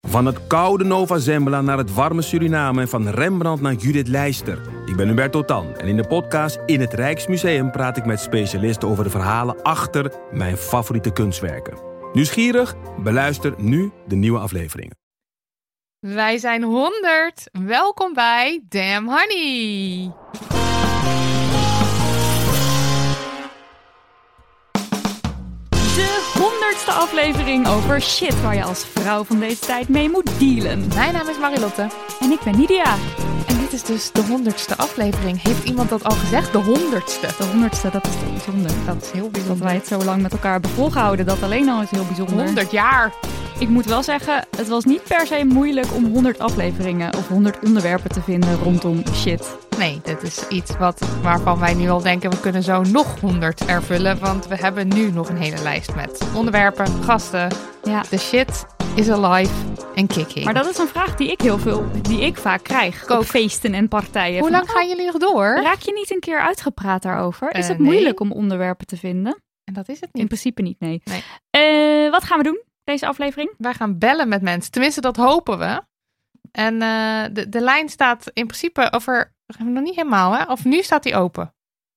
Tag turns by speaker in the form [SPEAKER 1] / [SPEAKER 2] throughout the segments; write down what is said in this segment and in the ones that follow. [SPEAKER 1] Van het koude Nova Zembla naar het warme Suriname en van Rembrandt naar Judith Leister. Ik ben Hubert Totan en in de podcast In het Rijksmuseum praat ik met specialisten over de verhalen achter mijn favoriete kunstwerken. Nieuwsgierig? Beluister nu de nieuwe afleveringen.
[SPEAKER 2] Wij zijn 100. Welkom bij Damn Honey.
[SPEAKER 3] De honderdste aflevering over shit waar je als vrouw van deze tijd mee moet dealen.
[SPEAKER 2] Mijn naam is Marilotte.
[SPEAKER 3] En ik ben Nidia.
[SPEAKER 2] En dit is dus de honderdste aflevering. Heeft iemand dat al gezegd? De honderdste.
[SPEAKER 3] De honderdste, dat is toch bijzonder. Dat is heel
[SPEAKER 2] bijzonder.
[SPEAKER 3] Dat wij het zo lang met elkaar hebben volgehouden, dat alleen al is heel bijzonder.
[SPEAKER 2] 100 jaar.
[SPEAKER 3] Ik moet wel zeggen, het was niet per se moeilijk om 100 afleveringen of 100 onderwerpen te vinden rondom shit.
[SPEAKER 2] Nee, dit is iets wat, waarvan wij nu al denken, we kunnen zo nog 100 ervullen. Want we hebben nu nog een hele lijst met onderwerpen, gasten.
[SPEAKER 3] Ja.
[SPEAKER 2] The shit is alive en kicking.
[SPEAKER 3] Maar dat is een vraag die ik heel veel, die ik vaak krijg.
[SPEAKER 2] ook.
[SPEAKER 3] Op feesten en partijen.
[SPEAKER 2] Hoe
[SPEAKER 3] Van,
[SPEAKER 2] lang gaan jullie nog door?
[SPEAKER 3] oh, Raak je niet een keer uitgepraat daarover? Is
[SPEAKER 2] Eh,
[SPEAKER 3] het
[SPEAKER 2] nee.
[SPEAKER 3] moeilijk om onderwerpen te vinden?
[SPEAKER 2] En dat is het
[SPEAKER 3] In
[SPEAKER 2] niet.
[SPEAKER 3] principe niet, nee.
[SPEAKER 2] Nee.
[SPEAKER 3] Eh, wat gaan we doen deze aflevering?
[SPEAKER 2] Wij gaan bellen met mensen. Tenminste, dat hopen we. En eh, de, de lijn staat in principe over... Nog niet helemaal, hè? Of nu staat die open.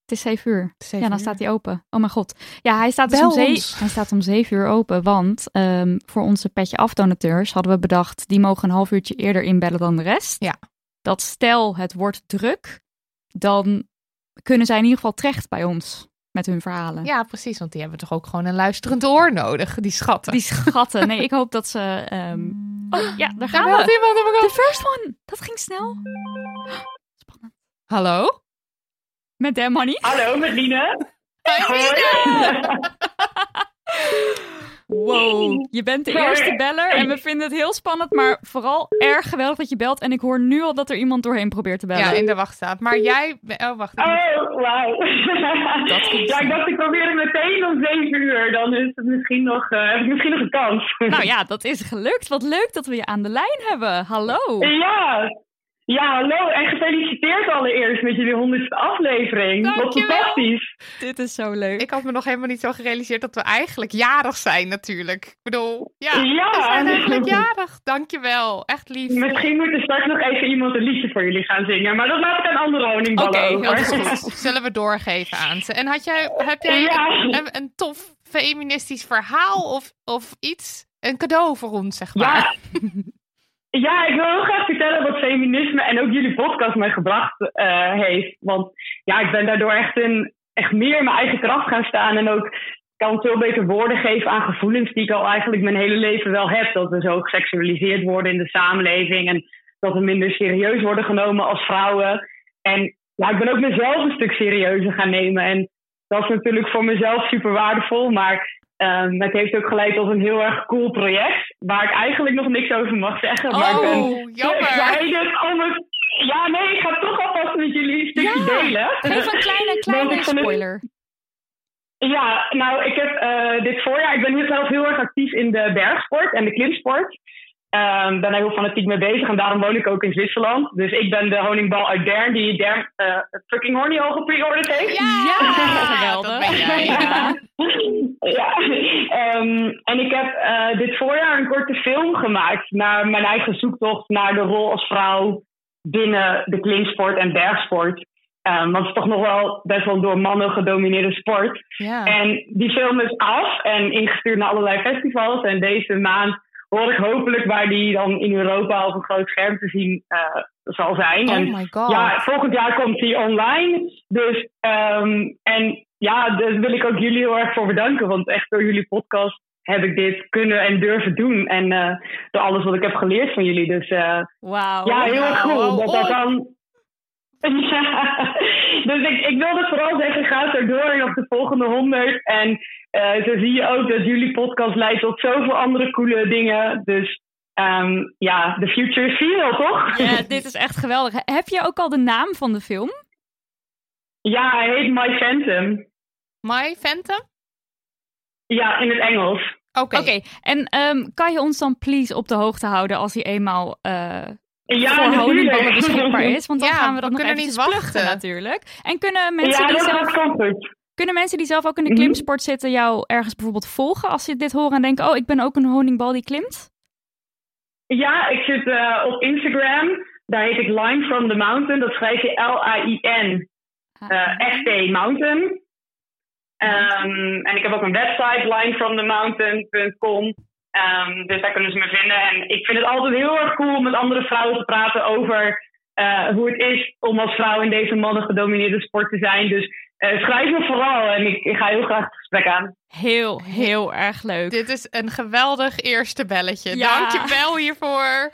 [SPEAKER 3] Het is 7 uur.
[SPEAKER 2] Het is zeven
[SPEAKER 3] Ja, dan
[SPEAKER 2] uur.
[SPEAKER 3] staat hij open. Oh mijn god. Ja, hij staat, dus om,
[SPEAKER 2] Bel
[SPEAKER 3] ze-
[SPEAKER 2] ons.
[SPEAKER 3] hij staat om zeven uur open. Want ehm, voor onze petje afdonateurs hadden we bedacht... die mogen een half uurtje eerder inbellen dan de rest.
[SPEAKER 2] Ja.
[SPEAKER 3] Dat stel het wordt druk... dan kunnen zij in ieder geval terecht bij ons met hun verhalen.
[SPEAKER 2] Ja, precies. Want die hebben toch ook gewoon een luisterend oor nodig, die schatten.
[SPEAKER 3] Die schatten. Nee, ik hoop dat ze... ehm, Oh, ja, daar
[SPEAKER 2] Daar
[SPEAKER 3] gaan
[SPEAKER 2] belt
[SPEAKER 3] we.
[SPEAKER 2] iemand op
[SPEAKER 3] De first one. Dat ging snel. Spannend.
[SPEAKER 2] Hallo?
[SPEAKER 3] Met Damn Money.
[SPEAKER 4] Hallo, met Nina. Hoi.
[SPEAKER 3] Wow, je bent de eerste beller en we vinden het heel spannend, maar vooral erg geweldig dat je belt. En ik hoor nu al dat er iemand doorheen probeert te bellen.
[SPEAKER 2] Ja, in de wacht staat. Maar jij... Oh, wacht.
[SPEAKER 4] Oh, wauw.
[SPEAKER 2] Dat goed.
[SPEAKER 4] Ja, ik dacht ik probeer het meteen om 7 uur. Dan is het misschien nog, eh, heb ik misschien nog een kans.
[SPEAKER 3] Nou ja, dat is gelukt. Wat leuk dat we je aan de lijn hebben. Hallo.
[SPEAKER 4] Ja. Ja, hallo en gefeliciteerd allereerst met jullie honderdste aflevering. Wat
[SPEAKER 3] Dankjewel.
[SPEAKER 4] fantastisch.
[SPEAKER 3] Dit is zo leuk.
[SPEAKER 2] Ik had me nog helemaal niet zo gerealiseerd dat we eigenlijk jarig zijn natuurlijk. Ik bedoel, ja,
[SPEAKER 4] Ja.
[SPEAKER 2] we zijn eigenlijk jarig. Dankjewel, echt lief.
[SPEAKER 4] Misschien moet er straks nog even iemand een liedje voor jullie gaan zingen. Maar dat laat ik aan andere honingballen
[SPEAKER 2] Oké,
[SPEAKER 4] over.
[SPEAKER 2] heel goed. Zullen we doorgeven aan ze. En had jij, heb jij
[SPEAKER 4] Ja.
[SPEAKER 2] een, een tof feministisch verhaal of, of iets? Een cadeau voor ons, zeg maar.
[SPEAKER 4] Ja. Ja, ik wil heel graag vertellen wat feminisme en ook jullie podcast mij gebracht eh, heeft. Want ja, ik ben daardoor echt, in, echt meer in mijn eigen kracht gaan staan. En ook kan veel beter woorden geven aan gevoelens die ik al eigenlijk mijn hele leven wel heb. Dat we zo geseksualiseerd worden in de samenleving. En dat we minder serieus worden genomen als vrouwen. En ja, ik ben ook mezelf een stuk serieuzer gaan nemen. En dat is natuurlijk voor mezelf super waardevol. Maar ehm, het heeft ook geleid tot een heel erg cool project. Waar ik eigenlijk nog niks over mag zeggen. Maar ik ben
[SPEAKER 2] Oh, jammer.
[SPEAKER 4] excited om het... oh Ja, nee, ik ga toch alvast met jullie een stukje
[SPEAKER 3] Ja.
[SPEAKER 4] delen.
[SPEAKER 3] Geef een kleine,
[SPEAKER 4] Want
[SPEAKER 3] kleine
[SPEAKER 4] ik vond het-
[SPEAKER 3] spoiler.
[SPEAKER 4] Ja, nou, ik heb eh, dit voorjaar... Ik ben hier zelf heel erg actief in de bergsport en de klimsport. Ehm ben daar heel fanatiek mee bezig en daarom woon ik ook in Zwitserland. Dus ik ben de honingbal uit Dern die Dern eh, fucking horny al gepreorderd heeft.
[SPEAKER 2] Ja,
[SPEAKER 3] geweldig.
[SPEAKER 2] dat ben jij.
[SPEAKER 3] Ja.
[SPEAKER 4] ja. Ehm, en ik heb eh, dit voorjaar een korte film gemaakt naar mijn eigen zoektocht naar de rol als vrouw binnen de klimsport en bergsport. Ehm, want het is toch nog wel best wel een door mannen gedomineerde sport.
[SPEAKER 2] Ja.
[SPEAKER 4] En die film is af en ingestuurd naar allerlei festivals. En deze maand hoor ik hopelijk waar die dan in Europa op een groot scherm te zien eh, zal zijn.
[SPEAKER 2] Oh
[SPEAKER 4] en
[SPEAKER 2] my god.
[SPEAKER 4] ja, volgend jaar komt die online. Dus, ehm, en ja, daar wil ik ook jullie heel erg voor bedanken. Want echt door jullie podcast heb ik dit kunnen en durven doen. En eh, door alles wat ik heb geleerd van jullie. Dus eh,
[SPEAKER 3] Wauw.
[SPEAKER 4] ja, heel erg cool.
[SPEAKER 3] Wauw.
[SPEAKER 4] dat
[SPEAKER 2] Oh.
[SPEAKER 4] dat dan... Ja. Dus ik, ik wilde vooral zeggen, ga er door en op de volgende 100. En eh, zo zie je ook dat jullie podcast leidt tot zoveel andere coole dingen. Dus ehm, ja, the future is real, toch?
[SPEAKER 3] Ja, Eh, dit is echt geweldig. Heb je ook al de naam van de film?
[SPEAKER 4] Ja, hij heet My Phantom.
[SPEAKER 2] My Phantom?
[SPEAKER 4] Ja, in het Engels.
[SPEAKER 2] Oké.
[SPEAKER 3] Oké, en ehm, kan je ons dan please op de hoogte houden als hij eenmaal eh
[SPEAKER 4] Ja,
[SPEAKER 3] voor honingballen
[SPEAKER 4] natuurlijk.
[SPEAKER 3] beschikbaar is? Want dan
[SPEAKER 2] Ja,
[SPEAKER 3] gaan we dat
[SPEAKER 2] we
[SPEAKER 3] nog
[SPEAKER 2] kunnen niet
[SPEAKER 3] eventjes
[SPEAKER 2] wachten.
[SPEAKER 3] pluchten natuurlijk. En kunnen mensen,
[SPEAKER 4] Ja,
[SPEAKER 3] die
[SPEAKER 4] dat
[SPEAKER 3] zelf,
[SPEAKER 4] gaat comfort.
[SPEAKER 3] kunnen mensen die zelf ook in de
[SPEAKER 4] Mhm.
[SPEAKER 3] klimsport zitten jou ergens bijvoorbeeld volgen als ze dit horen en denken, oh, ik ben ook een honingbal die klimt?
[SPEAKER 4] Ja, ik zit eh, op Instagram. Daar heet ik Line from the Mountain. Dat schrijf je L-A-I-N. eh FT Mountain. Ehm, en ik heb ook een website, linefromthemountain.com. Ehm, dus daar kunnen ze me vinden. En ik vind het altijd heel erg cool om met andere vrouwen te praten over eh, hoe het is om als vrouw in deze mannen gedomineerde sport te zijn. Dus eh, schrijf me vooral en ik, ik ga heel graag het gesprek aan.
[SPEAKER 3] Heel, heel erg leuk.
[SPEAKER 2] Dit is een geweldig eerste belletje.
[SPEAKER 3] Ja.
[SPEAKER 2] Dankjewel hiervoor.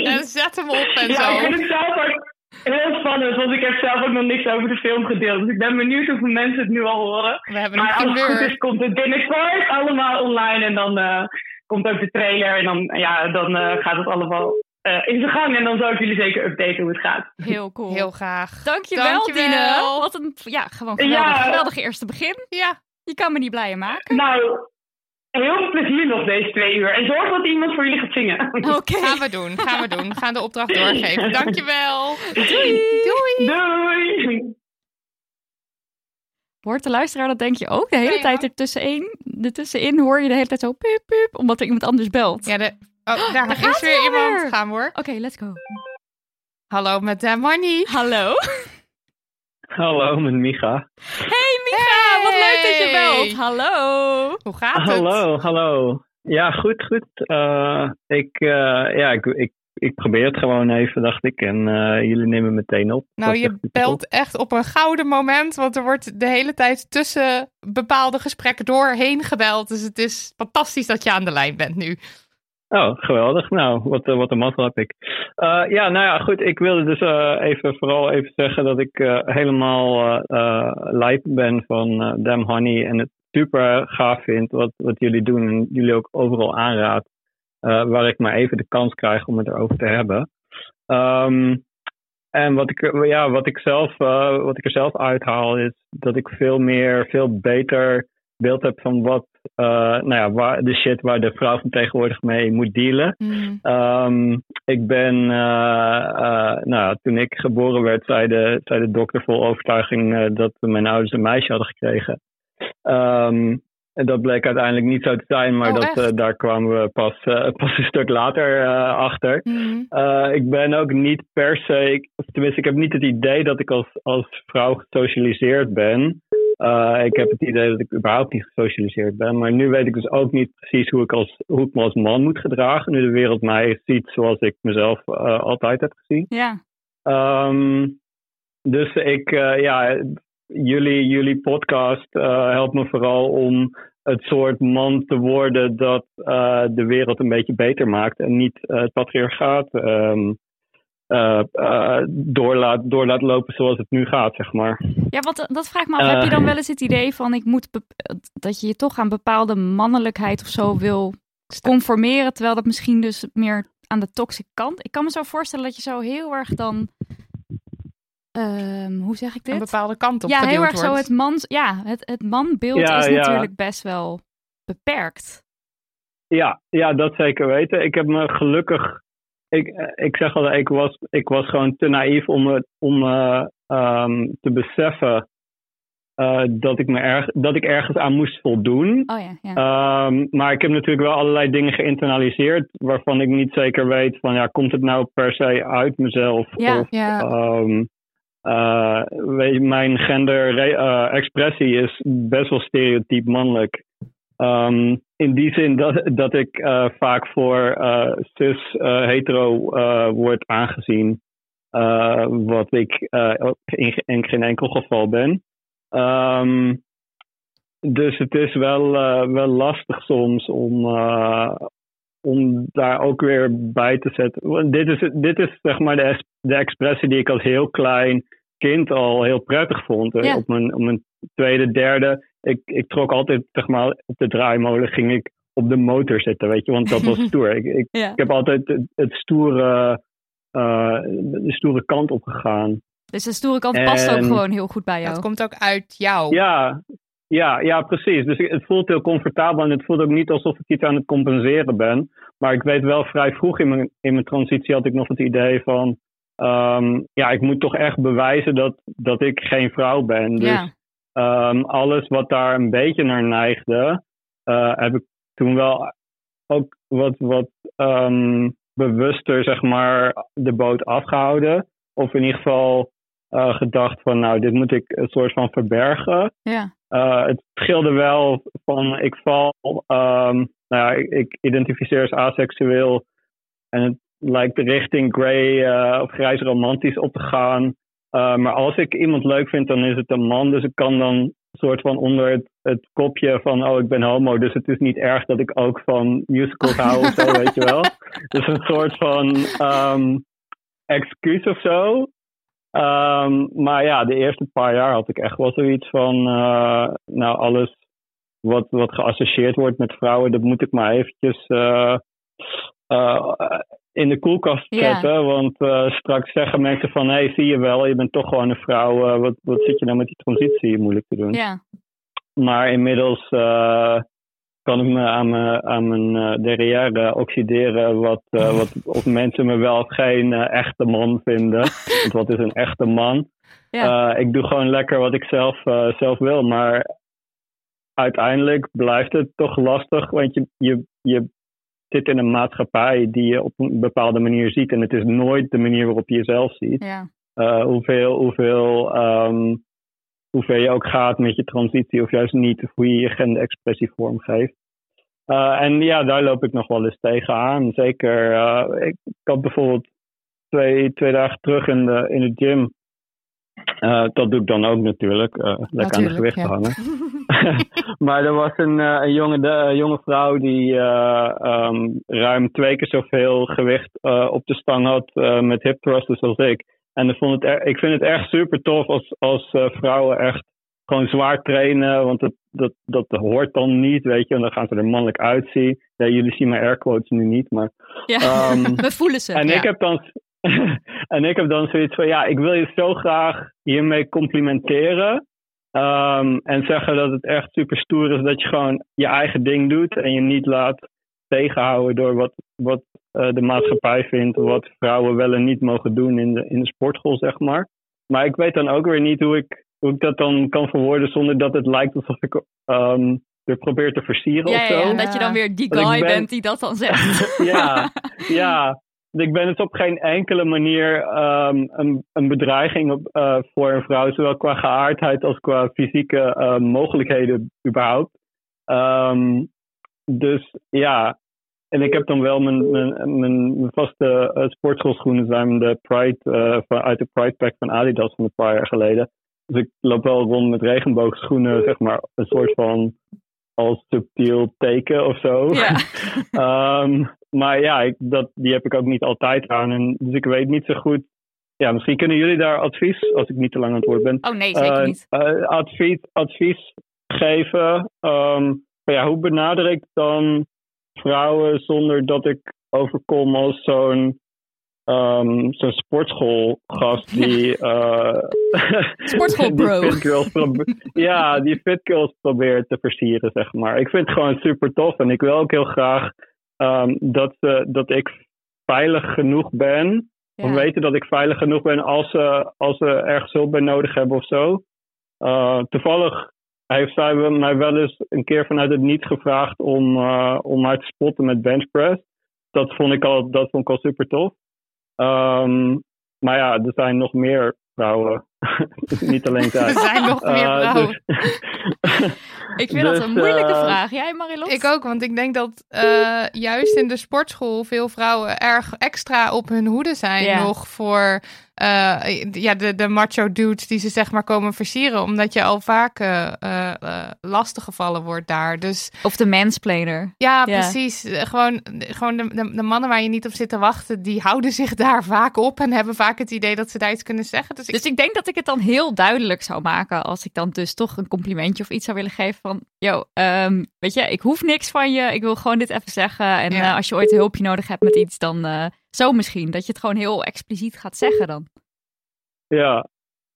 [SPEAKER 2] En zet hem op en
[SPEAKER 4] Ja, ik
[SPEAKER 2] zo.
[SPEAKER 4] vind het zelf ook heel spannend, want ik heb zelf ook nog niks over de film gedeeld. Dus ik ben benieuwd hoeveel mensen het nu al horen.
[SPEAKER 2] We hebben een
[SPEAKER 4] Maar als het goed
[SPEAKER 2] primeur.
[SPEAKER 4] is, komt het binnenkort allemaal online. En dan eh, komt ook de trailer. En dan, ja, dan eh, gaat het allemaal eh, in zijn gang. En dan zal ik jullie zeker updaten hoe het gaat.
[SPEAKER 3] Heel cool.
[SPEAKER 2] Heel graag.
[SPEAKER 3] Dankjewel,
[SPEAKER 2] Dankjewel.
[SPEAKER 3] Dine. Wat een ja, gewoon geweldig,
[SPEAKER 4] Ja.
[SPEAKER 3] geweldig eerste begin.
[SPEAKER 2] Ja,
[SPEAKER 3] Je kan me niet blijer maken.
[SPEAKER 4] Nou, heel veel plezier nog deze twee uur. En zorg dat iemand voor jullie gaat zingen.
[SPEAKER 3] Oké.
[SPEAKER 2] gaan we doen. Gaan we doen. We gaan de opdracht doorgeven. Dankjewel.
[SPEAKER 3] Doei.
[SPEAKER 4] Doei!
[SPEAKER 3] Hoort de luisteraar dat denk je ook de hele
[SPEAKER 2] Ja, ja.
[SPEAKER 3] tijd ertussenin, ertussenin hoor je de hele tijd zo piep piep, omdat er iemand anders belt.
[SPEAKER 2] Ja, de... Oh, daar,
[SPEAKER 3] gaat
[SPEAKER 2] is weer
[SPEAKER 3] hij
[SPEAKER 2] iemand.
[SPEAKER 3] alweer.
[SPEAKER 2] Gaan we hoor.
[SPEAKER 3] Oké, let's go.
[SPEAKER 2] Hallo met Damani.
[SPEAKER 3] Hallo.
[SPEAKER 5] Hallo, met Micha.
[SPEAKER 3] Hey Micha, wat leuk dat je
[SPEAKER 2] Hey.
[SPEAKER 3] belt. Hallo.
[SPEAKER 2] Hoe gaat het?
[SPEAKER 5] Hallo, hallo. Ja, goed, goed. Eh, ik, eh, ja, ik, ik, ik probeer het gewoon even, dacht ik. En eh, jullie nemen meteen op. Dat
[SPEAKER 2] Nou,
[SPEAKER 5] is
[SPEAKER 2] je
[SPEAKER 5] echt super
[SPEAKER 2] belt echt op een gouden moment, want er wordt de hele tijd tussen bepaalde gesprekken doorheen gebeld. Dus het is fantastisch dat je aan de lijn bent nu.
[SPEAKER 5] Oh, geweldig. Nou, wat, eh, wat een mazzel heb ik. Eh, ja, nou ja, goed. Ik wilde dus eh, even, vooral even zeggen dat ik eh, helemaal eh eh, lijp ben van eh Damn Honey. En het super gaaf vind wat, wat jullie doen. En jullie ook overal aanraadt. eh, waar ik maar even de kans krijg om het erover te hebben. Ehm, en wat ik, eh, ja, wat, ik zelf, eh, wat ik er zelf uithaal is dat ik veel meer, veel beter beeld heb van wat, eh, nou ja, waar, de shit waar de vrouw van tegenwoordig mee moet dealen. Ehm, ik ben, eh, eh, nou, toen ik geboren werd, zei de, zei de dokter vol overtuiging eh, dat mijn ouders een meisje hadden gekregen. Ehm, en dat bleek uiteindelijk niet zo te zijn, maar
[SPEAKER 2] Oh,
[SPEAKER 5] dat,
[SPEAKER 2] echt?
[SPEAKER 5] eh, daar kwamen we pas, eh, pas een stuk later eh, achter.
[SPEAKER 2] Mhm.
[SPEAKER 5] Eh, ik ben ook niet per se, ik- of tenminste, ik heb niet het idee dat ik als, als vrouw gesocialiseerd ben. Eh, ik heb het idee dat ik überhaupt niet gesocialiseerd ben. Maar nu weet ik dus ook niet precies hoe ik, als, hoe ik me als man moet gedragen. Nu de wereld mij ziet zoals ik mezelf eh, altijd heb gezien.
[SPEAKER 3] Ja.
[SPEAKER 5] Ehm, dus ik, eh, ja, jullie, jullie podcast eh, helpt me vooral om het soort man te worden dat eh, de wereld een beetje beter maakt en niet eh, het patriarchaat ehm, eh, eh, door, laat, door laat lopen zoals het nu gaat, zeg maar.
[SPEAKER 3] Ja, want eh, dat vraagt me af.
[SPEAKER 5] Eh.
[SPEAKER 3] Heb je dan wel eens het idee van ik moet bep- eh, dat je je toch aan bepaalde mannelijkheid of zo wil conformeren, terwijl dat misschien dus meer aan de toxische kant. Ik kan me zo voorstellen dat je zo heel erg dan ehm, hoe zeg ik dit?
[SPEAKER 2] Een bepaalde kant op
[SPEAKER 3] ja, heel
[SPEAKER 2] geduwd
[SPEAKER 3] erg zo
[SPEAKER 2] wordt.
[SPEAKER 3] het mans, ja, het, het manbeeld
[SPEAKER 5] Ja,
[SPEAKER 3] is
[SPEAKER 5] ja.
[SPEAKER 3] natuurlijk best wel beperkt.
[SPEAKER 5] Ja, ja, dat zeker weten. Ik heb me gelukkig. Ik, eh, ik zeg al, ik was, ik was gewoon te naïef om, me- om eh, ehm, te beseffen eh, dat, ik me erg, dat ik ergens aan moest voldoen.
[SPEAKER 3] Oh ja, ja.
[SPEAKER 5] Ehm, maar ik heb natuurlijk wel allerlei dingen geïnternaliseerd waarvan ik niet zeker weet van ja, komt het nou per se uit mezelf?
[SPEAKER 3] Ja.
[SPEAKER 5] Of,
[SPEAKER 2] Ja,
[SPEAKER 5] ehm, eh, weet je, mijn gender-expressie is best wel stereotyp mannelijk. Ehm, in die zin dat, dat ik eh, vaak voor eh, cis eh, hetero eh, word aangezien. eh, wat ik eh, ook in, in geen enkel geval ben. Ehm, dus het is wel, eh, wel lastig soms om, eh, om daar ook weer bij te zetten. Want dit is, dit is zeg maar de, es- de expressie die ik als heel klein kind al heel prettig vond. Eh,
[SPEAKER 3] Ja.
[SPEAKER 5] Op, mijn, op mijn tweede, derde. Ik, ik trok altijd zeg maar, op de draaimolen, ging ik op de motor zitten, weet je, want dat was stoer. ik, ik,
[SPEAKER 3] Ja.
[SPEAKER 5] ik heb altijd het, het stoere, eh, de stoere kant opgegaan.
[SPEAKER 3] Dus de stoere kant past ook
[SPEAKER 5] En-
[SPEAKER 3] gewoon heel goed bij jou.
[SPEAKER 2] Dat komt ook uit
[SPEAKER 3] Oh.
[SPEAKER 2] jou.
[SPEAKER 5] Ja, ja, ja, precies. Dus het voelt heel comfortabel en het voelt ook niet alsof ik iets aan het compenseren ben. Maar ik weet wel, vrij vroeg in mijn, in mijn transitie had ik nog het idee van... ehm, ja, ik moet toch echt bewijzen dat, dat ik geen vrouw ben. Dus
[SPEAKER 3] ja.
[SPEAKER 5] ehm, alles wat daar een beetje naar neigde, eh, heb ik toen wel ook wat, wat ehm, bewuster, zeg maar, de boot afgehouden. Of in ieder geval eh, gedacht van, nou, dit moet ik een soort van verbergen.
[SPEAKER 3] ja.
[SPEAKER 5] Eh, het scheelde wel van ik val, ehm, nou ja, ik, ik identificeer als aseksueel en het lijkt de richting grey eh, of grijs romantisch op te gaan. Eh, maar als ik iemand leuk vind, dan is het een man, dus ik kan dan een soort van onder het, het kopje van oh ik ben homo, dus het is niet erg dat ik ook van musicals hou of zo, weet je wel. Dus een soort van ehm, excuus of zo. Ehm, maar ja, de eerste paar jaar had ik echt wel zoiets van, eh, nou alles wat, wat geassocieerd wordt met vrouwen, dat moet ik maar eventjes eh, eh, in de koelkast
[SPEAKER 3] Ja.
[SPEAKER 5] zetten. Want eh, straks zeggen mensen van, hé, hey, zie je wel, je bent toch gewoon een vrouw. eh, wat, wat zit je nou met die transitie moeilijk te doen?
[SPEAKER 3] ja.
[SPEAKER 5] Maar inmiddels eh, kan ik me aan mijn, aan mijn eh, derrière oxideren. Wat, eh, wat, of mensen me wel of geen eh, echte man vinden. Want wat is een echte man?
[SPEAKER 3] Ja.
[SPEAKER 5] Eh, ik doe gewoon lekker wat ik zelf, eh, zelf wil. Maar uiteindelijk blijft het toch lastig. Want je, je, je zit in een maatschappij die je op een bepaalde manier ziet. En het is nooit de manier waarop je jezelf ziet.
[SPEAKER 3] ja.
[SPEAKER 5] Eh, hoeveel, hoeveel, ehm, hoeveel je ook gaat met je transitie, of juist niet, of hoe je je genderexpressie vormgeeft. Eh, en ja, daar loop ik nog wel eens tegenaan. Zeker, eh, ik, ik had bijvoorbeeld twee, twee dagen terug in de, in de gym. Eh, dat doe ik dan ook natuurlijk, eh, lekker aan
[SPEAKER 2] Natuurlijk,
[SPEAKER 5] het gewicht
[SPEAKER 2] ja.
[SPEAKER 5] hangen. maar er was een, eh, een jonge, de, een jonge vrouw die eh, ehm, ruim twee keer zoveel gewicht eh, op de stang had eh, met hip thrusters als ik. En ik, vond het, er- ik vind het echt super tof als, als eh, vrouwen echt gewoon zwaar trainen. Want dat, dat, dat hoort dan niet, weet je. En dan gaan ze er mannelijk uitzien. Ja, jullie zien mijn airquotes nu niet, maar...
[SPEAKER 3] Ja.
[SPEAKER 5] ehm,
[SPEAKER 3] We voelen ze.
[SPEAKER 5] en,
[SPEAKER 2] ja.
[SPEAKER 5] ik heb dan, en ik heb dan zoiets van, ja, ik wil je zo graag hiermee complimenteren. ehm, en zeggen dat het echt super stoer is dat je gewoon je eigen ding doet. En je niet laat tegenhouden door wat, wat eh, de maatschappij vindt. Wat vrouwen wel en niet mogen doen in de, in de sportschool, zeg maar. Maar ik weet dan ook weer niet hoe ik, hoe ik dat dan kan verwoorden zonder dat het lijkt alsof ik ehm, er probeer te versieren
[SPEAKER 3] ja,
[SPEAKER 5] of
[SPEAKER 3] ja,
[SPEAKER 5] zo.
[SPEAKER 3] ja, dat je dan weer die
[SPEAKER 5] Want ik
[SPEAKER 3] guy
[SPEAKER 5] ben-
[SPEAKER 3] bent die dat dan zegt.
[SPEAKER 5] ja, ja. Ik ben het op geen enkele manier ehm, een, een bedreiging op, eh, voor een vrouw, zowel qua geaardheid als qua fysieke eh, mogelijkheden überhaupt. Ehm, dus ja, en ik heb dan wel mijn, mijn, mijn, mijn vaste eh, sportschoolschoenen zijn de Pride, eh, van, uit de Pride Pack van Adidas van een paar jaar geleden. Dus ik loop wel rond met regenboogschoenen, zeg maar, een soort van als subtiel teken of zo.
[SPEAKER 3] ja.
[SPEAKER 5] Ehm, maar ja, ik, dat, die heb ik ook niet altijd aan. En, dus ik weet niet zo goed. Ja, misschien kunnen jullie daar advies, als ik niet te lang aan het woord ben.
[SPEAKER 3] Oh nee, zeker
[SPEAKER 5] eh,
[SPEAKER 3] niet.
[SPEAKER 5] eh, advies, advies geven. Ehm, maar ja, hoe benader ik dan vrouwen zonder dat ik overkom als zo'n ehm, zo'n sportschoolgast die. eh
[SPEAKER 3] Sportschoolbro.
[SPEAKER 5] die fit girls probe- ja, die fit girls probeert te versieren, zeg maar. Ik vind het gewoon super tof en ik wil ook heel graag ehm, dat, ze- dat ik veilig genoeg ben.
[SPEAKER 3] Ja.
[SPEAKER 5] Of weten dat ik veilig genoeg ben als ze, als ze ergens hulp bij nodig hebben of zo. Eh, toevallig heeft zij wel- mij wel eens een keer vanuit het niet gevraagd om, eh, om mij te spotten met benchpress. Dat vond ik al, dat vond ik al super tof. Ehm, maar ja, er zijn nog meer vrouwen. niet alleen zij.
[SPEAKER 2] Er zijn nog meer
[SPEAKER 5] Eh,
[SPEAKER 2] vrouwen.
[SPEAKER 5] dus,
[SPEAKER 3] Ik vind dat
[SPEAKER 5] Dus,
[SPEAKER 3] een moeilijke
[SPEAKER 5] eh,
[SPEAKER 3] vraag. Jij, Marilot?
[SPEAKER 2] Ik ook, want ik denk dat eh, juist in de sportschool veel vrouwen erg extra op hun hoede zijn
[SPEAKER 3] Ja.
[SPEAKER 2] nog voor eh, ja, de, de macho dudes die ze zeg maar komen versieren. Omdat je al vaak eh, eh, eh, lastiggevallen wordt daar. Dus
[SPEAKER 3] Of de mansplainer.
[SPEAKER 2] ja,
[SPEAKER 3] Ja.
[SPEAKER 2] precies. Eh, Gewoon, gewoon de, de, de mannen waar je niet op zit te wachten, die houden zich daar vaak op en hebben vaak het idee dat ze daar iets kunnen zeggen. Dus ik,
[SPEAKER 3] Dus ik denk dat ik het dan heel duidelijk zou maken als ik dan dus toch een complimentje of iets zou willen geven van, yo, ehm, weet je, ik hoef niks van je, ik wil gewoon dit even zeggen. En
[SPEAKER 2] Ja.
[SPEAKER 3] eh, als je ooit hulpje nodig hebt met iets, dan eh, zo misschien. Dat je het gewoon heel expliciet gaat zeggen dan.
[SPEAKER 5] Ja.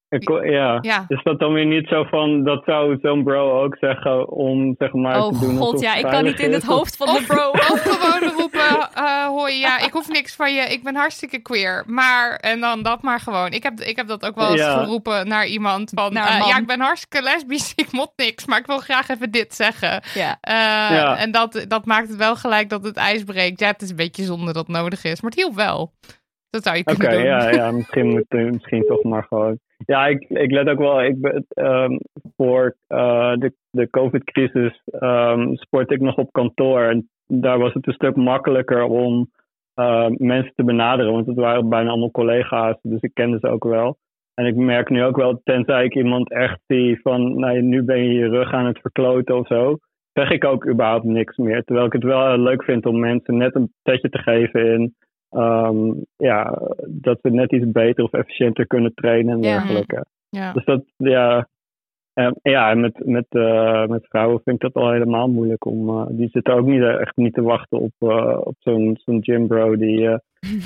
[SPEAKER 5] Ik, ja.
[SPEAKER 2] ja.
[SPEAKER 5] Is dat dan weer niet zo van, dat zou zo'n bro ook zeggen om zeg maar
[SPEAKER 3] oh
[SPEAKER 5] te doen alsof
[SPEAKER 3] god, ja,
[SPEAKER 5] het
[SPEAKER 3] ik kan
[SPEAKER 5] veilig
[SPEAKER 3] niet in
[SPEAKER 5] is?
[SPEAKER 3] het hoofd van de bro.
[SPEAKER 2] Of gewoon roepen, eh hoi, ja, ik hoef niks van je, ik ben hartstikke queer. Maar, en dan dat maar gewoon. Ik heb, ik heb dat ook wel eens
[SPEAKER 5] Ja.
[SPEAKER 2] geroepen naar iemand van,
[SPEAKER 3] Naar een
[SPEAKER 2] eh,
[SPEAKER 3] man.
[SPEAKER 2] ja, ik ben hartstikke lesbisch, ik mot niks, maar ik wil graag even dit zeggen.
[SPEAKER 3] Ja.
[SPEAKER 2] Eh,
[SPEAKER 5] Ja.
[SPEAKER 2] En dat, dat maakt het wel gelijk dat het ijs breekt. Ja, het is een beetje zonde dat het nodig is, maar het hielp wel. Dat zou je
[SPEAKER 5] Oké,
[SPEAKER 2] kunnen doen.
[SPEAKER 5] ja, ja, misschien moet eh, misschien toch maar gewoon. Ja, ik, ik let ook wel. Ik ben, ehm, voor eh, de, de COVID-crisis ehm, sport ik nog op kantoor. En daar was het een stuk makkelijker om eh, mensen te benaderen, want het waren bijna allemaal collega's, dus ik kende ze ook wel. En ik merk nu ook wel, tenzij ik iemand echt zie van, nou, nu ben je je rug aan het verkloten of zo, zeg ik ook überhaupt niks meer. Terwijl ik het wel eh, leuk vind om mensen net een tetje te geven in ehm, ja, dat we net iets beter of efficiënter kunnen trainen en
[SPEAKER 3] Ja.
[SPEAKER 5] dergelijke.
[SPEAKER 2] Ja.
[SPEAKER 5] Dus dat, ja. En, ja, en met, met, eh, met vrouwen vind ik dat al helemaal moeilijk om. eh, die zitten ook niet, eh, echt niet te wachten op, eh, op zo'n zo'n gymbro die eh,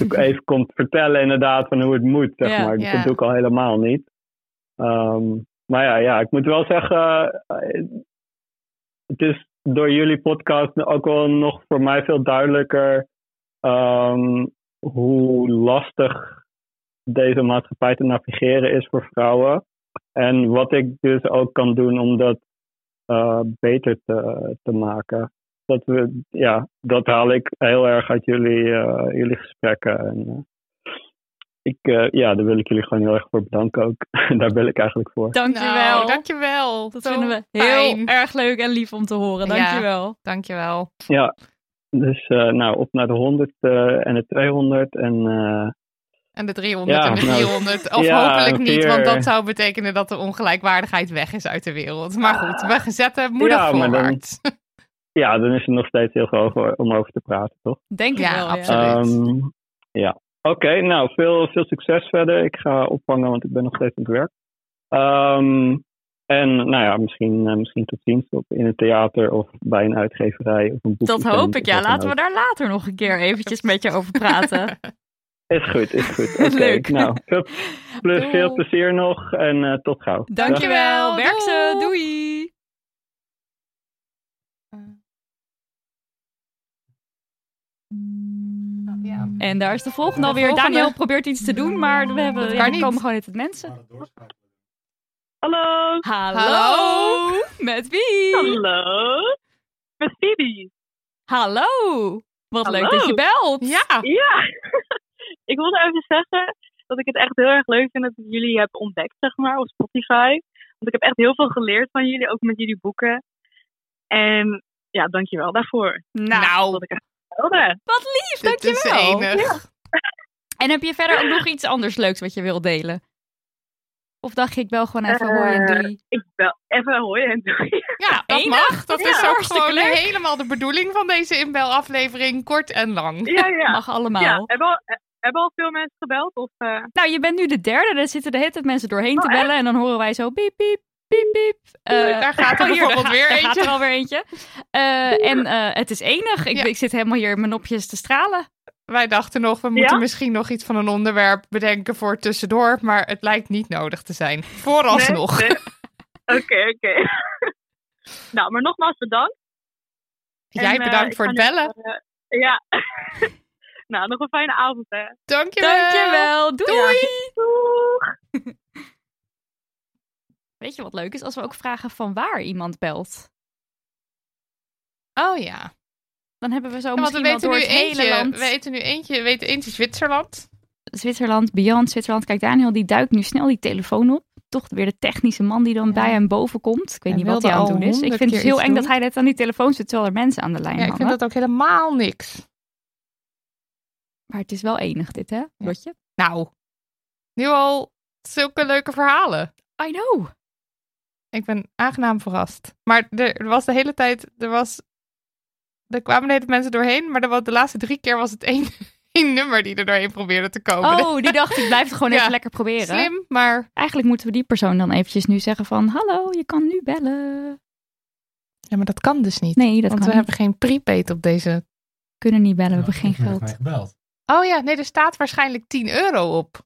[SPEAKER 5] ook even komt vertellen, inderdaad, van hoe het moet. Zeg
[SPEAKER 3] Ja,
[SPEAKER 5] maar.
[SPEAKER 2] ja.
[SPEAKER 5] Dat doe ik al helemaal niet. Ehm, maar ja, ja, ik moet wel zeggen. eh, het is door jullie podcast ook wel nog voor mij veel duidelijker ehm, hoe lastig deze maatschappij te navigeren is voor vrouwen. En wat ik dus ook kan doen om dat eh, beter te, te maken. Dat, we, ja, dat haal ik heel erg uit jullie, eh, jullie gesprekken. En, eh, ik, eh, ja, daar wil ik jullie gewoon heel erg voor bedanken ook. daar ben ik eigenlijk voor.
[SPEAKER 3] Dankjewel.
[SPEAKER 2] Nou, dankjewel.
[SPEAKER 3] dat
[SPEAKER 2] Zo
[SPEAKER 3] vinden we heel
[SPEAKER 2] fijn.
[SPEAKER 3] erg leuk en lief om te horen.
[SPEAKER 2] Ja.
[SPEAKER 3] Dankjewel.
[SPEAKER 2] Dankjewel.
[SPEAKER 5] Ja, dus eh, nou, op naar de 100 eh, en de 200 en... eh,
[SPEAKER 2] En de 300
[SPEAKER 5] Ja,
[SPEAKER 2] en de
[SPEAKER 5] nou,
[SPEAKER 2] 300. Of
[SPEAKER 5] ja, eh.
[SPEAKER 2] hopelijk niet,
[SPEAKER 5] vier.
[SPEAKER 2] want dat zou betekenen dat de ongelijkwaardigheid weg is uit de wereld. Maar goed, we zetten moedig
[SPEAKER 5] Ja, maar dan-
[SPEAKER 2] voorwaarts.
[SPEAKER 5] ja, dan is er nog steeds heel veel over, om over te praten, toch?
[SPEAKER 3] Denk ik
[SPEAKER 2] Ja,
[SPEAKER 3] wel,
[SPEAKER 2] absoluut.
[SPEAKER 3] ja.
[SPEAKER 2] Absoluut.
[SPEAKER 5] Ehm, ja. Oké, nou, veel, veel succes verder. Ik ga opvangen, want ik ben nog steeds aan het werk. Ehm, en nou ja, misschien, eh, misschien tot ziens op, in een theater of bij een uitgeverij of een boek.
[SPEAKER 3] Dat hoop ik, ja. Laten we daar later nog een keer eventjes met je over praten.
[SPEAKER 5] Is goed, is goed. Oké,
[SPEAKER 3] Leuk.
[SPEAKER 5] nou, veel, plus,
[SPEAKER 3] Doei.
[SPEAKER 5] veel plezier nog en eh, tot gauw. Dag.
[SPEAKER 3] Dankjewel.
[SPEAKER 2] Dag.
[SPEAKER 3] Werk ze.
[SPEAKER 2] Doeg.
[SPEAKER 3] Doei.
[SPEAKER 2] Ja.
[SPEAKER 3] En daar is de volgende
[SPEAKER 2] De
[SPEAKER 3] alweer.
[SPEAKER 2] volgende.
[SPEAKER 3] Daniel probeert iets te doen, maar we, hebben, ja,
[SPEAKER 2] kan
[SPEAKER 3] we
[SPEAKER 2] niet.
[SPEAKER 3] komen gewoon niet tot mensen.
[SPEAKER 4] Hallo.
[SPEAKER 3] Hallo.
[SPEAKER 2] Hallo.
[SPEAKER 3] Met wie?
[SPEAKER 4] Hallo. Met Phoebe.
[SPEAKER 3] Hallo. Wat
[SPEAKER 4] Hallo.
[SPEAKER 3] leuk dat je belt.
[SPEAKER 2] Ja,
[SPEAKER 4] Ja, ik wilde even zeggen dat ik het echt heel erg leuk vind dat ik jullie heb ontdekt, zeg maar, op Spotify. Want ik heb echt heel veel geleerd van jullie, ook met jullie boeken. En ja, dankjewel daarvoor.
[SPEAKER 3] Nou,
[SPEAKER 4] Dat ik echt wilde.
[SPEAKER 3] wat lief.
[SPEAKER 2] dit is
[SPEAKER 3] Dankjewel.
[SPEAKER 2] enig.
[SPEAKER 3] En heb je verder ook nog iets anders leuks wat je wil delen? Of dacht je, ik wel gewoon even hoor en doei.
[SPEAKER 4] Eh, Ik bel even hoi en doei.
[SPEAKER 2] Ja, dat
[SPEAKER 3] enig.
[SPEAKER 2] mag. Dat
[SPEAKER 3] Ja,
[SPEAKER 2] is ook
[SPEAKER 3] hartstikke
[SPEAKER 2] gewoon
[SPEAKER 3] leuk.
[SPEAKER 2] helemaal de bedoeling van deze inbelaflevering. Kort en lang.
[SPEAKER 4] Ja, ja.
[SPEAKER 3] Mag allemaal.
[SPEAKER 4] ja. Hebben, al, eh, hebben al veel mensen gebeld? Of, eh,
[SPEAKER 3] Nou, je bent nu de derde. Daar zitten de hele tijd mensen doorheen te
[SPEAKER 4] Oh, echt?
[SPEAKER 3] bellen. En dan horen wij zo piep, piep, piep, piep. Eh,
[SPEAKER 2] daar gaat er
[SPEAKER 3] Oh, hier,
[SPEAKER 2] bijvoorbeeld
[SPEAKER 3] daar
[SPEAKER 2] weer
[SPEAKER 3] gaat,
[SPEAKER 2] eentje.
[SPEAKER 3] Daar gaat er alweer eentje. Eh, en eh, het is enig. Ik,
[SPEAKER 2] Ja.
[SPEAKER 3] ik zit helemaal hier in mijn nopjes te stralen.
[SPEAKER 2] Wij dachten nog, we moeten
[SPEAKER 4] Ja?
[SPEAKER 2] misschien nog iets van een onderwerp bedenken voor tussendoor. Maar het lijkt niet nodig te zijn. Vooralsnog.
[SPEAKER 4] nee, nee. Oké, oké. nou, maar nogmaals bedankt.
[SPEAKER 2] Jij
[SPEAKER 4] En, eh,
[SPEAKER 2] bedankt
[SPEAKER 4] ik
[SPEAKER 2] voor
[SPEAKER 4] ga
[SPEAKER 2] het
[SPEAKER 4] nu,
[SPEAKER 2] bellen.
[SPEAKER 4] eh, ja. nou, nog een fijne avond, hè.
[SPEAKER 2] Dankjewel.
[SPEAKER 3] Dankjewel. Doei.
[SPEAKER 2] Doei.
[SPEAKER 4] Doeg!
[SPEAKER 3] Weet je wat leuk is? Als we ook vragen van waar iemand belt.
[SPEAKER 2] Oh ja.
[SPEAKER 3] Dan hebben we zo
[SPEAKER 2] Ja, want we
[SPEAKER 3] misschien wel
[SPEAKER 2] weten
[SPEAKER 3] door
[SPEAKER 2] nu
[SPEAKER 3] het hele
[SPEAKER 2] eentje.
[SPEAKER 3] land.
[SPEAKER 2] We weten nu eentje. We weten eentje Zwitserland.
[SPEAKER 3] Zwitserland, Beyond Zwitserland. Kijk, Daniel die duikt nu snel die telefoon op. toch weer de technische man die dan bij hem boven komt. Ik weet
[SPEAKER 2] Hij
[SPEAKER 3] niet wat
[SPEAKER 2] wilde
[SPEAKER 3] hij aan het
[SPEAKER 2] al
[SPEAKER 3] doen is. Ik
[SPEAKER 2] honderd
[SPEAKER 3] vind het
[SPEAKER 2] keer
[SPEAKER 3] heel
[SPEAKER 2] iets
[SPEAKER 3] eng dat
[SPEAKER 2] doen.
[SPEAKER 3] hij net aan die telefoon zit terwijl er mensen aan de lijn
[SPEAKER 2] Ja, ik
[SPEAKER 3] hangen.
[SPEAKER 2] vind dat ook helemaal niks.
[SPEAKER 3] Maar het is wel enig dit, hè? Lotje?
[SPEAKER 2] Nou, nu al zulke leuke verhalen.
[SPEAKER 3] I know.
[SPEAKER 2] Ik ben aangenaam verrast. Maar er was de hele tijd, er was, er kwamen de hele tijd mensen doorheen, maar er was, de laatste drie keer was het één, één nummer die er doorheen probeerde te komen.
[SPEAKER 3] Oh, die dacht ik blijf het gewoon
[SPEAKER 2] Ja.
[SPEAKER 3] even lekker proberen.
[SPEAKER 2] Slim, maar...
[SPEAKER 3] Eigenlijk moeten we die persoon dan eventjes nu zeggen van... Hallo, je kan nu bellen.
[SPEAKER 2] Ja, maar dat kan dus niet.
[SPEAKER 3] Nee,
[SPEAKER 2] want
[SPEAKER 3] dat kan
[SPEAKER 2] we
[SPEAKER 3] niet.
[SPEAKER 2] hebben geen prepaid op deze.
[SPEAKER 3] kunnen niet bellen, we hebben geen geld.
[SPEAKER 1] gebeld.
[SPEAKER 2] Oh ja, nee, er staat waarschijnlijk 10 euro op.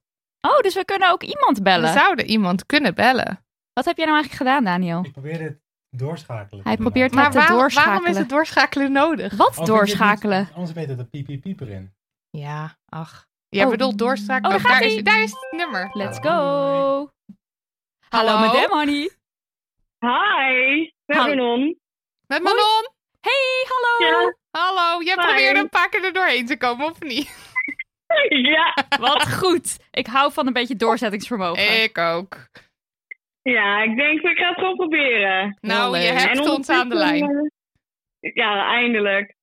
[SPEAKER 3] Oh, dus we kunnen ook iemand bellen.
[SPEAKER 2] We zouden iemand kunnen bellen.
[SPEAKER 3] Wat heb jij nou eigenlijk gedaan, Daniel?
[SPEAKER 1] Ik probeer het doorschakelen.
[SPEAKER 3] Hij probeert
[SPEAKER 1] Maar
[SPEAKER 3] het
[SPEAKER 2] Maar
[SPEAKER 3] te
[SPEAKER 2] waarom, waarom
[SPEAKER 3] doorschakelen.
[SPEAKER 2] is het doorschakelen nodig?
[SPEAKER 3] Wat doorschakelen?
[SPEAKER 1] Anders weet het de piep piep erin.
[SPEAKER 2] Ja, ach. Jij
[SPEAKER 3] Oh.
[SPEAKER 2] bedoelt doorschakelen.
[SPEAKER 3] Oh, daar gaat
[SPEAKER 2] daar, is,
[SPEAKER 3] ie.
[SPEAKER 2] daar is het nummer.
[SPEAKER 3] Let's go.
[SPEAKER 1] Hallo.
[SPEAKER 3] Hallo,
[SPEAKER 2] Hallo.
[SPEAKER 3] madame honey.
[SPEAKER 6] Hi, met
[SPEAKER 3] Hallo.
[SPEAKER 6] Manon.
[SPEAKER 2] Met Manon.
[SPEAKER 3] Hey, hallo.
[SPEAKER 6] Ja.
[SPEAKER 2] Hallo. Jij
[SPEAKER 6] Hi.
[SPEAKER 2] probeerde een paar keer er doorheen te komen, of niet?
[SPEAKER 6] Ja,
[SPEAKER 3] Wat goed. Ik hou van een beetje doorzettingsvermogen.
[SPEAKER 2] Ik ook.
[SPEAKER 6] ja, ik denk ik ga het gewoon proberen.
[SPEAKER 2] Nou, je
[SPEAKER 3] leuk.
[SPEAKER 6] En
[SPEAKER 2] hebt ons aan de lijn.
[SPEAKER 6] ondertussen, eh, Ja, eindelijk.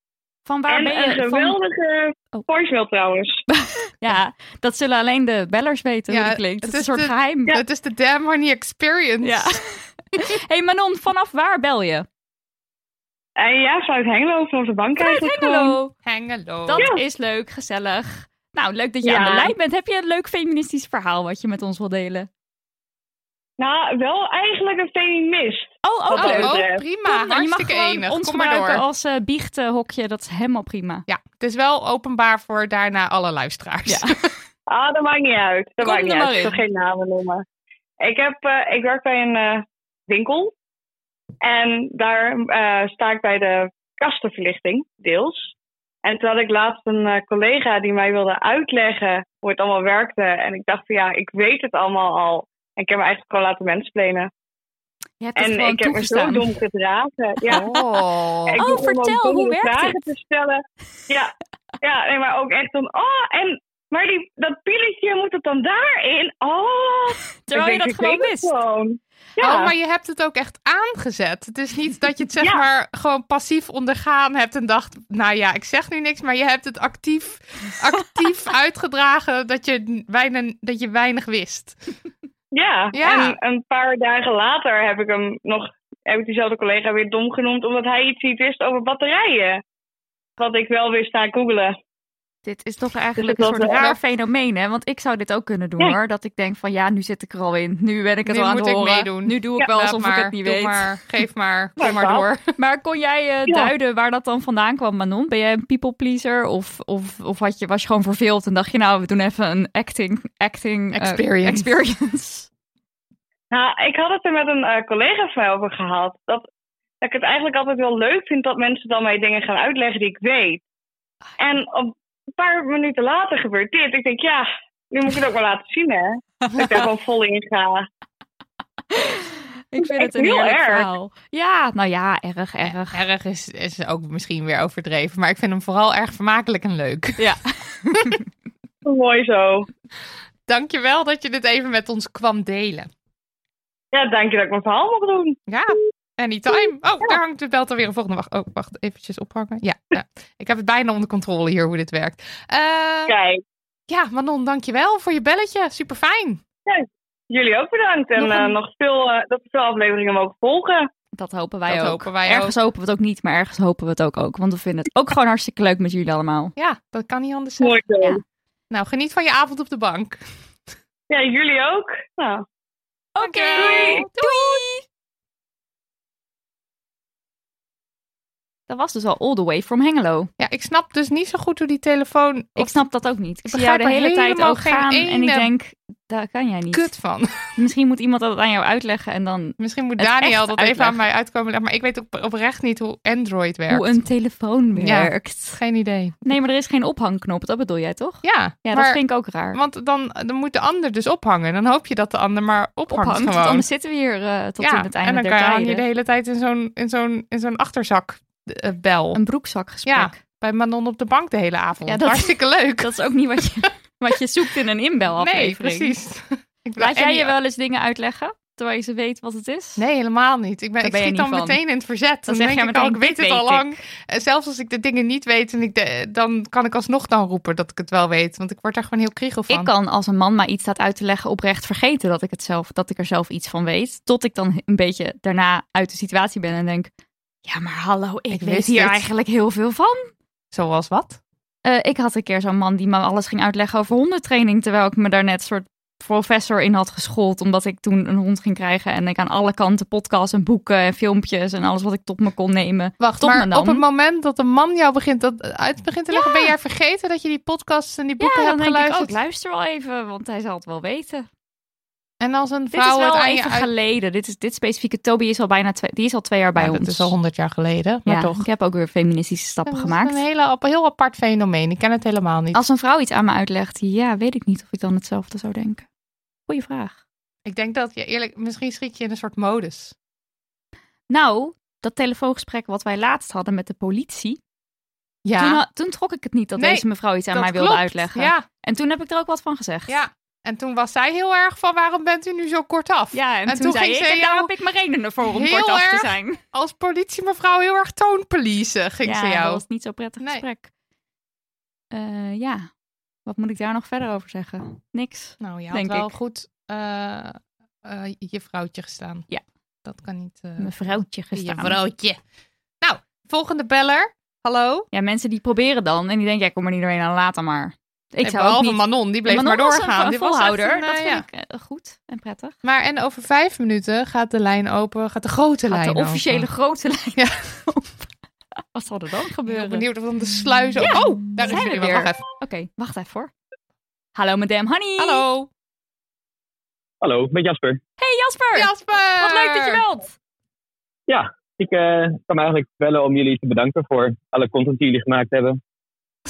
[SPEAKER 3] Van waar
[SPEAKER 6] en
[SPEAKER 3] ben je?
[SPEAKER 6] een
[SPEAKER 3] van-
[SPEAKER 6] geweldige
[SPEAKER 3] Oh.
[SPEAKER 6] voicemail trouwens.
[SPEAKER 3] Ja, dat zullen alleen de bellers weten
[SPEAKER 2] Ja,
[SPEAKER 3] hoe dat klinkt. Het
[SPEAKER 2] het
[SPEAKER 3] is een soort
[SPEAKER 2] is de-
[SPEAKER 3] geheim.
[SPEAKER 2] Het is de Damn Honey Experience.
[SPEAKER 3] Ja. hey Manon, vanaf waar bel je?
[SPEAKER 6] En Eh, ja, vanuit Hengelo, vanaf de bank
[SPEAKER 3] Vanuit
[SPEAKER 6] eigenlijk gewoon.
[SPEAKER 3] Hengelo.
[SPEAKER 2] Hengelo.
[SPEAKER 3] Dat is leuk, gezellig. Nou, leuk dat je
[SPEAKER 6] Ja.
[SPEAKER 3] aan de lijn bent. Heb je een leuk feministisch verhaal wat je met ons wil delen?
[SPEAKER 6] Nou, wel eigenlijk een feminist.
[SPEAKER 3] Oh, ook
[SPEAKER 6] Wat
[SPEAKER 3] leuk.
[SPEAKER 6] leuk.
[SPEAKER 2] Oh,
[SPEAKER 6] betreft.
[SPEAKER 3] Kom, nou,
[SPEAKER 2] prima.
[SPEAKER 3] je mag
[SPEAKER 2] Hartstikke
[SPEAKER 3] gewoon
[SPEAKER 2] enig.
[SPEAKER 3] ons
[SPEAKER 2] Kom maar
[SPEAKER 3] gebruiken
[SPEAKER 2] door.
[SPEAKER 3] als eh biechtenhokje. Dat is helemaal prima.
[SPEAKER 2] Ja, het is wel openbaar voor daarna alle luisteraars.
[SPEAKER 3] Ja.
[SPEAKER 6] Ah, dat maakt niet uit. Dat
[SPEAKER 3] Kom
[SPEAKER 6] maakt niet
[SPEAKER 3] er maar
[SPEAKER 6] uit. Ik zal
[SPEAKER 3] in.
[SPEAKER 6] geen namen noemen. Ik, heb, eh, ik werk bij een eh, winkel. En daar eh, sta ik bij de kastenverlichting, deels. En toen had ik laatst een eh, collega die mij wilde uitleggen hoe het allemaal werkte. En ik dacht van ja, ik weet het allemaal al. En ik heb me eigenlijk gewoon laten mensplenen.
[SPEAKER 3] Je hebt het
[SPEAKER 6] En
[SPEAKER 3] gewoon
[SPEAKER 6] ik heb me zo
[SPEAKER 3] toegestaan.
[SPEAKER 6] dom gedragen. Ja.
[SPEAKER 2] Oh.
[SPEAKER 6] Ik
[SPEAKER 3] Oh,
[SPEAKER 6] begon ook
[SPEAKER 3] vertel, hoe
[SPEAKER 6] domme
[SPEAKER 3] werkt
[SPEAKER 6] vragen
[SPEAKER 3] het?
[SPEAKER 6] te stellen. Ja, ja nee, maar ook echt van, oh, en, maar die, dat pilletje moet het dan daarin? Oh,
[SPEAKER 3] Terwijl je
[SPEAKER 6] Ik denk,
[SPEAKER 3] dat
[SPEAKER 6] ik
[SPEAKER 3] gewoon
[SPEAKER 6] weet
[SPEAKER 3] wist.
[SPEAKER 6] het gewoon. Ja,
[SPEAKER 2] Oh, maar je hebt het ook echt aangezet. Het is niet dat je het zeg
[SPEAKER 6] Ja.
[SPEAKER 2] maar gewoon passief ondergaan hebt en dacht, nou ja, ik zeg nu niks, maar je hebt het actief, actief uitgedragen dat je, weinig, dat je weinig wist.
[SPEAKER 6] ja.
[SPEAKER 2] Ja.
[SPEAKER 6] en een paar dagen later heb ik hem nog, heb ik diezelfde collega weer dom genoemd, omdat hij iets niet wist over batterijen. Wat ik wel wist na googelen.
[SPEAKER 3] Dit is toch eigenlijk een
[SPEAKER 6] Dus dat
[SPEAKER 3] soort
[SPEAKER 6] was wel
[SPEAKER 3] raar
[SPEAKER 6] echt-
[SPEAKER 3] fenomeen, hè? Want ik zou dit ook kunnen doen,
[SPEAKER 6] Ja.
[SPEAKER 3] hoor. Dat ik denk van, ja, nu zit ik er al in. Nu ben ik het
[SPEAKER 2] Nu
[SPEAKER 3] al aan
[SPEAKER 2] moet
[SPEAKER 3] het
[SPEAKER 2] ik
[SPEAKER 3] horen.
[SPEAKER 2] meedoen.
[SPEAKER 3] Nu doe ik
[SPEAKER 6] Ja,
[SPEAKER 3] wel alsof
[SPEAKER 2] maar,
[SPEAKER 3] ik het niet
[SPEAKER 2] doe
[SPEAKER 3] weet. Maar.
[SPEAKER 2] Maar, geef maar, kom
[SPEAKER 6] Ja,
[SPEAKER 2] maar
[SPEAKER 6] dat.
[SPEAKER 2] door.
[SPEAKER 3] kon jij eh,
[SPEAKER 6] Ja.
[SPEAKER 3] duiden waar dat dan vandaan kwam, Manon? Ben jij een people pleaser? Of, of, of had je, was je gewoon verveeld en dacht je, nou, we doen even een acting... acting eh,
[SPEAKER 2] Experience.
[SPEAKER 3] experience.
[SPEAKER 6] Nou, ik had het er met een eh, collega van mij over gehad. Dat, dat ik het eigenlijk altijd wel leuk vind dat mensen dan mij dingen gaan uitleggen die ik weet. En op een paar minuten later gebeurt dit. Ik denk, ja, nu moet ik het ook maar laten zien, hè. Dat ik daar gewoon vol in ga.
[SPEAKER 3] ik vind het
[SPEAKER 6] echt
[SPEAKER 3] een
[SPEAKER 6] heel
[SPEAKER 3] heerlijk
[SPEAKER 6] erg.
[SPEAKER 3] verhaal. Ja, nou ja, erg, erg.
[SPEAKER 2] Erg is, is ook misschien weer overdreven, maar ik vind hem vooral erg vermakelijk en leuk.
[SPEAKER 3] Ja.
[SPEAKER 6] Mooi zo.
[SPEAKER 2] Dankjewel dat je dit even met ons kwam delen.
[SPEAKER 6] Ja, dank je dat ik mijn verhaal mag doen.
[SPEAKER 2] Ja, anytime. Oh, daar hangt de belt alweer een volgende. Wacht, oh, wacht eventjes ophangen. Ja, ja. ik heb het bijna onder controle hier hoe dit werkt. Eh,
[SPEAKER 6] Kijk,
[SPEAKER 2] ja, Manon, dankjewel voor je belletje. Super fijn.
[SPEAKER 6] jullie ook bedankt. En
[SPEAKER 2] Nog
[SPEAKER 6] nog,
[SPEAKER 2] een-
[SPEAKER 6] nog veel, eh, dat we veel afleveringen mogen volgen.
[SPEAKER 3] Dat hopen wij
[SPEAKER 2] Dat
[SPEAKER 3] ook.
[SPEAKER 2] hopen wij
[SPEAKER 3] ergens hopen we het ook niet, maar ergens hopen we het ook ook. Want we vinden het ook gewoon hartstikke leuk met jullie allemaal.
[SPEAKER 2] ook. Ja, dat kan niet anders zijn.
[SPEAKER 6] Mooi zo.
[SPEAKER 3] Ja.
[SPEAKER 6] Ja,
[SPEAKER 2] Nou, geniet van je avond op de bank.
[SPEAKER 6] jullie ook. Nou.
[SPEAKER 3] Oké,
[SPEAKER 2] Dankjewel.
[SPEAKER 3] doei! Dat was dus al all the way from Hengelo.
[SPEAKER 2] Ja, ik snap dus niet zo goed hoe die telefoon...
[SPEAKER 3] Ik snap dat ook niet. Ik zie jou
[SPEAKER 2] begrijp
[SPEAKER 3] de
[SPEAKER 2] er
[SPEAKER 3] hele tijd
[SPEAKER 2] helemaal
[SPEAKER 3] ook
[SPEAKER 2] geen
[SPEAKER 3] gaan en ik
[SPEAKER 2] ene-
[SPEAKER 3] denk, daar kan jij niet.
[SPEAKER 2] Kut van.
[SPEAKER 3] Misschien moet iemand dat aan jou uitleggen en dan
[SPEAKER 2] Misschien moet
[SPEAKER 3] Het
[SPEAKER 2] Daniel
[SPEAKER 3] echt
[SPEAKER 2] dat even
[SPEAKER 3] uitleggen.
[SPEAKER 2] aan mij uitkomen. leggen, Maar ik weet op, oprecht niet hoe Android werkt.
[SPEAKER 3] hoe een telefoon
[SPEAKER 2] Ja.
[SPEAKER 3] werkt.
[SPEAKER 2] Geen idee.
[SPEAKER 3] Nee, maar er is geen ophangknop, dat bedoel jij toch?
[SPEAKER 2] Ja,
[SPEAKER 3] Ja,
[SPEAKER 2] maar,
[SPEAKER 3] dat vind ik ook raar.
[SPEAKER 2] want dan, dan moet de ander dus ophangen. Dan hoop je dat de ander maar ophangt,
[SPEAKER 3] Ophangt, want
[SPEAKER 2] gewoon.
[SPEAKER 3] anders zitten we hier eh, tot in het einde
[SPEAKER 2] en dan
[SPEAKER 3] der
[SPEAKER 2] kan hang je
[SPEAKER 3] tijden.
[SPEAKER 2] de hele tijd in zo'n, in zo'n, in zo'n achterzak eh, bel.
[SPEAKER 3] Een broekzakgesprek.
[SPEAKER 2] Ja. Bij Manon op de bank de hele avond.
[SPEAKER 3] Ja, dat-
[SPEAKER 2] Hartstikke leuk.
[SPEAKER 3] Dat is ook niet wat je, wat je zoekt in een
[SPEAKER 2] nee,
[SPEAKER 3] inbelaflevering.
[SPEAKER 2] precies. Ik
[SPEAKER 3] Laat
[SPEAKER 2] Nou, en
[SPEAKER 3] jij
[SPEAKER 2] die-
[SPEAKER 3] je wel eens dingen uitleggen, terwijl je ze weet wat het is?
[SPEAKER 2] Nee, helemaal niet. Ik, ben,
[SPEAKER 3] Daar
[SPEAKER 2] ik
[SPEAKER 3] ben je
[SPEAKER 2] schiet dan
[SPEAKER 3] niet van.
[SPEAKER 2] meteen in het verzet. Dan,
[SPEAKER 3] zeg
[SPEAKER 2] denk
[SPEAKER 3] jij
[SPEAKER 2] ik al,
[SPEAKER 3] meteen,
[SPEAKER 2] ik weet
[SPEAKER 3] dit
[SPEAKER 2] het al
[SPEAKER 3] weet
[SPEAKER 2] lang. En zelfs als ik de dingen niet weet, en ik de- eh, dan kan ik alsnog dan roepen dat ik het wel weet. Want ik word daar gewoon heel kriegel van.
[SPEAKER 3] Ik kan als een man maar iets staat uit te leggen oprecht vergeten dat ik, het zelf, dat ik er zelf iets van weet. Tot ik dan een beetje daarna uit de situatie ben en denk... Ja, maar hallo, ik,
[SPEAKER 2] Ik
[SPEAKER 3] weet
[SPEAKER 2] wist
[SPEAKER 3] hier
[SPEAKER 2] het.
[SPEAKER 3] eigenlijk heel veel van.
[SPEAKER 2] Zoals wat?
[SPEAKER 3] Eh, ik had een keer zo'n man die me alles ging uitleggen over hondentraining... terwijl ik me daar net soort professor in had geschoold... omdat ik toen een hond ging krijgen en ik aan alle kanten podcasts en boeken en filmpjes... en alles wat ik tot me kon nemen.
[SPEAKER 2] Wacht,
[SPEAKER 3] Tot me
[SPEAKER 2] maar
[SPEAKER 3] dan.
[SPEAKER 2] op het moment dat een man jou begint dat eh, uit begint te leggen, ben jij vergeten dat je die podcasts en die boeken
[SPEAKER 3] ja, dan
[SPEAKER 2] hebt
[SPEAKER 3] denk ik
[SPEAKER 2] geluisterd?
[SPEAKER 3] ook, luister wel even, want hij zal het wel weten.
[SPEAKER 2] en als een
[SPEAKER 3] Dit is
[SPEAKER 2] vrouw het
[SPEAKER 3] wel
[SPEAKER 2] aan je
[SPEAKER 3] even
[SPEAKER 2] uit...
[SPEAKER 3] geleden. Dit, is, dit specifieke Toby is al bijna twee, die is al twee jaar bij
[SPEAKER 2] Ja,
[SPEAKER 3] ons.
[SPEAKER 2] dat is al honderd jaar geleden, maar
[SPEAKER 3] ja,
[SPEAKER 2] toch.
[SPEAKER 3] ik heb ook weer feministische stappen
[SPEAKER 2] Dat is
[SPEAKER 3] gemaakt.
[SPEAKER 2] Een hele, ap- heel apart fenomeen. Ik ken het helemaal niet.
[SPEAKER 3] Als een vrouw iets aan me uitlegt, ja, weet ik niet of ik dan hetzelfde zou denken. Goeie vraag.
[SPEAKER 2] Ik denk dat je eerlijk, misschien schiet je in een soort modus.
[SPEAKER 3] Nou, dat telefoongesprek wat wij laatst hadden met de politie.
[SPEAKER 2] Ja,
[SPEAKER 3] Toen, ha- toen trok ik het niet dat
[SPEAKER 2] Nee,
[SPEAKER 3] deze mevrouw iets aan
[SPEAKER 2] dat
[SPEAKER 3] mij wilde
[SPEAKER 2] klopt.
[SPEAKER 3] uitleggen.
[SPEAKER 2] Ja,
[SPEAKER 3] En toen heb ik er ook wat van gezegd.
[SPEAKER 2] ja. En toen was zij heel erg van waarom bent u nu zo kort af?
[SPEAKER 3] Ja, en,
[SPEAKER 2] En
[SPEAKER 3] toen,
[SPEAKER 2] toen
[SPEAKER 3] zei
[SPEAKER 2] ging
[SPEAKER 3] ik,
[SPEAKER 2] ze
[SPEAKER 3] en daar
[SPEAKER 2] jou
[SPEAKER 3] heb ik mijn redenen voor om
[SPEAKER 2] heel
[SPEAKER 3] kortaf te
[SPEAKER 2] erg
[SPEAKER 3] zijn.
[SPEAKER 2] Als politiemevrouw heel erg toonpoliezen ging
[SPEAKER 3] ja,
[SPEAKER 2] ze
[SPEAKER 3] dat
[SPEAKER 2] jou.
[SPEAKER 3] was niet zo prettig
[SPEAKER 2] Nee.
[SPEAKER 3] gesprek. Eh, ja, wat moet ik daar nog verder over zeggen? Niks.
[SPEAKER 2] Nou, je had
[SPEAKER 3] denk
[SPEAKER 2] wel
[SPEAKER 3] ik.
[SPEAKER 2] goed eh, eh, je vrouwtje gestaan.
[SPEAKER 3] Ja.
[SPEAKER 2] Dat kan niet. eh,
[SPEAKER 3] Mijn vrouwtje gestaan.
[SPEAKER 2] Je vrouwtje. Nou, volgende beller. Hallo.
[SPEAKER 3] Ja, mensen die proberen dan en die denken, ja, kom er niet doorheen, dan later maar. Ik
[SPEAKER 2] Nee,
[SPEAKER 3] zou ook
[SPEAKER 2] Eh, behalve
[SPEAKER 3] niet...
[SPEAKER 2] Manon, die bleef
[SPEAKER 3] Ja,
[SPEAKER 2] maar
[SPEAKER 3] Manon was
[SPEAKER 2] doorgaan.
[SPEAKER 3] Een,
[SPEAKER 2] Die was echt
[SPEAKER 3] volhouder,
[SPEAKER 2] een, eh,
[SPEAKER 3] dat vind
[SPEAKER 2] ja.
[SPEAKER 3] ik eh, goed en prettig.
[SPEAKER 2] Maar en over vijf minuten gaat de lijn open, gaat de grote
[SPEAKER 3] Gaat
[SPEAKER 2] lijn
[SPEAKER 3] de
[SPEAKER 2] open.
[SPEAKER 3] officiële grote lijn
[SPEAKER 2] Ja.
[SPEAKER 3] open. Wat zal er dan
[SPEAKER 2] Ik ben
[SPEAKER 3] gebeuren? Oké,
[SPEAKER 2] benieuwd of dan de sluizen...
[SPEAKER 3] Ja,
[SPEAKER 2] Oh, daar
[SPEAKER 3] zijn
[SPEAKER 2] is
[SPEAKER 3] we
[SPEAKER 2] er weer.
[SPEAKER 3] weer.
[SPEAKER 2] Wacht even.
[SPEAKER 3] wacht even hoor. Hallo madame Honey.
[SPEAKER 2] Hallo.
[SPEAKER 5] Hallo, met Jasper.
[SPEAKER 3] Hey Jasper.
[SPEAKER 2] Jasper.
[SPEAKER 3] Wat leuk dat je belt.
[SPEAKER 5] Ik eh kwam eigenlijk bellen om jullie te bedanken voor alle content die jullie gemaakt hebben.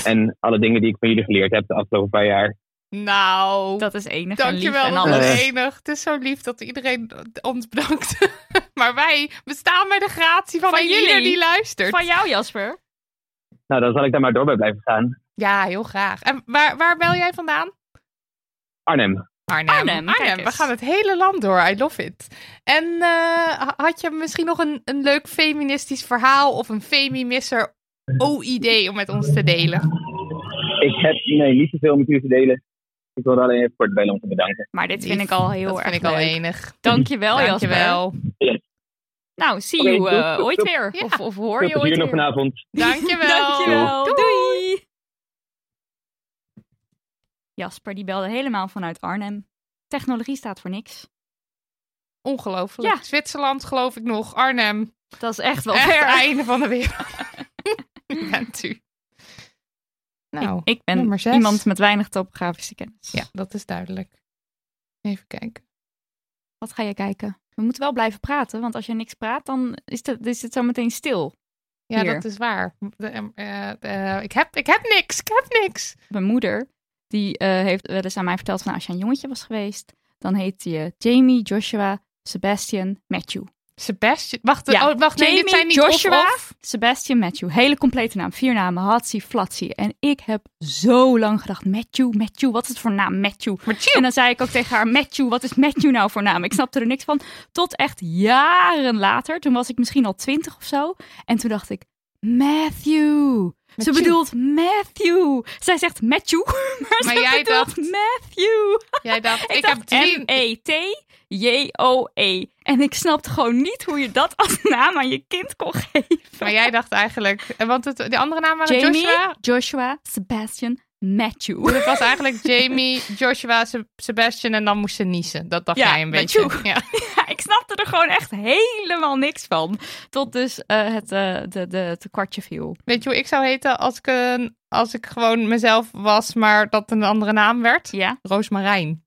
[SPEAKER 5] En alle dingen die ik van jullie geleerd heb de afgelopen paar jaar.
[SPEAKER 2] Nou,
[SPEAKER 3] Dat is enig en lief
[SPEAKER 2] dankjewel.
[SPEAKER 3] en
[SPEAKER 2] Dat
[SPEAKER 3] alles.
[SPEAKER 2] is
[SPEAKER 5] alles.
[SPEAKER 2] enig. Het is zo lief dat iedereen ons bedankt. maar wij bestaan bij de gratie van,
[SPEAKER 3] Van
[SPEAKER 2] een ieder
[SPEAKER 3] jullie.
[SPEAKER 2] die luistert.
[SPEAKER 3] Van jou Jasper.
[SPEAKER 5] Nou, dan zal ik daar maar door bij blijven gaan.
[SPEAKER 2] Ja, heel graag. En waar, waar bel jij vandaan?
[SPEAKER 5] Arnhem.
[SPEAKER 2] Arnhem.
[SPEAKER 3] Arnhem, kijk
[SPEAKER 2] Arnhem. We
[SPEAKER 3] eens.
[SPEAKER 2] gaan het hele land door. I love it. En eh, ha- had je misschien nog een, een leuk feministisch verhaal of een femimisser OID om met ons te delen?
[SPEAKER 5] Ik heb nee, niet zoveel met jullie te delen. Ik wilde alleen even kort bellen om te bedanken.
[SPEAKER 3] Maar dit vind
[SPEAKER 2] Lief.
[SPEAKER 3] ik al heel
[SPEAKER 2] dat
[SPEAKER 3] erg
[SPEAKER 2] vind ik al
[SPEAKER 3] leuk.
[SPEAKER 2] enig.
[SPEAKER 3] Dankjewel, Jasper.
[SPEAKER 2] Dankjewel.
[SPEAKER 3] Nou, see
[SPEAKER 5] Oké,
[SPEAKER 3] you
[SPEAKER 5] doei,
[SPEAKER 3] eh,
[SPEAKER 5] doei,
[SPEAKER 3] ooit
[SPEAKER 5] doei.
[SPEAKER 3] weer.
[SPEAKER 2] Ja.
[SPEAKER 3] Of, of hoor
[SPEAKER 5] Veel
[SPEAKER 3] je ooit
[SPEAKER 5] plezier nog
[SPEAKER 3] weer.
[SPEAKER 5] vanavond.
[SPEAKER 2] Dankjewel.
[SPEAKER 3] Dankjewel.
[SPEAKER 2] Doei.
[SPEAKER 3] Doei. Jasper, die belde helemaal vanuit Arnhem. Technologie staat voor niks.
[SPEAKER 2] Ongelooflijk.
[SPEAKER 3] Ja.
[SPEAKER 2] Zwitserland geloof ik nog. Arnhem.
[SPEAKER 3] Dat is echt wel
[SPEAKER 2] Echt
[SPEAKER 3] ver.
[SPEAKER 2] einde van de wereld. Bent u. Nou,
[SPEAKER 3] Ik, ik ben
[SPEAKER 2] nummer zes.
[SPEAKER 3] iemand met weinig topografische kennis.
[SPEAKER 2] ja, dat is duidelijk. Even kijken.
[SPEAKER 3] Wat ga je kijken? We moeten wel blijven praten, want als je niks praat, dan is, het is het zo meteen stil.
[SPEAKER 2] Ja,
[SPEAKER 3] Hier.
[SPEAKER 2] dat is waar. De- em, eh, eh, ik, heb, ik heb niks. Ik heb niks.
[SPEAKER 3] Mijn moeder, die eh, heeft wel eens aan mij verteld van nou, als je een jongetje was geweest, dan heette je Jamie, Joshua, Sebastian, Matthew.
[SPEAKER 2] Sebastian. Wacht, eh,
[SPEAKER 3] Ja,
[SPEAKER 2] oh, wacht nee,
[SPEAKER 3] Jamie,
[SPEAKER 2] dit zijn niet
[SPEAKER 3] Joshua.
[SPEAKER 2] of, of.
[SPEAKER 3] Sebastian Matthew. Hele complete naam. Vier namen. Hatsi, Flatsi. En ik heb zo lang gedacht, Matthew, Matthew, wat is het voor naam? Matthew.
[SPEAKER 2] Matthew.
[SPEAKER 3] En dan zei ik ook tegen haar, Matthew, wat is Matthew nou voor naam? Ik snapte er niks van. Tot echt jaren later, toen was ik misschien al twintig of zo. En toen dacht ik, Matthew. Ze
[SPEAKER 2] Matthew.
[SPEAKER 3] bedoelt Matthew. Zij zegt Matthew, maar,
[SPEAKER 2] Maar
[SPEAKER 3] ze
[SPEAKER 2] jij
[SPEAKER 3] bedoelt
[SPEAKER 2] dacht-
[SPEAKER 3] Matthew.
[SPEAKER 2] Jij dacht, ik,
[SPEAKER 3] Ik,
[SPEAKER 2] heb
[SPEAKER 3] dacht E
[SPEAKER 2] drie.
[SPEAKER 3] M-E-T-J-O-E. E. En ik snapte gewoon niet hoe je dat als naam aan Nou, je kind kon geven.
[SPEAKER 2] Maar jij dacht eigenlijk, eh, want het, de andere naam waren
[SPEAKER 3] Jamie,
[SPEAKER 2] Joshua.
[SPEAKER 3] Joshua, Sebastian, Matthew.
[SPEAKER 2] Het was eigenlijk Jamie, Joshua, Se- Sebastian en dan moest ze niezen. Dat dacht
[SPEAKER 3] Ja,
[SPEAKER 2] jij een
[SPEAKER 3] Matthew.
[SPEAKER 2] beetje. Ja.
[SPEAKER 3] Ja, ik snapte er gewoon echt helemaal niks van. Tot dus eh, het, eh, de, de, het kwartje viel.
[SPEAKER 2] Weet je hoe ik zou heten als ik, een, als ik gewoon mezelf was, maar dat een andere naam werd?
[SPEAKER 3] Ja.
[SPEAKER 2] Roosmarijn.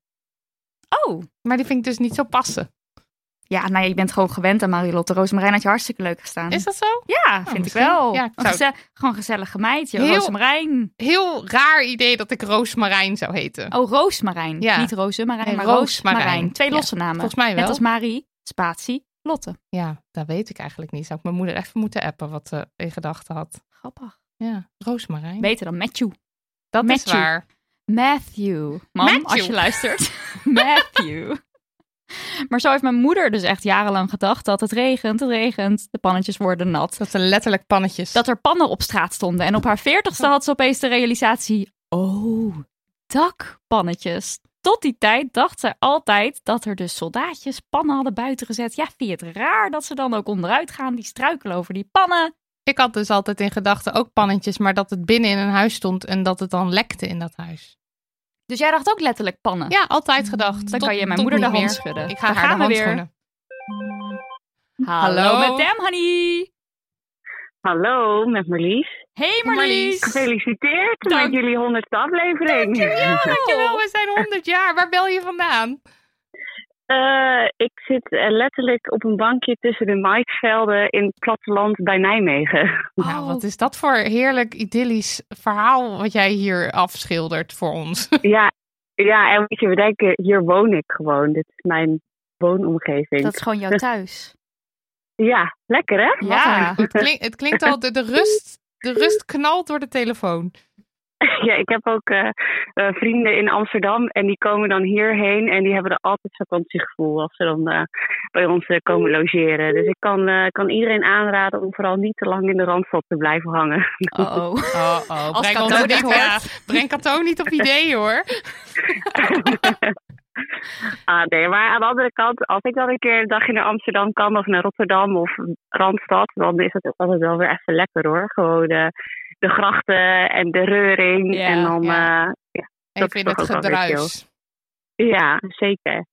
[SPEAKER 3] Oh.
[SPEAKER 2] Maar die vind ik dus niet zo passen.
[SPEAKER 3] Ja, nou ja, je bent gewoon gewend aan Marilotte. Roosmarijn had je hartstikke leuk gestaan.
[SPEAKER 2] Is dat zo? Oh,
[SPEAKER 3] Ja, vind
[SPEAKER 2] misschien.
[SPEAKER 3] ik wel.
[SPEAKER 2] Ja, ik
[SPEAKER 3] Een
[SPEAKER 2] zou-
[SPEAKER 3] geze- gewoon gezellige meidje.
[SPEAKER 2] Heel-
[SPEAKER 3] Roosmarijn.
[SPEAKER 2] Heel raar idee dat ik Roosmarijn zou heten.
[SPEAKER 3] Oh, Roosmarijn.
[SPEAKER 2] Ja.
[SPEAKER 3] Niet Rozemarijn,
[SPEAKER 2] Nee,
[SPEAKER 3] maar
[SPEAKER 2] Roosmarijn.
[SPEAKER 3] Roosmarijn. Twee
[SPEAKER 2] Ja,
[SPEAKER 3] losse namen.
[SPEAKER 2] Volgens mij wel.
[SPEAKER 3] Net als Marie, Spatie, Lotte.
[SPEAKER 2] Ja, dat weet ik eigenlijk niet. Zou ik mijn moeder even moeten appen wat ze in gedachten had?
[SPEAKER 3] Grappig.
[SPEAKER 2] Ja, Roosmarijn.
[SPEAKER 3] Beter dan Matthew.
[SPEAKER 2] dat is
[SPEAKER 3] Matthew.
[SPEAKER 2] waar.
[SPEAKER 3] Matthew. Mam,
[SPEAKER 2] Matthew.
[SPEAKER 3] als je luistert. Matthew. maar zo heeft mijn moeder dus echt jarenlang gedacht dat het regent, het regent, de pannetjes worden nat.
[SPEAKER 2] Dat zijn letterlijk pannetjes.
[SPEAKER 3] Dat er pannen op straat stonden. En op haar veertigste had ze opeens de realisatie, oh, dakpannetjes. Tot die tijd dacht ze altijd dat er dus soldaatjes pannen hadden buiten gezet. Ja, vind je het raar dat ze dan ook onderuit gaan? Die struikelen over die pannen.
[SPEAKER 2] Ik had dus altijd in gedachten ook pannetjes, maar dat het binnen in een huis stond en dat het dan lekte in dat huis.
[SPEAKER 3] Dus jij dacht ook letterlijk pannen. Mm,
[SPEAKER 2] Ja, altijd gedacht.
[SPEAKER 3] Dan
[SPEAKER 2] Tot-
[SPEAKER 3] kan je mijn
[SPEAKER 2] tot
[SPEAKER 3] moeder de
[SPEAKER 2] niet
[SPEAKER 3] hand
[SPEAKER 2] meer.
[SPEAKER 3] schudden.
[SPEAKER 2] Ik ga
[SPEAKER 3] Daar
[SPEAKER 2] haar
[SPEAKER 3] gaan
[SPEAKER 2] de
[SPEAKER 3] we
[SPEAKER 2] hand
[SPEAKER 3] weer.
[SPEAKER 2] schudden.
[SPEAKER 3] Hallo,
[SPEAKER 2] Hallo.
[SPEAKER 3] met Dem, honey.
[SPEAKER 7] Hallo, met Marlies.
[SPEAKER 3] Hey
[SPEAKER 2] Marlies.
[SPEAKER 3] Marlies.
[SPEAKER 7] Gefeliciteerd
[SPEAKER 3] Dank-
[SPEAKER 7] met jullie honderdste aflevering.
[SPEAKER 2] Dankjewel, we zijn 100 jaar. Waar bel je vandaan?
[SPEAKER 7] Eh, ik zit eh, letterlijk op een bankje tussen de maisvelden in het platteland bij Nijmegen.
[SPEAKER 2] Nou,
[SPEAKER 3] Oh.
[SPEAKER 2] wat is dat voor heerlijk idyllisch verhaal wat jij hier afschildert voor ons?
[SPEAKER 7] ja, ja, en moet je bedenken, hier woon ik gewoon. Dit is mijn woonomgeving.
[SPEAKER 3] Dat is gewoon jouw thuis.
[SPEAKER 7] Ja, lekker hè?
[SPEAKER 3] Ja.
[SPEAKER 2] Het, klink- het klinkt al, de, de rust, de rust knalt door de telefoon.
[SPEAKER 7] Ja, ik heb ook eh, eh, vrienden in Amsterdam en die komen dan hierheen en die hebben er altijd vakantiegevoel als ze dan eh, bij ons eh, komen logeren. Dus ik kan, eh, kan iedereen aanraden om vooral niet te lang in de randstad te blijven hangen.
[SPEAKER 3] Oh, oh.
[SPEAKER 2] Oh, oh,
[SPEAKER 3] Als
[SPEAKER 2] breng
[SPEAKER 3] Cato
[SPEAKER 2] ons
[SPEAKER 3] dit
[SPEAKER 2] niet, ja, breng Cato niet op idee hoor.
[SPEAKER 7] Ah, nee, maar aan de andere kant, als ik dan een keer een dagje naar Amsterdam kan of naar Rotterdam of Randstad, dan is het ook altijd wel weer even lekker hoor. Gewoon eh, de grachten en de reuring.
[SPEAKER 3] Ja,
[SPEAKER 7] en dan,
[SPEAKER 2] ja.
[SPEAKER 7] eh, ja. Dat
[SPEAKER 2] Even in
[SPEAKER 7] is
[SPEAKER 2] het
[SPEAKER 7] toch ook wel weer
[SPEAKER 2] gedruis.
[SPEAKER 7] ja, zeker.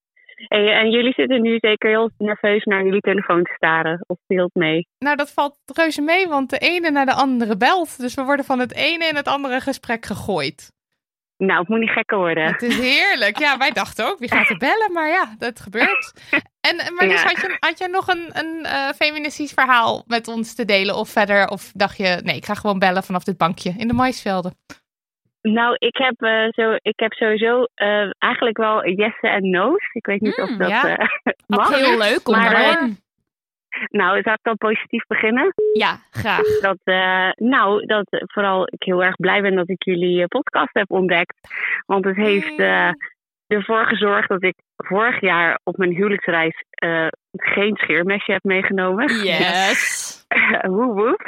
[SPEAKER 7] En, en jullie zitten nu zeker heel nerveus naar jullie telefoon te staren. Of speelt mee.
[SPEAKER 2] Nou, dat valt reuze mee, want de ene naar de andere belt. Dus we worden van het ene in het andere gesprek gegooid.
[SPEAKER 7] Nou, het moet niet gekker worden.
[SPEAKER 2] Het is heerlijk. Ja, wij dachten ook, wie gaat er bellen? Maar ja, dat gebeurt. En eh, maar dus
[SPEAKER 7] Ja.
[SPEAKER 2] had, je, had jij nog een, een eh, feministisch verhaal met ons te delen of verder? Of dacht je, nee, ik ga gewoon bellen vanaf dit bankje in de maisvelden.
[SPEAKER 7] Nou, ik heb, eh, zo, ik heb sowieso eh, eigenlijk wel yes'en en no's. Ik weet niet of
[SPEAKER 3] Mm,
[SPEAKER 7] dat
[SPEAKER 2] ja.
[SPEAKER 7] eh, mag.
[SPEAKER 2] Absoluut.
[SPEAKER 3] Heel leuk om
[SPEAKER 7] Maar,
[SPEAKER 3] te
[SPEAKER 7] eh,
[SPEAKER 3] horen.
[SPEAKER 7] Nou, zou ik dan positief beginnen?
[SPEAKER 3] Ja, graag.
[SPEAKER 7] Dat, eh, nou, dat eh, vooral ik heel erg blij ben dat ik jullie eh, podcast heb ontdekt. Want het
[SPEAKER 3] Hmm.
[SPEAKER 7] heeft eh, ervoor gezorgd dat ik vorig jaar op mijn huwelijksreis eh, geen scheermesje heb meegenomen.
[SPEAKER 3] Yes.
[SPEAKER 7] woep woep.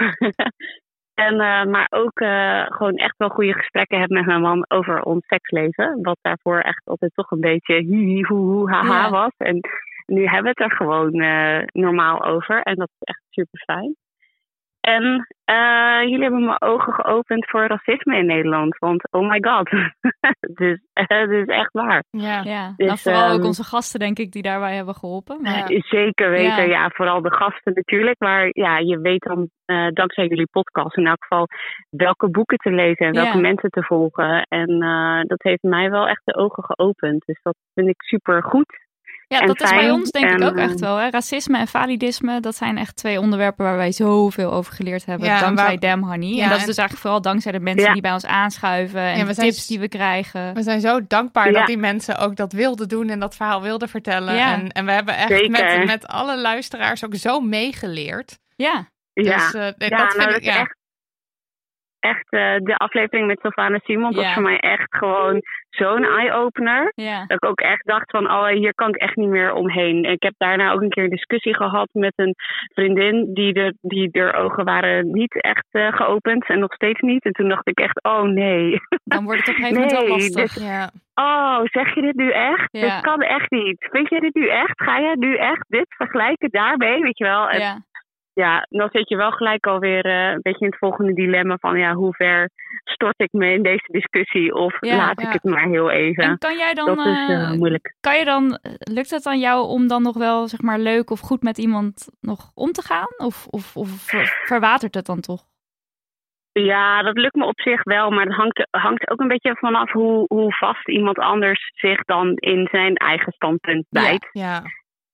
[SPEAKER 7] en, eh, maar ook eh, gewoon echt wel goede gesprekken heb met mijn man over ons seksleven. Wat daarvoor echt altijd toch een beetje hi hi hoe hoe haha
[SPEAKER 3] Ja.
[SPEAKER 7] was. En nu hebben we het er gewoon eh, normaal over. En dat is echt super fijn. En eh, jullie hebben mijn ogen geopend voor racisme in Nederland. Want oh my god, dus, eh, het is echt waar.
[SPEAKER 2] Ja.
[SPEAKER 3] Ja.
[SPEAKER 7] Dus,
[SPEAKER 3] nou, vooral ook
[SPEAKER 7] ehm,
[SPEAKER 3] onze gasten, denk ik, die daarbij hebben geholpen. Maar
[SPEAKER 7] Zeker weten,
[SPEAKER 3] Ja.
[SPEAKER 7] ja. Vooral de gasten natuurlijk. Maar ja, je weet dan eh, dankzij jullie podcast in elk geval welke boeken te lezen en welke
[SPEAKER 3] Ja.
[SPEAKER 7] mensen te volgen. En eh, dat heeft mij wel echt de ogen geopend. Dus dat vind ik super goed.
[SPEAKER 3] ja,
[SPEAKER 7] en
[SPEAKER 3] dat is bij
[SPEAKER 7] fijn
[SPEAKER 3] ons denk ik
[SPEAKER 7] en,
[SPEAKER 3] ook echt
[SPEAKER 7] eh,
[SPEAKER 3] wel. Hè. Racisme en validisme, dat zijn echt twee onderwerpen waar wij zoveel over geleerd hebben.
[SPEAKER 2] Ja, en
[SPEAKER 3] dankzij
[SPEAKER 2] waar-
[SPEAKER 3] Dem Honey.
[SPEAKER 2] Ja,
[SPEAKER 3] en dat
[SPEAKER 2] en-
[SPEAKER 3] is dus eigenlijk vooral dankzij de mensen
[SPEAKER 7] Ja.
[SPEAKER 3] die bij ons aanschuiven. En
[SPEAKER 2] Ja, we
[SPEAKER 3] de
[SPEAKER 2] zijn
[SPEAKER 3] tips
[SPEAKER 2] s-
[SPEAKER 3] die we krijgen.
[SPEAKER 2] We zijn zo dankbaar
[SPEAKER 7] Ja.
[SPEAKER 2] dat die mensen ook dat wilden doen en dat verhaal wilden vertellen.
[SPEAKER 3] Ja.
[SPEAKER 2] En, en we hebben echt
[SPEAKER 7] Zeker.
[SPEAKER 2] met, met alle luisteraars ook zo meegeleerd.
[SPEAKER 3] Ja,
[SPEAKER 7] Ja,
[SPEAKER 2] Dus, eh, nee,
[SPEAKER 7] ja
[SPEAKER 2] dat vind
[SPEAKER 7] nou,
[SPEAKER 2] ik,
[SPEAKER 7] dat is
[SPEAKER 2] ja.
[SPEAKER 7] echt, echt eh, de aflevering met Sylvana Simon
[SPEAKER 3] Ja.
[SPEAKER 7] was voor mij echt gewoon zo'n eye-opener.
[SPEAKER 3] ja.
[SPEAKER 7] Dat ik ook echt dacht van, oh, hier kan ik echt niet meer omheen. En ik heb daarna ook een keer een discussie gehad met een vriendin die, de, die haar ogen waren niet echt eh, geopend en nog steeds niet. En toen dacht ik echt, oh nee.
[SPEAKER 3] Dan wordt het op een gegeven moment wel
[SPEAKER 7] Nee,
[SPEAKER 3] lastig.
[SPEAKER 2] Ja.
[SPEAKER 7] Oh, zeg je dit nu echt?
[SPEAKER 3] Ja.
[SPEAKER 7] Dit kan echt niet. Vind je dit nu echt? Ga jij nu echt dit vergelijken daarmee, weet je wel? En ja,
[SPEAKER 3] Ja,
[SPEAKER 7] dan zit je wel gelijk alweer eh, een beetje in het volgende dilemma van, ja, hoe ver stort ik me in deze discussie? Of
[SPEAKER 3] Ja,
[SPEAKER 7] laat
[SPEAKER 2] ja.
[SPEAKER 7] ik het maar heel even?
[SPEAKER 3] En kan jij dan,
[SPEAKER 7] Dat is eh,
[SPEAKER 3] eh,
[SPEAKER 7] moeilijk.
[SPEAKER 3] kan je dan, lukt het aan jou om dan nog wel zeg maar leuk of goed met iemand nog om te gaan? Of, of, of ver- verwatert het dan toch?
[SPEAKER 7] Ja, dat lukt me op zich wel, maar het hangt, hangt ook een beetje vanaf hoe, hoe vast iemand anders zich dan in zijn eigen standpunt bijt.
[SPEAKER 2] Ja.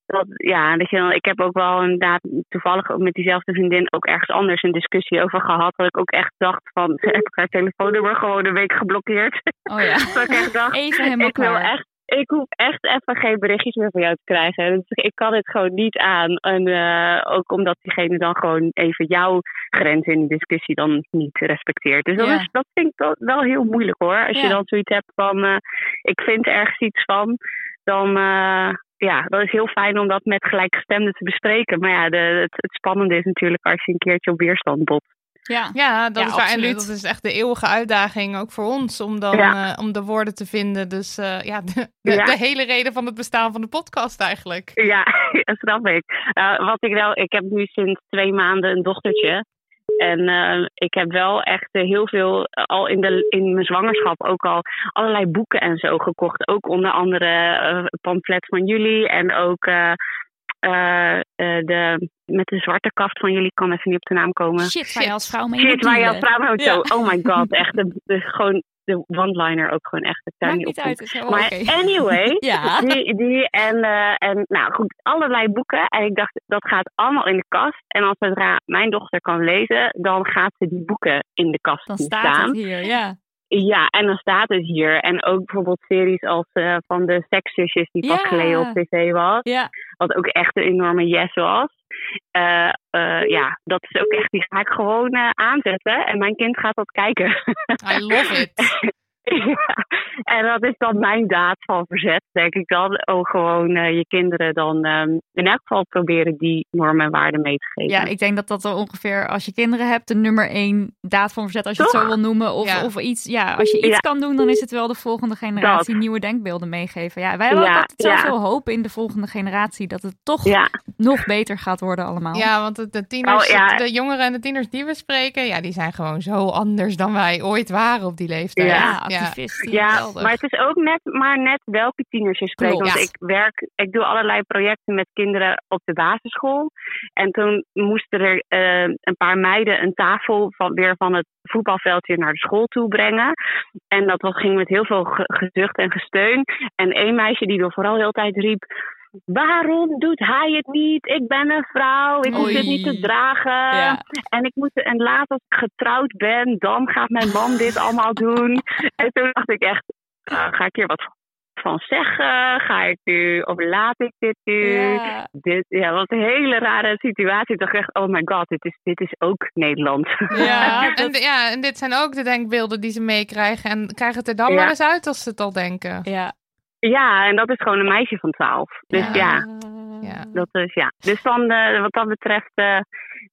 [SPEAKER 7] Dat, ja, dat je, dan- ik heb ook wel inderdaad toevallig ook met diezelfde vriendin ook ergens anders een discussie over gehad. Dat ik ook echt dacht van, ze heeft haar telefoonnummer gewoon een week geblokkeerd.
[SPEAKER 3] Oh ja.
[SPEAKER 7] dat ik echt dacht,
[SPEAKER 3] Even helemaal
[SPEAKER 7] ik wil
[SPEAKER 3] klaar.
[SPEAKER 7] echt, ik hoef echt even geen berichtjes meer van jou te krijgen. Dus ik kan dit gewoon niet aan. En eh, ook omdat diegene dan gewoon even jouw grens in de discussie dan niet respecteert. Dus dat,
[SPEAKER 3] Ja.
[SPEAKER 7] is, dat vind ik wel, wel heel moeilijk hoor. Als
[SPEAKER 3] Ja.
[SPEAKER 7] je dan zoiets hebt van, eh, ik vind ergens iets van. dan eh, ja, dat is heel fijn om dat met gelijkgestemden te bespreken. Maar ja, de, het, het spannende is natuurlijk als je een keertje op weerstand bot.
[SPEAKER 3] Ja.
[SPEAKER 2] Ja, dat
[SPEAKER 3] Ja,
[SPEAKER 2] is waar. En
[SPEAKER 3] absoluut.
[SPEAKER 2] dat is echt de eeuwige uitdaging ook voor ons om dan
[SPEAKER 7] Ja.
[SPEAKER 2] eh, om de woorden te vinden. Dus eh, ja, de, de,
[SPEAKER 7] Ja.
[SPEAKER 2] de hele reden van het bestaan van de podcast eigenlijk.
[SPEAKER 7] Ja, dat snap ik. Eh, wat ik wel, ik heb nu sinds twee maanden een dochtertje. En eh, ik heb wel echt eh, heel veel, eh, al in, de, in mijn zwangerschap ook al allerlei boeken en zo gekocht. Ook onder andere eh pamflet van jullie en ook eh, eh, eh, de, met de zwarte kaft van jullie. Ik kan even niet op de naam komen.
[SPEAKER 3] Shit, waar je als vrouw mee
[SPEAKER 7] Shit,
[SPEAKER 3] moet
[SPEAKER 7] waar je
[SPEAKER 3] dealen.
[SPEAKER 7] als vrouw mee moet
[SPEAKER 3] Ja.
[SPEAKER 7] zo. Oh my god, echt. De, de- gewoon de one-liner ook gewoon echt. Ik kan
[SPEAKER 3] Maakt
[SPEAKER 7] niet
[SPEAKER 3] niet
[SPEAKER 7] op.
[SPEAKER 3] uit, is helemaal
[SPEAKER 7] Maar
[SPEAKER 3] oké.
[SPEAKER 7] anyway,
[SPEAKER 3] Ja.
[SPEAKER 7] die, die en, eh, en nou goed, allerlei boeken. En ik dacht, dat gaat allemaal in de kast. En als zodra mijn dochter kan lezen, dan gaat ze die boeken in de kast
[SPEAKER 3] Dan
[SPEAKER 7] zien
[SPEAKER 3] staat het hier, ja.
[SPEAKER 7] Ja, en dan staat het hier. En ook bijvoorbeeld series als eh, van de sekszusjes die
[SPEAKER 3] Ja.
[SPEAKER 7] van Cleo op tv was.
[SPEAKER 3] Ja.
[SPEAKER 7] Wat ook echt een enorme yes was. Eh, eh, ja, dat is ook echt, die ga ik gewoon eh, aanzetten. En mijn kind gaat dat kijken.
[SPEAKER 2] I love it.
[SPEAKER 7] Ja, en dat is dan mijn daad van verzet, denk ik dan. Ook gewoon eh, je kinderen dan ehm, in elk geval proberen die normen en waarden mee te geven.
[SPEAKER 3] Ja, ik denk dat dat wel ongeveer als je kinderen hebt, de nummer één daad van verzet, als je het
[SPEAKER 7] Toch?
[SPEAKER 3] zo wil noemen. Of,
[SPEAKER 2] Ja.
[SPEAKER 3] of iets, ja, als je iets
[SPEAKER 7] Ah! Ja.
[SPEAKER 3] kan doen, dan is het wel de volgende generatie nieuwe denkbeelden meegeven. Ja, wij hebben ook
[SPEAKER 7] Ja,
[SPEAKER 3] altijd
[SPEAKER 7] ja.
[SPEAKER 3] zoveel hoop in de volgende generatie dat het toch
[SPEAKER 7] Ja,
[SPEAKER 3] nog beter gaat worden allemaal.
[SPEAKER 2] Ja, want de, de tieners,
[SPEAKER 7] Oh, ja.
[SPEAKER 2] de jongeren en de tieners die we spreken, ja, die zijn gewoon zo anders dan wij ooit waren op die leeftijd.
[SPEAKER 7] Ja.
[SPEAKER 3] Ja, activisten.
[SPEAKER 7] ja,
[SPEAKER 2] geweldig.
[SPEAKER 7] maar het is ook net, maar net welke tieners je spreekt.
[SPEAKER 3] Klopt.
[SPEAKER 7] Want
[SPEAKER 2] Ja.
[SPEAKER 7] ik werk, ik doe allerlei projecten met kinderen op de basisschool. En toen moesten er eh, een paar meiden een tafel van, weer van het voetbalveld weer naar de school toe brengen. En dat was, ging met heel veel ge- gezucht en gesteun. En één meisje die er vooral heel de tijd riep. Waarom doet hij het niet? Ik ben een vrouw, ik hoef
[SPEAKER 3] Oei.
[SPEAKER 7] het niet te dragen.
[SPEAKER 3] Ja.
[SPEAKER 7] En ik moet, en later als ik getrouwd ben, dan gaat mijn man dit allemaal doen. En toen dacht ik echt, eh, ga ik hier wat van zeggen? Ga ik nu, of laat ik dit nu?
[SPEAKER 3] Ja.
[SPEAKER 7] Dit, ja, wat een hele rare situatie. Ik dacht echt, oh my god, dit is, dit is ook Nederland.
[SPEAKER 2] Ja,
[SPEAKER 3] Ja,
[SPEAKER 2] en, ja, en dit zijn ook de denkbeelden die ze meekrijgen. En krijgen het er dan
[SPEAKER 7] Ja.
[SPEAKER 2] maar eens uit als ze het al denken.
[SPEAKER 3] Ja.
[SPEAKER 7] ja, en dat is gewoon een meisje van twaalf. Dus ja.
[SPEAKER 2] Ja.
[SPEAKER 7] Dat is, ja. Dus dan, eh, wat dat betreft, eh,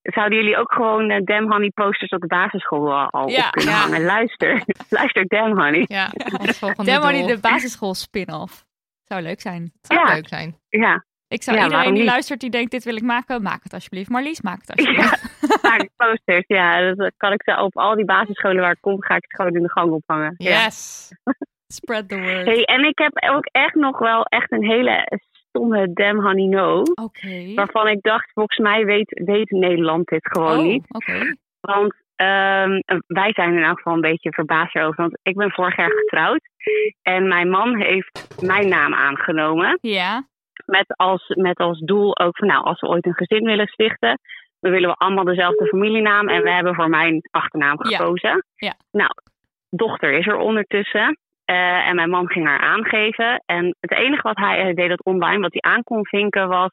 [SPEAKER 7] zouden jullie ook gewoon eh, Damn Honey posters op de basisschool al, al
[SPEAKER 3] Ja,
[SPEAKER 7] op kunnen
[SPEAKER 2] ja.
[SPEAKER 7] hangen. Luister, luister Damn Honey.
[SPEAKER 2] Ja, ons volgende
[SPEAKER 3] Demo die
[SPEAKER 2] doel.
[SPEAKER 3] de basisschool spin-off. Zou leuk zijn.
[SPEAKER 2] Het zou
[SPEAKER 7] Ja.
[SPEAKER 2] leuk zijn.
[SPEAKER 7] Ja,
[SPEAKER 3] Ik zou
[SPEAKER 7] Ja,
[SPEAKER 3] iedereen
[SPEAKER 7] waarom
[SPEAKER 3] die
[SPEAKER 7] niet?
[SPEAKER 3] luistert die denkt dit wil ik maken, maak het alsjeblieft. Marlies, maak het alsjeblieft.
[SPEAKER 7] ja. Maak posters. Ja, dat kan ik zo op al die basisscholen waar ik kom, ga ik het gewoon in de gang ophangen. Ja.
[SPEAKER 2] Yes.
[SPEAKER 3] Spread the word.
[SPEAKER 7] Hey, en ik heb ook echt nog wel echt een hele stomme Damn Honey No.
[SPEAKER 3] Oké.
[SPEAKER 7] Waarvan ik dacht, volgens mij weet, weet Nederland dit gewoon
[SPEAKER 3] Oh,
[SPEAKER 7] niet.
[SPEAKER 3] Oké.
[SPEAKER 7] Want ehm, wij zijn in elk geval een beetje verbaasd erover. Want ik ben vorig jaar getrouwd. En mijn man heeft mijn naam aangenomen.
[SPEAKER 3] Ja.
[SPEAKER 7] Met als, met als doel ook van, nou, als we ooit een gezin willen stichten. Dan willen we allemaal dezelfde familienaam. En we hebben voor mijn achternaam
[SPEAKER 3] Ja.
[SPEAKER 7] gekozen.
[SPEAKER 3] Ja.
[SPEAKER 7] Nou, dochter is er ondertussen. Eh, en mijn man ging haar aangeven. En het enige wat hij, hij deed dat online, wat hij aan kon vinken, was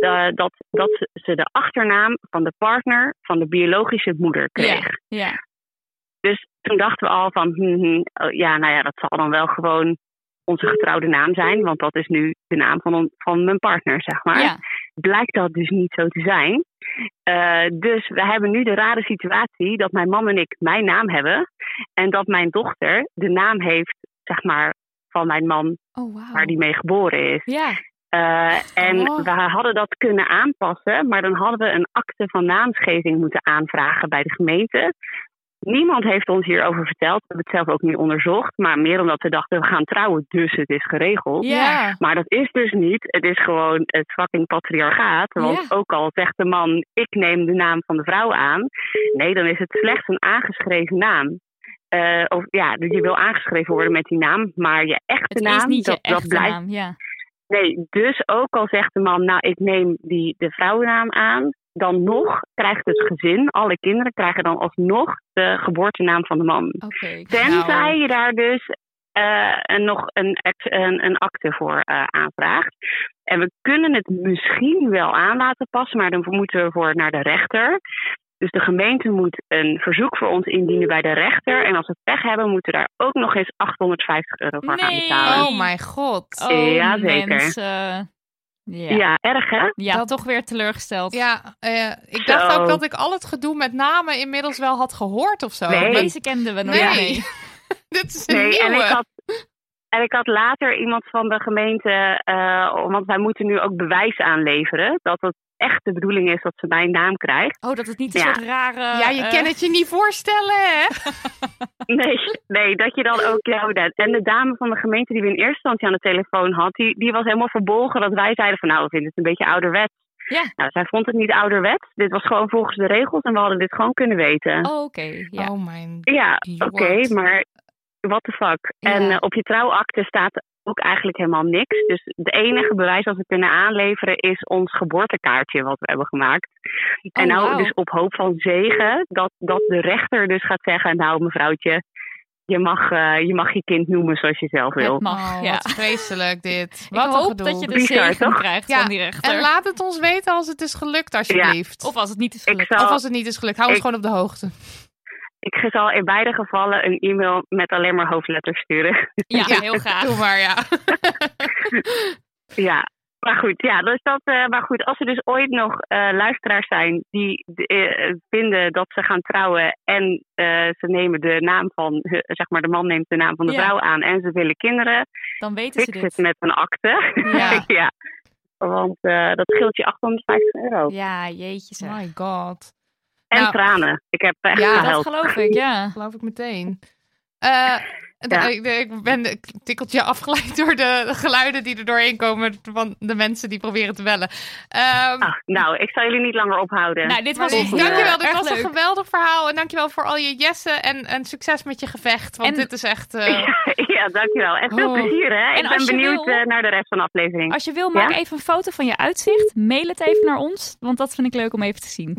[SPEAKER 7] eh, dat, dat ze- ze de achternaam van de partner van de biologische moeder kreeg.
[SPEAKER 3] Ja.
[SPEAKER 7] Dus toen dachten we al van, hm, hm, oh, ja, nou ja, dat zal dan wel gewoon onze getrouwde naam zijn, want dat is nu de naam van, on- van mijn partner, zeg maar.
[SPEAKER 3] Ja.
[SPEAKER 7] Blijkt dat dus niet zo te zijn. Eh, dus we hebben nu de rare situatie dat mijn man en ik mijn naam hebben en dat mijn dochter de naam heeft, zeg maar, van mijn man
[SPEAKER 3] Oh, wauw.
[SPEAKER 7] waar die mee geboren is.
[SPEAKER 3] Ja.
[SPEAKER 7] Eh, en
[SPEAKER 3] Oh.
[SPEAKER 7] we hadden dat kunnen aanpassen, maar dan hadden we een akte van naamsgeving moeten aanvragen bij de gemeente. Niemand heeft ons hierover verteld. We hebben het zelf ook niet onderzocht. Maar meer omdat we dachten, we gaan trouwen, dus het is geregeld.
[SPEAKER 3] Ja.
[SPEAKER 7] Maar dat is dus niet. Het is gewoon het fucking patriarchaat. Want
[SPEAKER 3] Ja.
[SPEAKER 7] ook al zegt de man, ik neem de naam van de vrouw aan. Nee, dan is het slechts een aangeschreven naam. Eh, of ja, dus je wil aangeschreven worden met die naam, maar je echte
[SPEAKER 3] Het
[SPEAKER 7] naam,
[SPEAKER 3] is niet
[SPEAKER 7] dat,
[SPEAKER 3] je
[SPEAKER 7] dat
[SPEAKER 3] echte
[SPEAKER 7] blijft
[SPEAKER 3] naam. Ja.
[SPEAKER 7] Nee, dus ook al zegt de man, nou ik neem die, de vrouwennaam aan, dan nog krijgt het gezin, alle kinderen krijgen dan alsnog de geboortenaam van de man.
[SPEAKER 3] Oké.
[SPEAKER 7] Tenzij
[SPEAKER 2] Nou.
[SPEAKER 7] je daar dus eh, een, nog een, ex- een, een akte voor eh, aanvraagt. En we kunnen het misschien wel aan laten passen, maar dan moeten we voor naar de rechter. Dus de gemeente moet een verzoek voor ons indienen bij de rechter. En als we pech hebben, moeten we daar ook nog eens 850 euro voor gaan
[SPEAKER 3] Nee.
[SPEAKER 7] betalen.
[SPEAKER 2] Oh mijn god.
[SPEAKER 3] Oh,
[SPEAKER 7] Ja, zeker.
[SPEAKER 3] mensen. Ja.
[SPEAKER 7] ja.
[SPEAKER 3] Ja.
[SPEAKER 7] erg hè?
[SPEAKER 3] toch weer teleurgesteld.
[SPEAKER 2] Ja, eh, ik dacht
[SPEAKER 7] Zo.
[SPEAKER 2] ook dat ik al het gedoe met namen inmiddels wel had gehoord of zo.
[SPEAKER 7] Nee.
[SPEAKER 3] Deze kenden we nog
[SPEAKER 2] Nee.
[SPEAKER 3] niet.
[SPEAKER 2] Dit is een
[SPEAKER 7] Nee, en
[SPEAKER 2] nieuwe.
[SPEAKER 7] ik had. En ik had later iemand van de gemeente, eh, want wij moeten nu ook bewijs aanleveren dat het echt de bedoeling is dat ze mijn naam krijgt.
[SPEAKER 3] Oh, dat het niet een
[SPEAKER 7] Ja.
[SPEAKER 3] soort rare...
[SPEAKER 2] Ja, je
[SPEAKER 3] eh,
[SPEAKER 2] kan het je niet voorstellen, hè?
[SPEAKER 7] Nee, nee, dat je dan ook jouw naam- En de dame van de gemeente die we in eerste instantie aan de telefoon had, die, die was helemaal verbolgen dat wij zeiden van nou, we vinden het een beetje ouderwets.
[SPEAKER 3] Ja.
[SPEAKER 7] Nou, zij vond het niet ouderwets. Dit was gewoon volgens de regels en we hadden dit gewoon kunnen weten.
[SPEAKER 3] Oh, oké. Ja.
[SPEAKER 2] Oh mijn
[SPEAKER 7] Ja, oké,
[SPEAKER 2] Lord.
[SPEAKER 7] maar what the fuck. En
[SPEAKER 2] Ja.
[SPEAKER 7] eh, op je trouwakte staat ook eigenlijk helemaal niks. Dus het enige bewijs dat we kunnen aanleveren is ons geboortekaartje wat we hebben gemaakt. en nou
[SPEAKER 3] Oh, wauw.
[SPEAKER 7] dus op hoop van zegen dat, dat de rechter dus gaat zeggen... nou mevrouwtje, je mag, eh, je mag je kind noemen zoals je zelf wil.
[SPEAKER 3] Het mag,
[SPEAKER 2] Oh,
[SPEAKER 3] ja.
[SPEAKER 2] Wat vreselijk dit.
[SPEAKER 3] Ik
[SPEAKER 2] Wat een
[SPEAKER 3] hoop
[SPEAKER 2] gedoe.
[SPEAKER 3] dat je de
[SPEAKER 7] Bizar,
[SPEAKER 3] zegen
[SPEAKER 7] toch?
[SPEAKER 3] krijgt
[SPEAKER 2] Ja,
[SPEAKER 3] van die rechter.
[SPEAKER 2] En laat het ons weten als het is gelukt, alsjeblieft.
[SPEAKER 3] Of als het niet is
[SPEAKER 7] Ik
[SPEAKER 3] gelukt.
[SPEAKER 7] zou-
[SPEAKER 2] Of als het niet is gelukt. Hou ons
[SPEAKER 7] Ik-
[SPEAKER 2] gewoon op de hoogte.
[SPEAKER 7] Ik zal in beide gevallen een e-mail met alleen maar hoofdletters sturen.
[SPEAKER 3] Ja,
[SPEAKER 2] Ja.
[SPEAKER 3] heel graag.
[SPEAKER 2] Doe maar, ja.
[SPEAKER 7] ja. Maar goed, ja, dus dat, eh, maar goed, als er dus ooit nog eh, luisteraars zijn die eh, vinden dat ze gaan trouwen en eh, ze nemen de naam van, hu- zeg maar, de man neemt de naam van de
[SPEAKER 3] Ja.
[SPEAKER 7] vrouw aan en ze willen kinderen,
[SPEAKER 3] Dan weten ze
[SPEAKER 7] fix het
[SPEAKER 3] dit.
[SPEAKER 7] met een akte.
[SPEAKER 2] Ja.
[SPEAKER 7] Ja, want eh, dat scheelt je 850 euro.
[SPEAKER 3] Ja, jeetje zeg.
[SPEAKER 2] My god.
[SPEAKER 7] En
[SPEAKER 2] Nou,
[SPEAKER 7] tranen. Ik heb echt
[SPEAKER 2] Ja,
[SPEAKER 3] dat
[SPEAKER 7] gehuild.
[SPEAKER 3] geloof ik, ja.
[SPEAKER 2] Geloof ik meteen. Eh, d-
[SPEAKER 7] Ja.
[SPEAKER 2] ik, ik ben een tikkeltje afgeleid door de, de geluiden die er doorheen komen van de mensen die proberen te bellen. Ehm,
[SPEAKER 7] Ah, nou, ik zal jullie niet langer ophouden.
[SPEAKER 3] Nou, dit
[SPEAKER 2] maar
[SPEAKER 3] was een
[SPEAKER 7] goed.
[SPEAKER 2] dankjewel, dit eh,
[SPEAKER 3] erg
[SPEAKER 2] was een
[SPEAKER 3] leuk.
[SPEAKER 2] geweldig verhaal. En dankjewel voor al je jessen en, en succes met je gevecht. Want
[SPEAKER 3] En-
[SPEAKER 2] dit is echt... eh,
[SPEAKER 7] ja, dankjewel. En veel
[SPEAKER 2] Oh.
[SPEAKER 7] plezier, hè. Ik
[SPEAKER 3] En als
[SPEAKER 7] ben
[SPEAKER 3] je
[SPEAKER 7] benieuwd
[SPEAKER 3] wil-
[SPEAKER 7] eh, naar de rest van de aflevering.
[SPEAKER 3] Als je wil, maak
[SPEAKER 7] Ja?
[SPEAKER 3] even een foto van je uitzicht. Mail het even naar ons, want dat vind ik leuk om even te zien.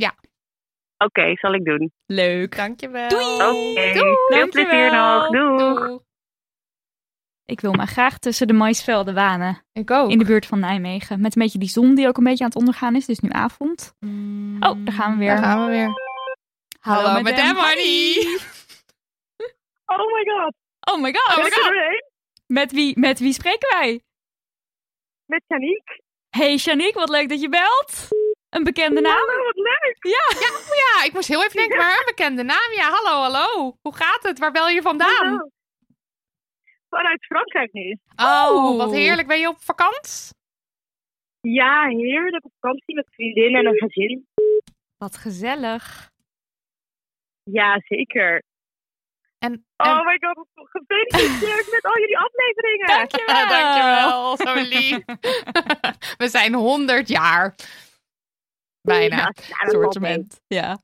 [SPEAKER 7] Oké, zal ik doen.
[SPEAKER 3] Leuk.
[SPEAKER 2] Dankjewel.
[SPEAKER 3] Doei.
[SPEAKER 7] Oké, veel plezier
[SPEAKER 3] Dankjewel.
[SPEAKER 7] nog. Doeg.
[SPEAKER 2] Doeg.
[SPEAKER 3] Ik wil me graag tussen de maisvelden wanen.
[SPEAKER 2] Ik ook.
[SPEAKER 3] In de buurt van Nijmegen. Met een beetje die zon die ook een beetje aan het ondergaan is. Dus nu avond. Oh, daar gaan we weer.
[SPEAKER 2] Mm. Daar gaan we weer. Hallo, met
[SPEAKER 3] Madame
[SPEAKER 2] Madame Honey.
[SPEAKER 4] Oh my god.
[SPEAKER 3] Oh my god.
[SPEAKER 2] Oh my
[SPEAKER 4] Ben ik er
[SPEAKER 2] god.
[SPEAKER 4] doorheen?
[SPEAKER 3] Met, wie, met wie spreken wij?
[SPEAKER 4] Met Janiek.
[SPEAKER 3] Hey Shanique, wat leuk dat je belt. Een bekende naam.
[SPEAKER 4] Oh, wat leuk.
[SPEAKER 2] Ja, ik moest heel even denken, maar een bekende naam. Ja, hallo, hallo. Hoe gaat het? Waar bel je vandaan?
[SPEAKER 4] Hallo. Vanuit Frankrijk nu.
[SPEAKER 2] Oh, wat heerlijk. Ben je op vakantie?
[SPEAKER 4] Ja, heerlijk op vakantie met vriendin en een gezin.
[SPEAKER 3] Wat gezellig.
[SPEAKER 4] Ja, zeker.
[SPEAKER 2] En, en...
[SPEAKER 4] Oh my god, wat gefeliciteerd met al jullie afleveringen.
[SPEAKER 3] Dankjewel.
[SPEAKER 2] Dankjewel, zo lief. We zijn 100 jaar. Bijna.
[SPEAKER 4] Ja, dat valt mee.
[SPEAKER 3] Sortiment. Ja.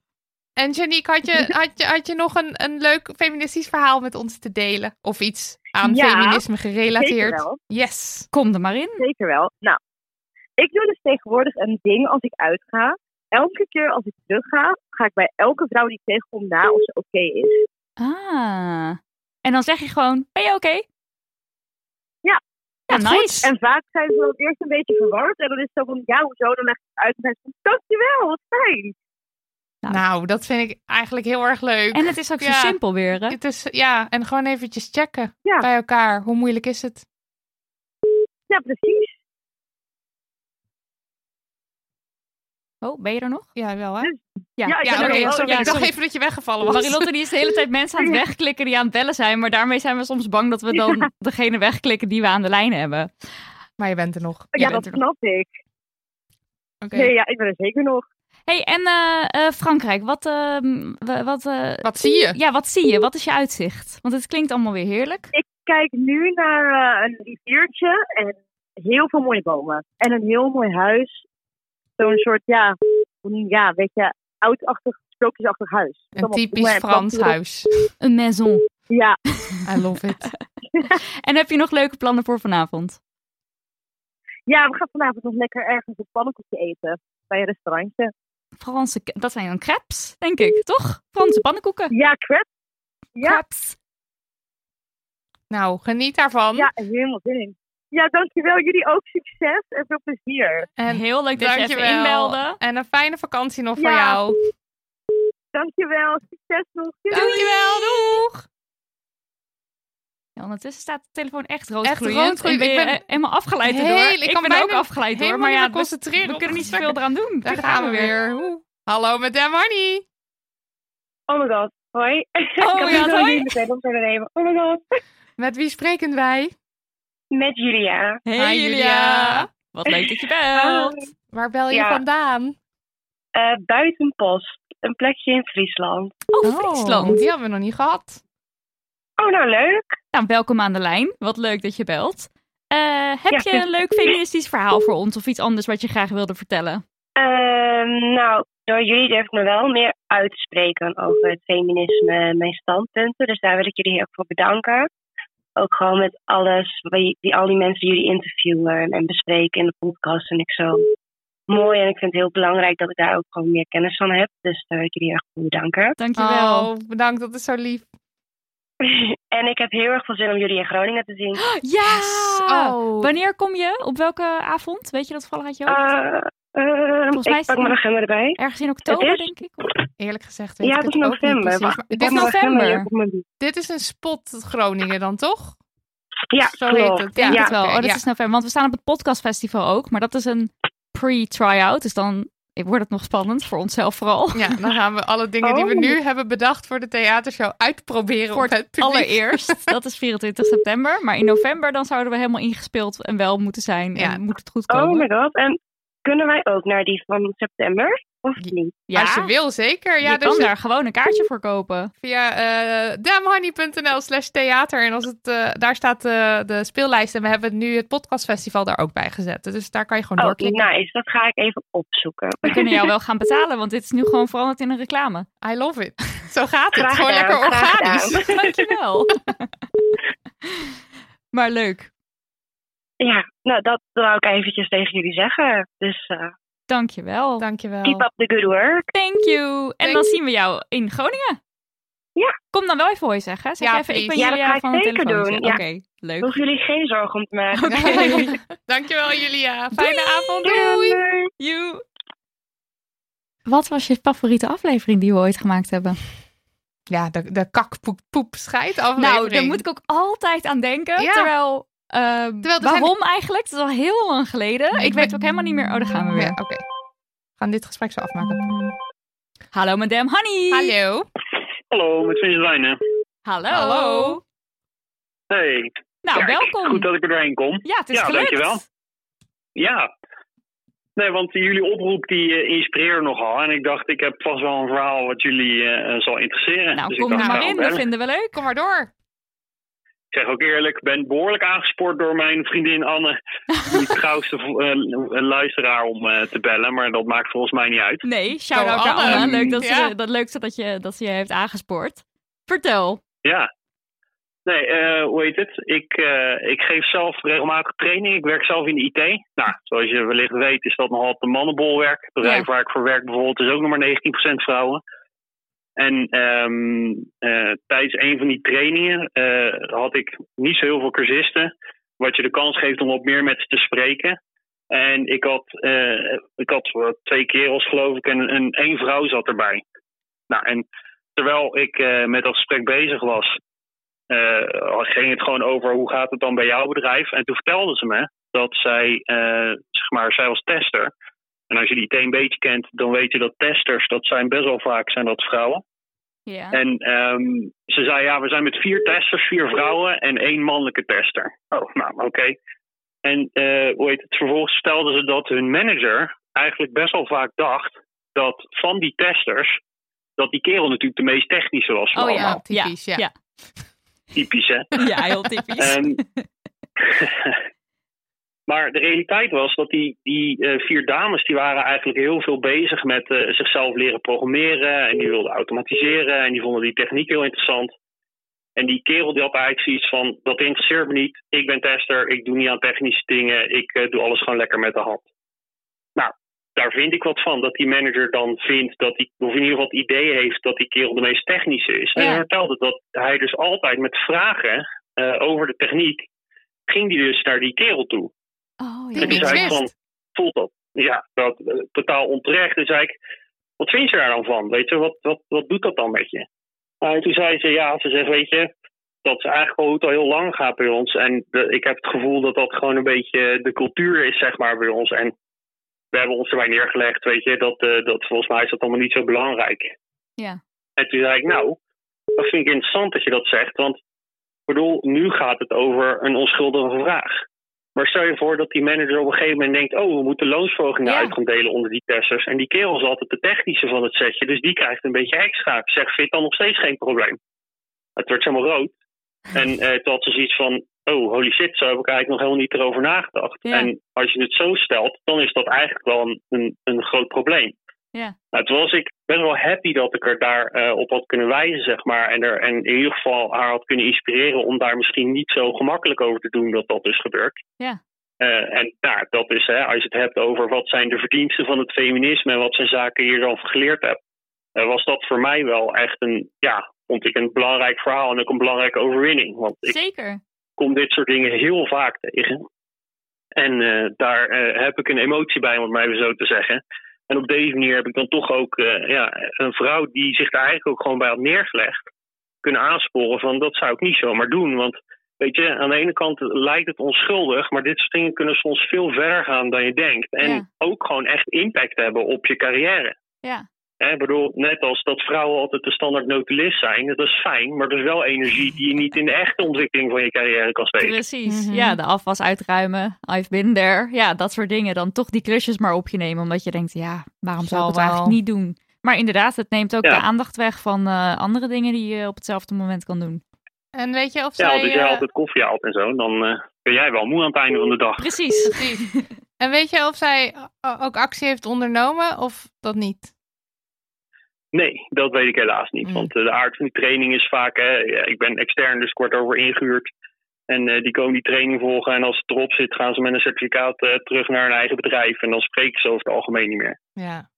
[SPEAKER 2] En Janique, had je, had je, had je nog een, een leuk feministisch verhaal met ons te delen? Of iets aan
[SPEAKER 4] Ja,
[SPEAKER 2] feminisme gerelateerd?
[SPEAKER 4] Zeker wel.
[SPEAKER 2] Yes.
[SPEAKER 3] Kom er maar in.
[SPEAKER 4] Zeker wel. Nou, ik doe dus tegenwoordig een ding als ik uitga. Elke keer als ik terug ga, ga ik bij elke vrouw die ik tegenkom na of ze oké is.
[SPEAKER 3] Ah. En dan zeg je gewoon, ben je oké?
[SPEAKER 4] Ja.
[SPEAKER 3] Ja,
[SPEAKER 2] Wat goed.
[SPEAKER 3] nice.
[SPEAKER 4] En vaak zijn ze dan eerst een beetje verward. En dan is het zo van, ja, hoezo? Dan leg ik het uit en dan zeggen ze, dankjewel, wat fijn.
[SPEAKER 2] Nou, dat vind ik eigenlijk heel erg leuk.
[SPEAKER 3] En het is ook zo
[SPEAKER 2] Ja.
[SPEAKER 3] simpel weer, hè?
[SPEAKER 2] Het is, ja, en gewoon eventjes checken
[SPEAKER 4] Ja.
[SPEAKER 2] bij elkaar. Hoe moeilijk is het?
[SPEAKER 4] Ja, precies.
[SPEAKER 3] Oh, ben je er nog?
[SPEAKER 2] Ja, wel hè?
[SPEAKER 4] Ja,
[SPEAKER 3] Ja,
[SPEAKER 4] Dus- Ja, ik
[SPEAKER 2] Ja,
[SPEAKER 4] ben
[SPEAKER 2] oké.
[SPEAKER 4] er wel.
[SPEAKER 2] sorry.
[SPEAKER 3] Ja,
[SPEAKER 2] ik dacht
[SPEAKER 3] sorry.
[SPEAKER 2] even dat je weggevallen was.
[SPEAKER 3] Marilotte die is de hele tijd mensen aan het wegklikken die aan het bellen zijn. Maar daarmee zijn we soms bang dat we dan degene wegklikken die we aan de lijn hebben.
[SPEAKER 2] Maar je bent er nog.
[SPEAKER 3] Jij
[SPEAKER 4] Ja,
[SPEAKER 3] bent
[SPEAKER 4] dat
[SPEAKER 3] er nog.
[SPEAKER 4] snap ik.
[SPEAKER 2] Oké.
[SPEAKER 4] Nee, ja, ik ben er zeker nog.
[SPEAKER 3] hey, en eh, eh, Frankrijk, wat, eh, w- wat, eh,
[SPEAKER 2] Wat zie je?
[SPEAKER 3] ja, wat zie je? Wat is je uitzicht? Want het klinkt allemaal weer heerlijk.
[SPEAKER 4] kijk nu naar eh, een riviertje en heel veel mooie bomen. En een heel mooi huis. Zo'n soort, ja, ja weet je, oudachtig, sprookjesachtig huis.
[SPEAKER 2] Een
[SPEAKER 4] Allemaal
[SPEAKER 2] typisch
[SPEAKER 4] bloemen en
[SPEAKER 2] Frans
[SPEAKER 4] planten erop.
[SPEAKER 2] huis.
[SPEAKER 3] Een maison.
[SPEAKER 4] Ja,
[SPEAKER 2] I love it.
[SPEAKER 3] En heb je nog leuke plannen voor vanavond?
[SPEAKER 4] ja, we gaan vanavond nog lekker ergens een pannenkoekje eten. Bij een restaurantje.
[SPEAKER 3] Franse, k- dat zijn dan crepes, denk ik, toch? Franse pannenkoeken.
[SPEAKER 4] Ja, crap. Ja,
[SPEAKER 3] Crepes.
[SPEAKER 2] Nou, geniet daarvan.
[SPEAKER 4] ja, helemaal zin in. Ja, dankjewel. Jullie ook succes en veel plezier.
[SPEAKER 2] En
[SPEAKER 3] Heel leuk dat je
[SPEAKER 2] dankjewel.
[SPEAKER 3] even inbelde.
[SPEAKER 2] En een fijne vakantie nog voor
[SPEAKER 4] Ja.
[SPEAKER 2] jou.
[SPEAKER 8] Dankjewel. Succes nog. Doei.
[SPEAKER 2] Dankjewel, doeg!
[SPEAKER 3] Ja, ondertussen staat de telefoon echt rood
[SPEAKER 2] Echt
[SPEAKER 3] gloeiend.
[SPEAKER 2] roodgloeiend.
[SPEAKER 3] Ik ben
[SPEAKER 2] Ik
[SPEAKER 3] eh,
[SPEAKER 2] ben-
[SPEAKER 3] helemaal afgeleid
[SPEAKER 2] Heel-
[SPEAKER 3] erdoor.
[SPEAKER 2] ik
[SPEAKER 3] Ik,
[SPEAKER 2] kan
[SPEAKER 3] ben
[SPEAKER 2] bijna-
[SPEAKER 3] ook afgeleid hoor.
[SPEAKER 2] helemaal
[SPEAKER 3] Maar ja,
[SPEAKER 2] niet meer
[SPEAKER 3] we,
[SPEAKER 2] concentreren
[SPEAKER 3] we
[SPEAKER 2] op
[SPEAKER 3] kunnen niet
[SPEAKER 2] gesprekken.
[SPEAKER 3] zoveel eraan doen.
[SPEAKER 2] Daar gaan we weer. Oeh. Hallo met Dem Honey.
[SPEAKER 8] Oh my god. Hoi.
[SPEAKER 3] Oh my god, hoi.
[SPEAKER 8] hoi. Oh my god.
[SPEAKER 2] Met wie spreken wij?
[SPEAKER 8] Met Julia.
[SPEAKER 3] Hey
[SPEAKER 2] Hi,
[SPEAKER 3] Julia. Wat leuk dat je belt.
[SPEAKER 2] Waar bel je
[SPEAKER 8] Ja.
[SPEAKER 2] vandaan?
[SPEAKER 8] Eh buitenpost. Een plekje in Friesland.
[SPEAKER 3] Oh, Friesland.
[SPEAKER 2] Die hebben we nog niet gehad.
[SPEAKER 8] Oh, nou leuk.
[SPEAKER 3] Nou, welkom aan de lijn. Wat leuk dat je belt. Eh, heb
[SPEAKER 8] Ja,
[SPEAKER 3] je
[SPEAKER 8] vind-
[SPEAKER 3] een leuk feministisch verhaal voor ons of iets anders wat je graag wilde vertellen?
[SPEAKER 8] Ehm, nou, door jullie durf ik me wel meer uit te spreken over het feminisme en mijn standpunten. Dus daar wil ik jullie heel erg voor bedanken. Ook gewoon met alles, wie, die, al die mensen die jullie interviewen en bespreken in de podcast. En ik zo mooi. En ik vind het heel belangrijk dat ik daar ook gewoon meer kennis van heb. Dus daar wil ik jullie heel erg voor bedanken.
[SPEAKER 3] Dankjewel.
[SPEAKER 2] Oh, bedankt. Dat is zo lief.
[SPEAKER 8] en ik heb heel erg veel zin om jullie in Groningen te zien.
[SPEAKER 3] Ja!
[SPEAKER 2] Oh.
[SPEAKER 3] Wanneer kom je? Op welke avond? Weet je dat toevallig uit je hoofd?
[SPEAKER 8] Eh, eh,
[SPEAKER 3] Volgens mij
[SPEAKER 8] ik
[SPEAKER 3] is
[SPEAKER 8] pak
[SPEAKER 3] het-
[SPEAKER 8] mijn agenda erbij.
[SPEAKER 3] Ergens in oktober,
[SPEAKER 8] is-
[SPEAKER 3] denk ik.
[SPEAKER 2] Eerlijk gezegd weet
[SPEAKER 8] Ja,
[SPEAKER 2] ik
[SPEAKER 8] het
[SPEAKER 2] het
[SPEAKER 8] is
[SPEAKER 2] ook niet
[SPEAKER 8] november.
[SPEAKER 2] precies,
[SPEAKER 8] Wacht,
[SPEAKER 2] maar dit,
[SPEAKER 8] ik pak
[SPEAKER 2] is
[SPEAKER 8] mijn
[SPEAKER 3] nog-
[SPEAKER 2] nog-
[SPEAKER 8] agenda
[SPEAKER 3] november.
[SPEAKER 8] hier op mijn bier.
[SPEAKER 2] dit is een spot Groningen dan, toch?
[SPEAKER 8] Ja,
[SPEAKER 2] Zo
[SPEAKER 8] klopt.
[SPEAKER 2] heet het.
[SPEAKER 3] Ik denk
[SPEAKER 2] Ja,
[SPEAKER 3] het wel.
[SPEAKER 2] oké,
[SPEAKER 3] oh, dat
[SPEAKER 2] ja.
[SPEAKER 3] is november. Want we staan op het podcastfestival ook. Maar dat is een pre-tryout. Dus dan wordt het nog spannend. Voor onszelf vooral.
[SPEAKER 2] Ja, dan gaan we alle dingen die we
[SPEAKER 8] Oh.
[SPEAKER 2] nu hebben bedacht voor de theatershow uitproberen
[SPEAKER 3] Voor
[SPEAKER 2] op het publiek.
[SPEAKER 3] Allereerst. Dat is 24 september. Maar in november dan zouden we helemaal ingespeeld en wel moeten zijn.
[SPEAKER 2] Ja.
[SPEAKER 3] En moet het goed
[SPEAKER 8] Oh
[SPEAKER 3] komen.
[SPEAKER 8] my god. En kunnen wij ook naar die van september? Of
[SPEAKER 2] Ja.
[SPEAKER 8] niet?
[SPEAKER 3] ja,
[SPEAKER 2] Als je wil, zeker. Ja,
[SPEAKER 3] je
[SPEAKER 2] dus
[SPEAKER 3] kan daar gewoon een kaartje voor kopen.
[SPEAKER 2] via eh damhoney.nl slash theater. En als het, eh, daar staat eh, de speellijst. En we hebben nu het podcastfestival daar ook bij gezet. Dus daar kan je gewoon
[SPEAKER 8] Oh,
[SPEAKER 2] doorklikken.
[SPEAKER 8] nice. Dat ga ik even opzoeken.
[SPEAKER 3] We kunnen jou wel gaan betalen. Want dit is nu gewoon veranderd in een reclame.
[SPEAKER 2] I love it. Zo gaat het.
[SPEAKER 8] Graag
[SPEAKER 2] gewoon
[SPEAKER 8] gedaan,
[SPEAKER 2] lekker
[SPEAKER 8] graag
[SPEAKER 2] organisch.
[SPEAKER 8] gedaan.
[SPEAKER 3] Dankjewel. maar leuk.
[SPEAKER 8] Ja, nou dat wou ik eventjes tegen jullie zeggen. Dus eh,
[SPEAKER 3] Dankjewel.
[SPEAKER 2] Dankjewel.
[SPEAKER 8] keep up the good work.
[SPEAKER 3] Thank you. En
[SPEAKER 2] Thank-
[SPEAKER 3] dan zien we jou in Groningen.
[SPEAKER 8] Ja.
[SPEAKER 3] Kom dan wel even hoi zeggen. hè. Zeg
[SPEAKER 2] Ja,
[SPEAKER 3] even, ik ben
[SPEAKER 2] please.
[SPEAKER 8] Ja, dat
[SPEAKER 3] Julia
[SPEAKER 8] ga ik
[SPEAKER 3] van het
[SPEAKER 8] zeker
[SPEAKER 3] telefoontje.
[SPEAKER 8] doen, ja.
[SPEAKER 3] Oké, leuk.
[SPEAKER 8] Hoef jullie geen zorgen om te maken.
[SPEAKER 2] Dankjewel Julia. Fijne
[SPEAKER 3] Doei.
[SPEAKER 2] avond.
[SPEAKER 8] Doei.
[SPEAKER 2] Doei.
[SPEAKER 3] You. Wat was je favoriete aflevering die we ooit gemaakt hebben?
[SPEAKER 2] Ja, de, de kakpoep scheidt aflevering.
[SPEAKER 3] Nou, daar moet ik ook altijd aan denken.
[SPEAKER 2] Ja.
[SPEAKER 3] Terwijl, ehm,
[SPEAKER 2] er zijn-
[SPEAKER 3] waarom eigenlijk? Dat is al heel lang geleden. Ik weet ook helemaal niet meer. Oh, daar gaan we weer.
[SPEAKER 2] Ja, oké. We gaan dit gesprek zo afmaken.
[SPEAKER 3] Hallo, madame Honey.
[SPEAKER 2] Hallo.
[SPEAKER 9] Hallo, met Vincent Wijnen.
[SPEAKER 3] Hallo.
[SPEAKER 2] Hallo.
[SPEAKER 9] Hey,
[SPEAKER 3] Nou,
[SPEAKER 9] kijk,
[SPEAKER 3] welkom.
[SPEAKER 9] goed dat ik er doorheen kom.
[SPEAKER 3] Ja, het is
[SPEAKER 9] Ja,
[SPEAKER 3] gelukt.
[SPEAKER 9] dankjewel. Ja. Nee, want jullie oproep die eh, inspireert nogal. En ik dacht, ik heb vast wel een verhaal wat jullie eh, zal interesseren.
[SPEAKER 3] Nou,
[SPEAKER 9] Dus ik
[SPEAKER 3] kom
[SPEAKER 9] dacht,
[SPEAKER 3] er
[SPEAKER 9] ik
[SPEAKER 3] maar
[SPEAKER 9] ga
[SPEAKER 3] in.
[SPEAKER 9] wel
[SPEAKER 3] Dat
[SPEAKER 9] bellen.
[SPEAKER 3] vinden we leuk.
[SPEAKER 2] Kom maar door.
[SPEAKER 9] Ik zeg ook eerlijk, ik ben behoorlijk aangespoord door mijn vriendin Anne. Die trouwste eh, luisteraar om eh, te bellen. Maar dat maakt volgens mij niet uit.
[SPEAKER 3] Nee, shout-out
[SPEAKER 2] Oh,
[SPEAKER 3] naar
[SPEAKER 2] Anne.
[SPEAKER 3] Anne. Leuk dat,
[SPEAKER 2] Ja.
[SPEAKER 3] ze, dat, leuk dat, je, dat ze je heeft aangespoord. Vertel.
[SPEAKER 9] Ja. Nee, eh, hoe heet het? Ik, eh, ik geef zelf regelmatig training. Ik werk zelf in de IT. Nou, zoals je wellicht weet is dat nogal op de mannenbolwerk. Het bedrijf
[SPEAKER 3] Ja.
[SPEAKER 9] waar ik voor werk bijvoorbeeld is ook nog maar 19% vrouwen. En ehm, eh, tijdens een van die trainingen eh, had ik niet zo heel veel cursisten. Wat je de kans geeft om wat meer met ze te spreken. En ik had, eh, ik had eh, twee kerels geloof ik en, en één vrouw zat erbij. Nou, en terwijl ik eh, met dat gesprek bezig was, eh, ging het gewoon over hoe gaat het dan bij jouw bedrijf. En toen vertelde ze me dat zij, eh, zeg maar, zij was tester. En als je die IT een beetje kent, dan weet je dat testers, dat zijn best wel vaak zijn dat vrouwen.
[SPEAKER 3] Ja.
[SPEAKER 9] En ehm, ze zei, ja, we zijn met vier testers, vier vrouwen en één mannelijke tester. Oh, nou, oké. En eh, hoe heet het? Vervolgens stelden ze dat hun manager eigenlijk best wel vaak dacht dat van die testers, dat die kerel natuurlijk de meest technische was. van
[SPEAKER 3] Oh ja,
[SPEAKER 9] allemaal.
[SPEAKER 2] typisch, ja.
[SPEAKER 3] Ja,
[SPEAKER 9] Typisch, hè?
[SPEAKER 3] Ja, heel typisch.
[SPEAKER 9] Ehm, maar de realiteit was dat die, die eh, vier dames die waren eigenlijk heel veel bezig met eh, zichzelf leren programmeren. En die wilden automatiseren en die vonden die techniek heel interessant. En die kerel die had eigenlijk zoiets van, dat interesseert me niet. Ik ben tester, ik doe niet aan technische dingen. Ik eh, doe alles gewoon lekker met de hand. Nou, daar vind ik wat van. Dat die manager dan vindt dat hij, of in ieder geval het idee heeft dat die kerel de meest technische is. En
[SPEAKER 3] Ja.
[SPEAKER 9] hij vertelde dat hij dus altijd met vragen eh, over de techniek, ging die dus naar die kerel toe.
[SPEAKER 3] oh
[SPEAKER 2] Die
[SPEAKER 3] ja.
[SPEAKER 9] en toen
[SPEAKER 2] niks
[SPEAKER 9] zei ik
[SPEAKER 2] wist.
[SPEAKER 9] van, voelt dat? Ja, dat eh, totaal onterecht. Dus zei ik, wat vind je daar dan van? Weet je, wat, wat, wat doet dat dan met je? Nou, en toen zei ze, ja, ze zegt, weet je, dat is eigenlijk al hoe het al heel lang gaat bij ons. En de- ik heb het gevoel dat dat gewoon een beetje de cultuur is, zeg maar, bij ons. En we hebben ons erbij neergelegd, weet je, dat, eh, dat volgens mij is dat allemaal niet zo belangrijk.
[SPEAKER 3] Ja.
[SPEAKER 9] En toen zei ik, nou, dat vind ik interessant dat je dat zegt, want ik bedoel, nu gaat het over een onschuldige vraag. Maar stel je voor dat die manager op een gegeven moment denkt: oh, we moeten loonsverhogingen
[SPEAKER 3] Ja.
[SPEAKER 9] uit gaan delen onder die testers. En die kerel is altijd de technische van het setje, dus die krijgt een beetje extra. Ik Zeg, fit dan nog steeds geen probleem. Het werd helemaal rood. En eh, toen had ze zoiets van: oh, holy shit, zo heb ik eigenlijk nog helemaal niet erover nagedacht.
[SPEAKER 3] Ja.
[SPEAKER 9] En als je het zo stelt, dan is dat eigenlijk wel een, een, een groot probleem.
[SPEAKER 3] Ja.
[SPEAKER 9] Nou, toen was ik best wel happy dat ik er daar eh, op had kunnen wijzen, zeg maar. En, er, en in ieder geval haar had kunnen inspireren om daar misschien niet zo gemakkelijk over te doen dat dat dus gebeurt. Eh, en nou, dat is, hè, als je het hebt over wat zijn de verdiensten van het feminisme en wat zijn zaken je dan geleerd hebt, eh, was dat voor mij wel echt een, ja, vond ik een belangrijk verhaal en ook een belangrijke overwinning. Want ik
[SPEAKER 3] Zeker.
[SPEAKER 9] kom dit soort dingen heel vaak tegen. En eh, daar eh, heb ik een emotie bij, om het maar even zo te zeggen. En op deze manier heb ik dan toch ook eh, ja, een vrouw die zich daar eigenlijk ook gewoon bij had neergelegd, kunnen aansporen van dat zou ik niet zomaar doen. Want weet je, aan de ene kant lijkt het onschuldig, maar dit soort dingen kunnen soms veel verder gaan dan je denkt. En
[SPEAKER 3] Ja.
[SPEAKER 9] ook gewoon echt impact hebben op je carrière.
[SPEAKER 3] Ja.
[SPEAKER 9] Hè, Ik bedoel, net als dat vrouwen altijd de standaard notulist zijn, dat is fijn, maar dat is wel energie die je niet in de echte ontwikkeling van je carrière kan steken.
[SPEAKER 3] Precies.
[SPEAKER 2] Mhm.
[SPEAKER 3] Ja, de afwas uitruimen. I've been there. Ja, dat soort dingen. Dan toch die klusjes maar op je nemen. Omdat je denkt, ja, waarom
[SPEAKER 2] Zal
[SPEAKER 3] zou ik het
[SPEAKER 2] wel.
[SPEAKER 3] eigenlijk niet doen? Maar inderdaad, het neemt ook
[SPEAKER 9] Ja.
[SPEAKER 3] de aandacht weg van eh, andere dingen die je op hetzelfde moment kan doen.
[SPEAKER 2] En weet je of zij...
[SPEAKER 9] Ja, want als jij
[SPEAKER 2] eh,
[SPEAKER 9] altijd koffie haalt en zo, dan eh, ben jij wel moe aan het einde van de dag.
[SPEAKER 3] Precies.
[SPEAKER 2] Precies. En weet je of zij eh, ook actie heeft ondernomen of dat niet?
[SPEAKER 9] Nee, dat weet ik helaas niet.
[SPEAKER 2] Mm.
[SPEAKER 9] Want eh, de aard van die training is vaak, hè, ja, ik ben extern, dus ik word over ingehuurd. En eh, die komen die training volgen en als het erop zit, gaan ze met een certificaat eh, terug naar hun eigen bedrijf. En dan spreken ze over het algemeen niet meer.
[SPEAKER 2] Ja.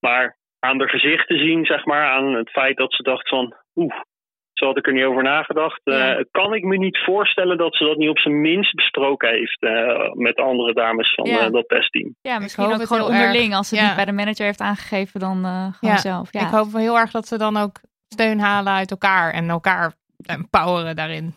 [SPEAKER 9] Maar aan haar gezicht te zien, zeg maar, aan het feit dat ze dacht van, oeh, zo had ik er niet over nagedacht. eh,
[SPEAKER 3] Ja.
[SPEAKER 9] kan ik me niet voorstellen dat ze dat niet op zijn minst besproken heeft eh, met andere dames van
[SPEAKER 3] Ja.
[SPEAKER 9] eh, dat testteam.
[SPEAKER 3] Ja, misschien
[SPEAKER 2] hoop
[SPEAKER 3] ook
[SPEAKER 2] het
[SPEAKER 3] gewoon
[SPEAKER 2] heel erg.
[SPEAKER 3] onderling. Als ze het
[SPEAKER 2] Ja.
[SPEAKER 3] niet bij de manager heeft aangegeven, dan eh, gewoon
[SPEAKER 2] Ja,
[SPEAKER 3] zelf. Ja.
[SPEAKER 2] Ik hoop wel heel erg dat ze dan ook steun halen uit elkaar en elkaar eh, empoweren daarin.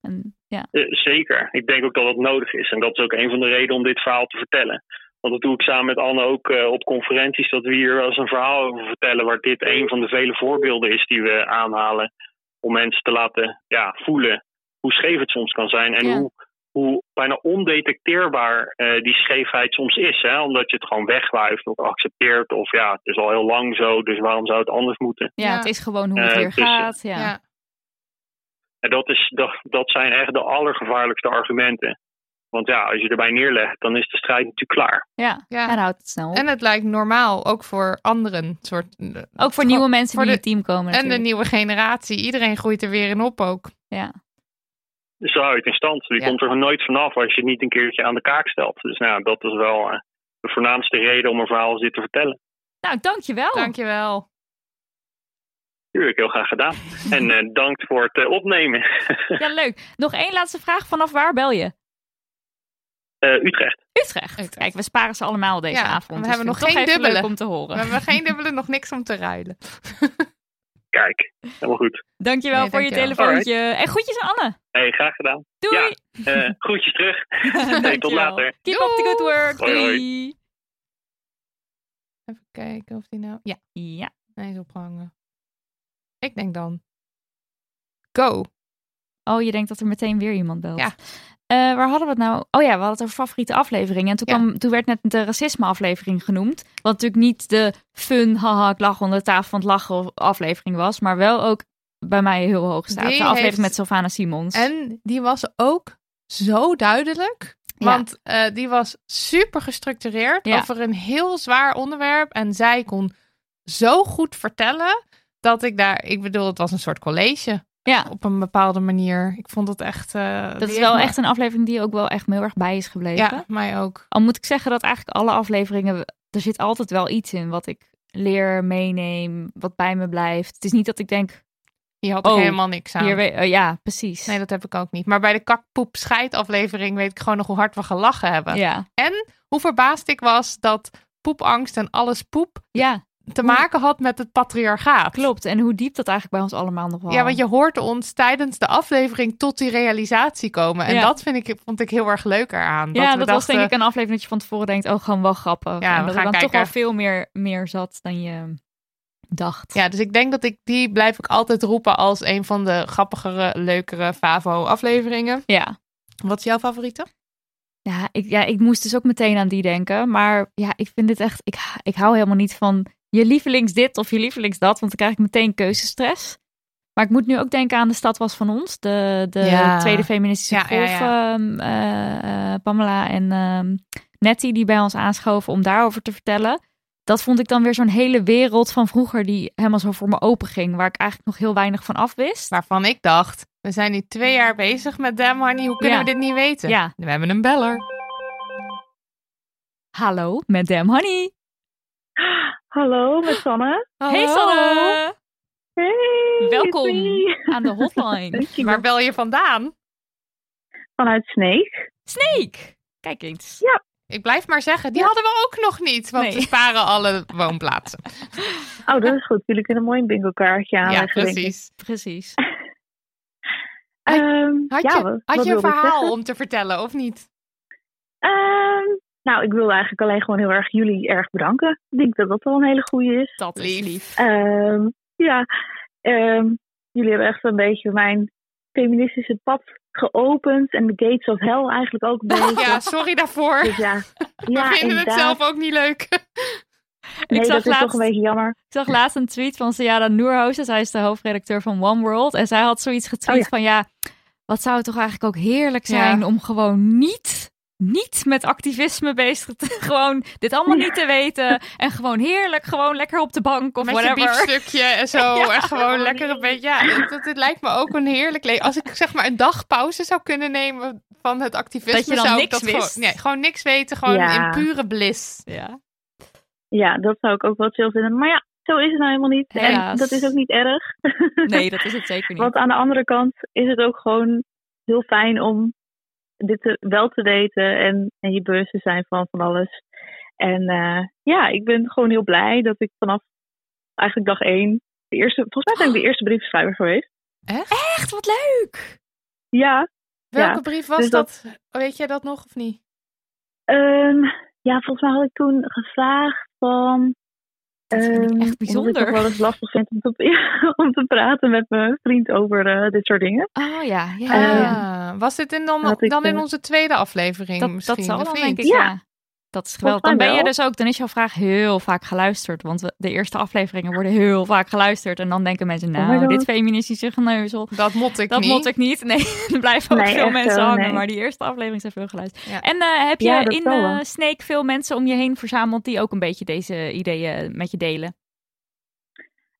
[SPEAKER 3] En, ja.
[SPEAKER 9] Eh, zeker. Ik denk ook dat dat nodig is. En dat is ook een van de redenen om dit verhaal te vertellen. Want dat doe ik samen met Anne ook eh, op conferenties, dat we hier wel eens een verhaal over vertellen, waar dit een van de vele voorbeelden is die we aanhalen. Om mensen te laten ja, voelen hoe scheef het soms kan zijn en
[SPEAKER 3] Ja.
[SPEAKER 9] hoe, hoe bijna ondetecteerbaar eh, die scheefheid soms is. Hè? Omdat je het gewoon wegwuift of accepteert. Of ja, het is al heel lang zo, dus waarom zou het anders moeten?
[SPEAKER 3] Ja,
[SPEAKER 2] Ja.
[SPEAKER 3] het is gewoon hoe het
[SPEAKER 9] Eh,
[SPEAKER 3] weer
[SPEAKER 9] dus, eh,
[SPEAKER 3] gaat. Ja.
[SPEAKER 2] Ja.
[SPEAKER 9] En dat, is, dat, dat zijn echt de allergevaarlijkste argumenten. Want ja, als je erbij neerlegt, dan is de strijd natuurlijk klaar.
[SPEAKER 3] Ja.
[SPEAKER 2] Ja.
[SPEAKER 3] En houdt het snel op.
[SPEAKER 2] En het lijkt normaal, ook voor anderen. Soort, eh,
[SPEAKER 3] ook voor nieuwe mensen
[SPEAKER 2] voor
[SPEAKER 3] die
[SPEAKER 2] de-
[SPEAKER 3] in het team komen
[SPEAKER 2] En de
[SPEAKER 3] natuurlijk.
[SPEAKER 2] nieuwe generatie. Iedereen groeit er weer in op ook.
[SPEAKER 9] Dus daar hou je het in stand. Je
[SPEAKER 2] Ja.
[SPEAKER 9] komt er nooit vanaf als je het niet een keertje aan de kaak stelt. Dus nou, dat is wel eh, de voornaamste reden om een verhaal als dit te vertellen.
[SPEAKER 3] Nou, dankjewel.
[SPEAKER 2] Dankjewel.
[SPEAKER 9] Tuurlijk, heel graag gedaan. En eh dank voor het eh, opnemen.
[SPEAKER 3] Ja, leuk. Nog één laatste vraag. Vanaf waar bel je?
[SPEAKER 9] Eh, Utrecht.
[SPEAKER 3] Utrecht.
[SPEAKER 2] Utrecht.
[SPEAKER 3] Kijk, we sparen ze allemaal deze
[SPEAKER 2] Ja,
[SPEAKER 3] avond.
[SPEAKER 2] we hebben
[SPEAKER 3] dus ik vind
[SPEAKER 2] nog
[SPEAKER 3] het toch
[SPEAKER 2] geen
[SPEAKER 3] even
[SPEAKER 2] dubbele.
[SPEAKER 3] leuk om te
[SPEAKER 2] We
[SPEAKER 3] horen.
[SPEAKER 2] hebben geen dubbele, nog niks om te ruilen.
[SPEAKER 9] Kijk, helemaal goed.
[SPEAKER 3] Dankjewel
[SPEAKER 2] Nee,
[SPEAKER 3] voor je
[SPEAKER 2] dankjewel.
[SPEAKER 3] telefoontje. En groetjes aan Anne.
[SPEAKER 9] Hey, graag gedaan.
[SPEAKER 3] Doei.
[SPEAKER 9] Ja, Eh groetjes terug. Hey, tot
[SPEAKER 3] Dankjewel.
[SPEAKER 9] later.
[SPEAKER 3] Keep up the good work.
[SPEAKER 9] Hoi, hoi.
[SPEAKER 3] Doei.
[SPEAKER 2] Even kijken of die nou... Ja,
[SPEAKER 3] Ja.
[SPEAKER 2] hij is opgehangen. Ik denk dan... Go.
[SPEAKER 3] Oh, je denkt dat er meteen weer iemand belt.
[SPEAKER 2] Ja.
[SPEAKER 3] Eh, waar hadden we het nou? Oh ja, we hadden het over favoriete afleveringen. En toen,
[SPEAKER 2] Ja.
[SPEAKER 3] kwam, toen werd net de racisme-aflevering genoemd. Wat natuurlijk niet de fun, haha, ik lach onder de tafel van het lachen aflevering was. Maar wel ook bij mij heel hoog staat.
[SPEAKER 2] Die
[SPEAKER 3] de aflevering
[SPEAKER 2] heeft-
[SPEAKER 3] met Sylvana Simons.
[SPEAKER 2] En die was ook zo duidelijk.
[SPEAKER 3] Ja.
[SPEAKER 2] Want eh, die was super gestructureerd
[SPEAKER 3] Ja.
[SPEAKER 2] over een heel zwaar onderwerp. En zij kon zo goed vertellen dat ik daar... Ik bedoel, het was een soort college
[SPEAKER 3] Ja.
[SPEAKER 2] op een bepaalde manier. Ik vond het echt... eh, die
[SPEAKER 3] Dat is
[SPEAKER 2] heeft
[SPEAKER 3] wel
[SPEAKER 2] me-
[SPEAKER 3] echt een aflevering die ook wel echt me heel erg bij is gebleven.
[SPEAKER 2] Ja, mij ook.
[SPEAKER 3] Al moet ik zeggen dat eigenlijk alle afleveringen, er zit altijd wel iets in wat ik leer, meeneem, wat bij me blijft. Het is niet dat ik denk,
[SPEAKER 2] Je had er
[SPEAKER 3] Oh,
[SPEAKER 2] helemaal niks aan.
[SPEAKER 3] hier, we- eh, ja, precies.
[SPEAKER 2] Nee, dat heb ik ook niet. Maar bij de kakpoep scheidaflevering weet ik gewoon nog hoe hard we gelachen hebben.
[SPEAKER 3] ja.
[SPEAKER 2] Hoe verbaasd ik was dat poepangst en alles poep
[SPEAKER 3] ja,
[SPEAKER 2] te maken had met het patriarchaat.
[SPEAKER 3] Klopt. En hoe diep dat eigenlijk bij ons allemaal nog wel.
[SPEAKER 2] Ja, want je hoort ons tijdens de aflevering tot die realisatie komen. En
[SPEAKER 3] Ja.
[SPEAKER 2] dat vind ik, vond ik heel erg leuk eraan.
[SPEAKER 3] Ja,
[SPEAKER 2] we
[SPEAKER 3] dat, was
[SPEAKER 2] dachten,
[SPEAKER 3] denk ik een aflevering dat je van tevoren denkt, oh, gewoon wel grappig.
[SPEAKER 2] Ja,
[SPEAKER 3] en
[SPEAKER 2] we
[SPEAKER 3] dat
[SPEAKER 2] gaan
[SPEAKER 3] er dan toch
[SPEAKER 2] kijken.
[SPEAKER 3] wel veel meer, meer zat dan je dacht.
[SPEAKER 2] Ja, dus ik denk dat ik die blijf ik altijd roepen als een van de grappigere, leukere Favo-afleveringen.
[SPEAKER 3] Ja.
[SPEAKER 2] Wat is jouw favoriete?
[SPEAKER 3] Ja ik, ja, ik moest dus ook meteen aan die denken. Maar ja, ik vind dit echt... Ik, ik hou helemaal niet van je lievelings dit of je lievelings dat. Want dan krijg ik meteen keuzestress. Maar ik moet nu ook denken aan De Stad Was Van Ons. De, de
[SPEAKER 2] Ja.
[SPEAKER 3] tweede feministische
[SPEAKER 2] Ja, ja,
[SPEAKER 3] golf. ehm, eh, eh, Pamela en ehm, Nettie die bij ons aanschoven om daarover te vertellen. Dat vond ik dan weer zo'n hele wereld van vroeger die helemaal zo voor me open ging. Waar ik eigenlijk nog heel weinig van af wist.
[SPEAKER 2] Waarvan ik dacht, we zijn nu twee jaar bezig met Damn Honey, hoe kunnen
[SPEAKER 3] Ja.
[SPEAKER 2] we dit niet weten?
[SPEAKER 3] Ja.
[SPEAKER 2] We hebben een beller.
[SPEAKER 3] Hallo, met Damn Honey.
[SPEAKER 6] Hallo, met Sanne.
[SPEAKER 3] Hey
[SPEAKER 2] Hallo.
[SPEAKER 3] Sanne!
[SPEAKER 6] Hey,
[SPEAKER 3] Welkom.
[SPEAKER 6] doei.
[SPEAKER 3] Aan de hotline.
[SPEAKER 2] Waar bel je vandaan?
[SPEAKER 6] Vanuit Sneek.
[SPEAKER 3] Snake! Kijk eens.
[SPEAKER 2] Ik blijf maar zeggen, die hadden we ook nog niet, want
[SPEAKER 3] Nee.
[SPEAKER 2] we sparen alle woonplaatsen.
[SPEAKER 6] Oh, dat is goed. Jullie kunnen mooi een bingo kaartje
[SPEAKER 2] Ja,
[SPEAKER 6] aanleggen. denk ik.
[SPEAKER 2] precies.
[SPEAKER 3] Precies.
[SPEAKER 2] Had-
[SPEAKER 6] Ehm,
[SPEAKER 2] Had je,
[SPEAKER 6] ja, wat-
[SPEAKER 2] had
[SPEAKER 6] wat
[SPEAKER 2] je een
[SPEAKER 6] wilde ik
[SPEAKER 2] verhaal
[SPEAKER 6] zeggen?
[SPEAKER 2] om te vertellen, of niet?
[SPEAKER 6] Ehm, nou, ik wil eigenlijk alleen gewoon heel erg jullie erg bedanken. Ik denk dat dat al een hele goede is.
[SPEAKER 3] Dat is
[SPEAKER 2] Lief.
[SPEAKER 3] lief.
[SPEAKER 6] Ehm, ja, ehm, jullie hebben echt een beetje mijn feministische pad geopend. En de gates of hell eigenlijk ook een beetje.
[SPEAKER 2] Ja, sorry daarvoor.
[SPEAKER 6] Dus ja, ja
[SPEAKER 2] we vinden het
[SPEAKER 6] inderdaad.
[SPEAKER 2] zelf ook niet leuk.
[SPEAKER 6] Nee,
[SPEAKER 3] ik,
[SPEAKER 6] dat
[SPEAKER 3] zag
[SPEAKER 6] is toch
[SPEAKER 3] laatst,
[SPEAKER 6] een beetje jammer.
[SPEAKER 3] ik zag laatst een tweet van Sayada Noerhozen. Zij is de hoofdredacteur van One World. En zij had zoiets getweet
[SPEAKER 6] Oh ja.
[SPEAKER 3] van ja, wat zou het toch eigenlijk ook heerlijk zijn
[SPEAKER 2] Ja.
[SPEAKER 3] om gewoon niet, niet met activisme bezig te Gewoon dit allemaal niet te weten. En gewoon heerlijk, gewoon lekker op de bank of
[SPEAKER 2] Met je
[SPEAKER 3] whatever.
[SPEAKER 2] biefstukje en zo. En gewoon
[SPEAKER 6] Oh,
[SPEAKER 2] lekker een
[SPEAKER 6] nee.
[SPEAKER 2] beetje. Ja, ik- dat, dit lijkt me ook een heerlijk leven. Als ik zeg maar een dag pauze zou kunnen nemen van het activisme.
[SPEAKER 3] Dat je dan
[SPEAKER 2] zou ik
[SPEAKER 3] niks
[SPEAKER 2] dat gewoon-
[SPEAKER 3] wist.
[SPEAKER 2] nee, gewoon niks weten. Gewoon
[SPEAKER 6] Ja.
[SPEAKER 2] in pure bliss.
[SPEAKER 3] Ja.
[SPEAKER 6] Ja, dat zou ik ook wel chill vinden. Maar ja, zo is het nou helemaal niet. En
[SPEAKER 3] Helaas.
[SPEAKER 6] dat is ook niet erg.
[SPEAKER 3] Nee, dat is het zeker niet.
[SPEAKER 6] Want aan de andere kant is het ook gewoon heel fijn om dit te- wel te weten en, en je bewust te zijn van van alles. En eh, ja, ik ben gewoon heel blij dat ik vanaf eigenlijk dag één, de eerste, volgens mij ben
[SPEAKER 3] Oh.
[SPEAKER 6] ik de eerste briefschrijver geweest.
[SPEAKER 3] Echt wat leuk!
[SPEAKER 6] Ja,
[SPEAKER 2] Welke
[SPEAKER 6] Ja,
[SPEAKER 2] brief was
[SPEAKER 6] dus
[SPEAKER 2] dat? Weet jij dat nog of niet?
[SPEAKER 6] ehm, ja, volgens mij had ik toen gevraagd van...
[SPEAKER 3] Dat vind ik
[SPEAKER 6] ehm,
[SPEAKER 3] echt
[SPEAKER 6] omdat Ik
[SPEAKER 3] bijzonder.
[SPEAKER 6] toch wel eens lastig vind om te, om te praten met mijn vriend over eh, dit soort dingen.
[SPEAKER 3] Oh ja, ja.
[SPEAKER 6] Ehm,
[SPEAKER 2] Ah, was dit in dan,
[SPEAKER 6] had ik,
[SPEAKER 2] dan in
[SPEAKER 6] eh,
[SPEAKER 2] onze tweede aflevering
[SPEAKER 3] dat,
[SPEAKER 2] misschien?
[SPEAKER 3] dat zal
[SPEAKER 2] of
[SPEAKER 3] dan
[SPEAKER 2] niet?
[SPEAKER 3] denk ik, ja.
[SPEAKER 6] Ja.
[SPEAKER 3] Dat is geweldig. Dan
[SPEAKER 6] Volgens mij
[SPEAKER 3] ben je
[SPEAKER 6] wel.
[SPEAKER 3] dus ook, dan is jouw vraag heel vaak geluisterd. Want we- de eerste afleveringen worden heel vaak geluisterd. En dan denken mensen,
[SPEAKER 6] Oh my
[SPEAKER 3] nou,
[SPEAKER 6] God.
[SPEAKER 3] dit feministische geneuzel,
[SPEAKER 2] Dat mot ik
[SPEAKER 3] dat
[SPEAKER 2] niet.
[SPEAKER 3] mot ik niet. Nee, er blijven ook
[SPEAKER 6] Nee,
[SPEAKER 3] veel
[SPEAKER 6] echt
[SPEAKER 3] mensen
[SPEAKER 6] wel,
[SPEAKER 3] hangen.
[SPEAKER 6] nee.
[SPEAKER 3] Maar die eerste aflevering zijn veel geluisterd.
[SPEAKER 2] Ja.
[SPEAKER 3] En eh, heb je
[SPEAKER 6] Ja, dat
[SPEAKER 3] in
[SPEAKER 6] zal wel.
[SPEAKER 3] eh Snake veel mensen om je heen verzameld die ook een beetje deze ideeën met je delen?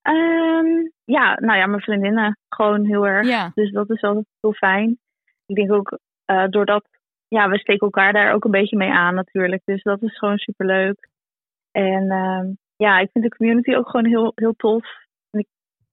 [SPEAKER 3] Oh.
[SPEAKER 6] Ehm, ja, nou ja, mijn vriendinnen gewoon heel erg.
[SPEAKER 3] Ja,
[SPEAKER 6] Dus dat is wel heel fijn. Ik denk ook eh, doordat, ja, we steken elkaar daar ook een beetje mee aan natuurlijk. Dus dat is gewoon superleuk. En ehm, ja, ik vind de community ook gewoon heel, heel tof. En ik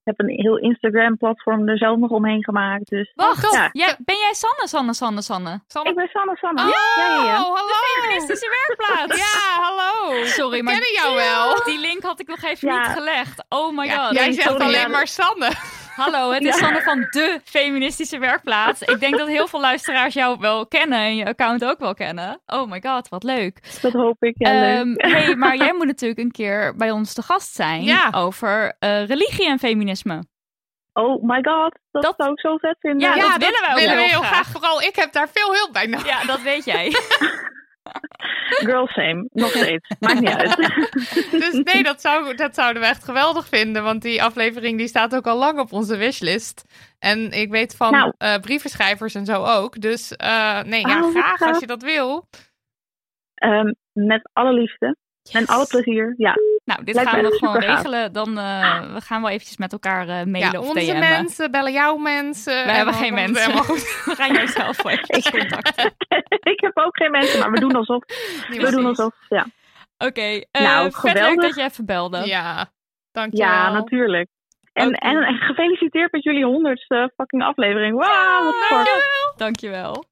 [SPEAKER 6] heb een heel Instagram-platform er zelf nog omheen gemaakt. Dus
[SPEAKER 3] wacht.
[SPEAKER 6] Ja.
[SPEAKER 3] Jij- ben jij Sanne, Sanne, Sanne, Sanne?
[SPEAKER 2] Sanne-
[SPEAKER 6] ik ben Sanne Sanne.
[SPEAKER 2] Oh,
[SPEAKER 6] Ja, ja, ja.
[SPEAKER 2] hallo.
[SPEAKER 3] Feministische werkplaats!
[SPEAKER 2] Ja, hallo.
[SPEAKER 3] Sorry,
[SPEAKER 2] We
[SPEAKER 3] maar
[SPEAKER 2] kennen jou wel.
[SPEAKER 3] die link had ik nog even
[SPEAKER 6] Ja.
[SPEAKER 3] niet gelegd. Oh my
[SPEAKER 2] Ja,
[SPEAKER 3] god.
[SPEAKER 2] jij
[SPEAKER 6] nee,
[SPEAKER 2] zegt
[SPEAKER 6] sorry,
[SPEAKER 2] alleen
[SPEAKER 6] ja.
[SPEAKER 2] maar Sanne.
[SPEAKER 3] Hallo, het is Sanne van de feministische werkplaats. Ik denk dat heel veel luisteraars jou wel kennen en je account ook wel kennen. Oh my god, wat leuk.
[SPEAKER 6] Dat hoop ik. Ja, leuk.
[SPEAKER 3] Ehm, hey, maar jij moet natuurlijk een keer bij ons te gast zijn
[SPEAKER 2] Ja.
[SPEAKER 3] over eh, religie en feminisme.
[SPEAKER 6] Oh my god, dat,
[SPEAKER 3] dat-
[SPEAKER 6] zou ik zo vet vinden.
[SPEAKER 3] Ja, dat willen wij ook
[SPEAKER 2] willen we
[SPEAKER 3] heel
[SPEAKER 2] heel
[SPEAKER 3] graag.
[SPEAKER 2] graag. Vooral ik heb daar veel hulp bij nodig.
[SPEAKER 3] Ja, dat weet jij.
[SPEAKER 6] Girl same, nog steeds. Maakt niet uit.
[SPEAKER 2] Dus nee, dat, zou, dat zouden we echt geweldig vinden. Want die aflevering die staat ook al lang op onze wishlist. En ik weet van
[SPEAKER 6] Nou.
[SPEAKER 2] eh, brievenschrijvers en zo ook. Dus eh, nee, ja,
[SPEAKER 6] Oh, wat
[SPEAKER 2] graag als
[SPEAKER 6] gaaf.
[SPEAKER 2] je dat wil.
[SPEAKER 6] Ehm, met alle liefde en alle plezier. Ja,
[SPEAKER 3] Nou, dit
[SPEAKER 6] Lijkt
[SPEAKER 3] gaan we
[SPEAKER 6] me
[SPEAKER 3] nog gewoon
[SPEAKER 6] supergaaf.
[SPEAKER 3] regelen. Dan eh, we gaan wel eventjes met elkaar eh, mailen
[SPEAKER 2] Ja,
[SPEAKER 3] of
[SPEAKER 2] onze
[SPEAKER 3] DM'en.
[SPEAKER 2] mensen bellen jouw mensen.
[SPEAKER 3] We
[SPEAKER 2] en
[SPEAKER 3] hebben
[SPEAKER 2] dan
[SPEAKER 3] geen
[SPEAKER 2] komt het
[SPEAKER 3] mensen.
[SPEAKER 2] helemaal goed.
[SPEAKER 3] We gaan jou zelf wel eventjes contacten.
[SPEAKER 6] ik heb ook geen mensen, maar we doen alsof. We doen alsof, ja.
[SPEAKER 3] Oké, eh,
[SPEAKER 6] Nou,
[SPEAKER 3] vet leuk
[SPEAKER 6] geweldig.
[SPEAKER 3] dat je even belde.
[SPEAKER 2] Ja, dankjewel.
[SPEAKER 6] Ja, natuurlijk. En,
[SPEAKER 3] Oké.
[SPEAKER 6] en, en gefeliciteerd met jullie honderdste fucking aflevering. Wauw, wat fuck.
[SPEAKER 3] Dankjewel.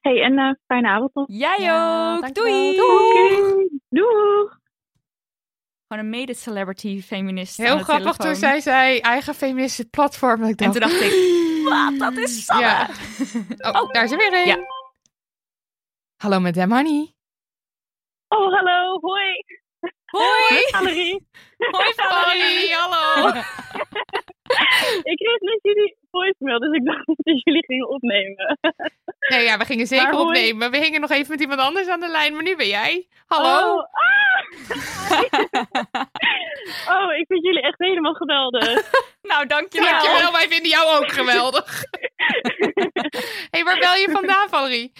[SPEAKER 6] Hey, en eh, fijne avond nog.
[SPEAKER 2] Oh,
[SPEAKER 3] Jij
[SPEAKER 2] Ja,
[SPEAKER 3] ook.
[SPEAKER 2] dankjewel.
[SPEAKER 3] Doei.
[SPEAKER 6] Oké, Doeg!
[SPEAKER 3] Gewoon een mede-celebrity feminist. aan
[SPEAKER 2] Heel
[SPEAKER 3] de
[SPEAKER 2] grappig
[SPEAKER 3] telefoon.
[SPEAKER 2] toen zij zei eigen feministische platform. En, ik
[SPEAKER 3] En
[SPEAKER 2] dacht,
[SPEAKER 3] toen dacht ik, wat, dat is Sanne.
[SPEAKER 2] Ja. oh, daar is er weer een.
[SPEAKER 3] Ja.
[SPEAKER 2] Hallo met Dem Honey.
[SPEAKER 6] Oh, hallo, hoi.
[SPEAKER 3] Hoi,
[SPEAKER 6] Valerie.
[SPEAKER 3] hoi Valerie.
[SPEAKER 2] hallo.
[SPEAKER 6] Ik kreeg net jullie voicemail, dus ik dacht dat jullie gingen opnemen.
[SPEAKER 2] Nee, ja, we gingen zeker
[SPEAKER 6] Maar hoi.
[SPEAKER 2] opnemen. We hingen nog even met iemand anders aan de lijn, maar nu ben jij. Hallo.
[SPEAKER 6] Oh, ah. oh ik vind jullie echt helemaal geweldig.
[SPEAKER 3] Nou, dankjewel.
[SPEAKER 2] Dankjewel, wij vinden jou ook geweldig. hey, waar bel je vandaan, Valerie?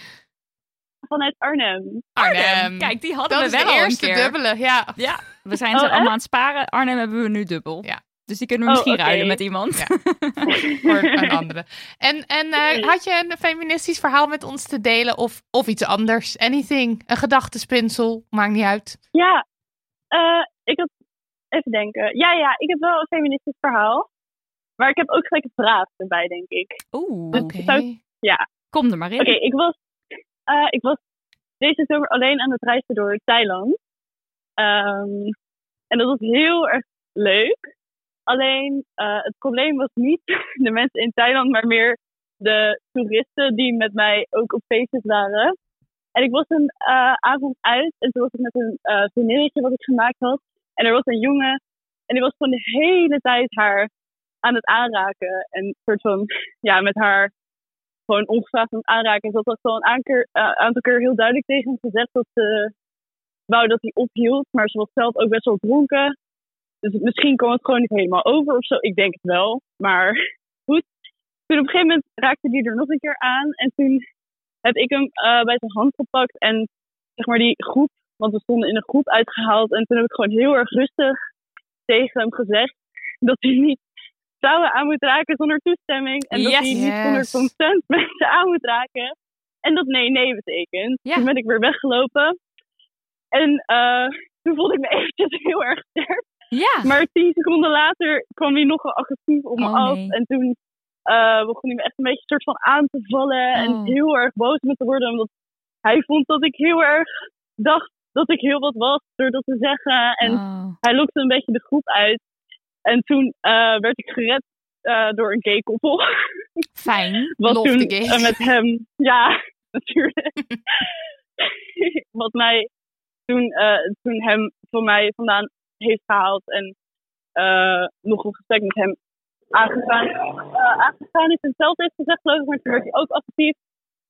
[SPEAKER 6] Vanuit Arnhem.
[SPEAKER 3] Arnhem. Kijk, die hadden
[SPEAKER 2] Ehm, dat
[SPEAKER 3] we
[SPEAKER 2] is
[SPEAKER 3] wel
[SPEAKER 2] de
[SPEAKER 3] al een
[SPEAKER 2] eerste
[SPEAKER 3] keer.
[SPEAKER 2] dubbele, ja.
[SPEAKER 3] Ja, we zijn
[SPEAKER 6] Oh,
[SPEAKER 3] ze
[SPEAKER 6] echt?
[SPEAKER 3] allemaal aan het sparen. Arnhem hebben we nu dubbel.
[SPEAKER 2] Ja.
[SPEAKER 3] Dus die kunnen we
[SPEAKER 6] Oh,
[SPEAKER 3] misschien
[SPEAKER 6] oké.
[SPEAKER 3] ruilen met iemand.
[SPEAKER 2] Ja. Voor een andere. En, en eh, had je een feministisch verhaal met ons te delen of, of iets anders? Anything? Een gedachtespinsel? Maakt niet uit.
[SPEAKER 6] Ja, eh, ik had. Even denken. Ja, ja, ik heb wel een feministisch verhaal. Maar ik heb ook gelijk een praat erbij, denk ik.
[SPEAKER 3] Oeh,
[SPEAKER 2] Oké.
[SPEAKER 6] zou-
[SPEAKER 3] kom er maar in.
[SPEAKER 6] Oké, ik was, eh, ik was deze zomer alleen aan het reizen door Thailand. Ehm, en dat was heel erg leuk. Alleen eh, het probleem was niet de mensen in Thailand, maar meer de toeristen die met mij ook op feestjes waren. En ik was een eh, avond uit en toen was ik met een eh vriendinnetje wat ik gemaakt had. En er was een jongen en die was van de hele tijd haar aan het aanraken. En soort van, ja, met haar gewoon ongevraagd aan het aanraken. Dus dat was wel een aanker- eh, aantal keer heel duidelijk tegen hem gezegd dat eh, ze wou dat hij ophield. Maar ze was zelf ook best wel dronken. Dus misschien kwam het gewoon niet helemaal over of zo. Ik denk het wel. Maar goed. Toen op een gegeven moment raakte hij er nog een keer aan. En toen heb ik hem eh, bij zijn hand gepakt. En zeg maar die groep, want we stonden in een groep uitgehaald. En toen heb ik gewoon heel erg rustig tegen hem gezegd dat hij niet touwen aan moet raken zonder toestemming. En dat
[SPEAKER 3] Yes.
[SPEAKER 6] hij niet zonder
[SPEAKER 2] Yes.
[SPEAKER 6] consent mensen aan moet raken. En dat nee, nee betekent.
[SPEAKER 3] Ja.
[SPEAKER 6] Toen ben ik weer weggelopen. En eh, toen voelde ik me eventjes heel erg sterk.
[SPEAKER 3] Ja.
[SPEAKER 6] Maar tien seconden later kwam hij nogal agressief op me
[SPEAKER 3] Oh,
[SPEAKER 6] af.
[SPEAKER 3] nee.
[SPEAKER 6] En toen eh, begon hij me echt een beetje soort van aan te vallen.
[SPEAKER 3] Oh.
[SPEAKER 6] En heel erg boos met te worden. Omdat hij vond dat ik heel erg dacht dat ik heel wat was door dat te zeggen. En
[SPEAKER 3] Oh.
[SPEAKER 6] hij lokte een beetje de groep uit. En toen eh, werd ik gered eh, door een gay koppel.
[SPEAKER 3] Fijn.
[SPEAKER 6] Wat
[SPEAKER 2] Love
[SPEAKER 6] toen
[SPEAKER 2] the gays.
[SPEAKER 6] eh, met hem, ja, natuurlijk. wat mij toen, eh, toen hem voor mij vandaan heeft gehaald en eh, nog een gesprek met hem aangegaan, eh, aangegaan is. En zelf heeft gezegd, geloof ik, maar toen werd hij ook actief.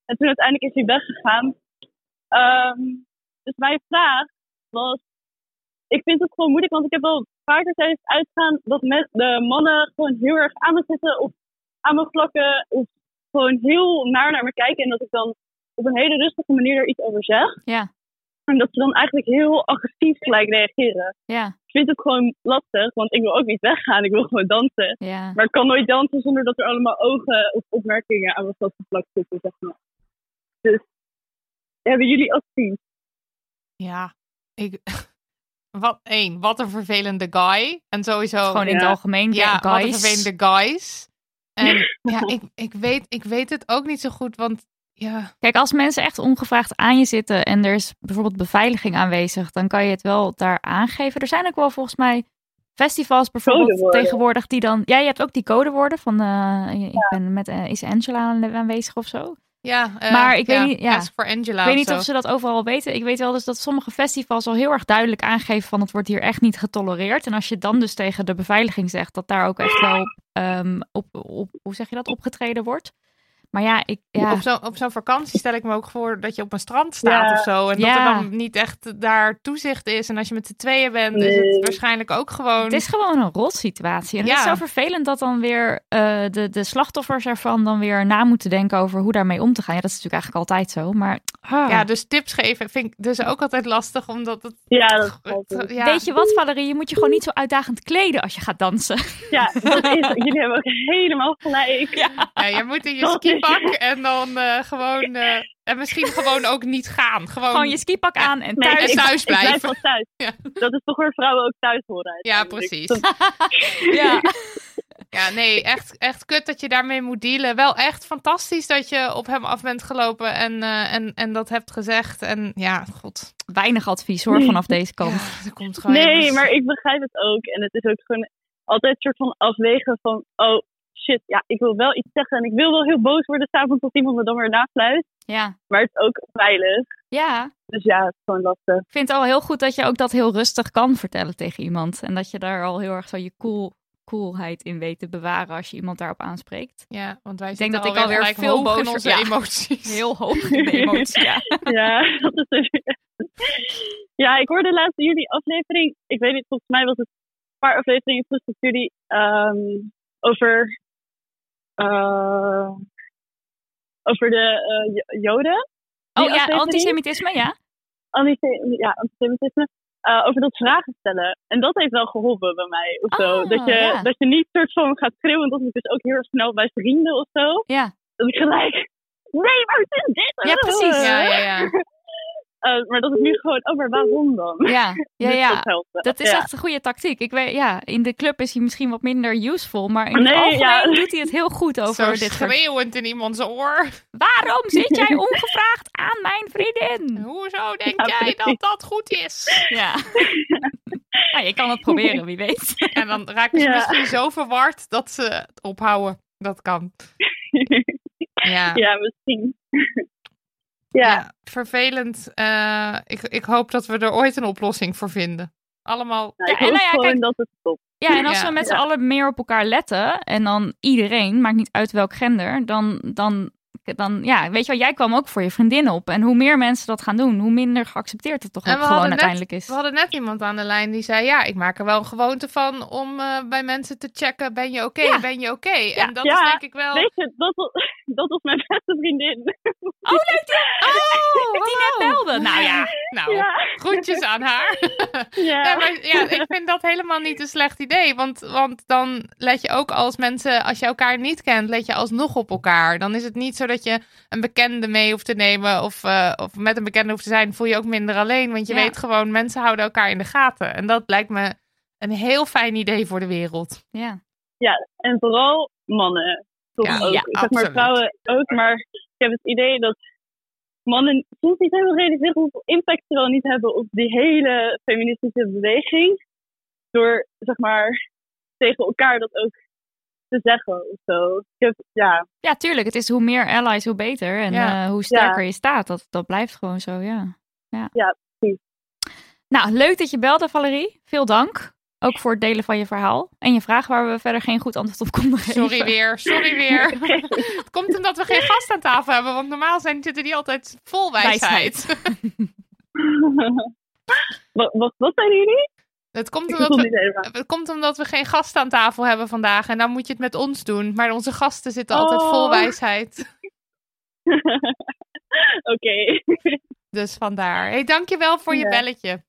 [SPEAKER 6] En toen uiteindelijk is hij weggegaan. Ehm, dus mijn vraag was, ik vind het gewoon moeilijk, want ik heb wel vaker tijdens het uitgaan dat met de mannen gewoon heel erg aan me zitten of aan me vlakken of gewoon heel naar naar me kijken en dat ik dan op een hele rustige manier daar iets over zeg.
[SPEAKER 3] Ja.
[SPEAKER 6] En dat ze dan eigenlijk heel agressief gelijk reageren.
[SPEAKER 3] Ja,
[SPEAKER 6] Ik vind het gewoon lastig, want ik wil ook niet weggaan, ik wil gewoon dansen.
[SPEAKER 3] ja.
[SPEAKER 6] Maar ik kan nooit dansen zonder dat er allemaal ogen of opmerkingen aan me vastgeplakt zitten, zeg maar. Dus, hebben jullie acties?
[SPEAKER 2] Ja, ik... Wat, één, wat een vervelende guy. En sowieso...
[SPEAKER 3] Gewoon in het
[SPEAKER 6] ja.
[SPEAKER 3] algemeen.
[SPEAKER 2] ja,
[SPEAKER 3] Ja,
[SPEAKER 2] wat een
[SPEAKER 3] guys.
[SPEAKER 2] vervelende guys. En ja, ik, ik, weet, ik weet het ook niet zo goed, want ja...
[SPEAKER 3] Kijk, als mensen echt ongevraagd aan je zitten en er is bijvoorbeeld beveiliging aanwezig, dan kan je het wel daar aangeven. Er zijn ook wel volgens mij festivals bijvoorbeeld
[SPEAKER 6] Codewoorden.
[SPEAKER 3] tegenwoordig die dan... Ja, je hebt ook die codewoorden van eh, ik ben met, eh, is Angela aan- aanwezig of zo?
[SPEAKER 2] ja eh,
[SPEAKER 3] Maar ik weet niet- ja.
[SPEAKER 2] Ask for Angela
[SPEAKER 3] Ik weet
[SPEAKER 2] of
[SPEAKER 3] niet
[SPEAKER 2] zo.
[SPEAKER 3] of ze dat overal weten. Ik weet wel dus dat sommige festivals al heel erg duidelijk aangeven van het wordt hier echt niet getolereerd. En als je dan dus tegen de beveiliging zegt, dat daar ook echt wel ehm, op, op, hoe zeg je dat, opgetreden wordt. Maar ja, ik, ja.
[SPEAKER 2] Op zo'n op zo'n vakantie stel ik me ook voor dat je op een strand staat
[SPEAKER 6] Ja.
[SPEAKER 2] of zo. En dat
[SPEAKER 3] Ja.
[SPEAKER 2] er dan niet echt daar toezicht is. En als je met z'n tweeën bent, is
[SPEAKER 6] Nee.
[SPEAKER 2] het waarschijnlijk ook gewoon...
[SPEAKER 3] Het is gewoon een rotsituatie. En het
[SPEAKER 2] Ja.
[SPEAKER 3] is zo vervelend dat dan weer eh, de, de slachtoffers ervan dan weer na moeten denken over hoe daarmee om te gaan. Ja, dat is natuurlijk eigenlijk altijd zo. Maar ah.
[SPEAKER 2] Ja, dus tips geven vind ik dus ook altijd lastig, omdat het...
[SPEAKER 6] Ja, dat geloof ik.
[SPEAKER 2] Ja.
[SPEAKER 3] eh, weet je wat, Valerie? Je moet je gewoon niet zo uitdagend kleden als je gaat dansen.
[SPEAKER 6] Ja, dat is, jullie hebben ook helemaal gelijk.
[SPEAKER 2] Ja, je moet in je
[SPEAKER 6] Dat is-
[SPEAKER 2] skipak en dan eh, gewoon... eh, en misschien gewoon ook niet gaan. Gewoon,
[SPEAKER 3] Gewoon je skipak aan en
[SPEAKER 6] Nee,
[SPEAKER 3] thuis.
[SPEAKER 2] en thuis
[SPEAKER 6] Ik blijf
[SPEAKER 2] blijven.
[SPEAKER 6] wel thuis.
[SPEAKER 2] Ja.
[SPEAKER 6] Dat is toch waar vrouwen ook thuis horen.
[SPEAKER 2] Ja,
[SPEAKER 6] uiteindelijk.
[SPEAKER 2] precies.
[SPEAKER 6] Dat-
[SPEAKER 3] Ja.
[SPEAKER 2] Ja, nee, echt, echt kut dat je daarmee moet dealen. Wel echt fantastisch dat je op hem af bent gelopen en, eh, en, en dat hebt gezegd. En ja, god.
[SPEAKER 3] Weinig advies hoor, vanaf deze kant.
[SPEAKER 2] Ja, er komt gewoon
[SPEAKER 6] Nee,
[SPEAKER 2] helemaal-
[SPEAKER 6] maar ik begrijp het ook. En het is ook gewoon altijd een soort van afwegen van... Oh, shit, ja, ik wil wel iets zeggen. En ik wil wel heel boos worden s'avonds als iemand me dan weer nafluit.
[SPEAKER 3] Ja.
[SPEAKER 6] Maar het is ook veilig.
[SPEAKER 3] Ja,
[SPEAKER 6] Dus ja, het is gewoon lastig.
[SPEAKER 3] ik vind het al heel goed dat je ook dat heel rustig kan vertellen tegen iemand. En dat je daar al heel erg zo je cool, coolheid in weet te bewaren als je iemand daarop aanspreekt.
[SPEAKER 2] Ja, want wij
[SPEAKER 3] Ik
[SPEAKER 2] zitten
[SPEAKER 3] denk dat ik
[SPEAKER 2] alweer
[SPEAKER 3] alweer
[SPEAKER 2] gelijk
[SPEAKER 3] veel
[SPEAKER 2] veel hoog in
[SPEAKER 3] bozer-
[SPEAKER 2] onze
[SPEAKER 3] ja.
[SPEAKER 2] emoties.
[SPEAKER 3] Heel hoog in de emotie, ja.
[SPEAKER 6] ja, dat is er- ja, ik hoorde laatst in jullie aflevering... Ik weet niet, volgens mij was het een paar afleveringen terug dat jullie ehm, over... eh, over de eh, Jo- Joden. Die
[SPEAKER 3] Oh ja,
[SPEAKER 6] aflevering.
[SPEAKER 3] antisemitisme, ja.
[SPEAKER 6] antisemitisme, ja, antisemitisme eh, over dat vragen stellen. En dat heeft wel geholpen bij mij. Of zo.
[SPEAKER 3] Ah,
[SPEAKER 6] dat, je,
[SPEAKER 3] ja.
[SPEAKER 6] dat je niet soort van gaat schreeuwen. Dat ik dus ook heel erg snel bij vrienden of zo.
[SPEAKER 3] Ja.
[SPEAKER 6] Dat ik gelijk. Nee, maar het is dit.
[SPEAKER 3] Ja,
[SPEAKER 10] Oh.
[SPEAKER 3] precies.
[SPEAKER 2] Ja, ja, ja.
[SPEAKER 6] Eh, maar dat ik nu gewoon. Oh, maar waarom dan?
[SPEAKER 3] Ja, ja,
[SPEAKER 6] Dus
[SPEAKER 3] ja.
[SPEAKER 6] Dat, helpt wel.
[SPEAKER 3] Dat is
[SPEAKER 6] Ja.
[SPEAKER 3] echt een goede tactiek. Ik weet, ja, in de club is hij misschien wat minder useful, maar in het
[SPEAKER 6] Nee,
[SPEAKER 3] algemeen
[SPEAKER 6] ja.
[SPEAKER 3] doet hij het heel goed over
[SPEAKER 2] Zo
[SPEAKER 3] dit soort...
[SPEAKER 2] schreeuwend in iemands oor.
[SPEAKER 3] Waarom zit jij ongevraagd aan mijn vriendin?
[SPEAKER 2] Hoezo denk
[SPEAKER 6] Ja,
[SPEAKER 2] jij dat
[SPEAKER 6] precies.
[SPEAKER 2] dat goed is?
[SPEAKER 3] Ja. ja, je kan het proberen, wie weet.
[SPEAKER 2] En dan raken ze
[SPEAKER 6] Ja.
[SPEAKER 2] misschien zo verward dat ze het ophouden. Dat kan. Ja.
[SPEAKER 6] ja, misschien. ja.
[SPEAKER 2] vervelend. Eh, ik, ik hoop dat we er ooit een oplossing voor vinden. Allemaal.
[SPEAKER 6] Nou, ik
[SPEAKER 3] Ja, en
[SPEAKER 6] hoop
[SPEAKER 3] nou ja,
[SPEAKER 6] gewoon
[SPEAKER 3] kijk-
[SPEAKER 6] dat het stopt.
[SPEAKER 3] Ja, en als
[SPEAKER 2] Ja.
[SPEAKER 3] we met z'n allen meer op elkaar letten en dan iedereen, maakt niet uit welk gender, dan, dan, dan ja, weet je wel, jij kwam ook voor je vriendin op. En hoe meer mensen dat gaan doen, hoe minder geaccepteerd het toch
[SPEAKER 2] En
[SPEAKER 3] ook
[SPEAKER 2] we hadden
[SPEAKER 3] gewoon
[SPEAKER 2] net-
[SPEAKER 3] uiteindelijk is.
[SPEAKER 2] We hadden net iemand aan de lijn die zei: Ja, ik maak er wel een gewoonte van om eh, bij mensen te checken: ben je oké?
[SPEAKER 3] Ja.
[SPEAKER 2] Ben je oké? En dat
[SPEAKER 6] Ja.
[SPEAKER 2] is denk ik wel.
[SPEAKER 6] Weet je, dat was, dat was mijn beste vriendin.
[SPEAKER 3] Oh, leuk! Die, oh, die net belde. Nou ja,
[SPEAKER 2] Nou,
[SPEAKER 6] Ja,
[SPEAKER 2] groetjes aan haar.
[SPEAKER 6] ja.
[SPEAKER 2] Ja, maar ja, ik vind dat helemaal niet een slecht idee. Want, want dan let je ook als mensen, als je elkaar niet kent, let je alsnog op elkaar. Dan is het niet zo dat je een bekende mee hoeft te nemen of, eh, of met een bekende hoeft te zijn, voel je ook minder alleen. Want je
[SPEAKER 3] Ja.
[SPEAKER 2] weet gewoon, mensen houden elkaar in de gaten. En dat lijkt me een heel fijn idee voor de wereld.
[SPEAKER 3] ja.
[SPEAKER 6] En vooral mannen. Toch
[SPEAKER 2] Ja,
[SPEAKER 6] ook.
[SPEAKER 3] ja,
[SPEAKER 6] Ik zeg
[SPEAKER 2] absoluut.
[SPEAKER 6] maar vrouwen ook, maar ik heb het idee dat mannen soms niet helemaal realiseren hoeveel impact ze wel niet hebben op die hele feministische beweging. Door zeg maar tegen elkaar dat ook te zeggen of zo. Ik heb, ja,
[SPEAKER 3] Ja, tuurlijk. Het is hoe meer allies, hoe beter. En
[SPEAKER 2] Ja.
[SPEAKER 3] eh, hoe sterker je staat. Dat, dat blijft gewoon zo, ja. Ja,
[SPEAKER 6] Ja, precies.
[SPEAKER 3] Nou, leuk dat je belde, Valerie. Veel dank. Ook voor het delen van je verhaal. En je vraag waar we verder geen goed antwoord op konden geven.
[SPEAKER 2] Sorry weer, sorry weer. het komt omdat we geen gast aan tafel hebben, want normaal zijn, zitten die altijd vol wijsheid.
[SPEAKER 6] wat, wat, wat zijn jullie?
[SPEAKER 2] Het komt
[SPEAKER 6] Ik
[SPEAKER 2] omdat
[SPEAKER 6] voel
[SPEAKER 2] we
[SPEAKER 6] niet helemaal.
[SPEAKER 2] Het komt omdat we geen gasten aan tafel hebben vandaag. En dan moet je het met ons doen. Maar onze gasten zitten altijd
[SPEAKER 6] Oh.
[SPEAKER 2] vol wijsheid.
[SPEAKER 6] Oké.
[SPEAKER 2] Dus vandaar. hey, dankjewel voor je
[SPEAKER 6] Ja.
[SPEAKER 2] belletje.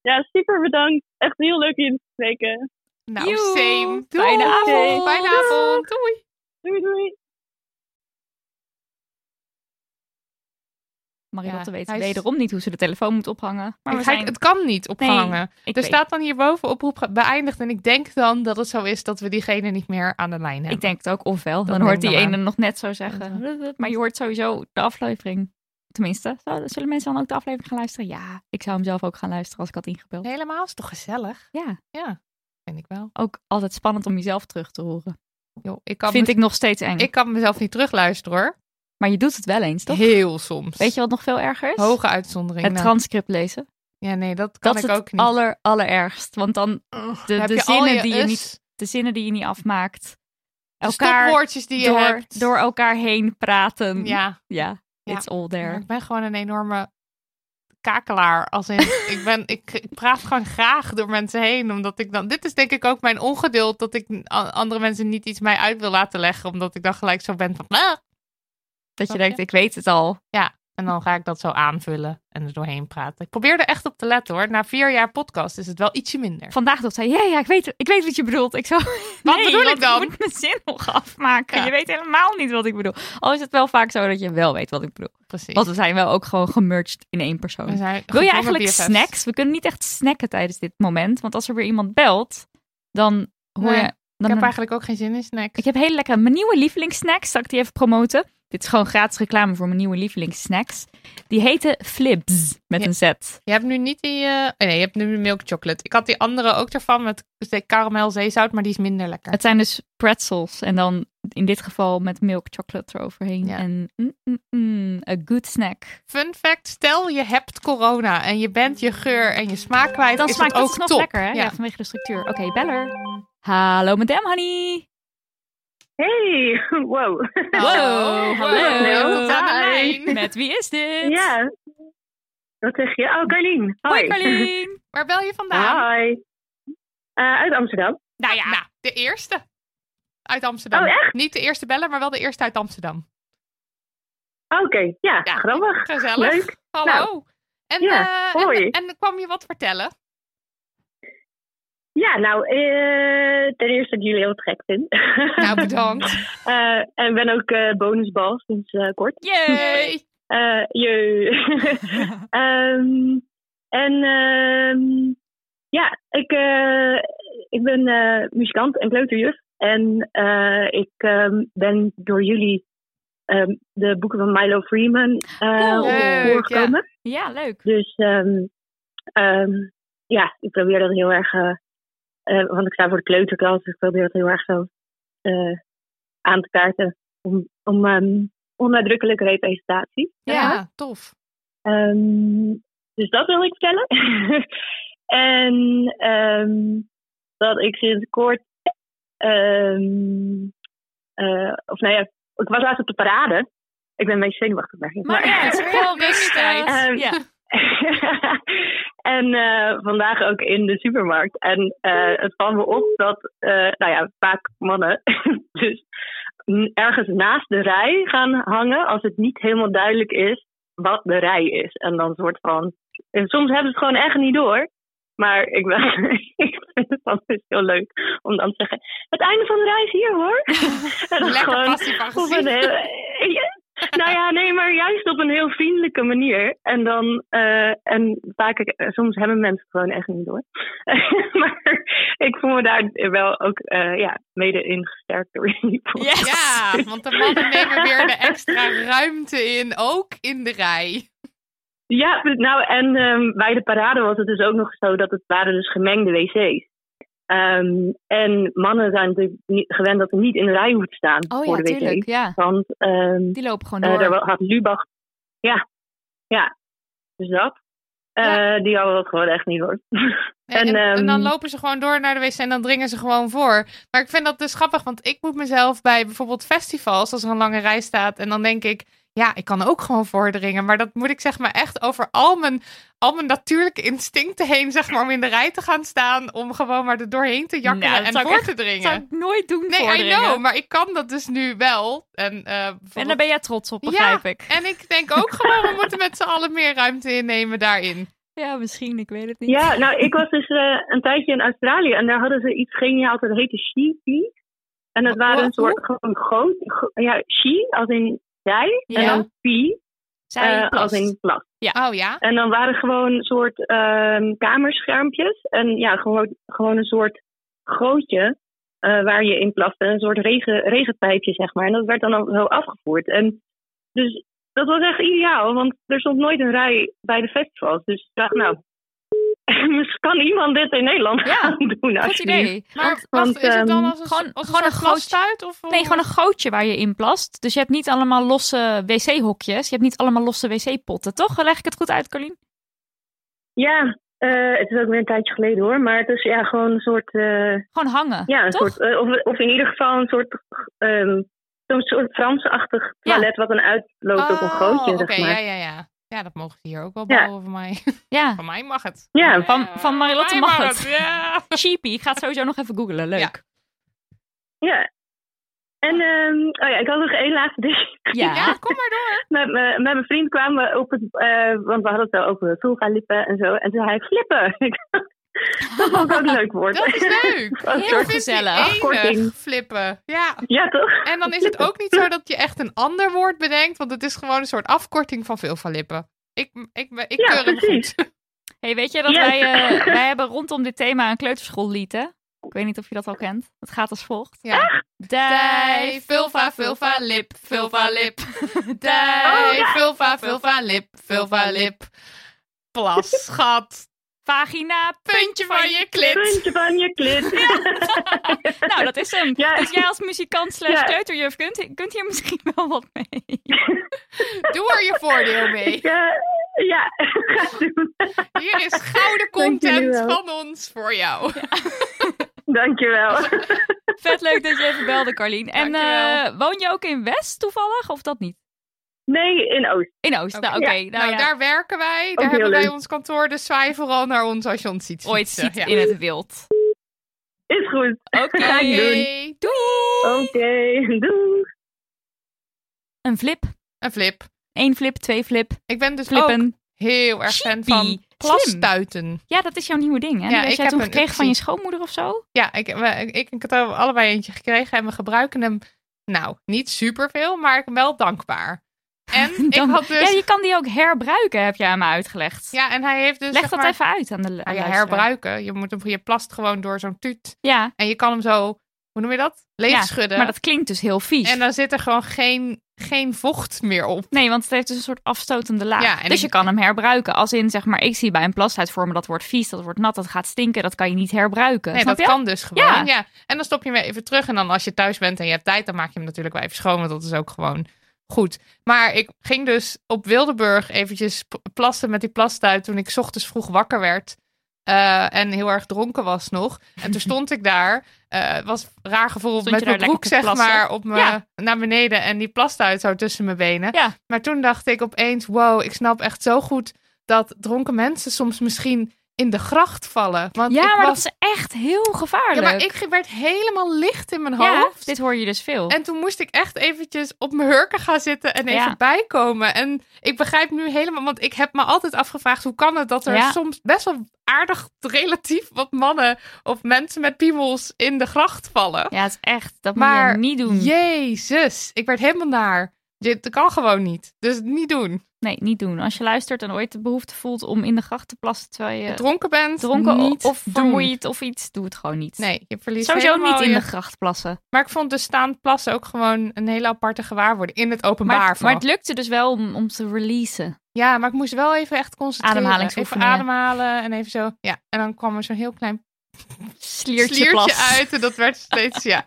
[SPEAKER 6] Ja, super bedankt. Echt heel leuk jullie te spreken.
[SPEAKER 2] Nou,
[SPEAKER 3] Joe.
[SPEAKER 2] same. Doei.
[SPEAKER 3] Fijne avond.
[SPEAKER 2] Fijne avond. Doei.
[SPEAKER 6] Doei doei.
[SPEAKER 3] Marilotte
[SPEAKER 2] Ja,
[SPEAKER 3] weet
[SPEAKER 2] hij is-
[SPEAKER 3] wederom niet hoe ze de telefoon moet ophangen. Maar we
[SPEAKER 2] Kijk,
[SPEAKER 3] zijn...
[SPEAKER 2] Het kan niet opgehangen.
[SPEAKER 3] ik
[SPEAKER 2] er
[SPEAKER 3] weet-
[SPEAKER 2] staat dan hierboven oproep ge- beëindigd. En ik denk dan dat het zo is dat we diegene niet meer aan de lijn hebben.
[SPEAKER 3] Ik denk het ook, ofwel.
[SPEAKER 2] Dat
[SPEAKER 3] Dan hoort
[SPEAKER 2] denk ik
[SPEAKER 3] die
[SPEAKER 2] dan
[SPEAKER 3] ene
[SPEAKER 2] maar.
[SPEAKER 3] nog net zo zeggen. Maar je hoort sowieso de aflevering. Tenminste, zou- zullen mensen dan ook de aflevering gaan luisteren? Ja, ik zou hem zelf ook gaan luisteren als ik had ingebeld.
[SPEAKER 2] Helemaal, is toch gezellig?
[SPEAKER 3] Ja,
[SPEAKER 2] Vind ik wel.
[SPEAKER 3] ook altijd spannend om jezelf terug te horen.
[SPEAKER 2] Yo, ik, kan
[SPEAKER 3] Vind
[SPEAKER 2] mez-
[SPEAKER 3] ik nog steeds eng.
[SPEAKER 2] ik kan mezelf niet terugluisteren hoor.
[SPEAKER 3] Maar je doet het wel eens, toch?
[SPEAKER 2] Heel soms.
[SPEAKER 3] Weet je wat nog veel erger is?
[SPEAKER 2] Hoge uitzondering.
[SPEAKER 3] het
[SPEAKER 2] nou.
[SPEAKER 3] transcript lezen.
[SPEAKER 2] Ja, nee, dat kan
[SPEAKER 3] Dat is
[SPEAKER 2] ik
[SPEAKER 3] het
[SPEAKER 2] ook niet.
[SPEAKER 3] aller, allerergst. Want dan de,
[SPEAKER 2] Heb
[SPEAKER 3] de
[SPEAKER 2] je al
[SPEAKER 3] zinnen die je
[SPEAKER 2] us?
[SPEAKER 3] niet, de zinnen die je niet afmaakt.
[SPEAKER 2] De
[SPEAKER 3] Elkaar
[SPEAKER 2] stopwoordjes die je
[SPEAKER 3] door,
[SPEAKER 2] hebt.
[SPEAKER 3] door elkaar heen praten.
[SPEAKER 2] Ja,
[SPEAKER 3] ja,
[SPEAKER 2] Ja.
[SPEAKER 3] it's all
[SPEAKER 2] maar
[SPEAKER 3] there.
[SPEAKER 2] ik ben gewoon een enorme kakelaar. Als in, ik, ben, ik, ik praat gewoon graag door mensen heen. Omdat ik dan, dit is denk ik ook mijn ongeduld dat ik a- andere mensen niet iets mij uit wil laten leggen. Omdat ik dan gelijk zo ben van, "Ah."
[SPEAKER 3] Dat je
[SPEAKER 2] Snap
[SPEAKER 3] denkt, ik weet het al.
[SPEAKER 2] en dan ga ik dat zo aanvullen en er doorheen praten. Ik probeer er echt op te letten hoor. Na vier jaar podcast is het wel ietsje minder.
[SPEAKER 3] Vandaag dacht zij, ja, ja, ik weet, ik weet wat je bedoelt. Ik zo,
[SPEAKER 2] Wat
[SPEAKER 3] nee,
[SPEAKER 2] bedoel ik
[SPEAKER 3] want
[SPEAKER 2] dan?
[SPEAKER 3] Ik moet mijn zin nog afmaken.
[SPEAKER 2] Ja.
[SPEAKER 3] Je weet helemaal niet wat ik bedoel. Al is het wel vaak zo dat je wel weet wat ik bedoel.
[SPEAKER 2] Precies.
[SPEAKER 3] Want we zijn wel ook gewoon gemerged in één persoon.
[SPEAKER 2] We zijn
[SPEAKER 3] Wil je
[SPEAKER 2] gedwongen
[SPEAKER 3] eigenlijk
[SPEAKER 2] BFF's.
[SPEAKER 3] snacks? We kunnen niet echt snacken tijdens dit moment. Want als er weer iemand belt, dan hoor
[SPEAKER 2] Nee.
[SPEAKER 3] je
[SPEAKER 2] ik heb eigenlijk ook geen zin in snacks.
[SPEAKER 3] Ik heb hele lekkere, mijn nieuwe lievelingssnacks, zal ik die even promoten? Dit is gewoon gratis reclame voor mijn nieuwe lievelingssnacks. Die heten Flips, met
[SPEAKER 2] Ja.
[SPEAKER 3] een Z.
[SPEAKER 2] Je hebt nu niet die... eh, oh nee, je hebt nu de milk chocolate. Ik had die andere ook ervan met ze- karamel zeezout, maar die is minder lekker.
[SPEAKER 3] Het zijn dus pretzels en dan in dit geval met milk chocolate eroverheen.
[SPEAKER 2] Ja.
[SPEAKER 3] En mm, mm, mm, a good snack.
[SPEAKER 2] Fun fact, stel je hebt corona en je bent je geur en je smaak kwijt,
[SPEAKER 3] Dan
[SPEAKER 2] is
[SPEAKER 3] smaakt
[SPEAKER 2] dat
[SPEAKER 3] het
[SPEAKER 2] ook
[SPEAKER 3] dus nog
[SPEAKER 2] top.
[SPEAKER 3] lekker, hè? Ja.
[SPEAKER 2] Ja.
[SPEAKER 3] vanwege de structuur. Oké, beller. Hallo, madame honey.
[SPEAKER 7] Hey, wow.
[SPEAKER 3] Wow, hallo.
[SPEAKER 7] Hallo,
[SPEAKER 2] Tot aan de
[SPEAKER 7] hi.
[SPEAKER 2] lijn.
[SPEAKER 3] Met wie is dit?
[SPEAKER 7] Ja. Wat zeg je? Oh, Carlien. Hoi.
[SPEAKER 3] Hoi, Carlien.
[SPEAKER 2] Waar bel je vandaan?
[SPEAKER 7] Hi. Eh, uit Amsterdam.
[SPEAKER 2] Nou ja, nou, de eerste. Uit Amsterdam.
[SPEAKER 7] Oh, echt?
[SPEAKER 2] Niet de eerste beller, maar wel de eerste uit Amsterdam.
[SPEAKER 7] Oké, ja,
[SPEAKER 2] Ja,
[SPEAKER 7] grappig.
[SPEAKER 2] Gezellig.
[SPEAKER 7] Leuk. Nou,
[SPEAKER 2] Hallo. en,
[SPEAKER 7] ja,
[SPEAKER 2] eh, en-
[SPEAKER 7] hoi.
[SPEAKER 2] en, kwam je wat vertellen?
[SPEAKER 7] Ja, nou, eh, ten eerste dat ik jullie heel te gek vind.
[SPEAKER 2] Nou, bedankt.
[SPEAKER 7] Eh, en ben ook eh bonusbal sinds eh, kort.
[SPEAKER 3] Yay.
[SPEAKER 2] Hey.
[SPEAKER 7] Eh jee. Ehm, en ehm, ja, ik, eh, ik ben eh, muzikant en kleuterjuf. En eh, ik ehm, ben door jullie ehm, de boeken van Milo Freeman eh
[SPEAKER 3] Cool.
[SPEAKER 2] Leuk,
[SPEAKER 7] voorgekomen.
[SPEAKER 3] Ja, leuk.
[SPEAKER 7] Dus ehm, ehm, ja, ik probeer dat heel erg... eh, eh, want ik sta voor de kleuterklas, dus ik probeer dat heel erg zo eh, aan te kaarten. Om, om ehm, onnadrukkelijke representatie.
[SPEAKER 2] Ja, tof.
[SPEAKER 7] Ehm, dus dat wil ik vertellen. en ehm, dat ik sinds kort. ehm, eh, of nou ja, ik was laatst op de parade. Ik ben een beetje zenuwachtig, merk ik.
[SPEAKER 3] Maar ja, het is wel wedstrijd.
[SPEAKER 10] Eh,
[SPEAKER 7] Ehm,
[SPEAKER 3] Ja.
[SPEAKER 7] en eh, vandaag ook in de supermarkt. En eh, het kwam me op dat, eh, nou ja, vaak mannen dus mm, ergens naast de rij gaan hangen als het niet helemaal duidelijk is wat de rij is. En dan soort van. En soms hebben ze het gewoon echt niet door. Maar ik, ben, ik vind het altijd heel leuk om dan te zeggen: Het einde van de rij is hier hoor. en dan
[SPEAKER 2] Lekker
[SPEAKER 7] gewoon
[SPEAKER 2] passief
[SPEAKER 7] op een
[SPEAKER 2] agressief.
[SPEAKER 7] hele, Ja, nou ja, nee, maar juist op een heel vriendelijke manier. En dan, eh, en vaak, eh, soms hebben mensen het gewoon echt niet door. maar ik voel me daar wel ook eh, ja, mede in gesterkt door jullie podcast.
[SPEAKER 3] Yes.
[SPEAKER 2] Ja, want de mannen nemen weer de extra ruimte in, ook in de rij.
[SPEAKER 7] Ja, nou en ehm, bij de parade was het dus ook nog zo dat het waren dus gemengde wc's. Ehm, en mannen zijn natuurlijk niet, gewend dat ze niet in de rij hoeven te staan
[SPEAKER 3] Oh
[SPEAKER 7] voor
[SPEAKER 3] ja,
[SPEAKER 7] de wc.
[SPEAKER 3] tuurlijk. Ja,
[SPEAKER 7] Want ehm,
[SPEAKER 3] die lopen gewoon
[SPEAKER 7] Eh,
[SPEAKER 3] door.
[SPEAKER 7] daar wa- had Lubach. Ja, ja. Dus dat. Eh, Die hadden dat gewoon echt niet hoor.
[SPEAKER 2] En, en,
[SPEAKER 7] En, ehm,
[SPEAKER 2] en dan lopen ze gewoon door naar de wc en dan dringen ze gewoon voor. Maar ik vind dat dus grappig, want ik moet mezelf bij bijvoorbeeld festivals, als er een lange rij staat, en dan denk ik, ja, ik kan ook gewoon voordringen. Maar dat moet ik zeg maar echt over al mijn, al mijn natuurlijke instincten heen, zeg maar, om in de rij te gaan staan, om gewoon maar er doorheen te jakkelen
[SPEAKER 3] Nou, dat
[SPEAKER 2] en
[SPEAKER 3] zou ik
[SPEAKER 2] voor
[SPEAKER 3] echt-
[SPEAKER 2] te
[SPEAKER 3] dat zou
[SPEAKER 2] dringen.
[SPEAKER 3] ik nooit doen
[SPEAKER 2] Nee, I
[SPEAKER 3] voordringen.
[SPEAKER 2] know, maar ik kan dat dus nu wel. En, eh,
[SPEAKER 3] En
[SPEAKER 2] bijvoorbeeld-
[SPEAKER 3] daar ben jij trots op,
[SPEAKER 2] Ja.
[SPEAKER 3] begrijp ik.
[SPEAKER 2] en ik denk ook gewoon, we moeten met z'n allen meer ruimte innemen daarin.
[SPEAKER 3] Ja, misschien, ik weet het niet.
[SPEAKER 7] ja, nou, ik was dus eh, een tijdje in Australië en daar hadden ze iets geniaals dat heette she En
[SPEAKER 3] Oh,
[SPEAKER 7] dat
[SPEAKER 2] Wa-
[SPEAKER 7] waren
[SPEAKER 2] wa-
[SPEAKER 7] een soort gewoon groot, gro- ja, she als in zij en
[SPEAKER 3] Ja.
[SPEAKER 7] dan pee
[SPEAKER 3] Zij
[SPEAKER 7] eh, als
[SPEAKER 3] plast.
[SPEAKER 7] in plas.
[SPEAKER 2] Oh ja?
[SPEAKER 7] En dan waren gewoon soort ehm, kamerschermpjes. En ja, gewoon, gewoon een soort gootje eh, waar je in plaste. Een soort regen, regenpijpje, zeg maar. En dat werd dan ook zo afgevoerd. En dus dat was echt ideaal, want er stond nooit een rij bij de festivals. Dus ik dacht, nou, misschien kan iemand dit in Nederland
[SPEAKER 3] Ja,
[SPEAKER 7] gaan doen?
[SPEAKER 3] Goed idee.
[SPEAKER 2] Maar
[SPEAKER 3] Want-
[SPEAKER 7] want,
[SPEAKER 2] wacht, is het dan
[SPEAKER 7] ehm,
[SPEAKER 2] als een,
[SPEAKER 3] gewoon-
[SPEAKER 2] als een
[SPEAKER 3] gewoon
[SPEAKER 2] soort
[SPEAKER 3] een
[SPEAKER 2] glas
[SPEAKER 3] gootje.
[SPEAKER 2] stuit? Of,
[SPEAKER 3] Nee, gewoon een gootje waar je in plast. Dus je hebt niet allemaal losse wc-hokjes. Je hebt niet allemaal losse wc-potten, toch? Leg ik het goed uit, Carlien?
[SPEAKER 7] Ja, eh, het is ook weer een tijdje geleden hoor. Maar het is ja, gewoon een soort... eh,
[SPEAKER 3] Gewoon hangen,
[SPEAKER 7] Ja, een
[SPEAKER 3] toch?
[SPEAKER 7] soort, eh, of, of in ieder geval een soort, ehm zo'n soort Frans-achtig
[SPEAKER 3] Ja. Oh,
[SPEAKER 7] toilet wat dan uitloopt op een gootje,
[SPEAKER 2] Oh, Oké,
[SPEAKER 7] zeg maar.
[SPEAKER 2] ja, ja, ja. Ja, dat mogen ze hier ook wel
[SPEAKER 7] Ja.
[SPEAKER 2] bouwen van mij.
[SPEAKER 3] Ja.
[SPEAKER 2] Van mij mag het.
[SPEAKER 7] Ja.
[SPEAKER 2] Ja,
[SPEAKER 3] Van- van Marilotte
[SPEAKER 2] mij
[SPEAKER 3] mag het.
[SPEAKER 2] Ja.
[SPEAKER 3] Cheapie. Ik ga het sowieso nog even googlen. Leuk.
[SPEAKER 7] Ja. En ehm, oh ja, ik had nog één laatste ding.
[SPEAKER 3] Ja.
[SPEAKER 2] Ja, kom maar door.
[SPEAKER 7] Met, me- met mijn vriend kwamen we op het, eh, want we hadden het wel over vulva-lippen en zo. En toen zei hij flippen. Ik dacht, dat vond ik ook een leuk woord.
[SPEAKER 2] Dat is leuk.
[SPEAKER 7] Een soort-
[SPEAKER 3] Heel
[SPEAKER 2] Ik vind die
[SPEAKER 3] gezellig.
[SPEAKER 2] enig,
[SPEAKER 7] Afkorting.
[SPEAKER 2] Flippen. Ja.
[SPEAKER 7] Ja, toch?
[SPEAKER 2] En dan is het ook niet zo dat je echt een ander woord bedenkt, want het is gewoon een soort afkorting van veel van lippen. Ik, ik, ik, ik
[SPEAKER 7] Ja,
[SPEAKER 2] keur hem
[SPEAKER 7] precies.
[SPEAKER 2] goed.
[SPEAKER 3] Hey, weet je dat eh,
[SPEAKER 7] Yes.
[SPEAKER 3] wij, eh, wij hebben rondom dit thema een kleuterschoollied, hè? Ik weet niet of je dat al kent. Het gaat als volgt.
[SPEAKER 2] Ja.
[SPEAKER 3] Dij,
[SPEAKER 2] Dij, vulva, vulva, lip, vulva, lip.
[SPEAKER 3] Oh,
[SPEAKER 2] Dij, vulva, vulva, lip, vulva, lip. Plas, schat,
[SPEAKER 3] vagina,
[SPEAKER 2] puntje van je klit.
[SPEAKER 7] Puntje van je klit.
[SPEAKER 3] Nou, dat is hem.
[SPEAKER 7] Ja.
[SPEAKER 3] Dus jij als muzikant slash
[SPEAKER 7] Ja.
[SPEAKER 3] kleuterjuf kunt, kunt hier misschien wel wat mee.
[SPEAKER 2] Doe er je voordeel mee.
[SPEAKER 7] Ik, eh, ja, ga doen.
[SPEAKER 2] Hier is gouden
[SPEAKER 7] Dank jullie
[SPEAKER 2] content
[SPEAKER 7] wel.
[SPEAKER 2] van ons voor jou.
[SPEAKER 7] Dankjewel.
[SPEAKER 3] Vet leuk dat je even belde, Carlien. En
[SPEAKER 2] Dankjewel.
[SPEAKER 3] eh, woon je ook in West toevallig, of dat niet?
[SPEAKER 7] Nee, in Oost.
[SPEAKER 3] In Oost,
[SPEAKER 2] Oké.
[SPEAKER 3] nou oké. Nou,
[SPEAKER 2] Nou,
[SPEAKER 3] ja.
[SPEAKER 2] daar werken wij. Daar
[SPEAKER 7] heel
[SPEAKER 2] hebben wij
[SPEAKER 7] leuk.
[SPEAKER 2] ons kantoor. Dus zwaai vooral naar ons als je ons ziet.
[SPEAKER 3] Ooit
[SPEAKER 2] fietsen.
[SPEAKER 3] ziet
[SPEAKER 2] Ja.
[SPEAKER 3] in het wild.
[SPEAKER 7] Is goed.
[SPEAKER 3] Oké.
[SPEAKER 7] Ga ik doen.
[SPEAKER 2] Hey,
[SPEAKER 3] Doei!
[SPEAKER 7] Oké, doei.
[SPEAKER 3] Een flip.
[SPEAKER 2] Een flip.
[SPEAKER 3] Eén flip, twee flip.
[SPEAKER 2] Ik ben dus ook
[SPEAKER 3] Flippen.
[SPEAKER 2] heel erg fan
[SPEAKER 3] Chippie.
[SPEAKER 2] van
[SPEAKER 3] Slim.
[SPEAKER 2] plastuiten.
[SPEAKER 3] Ja, dat is jouw nieuwe ding,
[SPEAKER 2] Ja,
[SPEAKER 3] hè? Die heb
[SPEAKER 2] ik
[SPEAKER 3] jij
[SPEAKER 2] heb
[SPEAKER 3] toen
[SPEAKER 2] een-
[SPEAKER 3] gekregen van je
[SPEAKER 2] precies.
[SPEAKER 3] schoonmoeder of zo?
[SPEAKER 2] Ja, ik, we- ik, ik heb er allebei eentje gekregen en we gebruiken hem, nou, niet superveel, maar ik ben wel dankbaar. En ik
[SPEAKER 3] Dan-
[SPEAKER 2] had dus...
[SPEAKER 3] Ja,
[SPEAKER 2] Ja,
[SPEAKER 3] je kan die ook herbruiken, heb jij aan me uitgelegd.
[SPEAKER 2] en hij heeft dus...
[SPEAKER 3] Leg
[SPEAKER 2] zeg
[SPEAKER 3] dat
[SPEAKER 2] maar,
[SPEAKER 3] even uit aan de aan de
[SPEAKER 2] nou ja,
[SPEAKER 3] luisteraar.
[SPEAKER 2] herbruiken. Je, moet hem, je plast gewoon door zo'n tuut
[SPEAKER 3] Ja,
[SPEAKER 2] en je kan hem zo, hoe noem je dat? Leeg
[SPEAKER 3] ja,
[SPEAKER 2] schudden.
[SPEAKER 3] maar dat klinkt dus heel vies.
[SPEAKER 2] En dan zit er gewoon geen, geen vocht meer op.
[SPEAKER 3] Nee, want het heeft dus een soort afstotende laag.
[SPEAKER 2] Ja, en
[SPEAKER 3] dus
[SPEAKER 2] ik-
[SPEAKER 3] je kan hem herbruiken. Als in, zeg maar, ik zie bij een plastuit vormen dat wordt vies, dat wordt nat, dat gaat stinken, dat kan je niet herbruiken.
[SPEAKER 2] Nee,
[SPEAKER 3] Snap
[SPEAKER 2] dat
[SPEAKER 3] je?
[SPEAKER 2] kan dus gewoon.
[SPEAKER 3] Ja.
[SPEAKER 2] Ja. En dan stop je hem weer even terug. En dan als je thuis bent en je hebt tijd, dan maak je hem natuurlijk wel even schoon. Want dat is ook gewoon goed. Maar ik ging dus op Wildeburg eventjes p- plassen met die plastuit toen ik 's ochtends vroeg wakker werd. eh, en heel erg dronken was nog. En toen stond ik daar. eh was een raar gevoel
[SPEAKER 3] Stond je
[SPEAKER 2] met
[SPEAKER 3] daar
[SPEAKER 2] mijn broek,
[SPEAKER 3] lekker te
[SPEAKER 2] zeg
[SPEAKER 3] plassen?
[SPEAKER 2] maar, op me,
[SPEAKER 3] Ja.
[SPEAKER 2] naar beneden. En die plastuit zo tussen mijn benen.
[SPEAKER 3] Ja.
[SPEAKER 2] Maar toen dacht ik opeens, wow, ik snap echt zo goed dat dronken mensen soms misschien in de gracht vallen. Want
[SPEAKER 3] Ja,
[SPEAKER 2] ik
[SPEAKER 3] maar
[SPEAKER 2] was
[SPEAKER 3] dat is echt heel gevaarlijk.
[SPEAKER 2] ja, maar ik werd helemaal licht in mijn
[SPEAKER 3] Ja,
[SPEAKER 2] hoofd.
[SPEAKER 3] dit hoor je dus veel.
[SPEAKER 2] En toen moest ik echt eventjes op mijn hurken gaan zitten en even
[SPEAKER 3] Ja.
[SPEAKER 2] bijkomen. En ik begrijp nu helemaal, want ik heb me altijd afgevraagd hoe kan het dat er
[SPEAKER 3] Ja.
[SPEAKER 2] soms best wel aardig relatief wat mannen of mensen met piemels in de gracht vallen.
[SPEAKER 3] Ja, het is echt, dat moet
[SPEAKER 2] Maar
[SPEAKER 3] je niet doen.
[SPEAKER 2] Jezus, ik werd helemaal naar. Dit kan gewoon niet. Dus niet doen.
[SPEAKER 3] Nee, niet doen. Als je luistert en ooit de behoefte voelt om in de gracht te plassen terwijl je
[SPEAKER 2] Dronken bent,
[SPEAKER 3] dronken o-
[SPEAKER 2] niet
[SPEAKER 3] of
[SPEAKER 2] doen.
[SPEAKER 3] vermoeid of iets, doe het gewoon niet.
[SPEAKER 2] Nee, je verliest
[SPEAKER 3] Sowieso
[SPEAKER 2] helemaal
[SPEAKER 3] niet in
[SPEAKER 2] je-
[SPEAKER 3] de gracht plassen.
[SPEAKER 2] Maar ik vond dus staand plassen ook gewoon een hele aparte gewaarwording. In het openbaar
[SPEAKER 3] Maar,
[SPEAKER 2] vooral.
[SPEAKER 3] maar het lukte dus wel om, om te releasen.
[SPEAKER 2] Ja, maar ik moest wel even echt concentreren. Even
[SPEAKER 3] Ademhalingsoefeningen.
[SPEAKER 2] ademhalen en even zo. Ja, en dan kwam er zo'n heel klein
[SPEAKER 3] Sliertje,
[SPEAKER 2] sliertje
[SPEAKER 3] plassen.
[SPEAKER 2] uit. En dat werd steeds, ja.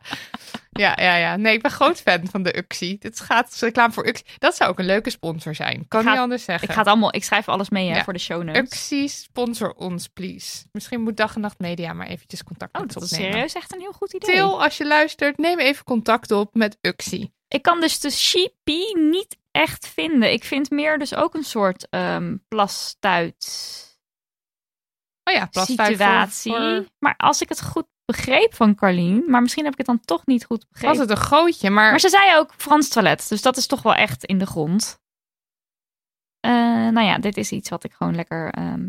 [SPEAKER 2] Ja, ja, ja. Nee, ik ben groot fan van de Uxie. Dit gaat als reclame voor Uxie. Dat zou ook een leuke sponsor zijn. Kan
[SPEAKER 3] Ik ga-
[SPEAKER 2] niet anders zeggen.
[SPEAKER 3] Ik, ga het allemaal, ik schrijf alles mee hè,
[SPEAKER 2] Ja.
[SPEAKER 3] voor de show notes.
[SPEAKER 2] Uxie, sponsor ons, please. Misschien moet Dag en Nacht Media maar eventjes contact
[SPEAKER 3] Oh,
[SPEAKER 2] met
[SPEAKER 3] dat
[SPEAKER 2] ons
[SPEAKER 3] is
[SPEAKER 2] opnemen.
[SPEAKER 3] serieus echt een heel goed idee.
[SPEAKER 2] Til, als je luistert, neem even contact op met Uxie.
[SPEAKER 3] Ik kan dus de sheepie niet echt vinden. Ik vind meer dus ook een soort ehm plastuit
[SPEAKER 2] Oh ja, plastuit voor-
[SPEAKER 3] situatie.
[SPEAKER 2] voor-
[SPEAKER 3] Maar als ik het goed begreep van Carlien, maar misschien heb ik het dan toch niet goed
[SPEAKER 2] Was
[SPEAKER 3] begrepen.
[SPEAKER 2] het een gootje, maar...
[SPEAKER 3] Maar ze zei ook Frans toilet, dus dat is toch wel echt in de grond. Eh, nou ja, dit is iets wat ik gewoon lekker... ehm,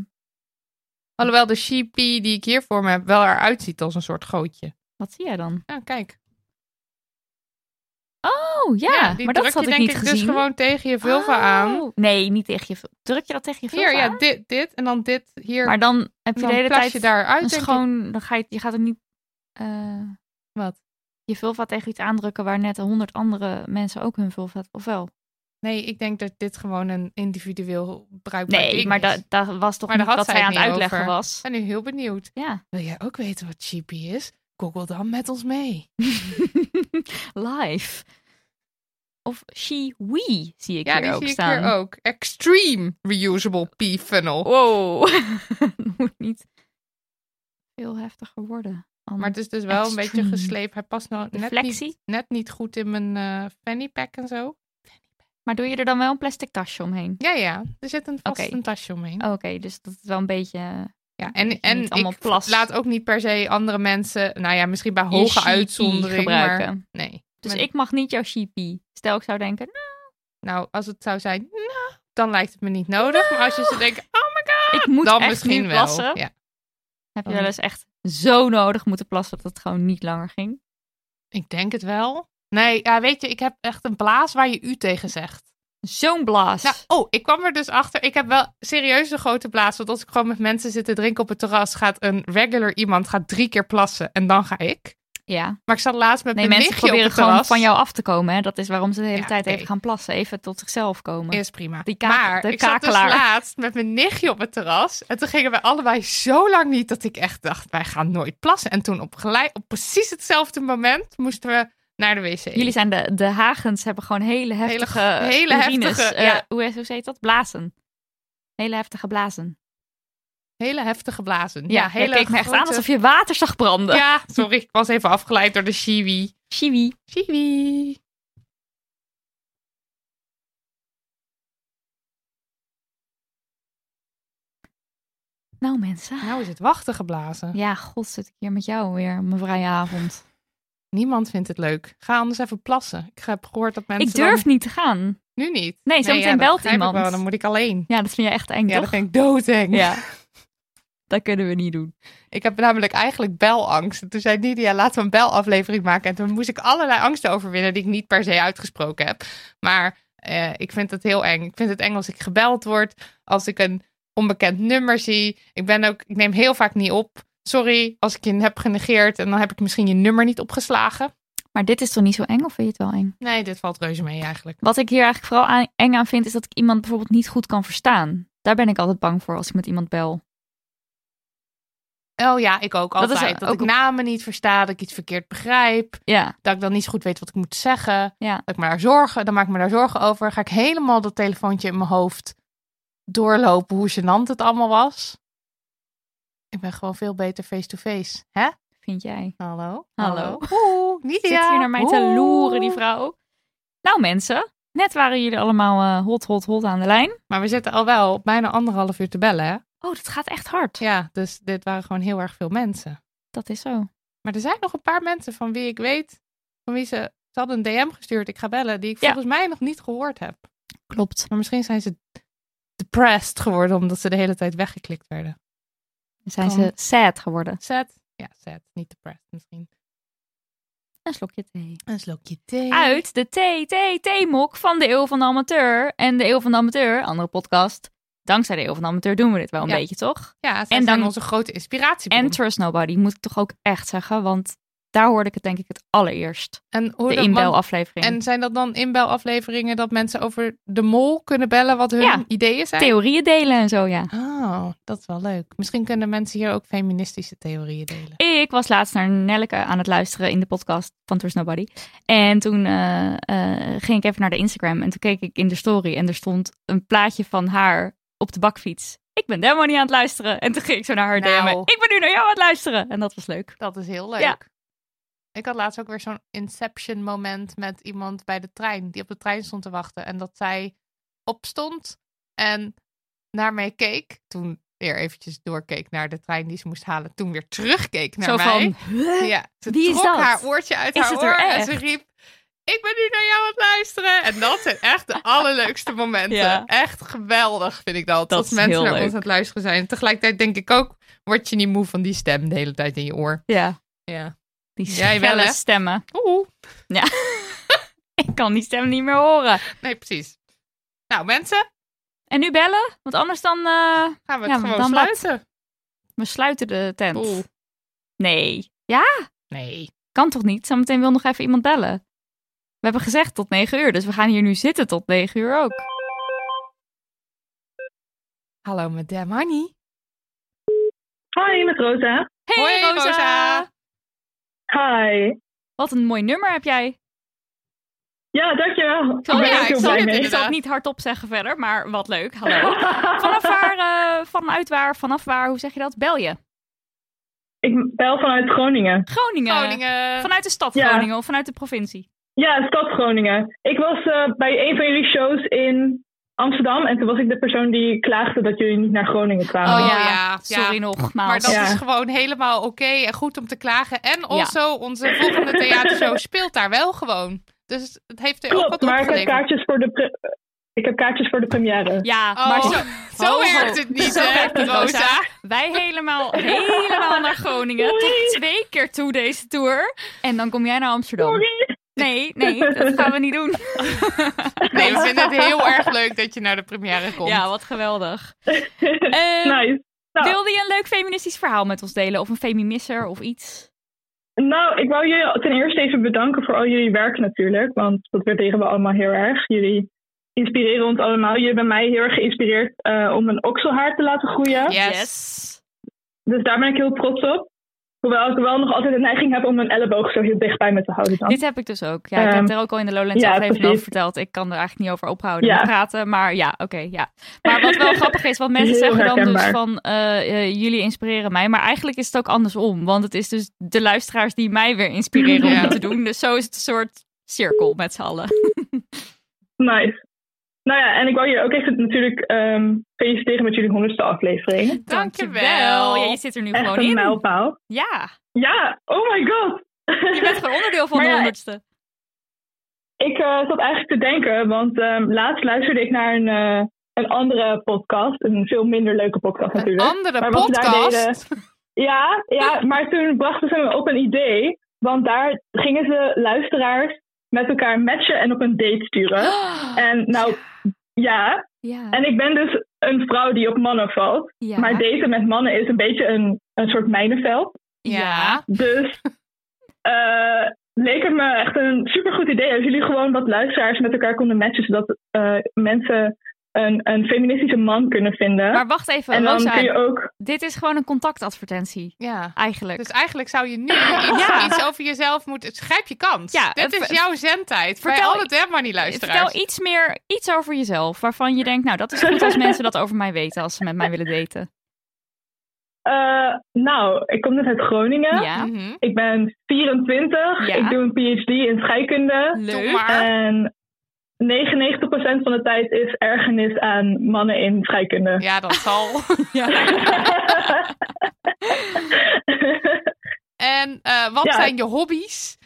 [SPEAKER 2] Alhoewel de sheepie die ik hier voor me heb wel eruit ziet als een soort gootje.
[SPEAKER 3] wat zie jij dan?
[SPEAKER 2] Ja, kijk.
[SPEAKER 3] Oh ja,
[SPEAKER 2] die
[SPEAKER 3] maar dat
[SPEAKER 2] druk
[SPEAKER 3] had
[SPEAKER 2] je
[SPEAKER 3] ik
[SPEAKER 2] denk ik
[SPEAKER 3] niet gezien.
[SPEAKER 2] dus gewoon tegen je vulva aan.
[SPEAKER 3] Oh, Nee, niet tegen je vulva. Druk je dat tegen je vulva
[SPEAKER 2] Hier, ja,
[SPEAKER 3] aan?
[SPEAKER 2] dit, dit en dan dit hier.
[SPEAKER 3] Maar dan
[SPEAKER 2] En
[SPEAKER 3] heb je
[SPEAKER 2] dan
[SPEAKER 3] de hele
[SPEAKER 2] plas
[SPEAKER 3] tijd
[SPEAKER 2] je daaruit,
[SPEAKER 3] een
[SPEAKER 2] denk ik.
[SPEAKER 3] schoon... Dan ga je, je gaat er niet... eh,
[SPEAKER 2] Wat?
[SPEAKER 3] Je vulva tegen iets aandrukken waar net honderd andere mensen ook hun vulva... Of wel?
[SPEAKER 2] Nee, ik denk dat dit gewoon een individueel bruikbaar
[SPEAKER 3] Nee,
[SPEAKER 2] ding is.
[SPEAKER 3] maar dat dat was toch
[SPEAKER 2] Maar daar
[SPEAKER 3] niet
[SPEAKER 2] had
[SPEAKER 3] wat
[SPEAKER 2] zij
[SPEAKER 3] zij aan
[SPEAKER 2] het
[SPEAKER 3] het
[SPEAKER 2] niet
[SPEAKER 3] uitleggen
[SPEAKER 2] over.
[SPEAKER 3] was?
[SPEAKER 2] Ik ben nu heel benieuwd.
[SPEAKER 3] Ja.
[SPEAKER 2] Wil jij ook weten wat sheepie is? Google dan met ons mee.
[SPEAKER 3] Live. Of she, we zie ik
[SPEAKER 2] ja,
[SPEAKER 3] hier
[SPEAKER 2] die
[SPEAKER 3] ook
[SPEAKER 2] zie
[SPEAKER 3] staan.
[SPEAKER 2] ik hier ook. Extreme reusable P-funnel.
[SPEAKER 3] Wow. Het moet niet veel heftiger worden. Anne.
[SPEAKER 2] Maar het is dus wel een
[SPEAKER 3] Extreme.
[SPEAKER 2] beetje gesleept. Hij past nou
[SPEAKER 3] De
[SPEAKER 2] net
[SPEAKER 3] flexie?
[SPEAKER 2] niet, net niet goed in mijn eh, fanny pack en zo.
[SPEAKER 3] Maar doe je er dan wel een plastic tasje omheen?
[SPEAKER 2] Ja, ja. Er zit een vast
[SPEAKER 3] Oké.
[SPEAKER 2] een tasje omheen.
[SPEAKER 3] Oké, dus dat is wel een beetje... eh,
[SPEAKER 2] Ja,
[SPEAKER 3] Dat
[SPEAKER 2] en,
[SPEAKER 3] je
[SPEAKER 2] en
[SPEAKER 3] niet allemaal
[SPEAKER 2] ik
[SPEAKER 3] plast.
[SPEAKER 2] laat ook niet per se andere mensen, nou ja, misschien bij
[SPEAKER 3] je
[SPEAKER 2] hoge
[SPEAKER 3] sheepie
[SPEAKER 2] uitzondering,
[SPEAKER 3] gebruiken.
[SPEAKER 2] maar nee.
[SPEAKER 3] Dus
[SPEAKER 2] Maar-
[SPEAKER 3] ik mag niet jouw sheepie. Stel, ik zou denken,
[SPEAKER 2] Nou, als het zou zijn, nou, dan lijkt het me niet nodig. Maar als je zo denkt, oh my god,
[SPEAKER 3] ik moet
[SPEAKER 2] dan
[SPEAKER 3] echt
[SPEAKER 2] misschien
[SPEAKER 3] nu
[SPEAKER 2] wel.
[SPEAKER 3] plassen.
[SPEAKER 2] Ja.
[SPEAKER 3] Heb je
[SPEAKER 2] Dan-
[SPEAKER 3] wel eens echt zo nodig moeten plassen dat het gewoon niet langer ging?
[SPEAKER 2] Ik denk het wel. Nee, ja, weet je, ik heb echt een blaas waar je u tegen zegt.
[SPEAKER 3] Zo'n blaas.
[SPEAKER 2] Nou, oh, ik kwam er dus achter. Ik heb wel serieus een grote blaas. Want als ik gewoon met mensen zit te drinken op het terras, gaat een regular iemand gaat drie keer plassen en dan ga ik.
[SPEAKER 3] ja.
[SPEAKER 2] Maar ik zat laatst met
[SPEAKER 3] Nee,
[SPEAKER 2] mijn
[SPEAKER 3] mensen
[SPEAKER 2] nichtje op
[SPEAKER 3] proberen
[SPEAKER 2] het
[SPEAKER 3] gewoon
[SPEAKER 2] terras.
[SPEAKER 3] van jou af te komen. Hè? Dat is waarom ze de hele
[SPEAKER 2] Ja,
[SPEAKER 3] tijd even
[SPEAKER 2] oké.
[SPEAKER 3] gaan plassen. Even tot zichzelf komen.
[SPEAKER 2] Is prima.
[SPEAKER 3] Die kakel-
[SPEAKER 2] maar
[SPEAKER 3] de
[SPEAKER 2] ik zat dus
[SPEAKER 3] kakelaar.
[SPEAKER 2] laatst met mijn nichtje op het terras. En toen gingen wij allebei zo lang niet dat ik echt dacht, wij gaan nooit plassen. En toen op, gelijk, op precies hetzelfde moment moesten we naar de wc.
[SPEAKER 3] Jullie zijn de, de Hagens, hebben gewoon hele heftige
[SPEAKER 2] hele
[SPEAKER 3] urines.
[SPEAKER 2] heftige,
[SPEAKER 3] Eh,
[SPEAKER 2] ja.
[SPEAKER 3] hoe, hoe heet dat? Blazen. Hele heftige blazen.
[SPEAKER 2] Hele heftige blazen.
[SPEAKER 3] Ja,
[SPEAKER 2] Ja,
[SPEAKER 3] jij
[SPEAKER 2] hele
[SPEAKER 3] keek me echt aan
[SPEAKER 2] grote-
[SPEAKER 3] alsof je water zag branden.
[SPEAKER 2] Ja, sorry, ik was even afgeleid door de shiwi.
[SPEAKER 3] Chiwi.
[SPEAKER 2] Shiwi.
[SPEAKER 3] Nou mensen.
[SPEAKER 2] Nou is het wachten geblazen.
[SPEAKER 3] Ja, god zit ik hier met jou weer op mijn vrije avond.
[SPEAKER 2] Niemand vindt het leuk. Ga anders even plassen. Ik heb gehoord dat mensen
[SPEAKER 3] ik durf
[SPEAKER 2] dan-
[SPEAKER 3] niet te gaan.
[SPEAKER 2] nu niet.
[SPEAKER 3] Nee, zometeen
[SPEAKER 2] dat
[SPEAKER 3] belt
[SPEAKER 2] begrijp ik
[SPEAKER 3] iemand.
[SPEAKER 2] wel, dan moet ik alleen.
[SPEAKER 3] Ja, dat vind je echt eng,
[SPEAKER 2] Ja,
[SPEAKER 3] toch?
[SPEAKER 2] dan ben ik doodeng.
[SPEAKER 3] Ja. dat kunnen we niet doen.
[SPEAKER 2] Ik heb namelijk eigenlijk belangst. En Toen zei Nidia, laten we een belaflevering maken. En toen moest ik allerlei angsten overwinnen die ik niet per se uitgesproken heb. Maar eh, ik vind het heel eng. Ik vind het eng als ik gebeld word, als ik een onbekend nummer zie. Ik ben ook, ik neem heel vaak niet op. Sorry als ik je heb genegeerd en dan heb ik misschien je nummer niet opgeslagen.
[SPEAKER 3] Maar dit is toch niet zo eng, of vind je het wel eng?
[SPEAKER 2] Nee, dit valt reuze mee eigenlijk.
[SPEAKER 3] Wat ik hier eigenlijk vooral aan- eng aan vind, is dat ik iemand bijvoorbeeld niet goed kan verstaan. Daar ben ik altijd bang voor als ik met iemand bel.
[SPEAKER 2] Oh ja, ik ook
[SPEAKER 3] Dat
[SPEAKER 2] altijd.
[SPEAKER 3] is
[SPEAKER 2] Dat,
[SPEAKER 3] ook
[SPEAKER 2] ik
[SPEAKER 3] een-
[SPEAKER 2] namen niet versta, dat ik iets verkeerd begrijp.
[SPEAKER 3] Ja,
[SPEAKER 2] dat ik dan niet zo goed weet wat ik moet zeggen.
[SPEAKER 3] Ja.
[SPEAKER 2] Dat ik me daar zorgen, dan maak ik me daar zorgen over. Ga ik helemaal dat telefoontje in mijn hoofd doorlopen hoe gênant het allemaal was. Ik ben gewoon veel beter face-to-face. Hè?
[SPEAKER 3] vind jij.
[SPEAKER 2] Hallo?
[SPEAKER 3] Hallo.
[SPEAKER 2] Oeh, niet
[SPEAKER 3] Zit hier naar mij te loeren, die vrouw. Nou mensen, net waren jullie allemaal eh, hot, hot, hot aan de lijn.
[SPEAKER 2] Maar we zitten al wel op bijna anderhalf uur te bellen, hè?
[SPEAKER 3] Oh, dat gaat echt hard.
[SPEAKER 2] Ja, dus dit waren gewoon heel erg veel mensen.
[SPEAKER 3] Dat is zo.
[SPEAKER 2] Maar er zijn nog een paar mensen van wie ik weet, van wie ze, ze hadden een DM gestuurd, ik ga bellen, die ik
[SPEAKER 3] Ja.
[SPEAKER 2] volgens mij nog niet gehoord heb.
[SPEAKER 3] Klopt.
[SPEAKER 2] Maar misschien zijn ze depressed geworden omdat ze de hele tijd weggeklikt werden.
[SPEAKER 3] Zijn
[SPEAKER 2] Kan.
[SPEAKER 3] ze sad geworden.
[SPEAKER 2] Sad? Ja, sad. Niet depressed misschien.
[SPEAKER 3] Een slokje thee.
[SPEAKER 2] Een slokje thee.
[SPEAKER 3] Uit de thee, thee, theemok van de Eeuw van de Amateur. En de Eeuw van de Amateur, andere podcast. Dankzij de Eeuw van de Amateur doen we dit wel een
[SPEAKER 2] Ja.
[SPEAKER 3] beetje, toch?
[SPEAKER 2] Ja, zij zijn
[SPEAKER 3] En dan-
[SPEAKER 2] onze grote inspiratie.
[SPEAKER 3] En Trust Nobody, moet ik toch ook echt zeggen. Want daar hoorde ik het denk ik het allereerst.
[SPEAKER 2] en hoe
[SPEAKER 3] De
[SPEAKER 2] dat- want-
[SPEAKER 3] inbelaflevering.
[SPEAKER 2] En zijn dat dan inbelafleveringen dat mensen over de mol kunnen bellen wat hun
[SPEAKER 3] Ja.
[SPEAKER 2] ideeën zijn?
[SPEAKER 3] Theorieën delen en zo, ja.
[SPEAKER 2] Oh, dat is wel leuk. Misschien kunnen mensen hier ook feministische theorieën delen.
[SPEAKER 3] Ik was laatst naar Nelleke aan het luisteren in de podcast van Trust Nobody. En toen eh, eh, ging ik even naar de Instagram en toen keek ik in de story en er stond een plaatje van haar op de bakfiets. Ik ben Demo niet aan het luisteren. En toen ging ik zo naar haar
[SPEAKER 2] Nou.
[SPEAKER 3] DM'en. Ik ben nu naar jou aan het luisteren. En dat was leuk.
[SPEAKER 2] Dat is heel leuk.
[SPEAKER 3] Ja.
[SPEAKER 2] Ik had laatst ook weer zo'n inception moment met iemand bij de trein die op de trein stond te wachten en dat zij opstond en naar mij keek. Toen weer eventjes doorkeek naar de trein die ze moest halen. Toen weer terugkeek naar
[SPEAKER 3] zo
[SPEAKER 2] mij.
[SPEAKER 3] van,
[SPEAKER 2] ja, ze
[SPEAKER 3] Wie is
[SPEAKER 2] trok
[SPEAKER 3] dat?
[SPEAKER 2] haar oortje uit
[SPEAKER 3] Is
[SPEAKER 2] haar
[SPEAKER 3] het
[SPEAKER 2] oor
[SPEAKER 3] er
[SPEAKER 2] en ze
[SPEAKER 3] echt?
[SPEAKER 2] riep: "Ik ben nu naar jou aan het luisteren." En dat zijn echt de allerleukste momenten.
[SPEAKER 3] Ja.
[SPEAKER 2] Echt geweldig vind ik dat.
[SPEAKER 3] Dat
[SPEAKER 2] als
[SPEAKER 3] is
[SPEAKER 2] mensen
[SPEAKER 3] heel
[SPEAKER 2] naar
[SPEAKER 3] leuk.
[SPEAKER 2] ons aan het luisteren zijn. Tegelijkertijd denk ik ook word je niet moe van die stem de hele tijd in je oor.
[SPEAKER 3] ja,
[SPEAKER 2] Ja.
[SPEAKER 3] die
[SPEAKER 2] Jij wel,
[SPEAKER 3] schelle
[SPEAKER 2] hè?
[SPEAKER 3] stemmen.
[SPEAKER 2] Oeh.
[SPEAKER 3] Ik kan die stem niet meer horen.
[SPEAKER 2] Nee, precies. Nou, mensen,
[SPEAKER 3] En nu bellen, want anders dan... eh,
[SPEAKER 2] gaan we
[SPEAKER 3] Ja,
[SPEAKER 2] het gewoon
[SPEAKER 3] dan laat-
[SPEAKER 2] sluiten.
[SPEAKER 3] we sluiten de tent.
[SPEAKER 2] Oeh.
[SPEAKER 3] Nee. Ja,
[SPEAKER 2] Nee.
[SPEAKER 3] Kan toch niet? Zometeen wil nog even iemand bellen. We hebben gezegd tot 9 uur, dus we gaan hier nu zitten tot 9 uur ook.
[SPEAKER 2] Hallo, madame Honey.
[SPEAKER 7] Hoi, met Rosa.
[SPEAKER 3] Hey
[SPEAKER 2] Hoi,
[SPEAKER 3] Rosa.
[SPEAKER 2] Rosa.
[SPEAKER 7] Hi.
[SPEAKER 3] Wat een mooi nummer heb jij.
[SPEAKER 7] Ja, dankjewel.
[SPEAKER 3] zal-
[SPEAKER 7] Ik ben
[SPEAKER 2] ja,
[SPEAKER 7] ook
[SPEAKER 2] ik
[SPEAKER 7] heel
[SPEAKER 2] zal
[SPEAKER 7] blij mee.
[SPEAKER 2] het
[SPEAKER 3] Ik
[SPEAKER 2] inderdaad.
[SPEAKER 3] zal het niet hardop zeggen verder, maar wat leuk. Hallo. Vanaf waar, eh, vanuit waar, vanaf waar, hoe zeg je dat? Bel je?
[SPEAKER 7] Ik bel vanuit Groningen.
[SPEAKER 3] Groningen.
[SPEAKER 2] Groningen.
[SPEAKER 3] Vanuit de stad
[SPEAKER 7] Ja.
[SPEAKER 3] Groningen of vanuit de provincie.
[SPEAKER 7] Ja, stad Groningen. Ik was eh, bij een van jullie shows in Amsterdam. En toen was ik de persoon die klaagde dat jullie niet naar Groningen kwamen.
[SPEAKER 2] Oh, ja.
[SPEAKER 3] Sorry
[SPEAKER 2] Ja.
[SPEAKER 3] nogmaals.
[SPEAKER 2] Maar dat
[SPEAKER 7] Ja.
[SPEAKER 2] is gewoon helemaal oké en goed om te klagen. En also, onze volgende theatershow speelt daar wel gewoon. Dus het heeft er ook
[SPEAKER 7] Klopt,
[SPEAKER 2] wat
[SPEAKER 7] maar ik heb,
[SPEAKER 2] opgeleverd.
[SPEAKER 7] kaartjes voor de pre- ik heb kaartjes voor de première.
[SPEAKER 3] Ja,
[SPEAKER 2] Oh,
[SPEAKER 3] maar
[SPEAKER 2] zo,
[SPEAKER 3] zo-
[SPEAKER 2] zo
[SPEAKER 3] Ho, ho.
[SPEAKER 2] werkt het niet,
[SPEAKER 3] Zo
[SPEAKER 2] hè,
[SPEAKER 3] werkt het,
[SPEAKER 2] Rosa.
[SPEAKER 3] Rosa. Wij helemaal, helemaal naar Groningen. Tot twee keer toe deze tour. En dan kom jij naar Amsterdam.
[SPEAKER 7] Sorry.
[SPEAKER 3] Nee, nee, dat gaan we niet doen.
[SPEAKER 2] Nee, we vinden het heel erg leuk dat je naar de première komt.
[SPEAKER 3] Ja, wat geweldig. Eh,
[SPEAKER 4] Nice. Nou.
[SPEAKER 3] Wilde je een leuk feministisch verhaal met ons delen? Of een feminisser of iets?
[SPEAKER 11] Nou, ik wou jullie ten eerste even bedanken voor al jullie werk natuurlijk. Want dat waarderen we allemaal heel erg. Jullie inspireren ons allemaal. Jullie hebben mij heel erg geïnspireerd eh, om een okselhaar te laten groeien.
[SPEAKER 2] Yes.
[SPEAKER 11] Dus daar ben ik heel trots op. Hoewel ik wel nog altijd de neiging heb om mijn elleboog zo heel dichtbij me te houden dan.
[SPEAKER 3] Dit heb ik dus ook. Ja, ik heb
[SPEAKER 11] Ehm,
[SPEAKER 3] er ook al in de Lowlands
[SPEAKER 11] ja,
[SPEAKER 3] aflevering
[SPEAKER 11] precies.
[SPEAKER 3] over verteld. Ik kan er eigenlijk niet over ophouden
[SPEAKER 11] Ja.
[SPEAKER 3] met praten. Maar ja, oké, ja. Maar wat wel grappig is, want mensen
[SPEAKER 11] Heel
[SPEAKER 3] zeggen dan dus
[SPEAKER 11] herkenbaar.
[SPEAKER 3] van... eh, eh, jullie inspireren mij. Maar eigenlijk is het ook andersom. Want het is dus de luisteraars die mij weer inspireren om
[SPEAKER 2] Ja.
[SPEAKER 3] het te doen. Dus zo is het een soort cirkel met z'n allen.
[SPEAKER 11] Nice. Nou ja, en ik wou je ook even natuurlijk ehm, feliciteren met jullie honderdste aflevering.
[SPEAKER 2] Dankjewel.
[SPEAKER 3] Ja, je zit er nu
[SPEAKER 11] Echt
[SPEAKER 3] gewoon
[SPEAKER 11] een
[SPEAKER 3] in.
[SPEAKER 11] mijlpaal.
[SPEAKER 3] Ja,
[SPEAKER 11] Ja, oh my god.
[SPEAKER 3] je bent gewoon onderdeel van
[SPEAKER 11] Maar
[SPEAKER 3] de
[SPEAKER 11] ja,
[SPEAKER 3] honderdste.
[SPEAKER 11] Ik eh, zat eigenlijk te denken, want ehm, laatst luisterde ik naar een, eh, een andere podcast. Een veel minder leuke podcast
[SPEAKER 2] Een
[SPEAKER 11] natuurlijk.
[SPEAKER 2] andere
[SPEAKER 11] Maar wat we daar
[SPEAKER 2] podcast.
[SPEAKER 11] Ja, ja, maar toen brachten ze me op een idee. Want daar gingen ze luisteraars met elkaar matchen en op een date sturen. En nou, ja.
[SPEAKER 3] Ja,
[SPEAKER 11] En ik ben dus een vrouw die op mannen valt.
[SPEAKER 3] ja.
[SPEAKER 11] Maar daten met mannen is een beetje een, een soort mijnenveld.
[SPEAKER 3] Ah.
[SPEAKER 2] Ja.
[SPEAKER 11] Dus eh, leek het me echt een supergoed idee als jullie gewoon wat luisteraars met elkaar konden matchen, zodat eh, mensen een, een feministische man kunnen vinden.
[SPEAKER 3] Maar wacht even,
[SPEAKER 11] en dan
[SPEAKER 3] Rosa.
[SPEAKER 11] kun je ook.
[SPEAKER 3] Dit is gewoon een contactadvertentie,
[SPEAKER 2] Ja.
[SPEAKER 3] eigenlijk.
[SPEAKER 2] Dus eigenlijk zou je nu iets,
[SPEAKER 3] Ja.
[SPEAKER 2] iets over jezelf moeten... Grijp je kans.
[SPEAKER 3] Ja,
[SPEAKER 2] Dit
[SPEAKER 3] het-
[SPEAKER 2] is jouw zendtijd.
[SPEAKER 3] Vertel-
[SPEAKER 2] Vertel het hem maar niet, luisteraars.
[SPEAKER 3] Vertel iets meer, iets over jezelf, waarvan je denkt, nou, dat is goed als mensen dat over mij weten, als ze met mij willen daten.
[SPEAKER 11] eh, nou, ik kom net uit Groningen.
[SPEAKER 3] Ja,
[SPEAKER 2] Mhm.
[SPEAKER 11] Ik ben 24.
[SPEAKER 3] Ja.
[SPEAKER 11] Ik doe een PhD in scheikunde.
[SPEAKER 2] Doe
[SPEAKER 3] leuk.
[SPEAKER 2] maar.
[SPEAKER 11] En 99% van de tijd is ergernis aan mannen in scheikunde.
[SPEAKER 2] Ja, dat zal.
[SPEAKER 3] Ja.
[SPEAKER 2] En eh, wat
[SPEAKER 11] Ja.
[SPEAKER 2] zijn je hobby's?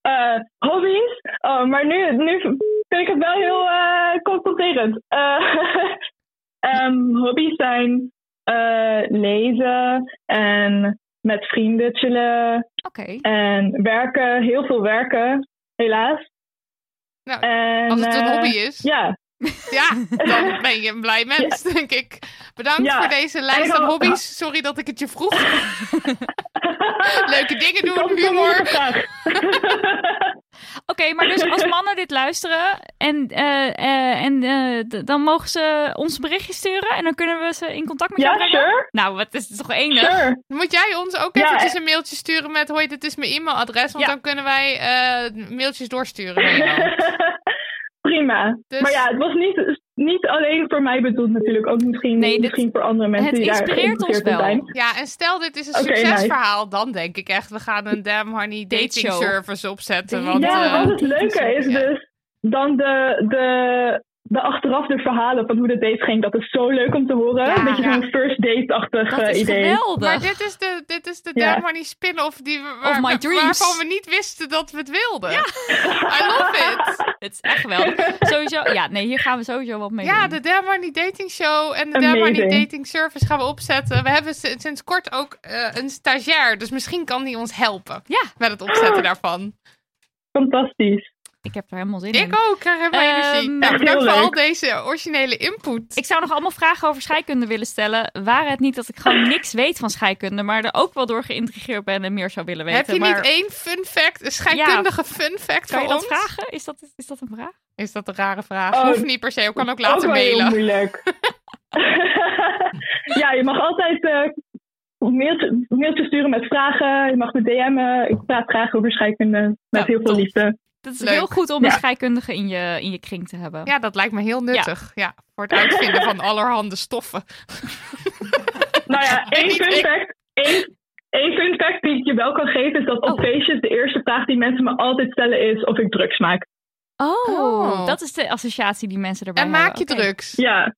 [SPEAKER 11] Eh, hobby's? Oh, maar nu, nu vind ik het wel heel eh, confronterend. Eh, ehm, hobby's zijn eh, lezen en met vrienden chillen
[SPEAKER 3] Oké,
[SPEAKER 11] en werken, heel veel werken, helaas.
[SPEAKER 2] Nou,
[SPEAKER 11] En,
[SPEAKER 2] Als het een
[SPEAKER 11] eh,
[SPEAKER 2] hobby is, ja.
[SPEAKER 11] Ja,
[SPEAKER 2] dan ben je een blij mens, denk ik. Bedankt
[SPEAKER 11] Ja.
[SPEAKER 2] voor deze lijst
[SPEAKER 11] ik
[SPEAKER 2] aan
[SPEAKER 11] had-
[SPEAKER 2] hobby's. Sorry dat ik het je vroeg. Leuke dingen
[SPEAKER 11] ik had
[SPEAKER 2] doen,
[SPEAKER 11] het zo
[SPEAKER 2] humor.
[SPEAKER 11] niet gevraagd.
[SPEAKER 3] Oké, maar dus als mannen dit luisteren, en, eh, eh, en eh, d- dan mogen ze ons een berichtje sturen en dan kunnen we ze in contact met jou
[SPEAKER 11] ja,
[SPEAKER 3] brengen.
[SPEAKER 11] sure,
[SPEAKER 3] Nou, wat is het toch enig?
[SPEAKER 11] sure.
[SPEAKER 2] Moet jij ons ook
[SPEAKER 11] Ja,
[SPEAKER 2] eventjes
[SPEAKER 11] eh.
[SPEAKER 2] een mailtje sturen met... Hoi, dit is mijn e-mailadres. Want
[SPEAKER 3] Ja.
[SPEAKER 2] dan kunnen wij eh, mailtjes doorsturen naar jou.
[SPEAKER 11] Prima.
[SPEAKER 2] Dus-
[SPEAKER 11] Maar ja, het was niet, niet alleen voor mij bedoeld natuurlijk. Ook misschien,
[SPEAKER 3] Nee, dit-
[SPEAKER 11] misschien voor andere mensen
[SPEAKER 3] het
[SPEAKER 11] die daar
[SPEAKER 3] inspireert ons
[SPEAKER 11] geïnteresseerd in
[SPEAKER 3] wel.
[SPEAKER 11] zijn.
[SPEAKER 2] Ja, en stel dit is een
[SPEAKER 11] Oké,
[SPEAKER 2] succesverhaal, dan denk ik echt, we gaan een Damn Honey dating
[SPEAKER 3] show.
[SPEAKER 2] service opzetten.
[SPEAKER 3] Date
[SPEAKER 2] Want,
[SPEAKER 3] show.
[SPEAKER 11] Ja,
[SPEAKER 2] eh,
[SPEAKER 11] want het leuke is
[SPEAKER 2] ja.
[SPEAKER 11] dus dan de, de, de achteraf de verhalen van hoe de date ging. Dat is zo leuk om te horen.
[SPEAKER 3] Ja,
[SPEAKER 11] Een beetje
[SPEAKER 2] ja.
[SPEAKER 11] zo'n first date-achtig
[SPEAKER 3] Dat
[SPEAKER 11] eh,
[SPEAKER 3] is
[SPEAKER 11] idee.
[SPEAKER 3] geweldig.
[SPEAKER 2] maar dit is de, dit is de
[SPEAKER 11] Ja.
[SPEAKER 2] Damn Honey spin-off die, we- waar,
[SPEAKER 3] Of my
[SPEAKER 2] wa-
[SPEAKER 3] dreams.
[SPEAKER 2] waarvan we niet wisten dat we het wilden. I love it!
[SPEAKER 3] Het is echt geweldig. Sowieso, ja, nee, hier gaan we sowieso wat mee
[SPEAKER 2] Ja,
[SPEAKER 3] doen.
[SPEAKER 2] de Damn Honey dating show en de Damn Honey
[SPEAKER 11] Amazing.
[SPEAKER 2] dating service gaan we opzetten. We hebben si- sinds kort ook eh, een stagiair, dus misschien kan die ons helpen
[SPEAKER 3] Ja.
[SPEAKER 2] met het opzetten daarvan.
[SPEAKER 11] Fantastisch.
[SPEAKER 3] Ik heb er helemaal zin in.
[SPEAKER 2] Ik ook, krijg helemaal
[SPEAKER 3] Ehm,
[SPEAKER 2] energie.
[SPEAKER 3] Echt
[SPEAKER 2] Nou,
[SPEAKER 11] heel
[SPEAKER 2] bedankt voor al
[SPEAKER 11] leuk.
[SPEAKER 2] deze originele input.
[SPEAKER 3] Ik zou nog allemaal vragen over scheikunde willen stellen. Waren het niet dat ik gewoon niks weet van scheikunde, maar er ook wel door geïntrigeerd ben en meer zou willen weten.
[SPEAKER 2] Heb je
[SPEAKER 3] maar...
[SPEAKER 2] niet één fun fact, een scheikundige fun fact
[SPEAKER 3] Kan
[SPEAKER 2] voor
[SPEAKER 3] je dat
[SPEAKER 2] ons?
[SPEAKER 3] vragen? Is dat, is dat een vraag?
[SPEAKER 2] Is dat een rare vraag?
[SPEAKER 11] Oh,
[SPEAKER 2] Hoeft niet per se, ik kan ook
[SPEAKER 11] Ook
[SPEAKER 2] later
[SPEAKER 11] wel heel
[SPEAKER 2] mailen.
[SPEAKER 11] moeilijk. ja, je mag altijd eh mailtjes mailtje sturen met vragen. Je mag me DM'en. Ik praat graag over scheikunde met
[SPEAKER 3] Nou,
[SPEAKER 11] heel veel
[SPEAKER 3] top.
[SPEAKER 11] liefde.
[SPEAKER 3] Dat is
[SPEAKER 2] Leuk.
[SPEAKER 3] heel goed om
[SPEAKER 11] Ja.
[SPEAKER 3] een scheikundige in je, in je kring te hebben.
[SPEAKER 2] Ja, dat lijkt me heel nuttig. Ja. voor het uitvinden van allerhande stoffen.
[SPEAKER 11] Nou ja, één
[SPEAKER 2] niet
[SPEAKER 11] fun
[SPEAKER 2] ik.
[SPEAKER 11] fact. één- één fun fact die ik je wel kan geven is dat op
[SPEAKER 3] Oh.
[SPEAKER 11] feestjes de eerste vraag die mensen me altijd stellen is of ik drugs maak.
[SPEAKER 3] Oh,
[SPEAKER 2] Oh.
[SPEAKER 3] dat is de associatie die mensen erbij
[SPEAKER 2] En
[SPEAKER 3] hebben.
[SPEAKER 2] maak je
[SPEAKER 3] Oké.
[SPEAKER 2] drugs?
[SPEAKER 11] Ja.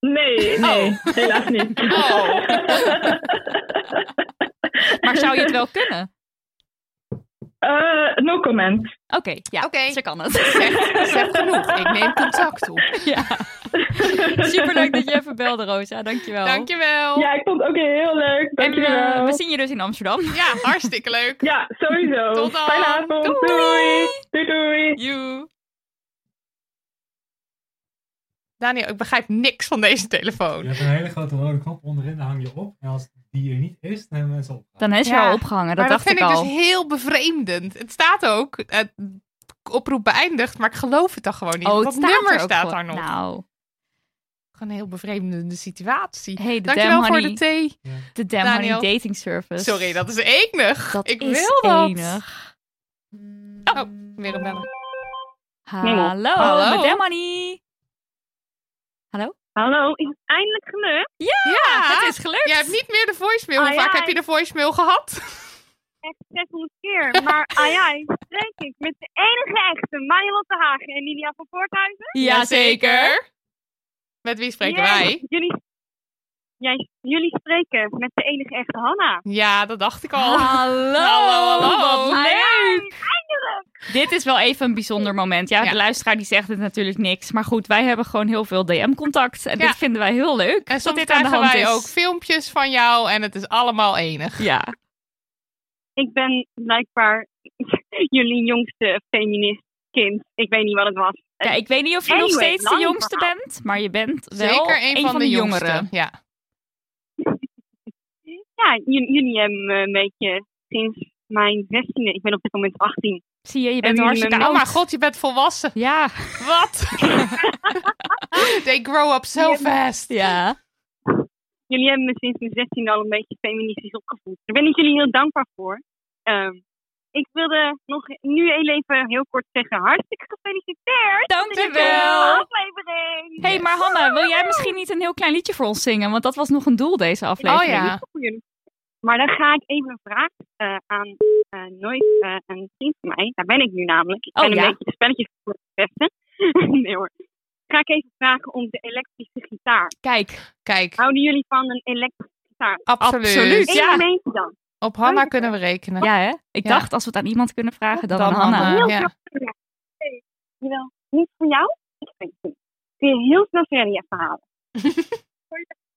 [SPEAKER 11] Nee, nee, helaas niet.
[SPEAKER 2] Oh.
[SPEAKER 3] Maar zou je het wel kunnen?
[SPEAKER 11] Eh, no comment.
[SPEAKER 3] Oh, Oké, ja,
[SPEAKER 2] Oké.
[SPEAKER 3] ze kan het.
[SPEAKER 2] Zeg, zeg genoeg, ik neem contact op.
[SPEAKER 3] ja. Superleuk dat je even belde, Rosa. Dankjewel.
[SPEAKER 2] Dankjewel.
[SPEAKER 11] Ja, ik vond het ook heel
[SPEAKER 3] En
[SPEAKER 11] leuk.
[SPEAKER 3] eh,
[SPEAKER 11] Dankjewel.
[SPEAKER 3] we zien je dus in Amsterdam.
[SPEAKER 2] Ja, hartstikke leuk.
[SPEAKER 11] Ja, sowieso.
[SPEAKER 2] Tot dan.
[SPEAKER 11] Fijne avond.
[SPEAKER 2] Doei.
[SPEAKER 11] Doei. Doei, doei.
[SPEAKER 3] You.
[SPEAKER 2] Daniel, ik begrijp niks van deze telefoon.
[SPEAKER 9] Je hebt een hele grote rode knop onderin, daar hang je op. En als die er niet is, dan hebben mensen op.
[SPEAKER 3] Dan is je
[SPEAKER 2] Ja.
[SPEAKER 3] al opgehangen,
[SPEAKER 2] maar
[SPEAKER 3] dat
[SPEAKER 2] dat
[SPEAKER 3] dacht
[SPEAKER 2] vind
[SPEAKER 3] ik
[SPEAKER 2] ik,
[SPEAKER 3] al.
[SPEAKER 2] dus heel bevreemdend. Het staat ook, eh, oproep beëindigd, maar ik geloof het dan gewoon niet.
[SPEAKER 3] Oh, het
[SPEAKER 2] dat
[SPEAKER 3] staat
[SPEAKER 2] nummer
[SPEAKER 3] er ook
[SPEAKER 2] staat
[SPEAKER 3] voor.
[SPEAKER 2] daar nog.
[SPEAKER 3] Nou,
[SPEAKER 2] Gewoon een heel bevreemdende situatie.
[SPEAKER 3] hey, de Damn
[SPEAKER 2] Dankjewel voor
[SPEAKER 3] Honey,
[SPEAKER 2] de thee.
[SPEAKER 3] de Damn Honey
[SPEAKER 2] Daniel.
[SPEAKER 3] dating service.
[SPEAKER 2] Sorry, dat is enig.
[SPEAKER 3] Dat
[SPEAKER 2] ik
[SPEAKER 3] is
[SPEAKER 2] wil dat.
[SPEAKER 3] enig.
[SPEAKER 2] Oh, weer een bellen.
[SPEAKER 3] Hallo,
[SPEAKER 2] Hallo.
[SPEAKER 3] met Damn Honey.
[SPEAKER 10] Hallo, is het eindelijk gelukt?
[SPEAKER 2] Ja,
[SPEAKER 3] Het is gelukt.
[SPEAKER 2] Jij hebt niet meer de voicemail. Hoe
[SPEAKER 10] Ah,
[SPEAKER 2] vaak
[SPEAKER 10] ja,
[SPEAKER 2] heb je de voicemail gehad?
[SPEAKER 10] Echt 600 keer. Maar ai ai, spreek ik met de enige echte Marilotte Hagen en Lilia van Voorthuizen.
[SPEAKER 2] Jazeker. Met wie spreken
[SPEAKER 10] Yes,
[SPEAKER 2] wij?
[SPEAKER 10] Jullie, jij, jullie spreken met de enige echte Hanna.
[SPEAKER 2] Ja, dat dacht ik al.
[SPEAKER 3] Hallo,
[SPEAKER 2] Hallo, hallo.
[SPEAKER 3] wat leuk.
[SPEAKER 10] Eindelijk!
[SPEAKER 3] Dit is wel even een bijzonder moment. Ja,
[SPEAKER 2] Ja.
[SPEAKER 3] de luisteraar die zegt het natuurlijk niks. Maar goed, wij hebben gewoon heel veel DM-contact. En
[SPEAKER 2] Ja.
[SPEAKER 3] dit vinden wij heel leuk.
[SPEAKER 2] En
[SPEAKER 3] dat
[SPEAKER 2] soms
[SPEAKER 3] dit aan de
[SPEAKER 2] krijgen
[SPEAKER 3] hand dus.
[SPEAKER 2] wij
[SPEAKER 3] is.
[SPEAKER 2] ook filmpjes van jou en het is allemaal enig.
[SPEAKER 3] Ja,
[SPEAKER 10] Ik ben blijkbaar jullie jongste feminist kind. Ik weet niet wat het was.
[SPEAKER 3] Ja, ik weet niet of je nog
[SPEAKER 10] Anyway,
[SPEAKER 3] steeds de
[SPEAKER 10] lang
[SPEAKER 3] jongste
[SPEAKER 10] verhaal.
[SPEAKER 3] bent, maar je bent wel
[SPEAKER 2] Zeker een, van, de,
[SPEAKER 3] jongeren.
[SPEAKER 2] jongeren. Ja.
[SPEAKER 10] Ja, j- jullie hebben me een beetje sinds mijn 16e. Ik ben op dit moment 18.
[SPEAKER 3] Zie je, je
[SPEAKER 10] En
[SPEAKER 3] bent
[SPEAKER 10] nu
[SPEAKER 3] hartstikke
[SPEAKER 10] mijn-
[SPEAKER 3] oud.
[SPEAKER 2] Oh mijn god, je bent volwassen.
[SPEAKER 3] Ja,
[SPEAKER 2] Wat? They grow up so
[SPEAKER 10] Ja.
[SPEAKER 2] fast.
[SPEAKER 3] ja.
[SPEAKER 10] Jullie hebben me sinds mijn 16e al een beetje feministisch opgevoed. Daar ben ik jullie heel dankbaar voor. Ehm, ik wilde nog nu heel even heel kort zeggen: hartstikke gefeliciteerd! met de
[SPEAKER 3] Dankjewel.
[SPEAKER 10] aflevering!
[SPEAKER 3] Hé, hey, maar Hanna, wil jij misschien niet een heel klein liedje voor ons zingen? Want dat was nog een doel deze
[SPEAKER 2] Oh
[SPEAKER 3] aflevering.
[SPEAKER 2] ja.
[SPEAKER 10] voor jullie. Maar dan ga ik even een vraag eh, aan eh, nooit eh, een vriend van mij. Daar ben ik nu namelijk. Ik
[SPEAKER 3] Oh,
[SPEAKER 10] ben een
[SPEAKER 3] ja.
[SPEAKER 10] beetje de spelletjes voor het testen. nee hoor. Ga ik even vragen om de elektrische gitaar.
[SPEAKER 3] Kijk,
[SPEAKER 2] Kijk,
[SPEAKER 10] Houden jullie van een elektrische gitaar?
[SPEAKER 2] absoluut.
[SPEAKER 3] absoluut.
[SPEAKER 10] Eén
[SPEAKER 3] Ja.
[SPEAKER 10] momentje dan.
[SPEAKER 2] Op Hanna kunnen we rekenen.
[SPEAKER 3] ja hè? Ik
[SPEAKER 2] Ja.
[SPEAKER 3] dacht, als we het aan iemand kunnen vragen, dan,
[SPEAKER 2] Dan
[SPEAKER 3] aan Hanna.
[SPEAKER 2] Hanna.
[SPEAKER 10] Heel
[SPEAKER 2] ja.
[SPEAKER 10] snel Freddy. Nee, Jawel. Niet voor jou? Ik weet het niet. Kun je heel snel Freddy even halen?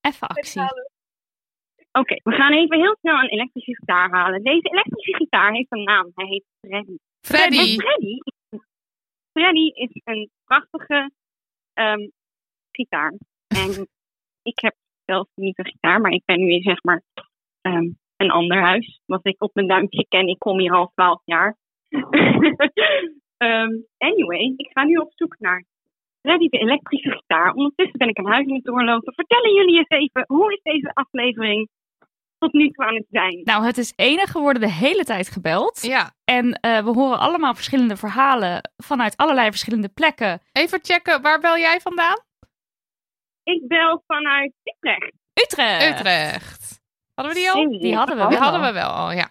[SPEAKER 3] Even actie.
[SPEAKER 10] Oké, we gaan even heel snel een elektrische gitaar halen. Deze elektrische gitaar heeft een naam. Hij heet Freddy.
[SPEAKER 2] Freddy.
[SPEAKER 10] En Freddy, Freddy is een prachtige ehm, gitaar. En ik heb zelf niet een gitaar, maar ik ben nu in zeg maar ehm, een ander huis. Wat ik op mijn duimpje ken, ik kom hier al twaalf jaar. Ehm, anyway, ik ga nu op zoek naar Freddy de elektrische gitaar. Ondertussen ben ik een huis aan het doorlopen. Vertellen jullie eens even, hoe is deze aflevering tot nu toe aan het zijn?
[SPEAKER 3] Nou, het is enig. We worden de hele tijd gebeld.
[SPEAKER 2] Ja.
[SPEAKER 3] En eh, we horen allemaal verschillende verhalen vanuit allerlei verschillende plekken.
[SPEAKER 2] Even checken, waar bel jij vandaan?
[SPEAKER 10] Ik bel vanuit Utrecht.
[SPEAKER 3] Utrecht!
[SPEAKER 2] Utrecht. Hadden we die al?
[SPEAKER 3] Die hadden we
[SPEAKER 2] Die
[SPEAKER 3] wel.
[SPEAKER 2] hadden we wel al, ja.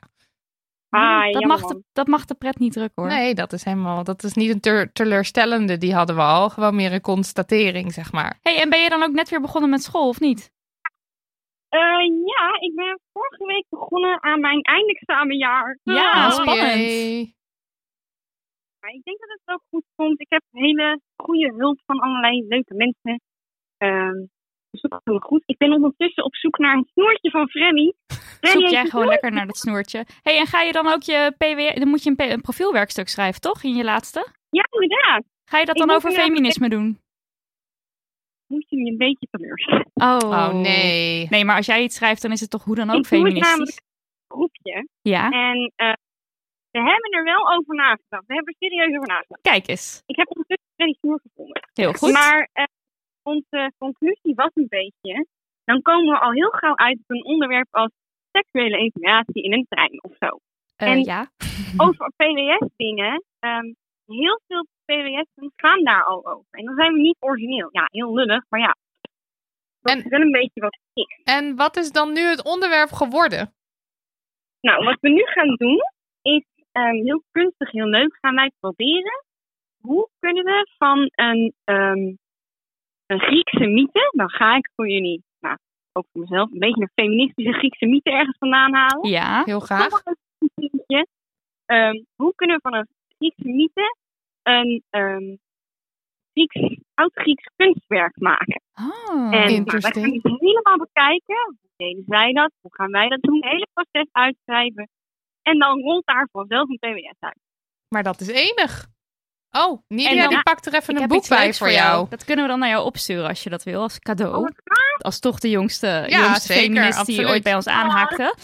[SPEAKER 10] Ah,
[SPEAKER 3] dat,
[SPEAKER 10] jammer,
[SPEAKER 3] mag
[SPEAKER 10] man.
[SPEAKER 3] de, dat mag de pret niet druk hoor.
[SPEAKER 2] Nee, dat is helemaal. Dat is niet een ter- teleurstellende, die hadden we al. Gewoon meer een constatering, zeg maar.
[SPEAKER 3] Hey, en ben je dan ook net weer begonnen met school, of niet?
[SPEAKER 10] Eh, ja, ik ben vorige week begonnen aan mijn eindexamenjaar.
[SPEAKER 3] Ja,
[SPEAKER 10] Ah,
[SPEAKER 2] Oh,
[SPEAKER 3] spannend.
[SPEAKER 2] jee.
[SPEAKER 10] maar ik denk dat het wel goed komt. Ik heb hele goede hulp van allerlei leuke mensen. Ehm, dus dat komt goed. Ik ben ondertussen op zoek naar het snoertje van Freddy. Freddy
[SPEAKER 3] Zoek
[SPEAKER 10] heeft
[SPEAKER 3] jij
[SPEAKER 10] een
[SPEAKER 3] gewoon lekker naar dat snoertje. Hey, en ga je dan ook je PW... Dan moet je een, P- een profielwerkstuk schrijven, toch? In je laatste?
[SPEAKER 10] snoer- Ja, inderdaad.
[SPEAKER 3] Ga je dat
[SPEAKER 10] Ik
[SPEAKER 3] dan
[SPEAKER 10] moet
[SPEAKER 3] over
[SPEAKER 10] inderdaad-
[SPEAKER 3] feminisme doen?
[SPEAKER 10] Moet je me een beetje teleurstellen.
[SPEAKER 3] Oh.
[SPEAKER 2] Oh nee.
[SPEAKER 3] Nee, maar als jij iets schrijft, dan is het toch hoe dan ook
[SPEAKER 10] Ik doe het
[SPEAKER 3] feministisch?
[SPEAKER 10] namelijk een groepje.
[SPEAKER 3] Ja,
[SPEAKER 10] En eh, we hebben er wel over nagedacht. We hebben er serieus over nagedacht.
[SPEAKER 3] kijk eens.
[SPEAKER 10] Ik heb ondertussen Freddy snoer gevonden.
[SPEAKER 3] Heel goed.
[SPEAKER 10] Maar eh, onze conclusie was een beetje. Dan komen we al heel gauw uit op een onderwerp als seksuele informatie in een trein of zo.
[SPEAKER 3] Eh,
[SPEAKER 10] en-
[SPEAKER 3] ja.
[SPEAKER 10] Over PWS-dingen. ehm, heel veel PWS'en gaan daar al over. En dan zijn we niet origineel. Ja, heel lullig, maar ja. Dat
[SPEAKER 2] En-
[SPEAKER 10] is wel een beetje wat ik.
[SPEAKER 2] En wat is dan nu het onderwerp geworden?
[SPEAKER 10] Nou, wat we nu gaan doen, is ehm, heel kunstig, heel leuk, gaan wij proberen. Hoe kunnen we van een, ehm, een Griekse mythe, dan ga ik voor jullie, nou, ook voor mezelf, een beetje een feministische Griekse mythe ergens vandaan halen.
[SPEAKER 3] Ja.
[SPEAKER 2] Heel graag.
[SPEAKER 10] Toch wel een mythe. Ehm, hoe kunnen we van een Griekse mythe een ehm Grieks oud-Grieks kunstwerk maken.
[SPEAKER 3] Oh,
[SPEAKER 10] en nou, wij gaan
[SPEAKER 2] Ah, interesting.
[SPEAKER 10] het helemaal bekijken. Hoe deden zij dat? Hoe gaan wij dat doen? Het hele proces uitschrijven. En dan rolt daar vanzelf een PBS uit.
[SPEAKER 2] Maar dat is enig. Oh,
[SPEAKER 3] En
[SPEAKER 2] Nidia
[SPEAKER 3] dan-
[SPEAKER 2] die pakt er even een boek bij voor jou.
[SPEAKER 3] Dat kunnen we dan naar jou opsturen als je dat wil, als
[SPEAKER 10] Oh,
[SPEAKER 3] cadeau.
[SPEAKER 10] wat gaaf.
[SPEAKER 3] Als toch de jongste,
[SPEAKER 2] Ja,
[SPEAKER 3] jongste
[SPEAKER 2] zeker,
[SPEAKER 3] feminist die
[SPEAKER 2] absoluut.
[SPEAKER 3] ooit bij ons aanhaakte.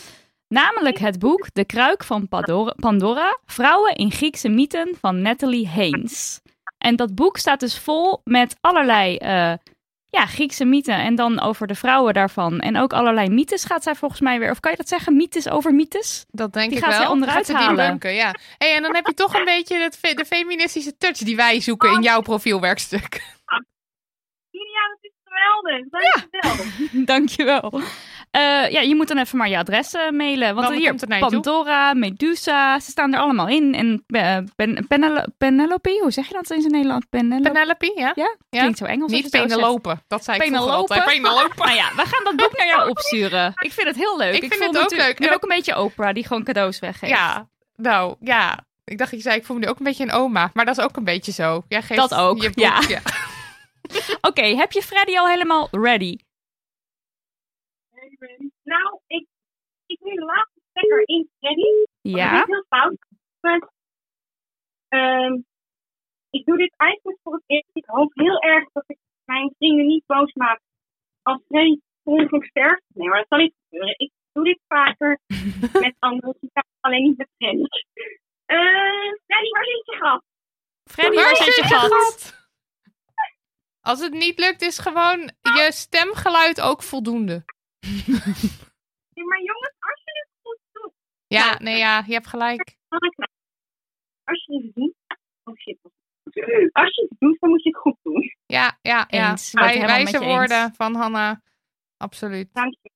[SPEAKER 3] Namelijk het boek De Kruik van Padora- Pandora, Vrouwen in Griekse mythen van Natalie Haynes. En dat boek staat dus vol met allerlei eh, ja, Griekse mythen en dan over de vrouwen daarvan. En ook allerlei mythes gaat zij volgens mij weer, of kan je dat zeggen, mythes over mythes?
[SPEAKER 2] Dat denk
[SPEAKER 3] Die
[SPEAKER 2] ik
[SPEAKER 3] gaat
[SPEAKER 2] wel.
[SPEAKER 3] ze onderuit
[SPEAKER 2] Gaat ze die
[SPEAKER 3] halen.
[SPEAKER 2] beuken, ja. Hey, en dan heb je toch een beetje het fe- de feministische touch die wij zoeken in jouw profielwerkstuk.
[SPEAKER 10] Julia, dat is geweldig. Dat is geweldig.
[SPEAKER 3] Dankjewel. Eh ja, je moet dan even maar je adres eh, mailen. Want
[SPEAKER 2] Dan
[SPEAKER 3] hier,
[SPEAKER 2] komt het naar je toe.
[SPEAKER 3] Pandora, Medusa, ze staan er allemaal in. En eh, ben, Penel- Penelope, hoe zeg je dat in het Nederlands? Penelope?
[SPEAKER 2] Penelope, ja? ja.
[SPEAKER 3] Klinkt zo Engels. als
[SPEAKER 2] Niet
[SPEAKER 3] je het zo zegt.
[SPEAKER 2] Penelope. Dat zei ik vroeger
[SPEAKER 3] Penelope.
[SPEAKER 2] altijd. Penelope.
[SPEAKER 3] Nou ja, we gaan dat boek naar jou opsturen. Ik vind het heel leuk.
[SPEAKER 2] Ik vind
[SPEAKER 3] voel
[SPEAKER 2] het
[SPEAKER 3] me
[SPEAKER 2] ook
[SPEAKER 3] tu-
[SPEAKER 2] leuk. En
[SPEAKER 3] Nu
[SPEAKER 2] ook-
[SPEAKER 3] ook een beetje Oprah, die gewoon cadeaus weggeeft.
[SPEAKER 2] Ja, nou ja. Ik dacht, dat je zei, ik voel me nu ook een beetje een oma. Maar dat is ook een beetje zo. Jij geeft
[SPEAKER 3] Dat ook,
[SPEAKER 2] je boek,
[SPEAKER 3] ja. Oké, heb je Freddy al helemaal ready?
[SPEAKER 10] Nou, ik, ik nu de laatste stekker in Freddy. Dat
[SPEAKER 3] Ja.
[SPEAKER 10] is heel fout. Maar, ehm, ik doe dit eigenlijk voor het eerst. Ik hoop heel erg dat ik mijn vrienden niet boos maak als Freddy terug op sterft. Nee, maar dat zal niet gebeuren. Ik doe dit vaker met anderen. Ik kan alleen niet met Freddy. Eh, Freddy, waar zit je gat?
[SPEAKER 3] Freddy, waar zit je gat?
[SPEAKER 2] Als het niet lukt, is gewoon je stemgeluid ook voldoende.
[SPEAKER 10] Nee, maar jongens, als je het goed doet,
[SPEAKER 2] Ja,
[SPEAKER 10] Nou,
[SPEAKER 2] nee, ja, je hebt gelijk.
[SPEAKER 10] dan is het. Als je het doet, oh shit. Als je het doet, dan moet je het goed doen.
[SPEAKER 2] Ja, ja, ja.
[SPEAKER 3] Eens. Ik ben het
[SPEAKER 2] Wij-
[SPEAKER 3] helemaal met
[SPEAKER 2] wijze
[SPEAKER 3] je eens.
[SPEAKER 2] woorden van Hanna. Absoluut.
[SPEAKER 10] Dank je.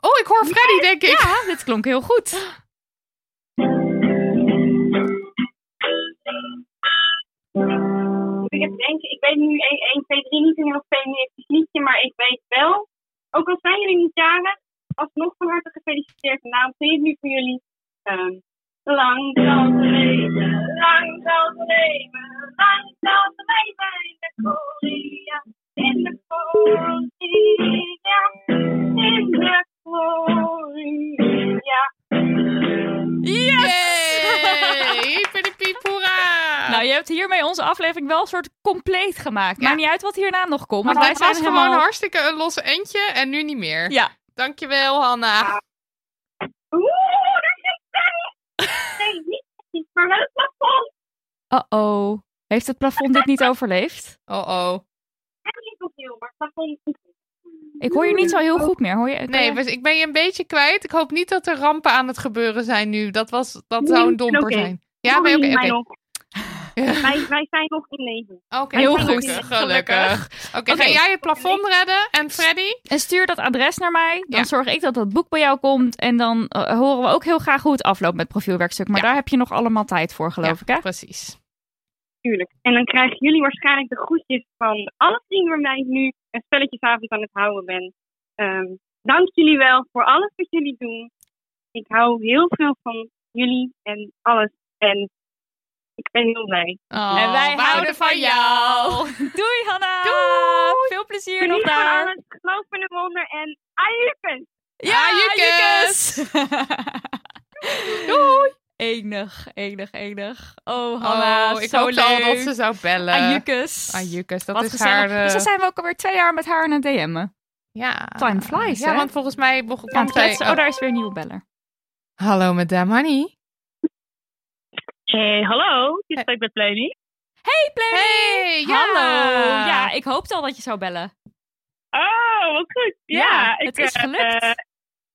[SPEAKER 2] Oh, ik hoor Freddy, denk ik.
[SPEAKER 3] Ja, dit klonk heel goed.
[SPEAKER 10] Ik heb denken, ik weet nu 1, 1 2, 3 niet een heel feministisch liedje, maar ik weet wel, ook al zijn jullie niet jaren, alsnog van harte gefeliciteerd. En daarom vind ik het nu voor jullie. ehm, lang zal ze leven, lang zal ze leven, lang zal ze leven in de Korea, in de Korea, in de Korea.
[SPEAKER 2] Yay! Hyperdepiep, hoera!
[SPEAKER 3] Nou, je hebt hiermee onze aflevering wel een soort compleet gemaakt.
[SPEAKER 2] Ah. Ja.
[SPEAKER 3] Maakt niet uit wat hierna nog komt.
[SPEAKER 2] Want
[SPEAKER 3] want
[SPEAKER 2] wij zijn
[SPEAKER 3] helemaal-
[SPEAKER 2] gewoon hartstikke een losse eentje en nu niet meer.
[SPEAKER 3] Ja,
[SPEAKER 2] Dankjewel, Hanna.
[SPEAKER 10] Oeh, daar zit Sammy! Nee, niet precies, maar wel het plafond.
[SPEAKER 3] Uh-oh. Heeft het plafond dit niet overleefd?
[SPEAKER 2] Oh, oh.
[SPEAKER 10] En niet opnieuw, maar het plafond is niet
[SPEAKER 3] Ik hoor je niet zo heel goed meer. Hoor je, kan
[SPEAKER 2] Nee,
[SPEAKER 3] je-
[SPEAKER 2] we- ik ben je een beetje kwijt. Ik hoop niet dat er rampen aan het gebeuren zijn nu. Dat, was, dat zou een
[SPEAKER 10] Nee,
[SPEAKER 2] domper
[SPEAKER 10] oké.
[SPEAKER 2] zijn. Ja, ben je oké?
[SPEAKER 10] Sorry,
[SPEAKER 2] Oké,
[SPEAKER 10] Manon. Wij, wij zijn nog in leven.
[SPEAKER 2] Oké,
[SPEAKER 3] Heel
[SPEAKER 2] gelukkig,
[SPEAKER 3] goed.
[SPEAKER 2] Gelukkig. Oké, ga
[SPEAKER 3] Oké.
[SPEAKER 2] jij het plafond redden en Freddy?
[SPEAKER 3] En stuur dat adres naar mij. Dan
[SPEAKER 2] Ja.
[SPEAKER 3] zorg ik dat dat boek bij jou komt. En dan eh, horen we ook heel graag hoe het afloopt met profielwerkstuk. Maar
[SPEAKER 2] Ja.
[SPEAKER 3] daar heb je nog allemaal tijd voor, geloof ik. Hè?
[SPEAKER 2] Precies.
[SPEAKER 10] Tuurlijk. En dan krijgen jullie waarschijnlijk de groetjes van alle vrienden waarmee ik nu een spelletjesavond aan het houden ben. Ehm, dank jullie wel voor alles wat jullie doen. Ik hou heel veel van jullie en alles. En ik ben heel blij.
[SPEAKER 2] Oh,
[SPEAKER 3] en wij
[SPEAKER 2] we
[SPEAKER 3] houden van jou. Doei, Hanna. Doei. Veel plezier nog
[SPEAKER 10] Geniet van
[SPEAKER 3] daar.
[SPEAKER 10] alles. Geloof in de wonder en ajupen!
[SPEAKER 3] Ja,
[SPEAKER 2] Ah, Jukes.
[SPEAKER 3] Jukes. Doei. Enig, enig, enig. Oh, Hanna,
[SPEAKER 2] Oh, ik
[SPEAKER 3] zo
[SPEAKER 2] hoopte
[SPEAKER 3] leuk.
[SPEAKER 2] al dat ze zou bellen.
[SPEAKER 3] Ajukus.
[SPEAKER 2] Ajukus, dat
[SPEAKER 3] Wat
[SPEAKER 2] is
[SPEAKER 3] gezellig.
[SPEAKER 2] haar... eh,
[SPEAKER 3] Dus dan zijn we ook alweer twee jaar met haar aan het DM'en.
[SPEAKER 2] ja.
[SPEAKER 3] Time flies,
[SPEAKER 2] Ja,
[SPEAKER 3] hè?
[SPEAKER 2] want volgens mij begon
[SPEAKER 3] Aan
[SPEAKER 2] kwam
[SPEAKER 3] het
[SPEAKER 2] zij...
[SPEAKER 3] kletsen. Oh, daar is weer een nieuwe beller.
[SPEAKER 2] Hallo, madame Honey.
[SPEAKER 12] Hey, hallo. Je spreekt met Pleni.
[SPEAKER 3] Play.
[SPEAKER 2] Hey, ja.
[SPEAKER 3] Hallo. Ja, ik hoopte al dat je zou bellen.
[SPEAKER 12] Oh, wat goed. Ja,
[SPEAKER 3] Ja,
[SPEAKER 12] ik,
[SPEAKER 3] het is
[SPEAKER 12] eh,
[SPEAKER 3] gelukt.
[SPEAKER 12] eh,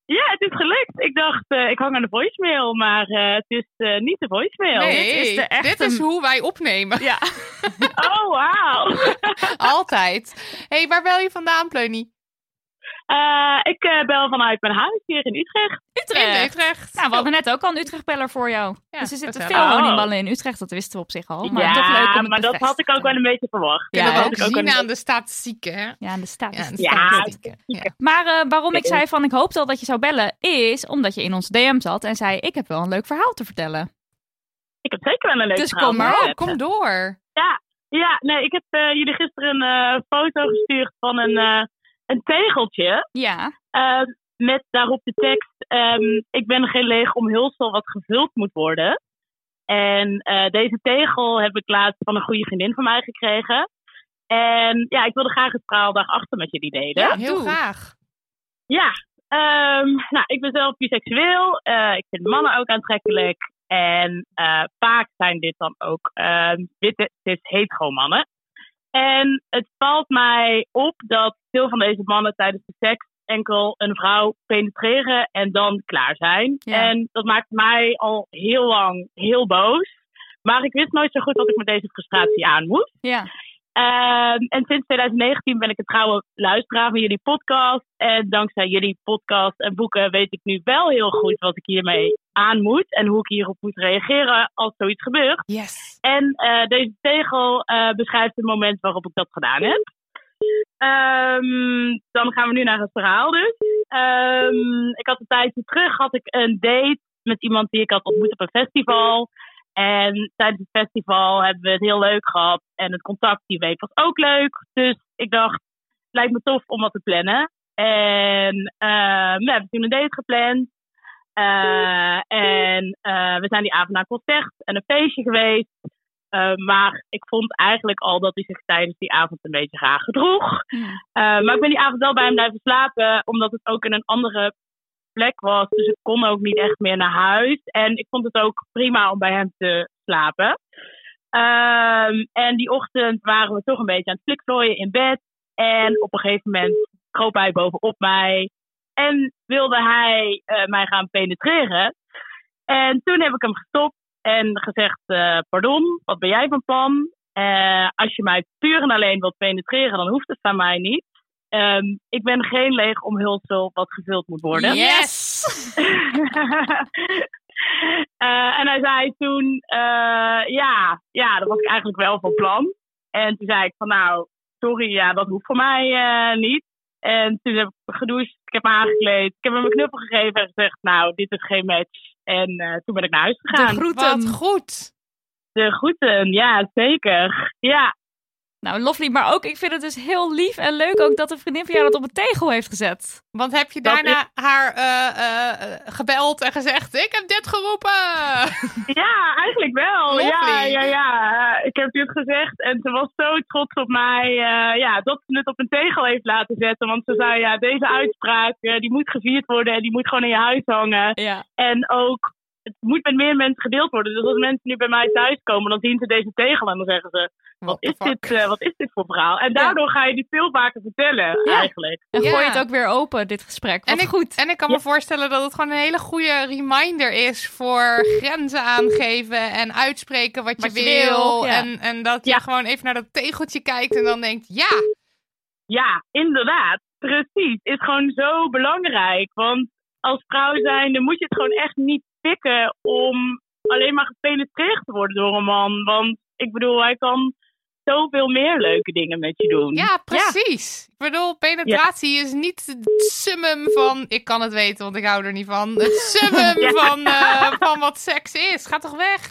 [SPEAKER 12] ja, het is gelukt. Ik dacht, eh, ik hang aan de voicemail, maar eh, het is eh, niet de voicemail.
[SPEAKER 2] Nee,
[SPEAKER 3] dit is de echte-
[SPEAKER 2] dit is hoe wij opnemen.
[SPEAKER 3] Ja.
[SPEAKER 12] Oh, wauw.
[SPEAKER 2] Altijd. hey, waar bel je vandaan, Pleunie?
[SPEAKER 12] Eh, ik eh, bel vanuit mijn huis hier in Utrecht. eh,
[SPEAKER 2] In
[SPEAKER 3] Utrecht.
[SPEAKER 2] Utrecht.
[SPEAKER 3] Nou, we hadden net ook al een Utrecht-beller voor jou.
[SPEAKER 2] Ja, eh,
[SPEAKER 3] dus er zitten
[SPEAKER 2] vertel.
[SPEAKER 3] veel
[SPEAKER 12] Oh.
[SPEAKER 3] honingballen in Utrecht, dat wisten we op zich al. Maar
[SPEAKER 12] ja,
[SPEAKER 3] toch leuk om het
[SPEAKER 12] maar dat
[SPEAKER 3] bevestigd
[SPEAKER 12] had
[SPEAKER 3] te
[SPEAKER 12] ik ook wel
[SPEAKER 3] hebben.
[SPEAKER 12] een beetje verwacht.
[SPEAKER 2] Kunnen
[SPEAKER 3] Ja,
[SPEAKER 2] we
[SPEAKER 12] dat
[SPEAKER 2] ook
[SPEAKER 12] had ik ook
[SPEAKER 2] zien
[SPEAKER 12] wel-
[SPEAKER 2] aan de statistieken, hè?
[SPEAKER 3] Ja, aan de staat.
[SPEAKER 2] Ja, aan de
[SPEAKER 12] Ja,
[SPEAKER 2] statistieken. Ja.
[SPEAKER 3] Maar eh, waarom ik zei van ik hoopte al dat je zou bellen, is omdat je in ons DM zat en zei ik heb wel een leuk verhaal te vertellen.
[SPEAKER 12] Ik heb zeker wel een leuk
[SPEAKER 3] Dus
[SPEAKER 12] verhaal.
[SPEAKER 3] kom maar
[SPEAKER 12] Ja,
[SPEAKER 2] Oh, kom door.
[SPEAKER 12] Ja, nee, ik heb eh, jullie gisteren een eh, foto gestuurd van een, eh, een tegeltje.
[SPEAKER 3] Ja.
[SPEAKER 12] Eh, met daarop de tekst: ehm, Ik ben geen leeg omhulsel wat gevuld moet worden. En eh, deze tegel heb ik laatst van een goede vriendin van mij gekregen. En ja, ik wilde graag het verhaal achter met jullie delen.
[SPEAKER 2] Ja, heel graag.
[SPEAKER 12] Ja, ehm, nou, ik ben zelf biseksueel. Eh, ik vind mannen ook aantrekkelijk. En eh, vaak zijn dit dan ook ehm, witte, dit heet gewoon mannen. En het valt mij op dat veel van deze mannen tijdens de seks enkel een vrouw penetreren en dan klaar zijn.
[SPEAKER 3] Ja.
[SPEAKER 12] En dat maakt mij al heel lang heel boos. Maar ik wist nooit zo goed wat ik met deze frustratie aan moest.
[SPEAKER 3] Ja.
[SPEAKER 12] Ehm, en sinds 2019 ben ik een trouwe luisteraar van jullie podcast. En dankzij jullie podcast en boeken weet ik nu wel heel goed wat ik hiermee aan moet. En hoe ik hierop moet reageren als zoiets gebeurt.
[SPEAKER 2] Yes.
[SPEAKER 12] En eh, deze tegel eh, beschrijft het moment waarop ik dat gedaan heb. Ehm, dan gaan we nu naar het verhaal dus. Ehm, ik had een tijdje terug had ik een date met iemand die ik had ontmoet op een festival. En tijdens het festival hebben we het heel leuk gehad. En het contact die week was ook leuk. Dus ik dacht, lijkt me tof om wat te plannen. En ehm, we hebben toen een date gepland. Eh, en eh, we zijn die avond naar een concert en een feestje geweest. Eh, maar ik vond eigenlijk al dat hij zich tijdens die avond een beetje raar gedroeg. Eh, maar ik ben die avond wel bij hem blijven slapen, omdat het ook in een andere plek was. Dus ik kon ook niet echt meer naar huis. En ik vond het ook prima om bij hem te slapen. Ehm, en die ochtend waren we toch een beetje aan het flikvlooien in bed. En op een gegeven moment kroop hij bovenop mij. En wilde hij eh, mij gaan penetreren. En toen heb ik hem gestopt en gezegd: eh, Pardon, wat ben jij van plan? Eh, als je mij puur en alleen wilt penetreren, dan hoeft het van mij niet. Ehm, ik ben geen leeg omhulsel wat gevuld moet worden.
[SPEAKER 3] Yes!
[SPEAKER 12] Eh, en hij zei toen, eh, ja, ja, dat was ik eigenlijk wel van plan. En toen zei ik van, nou, sorry, ja, dat hoeft voor mij eh, niet. En toen heb ik gedoucht, ik heb me aangekleed, ik heb hem een knuffel gegeven en gezegd, nou, dit is geen match. En eh, toen ben ik naar huis gegaan.
[SPEAKER 2] Wat goed.
[SPEAKER 12] De groeten, eh, ja, zeker. Ja,
[SPEAKER 3] Nou, lovely. Maar ook, ik vind het dus heel lief en leuk ook dat een vriendin van jou dat op een tegel heeft gezet.
[SPEAKER 2] Want heb je
[SPEAKER 12] Dat
[SPEAKER 2] daarna haar eh, eh, eh, gebeld en gezegd: Ik heb dit geroepen?
[SPEAKER 12] Ja, eigenlijk wel. Ja,
[SPEAKER 2] Lovely.
[SPEAKER 12] ja, ja. Ik heb dit gezegd en ze was zo trots op mij eh, ja, dat ze het op een tegel heeft laten zetten. Want ze zei, ja, deze uitspraak eh, die moet gevierd worden en die moet gewoon in je huis hangen.
[SPEAKER 3] Ja.
[SPEAKER 12] En ook, het moet met meer mensen gedeeld worden. Dus als mensen nu bij mij thuiskomen, dan zien ze deze tegel en dan zeggen ze, wat
[SPEAKER 2] the
[SPEAKER 12] is
[SPEAKER 2] fuck?
[SPEAKER 12] dit, eh, wat is dit voor verhaal? En daardoor ga je die veel vaker vertellen
[SPEAKER 3] Ja.
[SPEAKER 12] eigenlijk.
[SPEAKER 3] En
[SPEAKER 2] Ja.
[SPEAKER 3] gooi het ook weer open, dit gesprek. Wat
[SPEAKER 2] En ik,
[SPEAKER 3] goed.
[SPEAKER 2] en ik kan me voorstellen dat het gewoon een hele goede reminder is voor grenzen aangeven en uitspreken wat je
[SPEAKER 3] Wat je
[SPEAKER 2] wil.
[SPEAKER 3] wil, ja.
[SPEAKER 2] en, en dat je
[SPEAKER 12] Ja.
[SPEAKER 2] gewoon even naar dat tegeltje kijkt en dan denkt: Ja,
[SPEAKER 12] Ja, inderdaad. Precies. Is gewoon zo belangrijk. Want als vrouw zijnde moet je het gewoon echt niet pikken om alleen maar gepenetreerd te worden door een man. Want ik bedoel, hij kan zoveel meer leuke dingen met je doen.
[SPEAKER 2] ja precies. Ik bedoel, penetratie is niet het summum van: Ik kan het weten, want ik hou er niet van. Het summum
[SPEAKER 12] Ja.
[SPEAKER 2] van, eh, van wat seks is. Ga toch weg.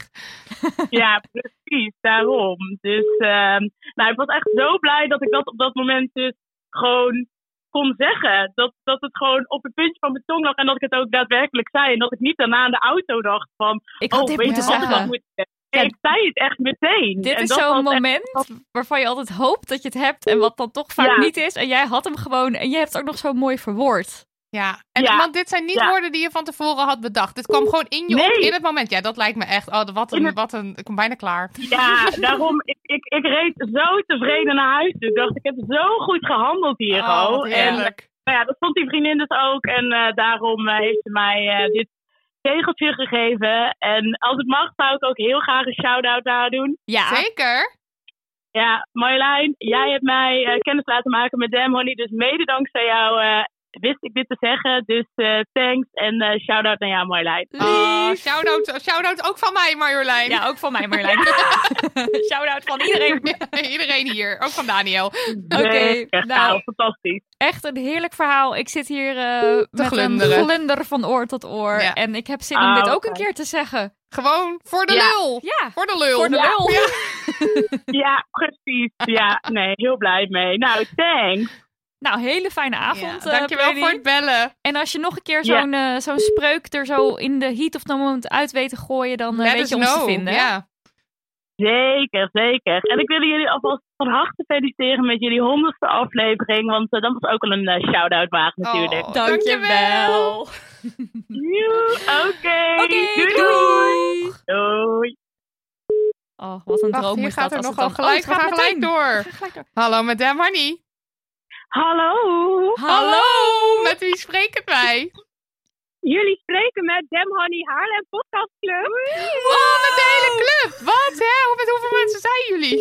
[SPEAKER 12] Ja, precies, daarom. Dus ehm, nou, ik was echt zo blij dat ik dat op dat moment dus gewoon kon zeggen. Dat, dat het gewoon op het puntje van mijn tong lag en dat ik het ook daadwerkelijk zei. En dat ik niet daarna in de auto dacht van,
[SPEAKER 3] Ik had
[SPEAKER 12] oh,
[SPEAKER 3] dit
[SPEAKER 12] weet je
[SPEAKER 3] moeten
[SPEAKER 12] wat ik had
[SPEAKER 3] zeggen.
[SPEAKER 12] moeten zeggen? Nee,
[SPEAKER 3] Ja.
[SPEAKER 12] ik zei het echt meteen.
[SPEAKER 3] Dit
[SPEAKER 12] En
[SPEAKER 3] is
[SPEAKER 12] dat
[SPEAKER 3] zo'n
[SPEAKER 12] was echt-
[SPEAKER 3] moment waarvan je altijd hoopt dat je het hebt en wat dan toch vaak
[SPEAKER 12] Ja.
[SPEAKER 3] niet is. En jij had hem gewoon en je hebt het ook nog zo mooi verwoord.
[SPEAKER 2] Ja, en
[SPEAKER 12] Ja.
[SPEAKER 2] want dit zijn niet
[SPEAKER 12] Ja.
[SPEAKER 2] woorden die je van tevoren had bedacht. Dit kwam gewoon in je op
[SPEAKER 12] Nee.
[SPEAKER 2] in het moment. Ja, dat lijkt me echt. Oh, wat
[SPEAKER 12] In
[SPEAKER 2] een,
[SPEAKER 12] het-
[SPEAKER 2] wat een. Ik kom bijna klaar.
[SPEAKER 12] Ja, daarom, ik, ik, ik reed zo tevreden naar huis. Dus ik dacht, ik heb zo goed gehandeld hier,
[SPEAKER 2] Oh,
[SPEAKER 12] al.
[SPEAKER 2] wat
[SPEAKER 12] En
[SPEAKER 2] heerlijk.
[SPEAKER 12] Nou ja, dat vond die vriendin dus ook. En eh, daarom eh, heeft ze mij eh, dit tegeltje gegeven. En als het mag, zou ik ook heel graag een shout-out daar doen.
[SPEAKER 3] Ja,
[SPEAKER 2] Zeker.
[SPEAKER 12] Ja, Marjolein, jij hebt mij eh, kennis laten maken met Dam Honey. Dus mede dankzij jou eh, wist ik dit te zeggen. Dus eh, thanks en eh shout-out naar jou, Marjolein.
[SPEAKER 2] Ah, shout-out, shout-out ook van mij, Marjolein.
[SPEAKER 3] Ja, ook van mij, Marjolein. Shout-out van iedereen.
[SPEAKER 2] iedereen hier, ook van Daniel. Oké,
[SPEAKER 3] Oké,
[SPEAKER 12] echt
[SPEAKER 3] nou,
[SPEAKER 12] fantastisch.
[SPEAKER 3] Echt een heerlijk verhaal. Ik zit hier eh, met
[SPEAKER 2] glunderen.
[SPEAKER 3] een glunder van oor tot oor.
[SPEAKER 2] Ja.
[SPEAKER 3] En ik heb zin om
[SPEAKER 12] Ah,
[SPEAKER 3] dit ook
[SPEAKER 12] oké.
[SPEAKER 3] een keer te zeggen.
[SPEAKER 2] Gewoon voor de
[SPEAKER 12] Ja.
[SPEAKER 2] lul.
[SPEAKER 3] Ja,
[SPEAKER 2] Voor de lul.
[SPEAKER 3] voor de
[SPEAKER 2] Ja.
[SPEAKER 3] lul.
[SPEAKER 2] Ja.
[SPEAKER 12] Ja, precies. Ja, nee, heel blij mee. Nou, thanks.
[SPEAKER 3] Nou, hele fijne avond. eh,
[SPEAKER 2] Dankjewel
[SPEAKER 3] Penny.
[SPEAKER 2] voor het bellen.
[SPEAKER 3] En als je nog een keer
[SPEAKER 12] Ja.
[SPEAKER 3] zo'n eh, zo'n spreuk er zo in de heat of the moment uit weet te gooien, dan eh,
[SPEAKER 2] Let
[SPEAKER 3] weet
[SPEAKER 2] us
[SPEAKER 3] je ons te
[SPEAKER 2] know.
[SPEAKER 3] vinden.
[SPEAKER 2] Ja.
[SPEAKER 12] Zeker, zeker. En ik wil jullie alvast van harte feliciteren met jullie honderdste aflevering. Want eh, dat was ook al een eh, shout-out waard natuurlijk.
[SPEAKER 2] Oh,
[SPEAKER 3] Dankjewel.
[SPEAKER 2] dankjewel.
[SPEAKER 12] Joe, Oké,
[SPEAKER 3] Oké,
[SPEAKER 12] doei,
[SPEAKER 3] doei.
[SPEAKER 12] doei.
[SPEAKER 3] Oh, wat een
[SPEAKER 2] Wacht,
[SPEAKER 3] droom
[SPEAKER 2] hier
[SPEAKER 3] is
[SPEAKER 2] gaat er
[SPEAKER 3] dat. als het
[SPEAKER 2] nogal
[SPEAKER 3] dan-
[SPEAKER 2] gelijk. we
[SPEAKER 3] Oh, het gaat
[SPEAKER 2] gaan gelijk
[SPEAKER 3] meteen.
[SPEAKER 2] door.
[SPEAKER 3] Ga gelijk door.
[SPEAKER 2] Hallo, met Dem Honey.
[SPEAKER 10] Hallo,
[SPEAKER 3] Hallo.
[SPEAKER 2] Met wie spreken wij?
[SPEAKER 10] jullie spreken met Dem Honey Haarlem Podcast Club.
[SPEAKER 2] Oh, met de hele club. Wat, hè? Hoe- Met hoeveel mensen zijn jullie?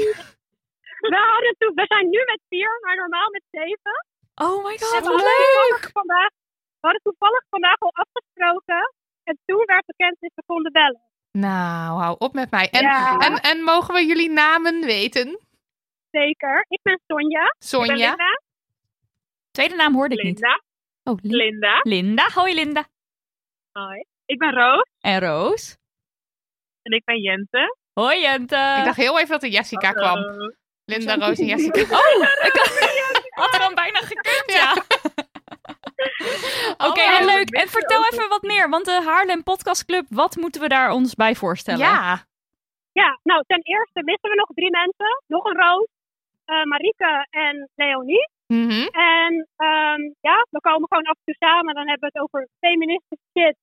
[SPEAKER 10] We, hadden toen, we zijn nu met vier, maar normaal met zeven.
[SPEAKER 3] Oh my god,
[SPEAKER 10] En we
[SPEAKER 3] wat
[SPEAKER 10] hadden
[SPEAKER 3] leuk.
[SPEAKER 10] toevallig Vandaag, we hadden toevallig vandaag al afgesproken. En toen werd bekend dat we konden bellen.
[SPEAKER 2] Nou, hou op met mij. En,
[SPEAKER 10] Ja.
[SPEAKER 2] en, en mogen we jullie namen weten?
[SPEAKER 10] Zeker. Ik ben Sonja. Ik ben
[SPEAKER 2] Sonja.
[SPEAKER 10] Linda.
[SPEAKER 3] Tweede naam hoorde ik niet.
[SPEAKER 10] Linda.
[SPEAKER 3] Oh, Lin-
[SPEAKER 10] Linda.
[SPEAKER 3] Linda. Hoi Linda.
[SPEAKER 10] Hoi. Ik ben Roos.
[SPEAKER 3] En Roos.
[SPEAKER 10] En ik ben Jente.
[SPEAKER 3] Hoi Jente.
[SPEAKER 2] Ik dacht heel even dat er Jessica kwam.
[SPEAKER 10] Hallo.
[SPEAKER 2] Linda, Roos en Jessica.
[SPEAKER 3] Oh, ik had- had er dan bijna gekund, ja. Oké,
[SPEAKER 2] nou,
[SPEAKER 3] en Oh, leuk. En vertel even wat meer, want de Haarlem Podcast Club, wat moeten we daar ons bij voorstellen?
[SPEAKER 2] Ja.
[SPEAKER 10] Ja, nou, ten eerste missen we nog drie mensen. Nog een Roos. eh Marieke en Leonie.
[SPEAKER 2] Mhm.
[SPEAKER 10] En ehm, ja, we komen gewoon af en toe samen. Dan hebben we het over feministische shit.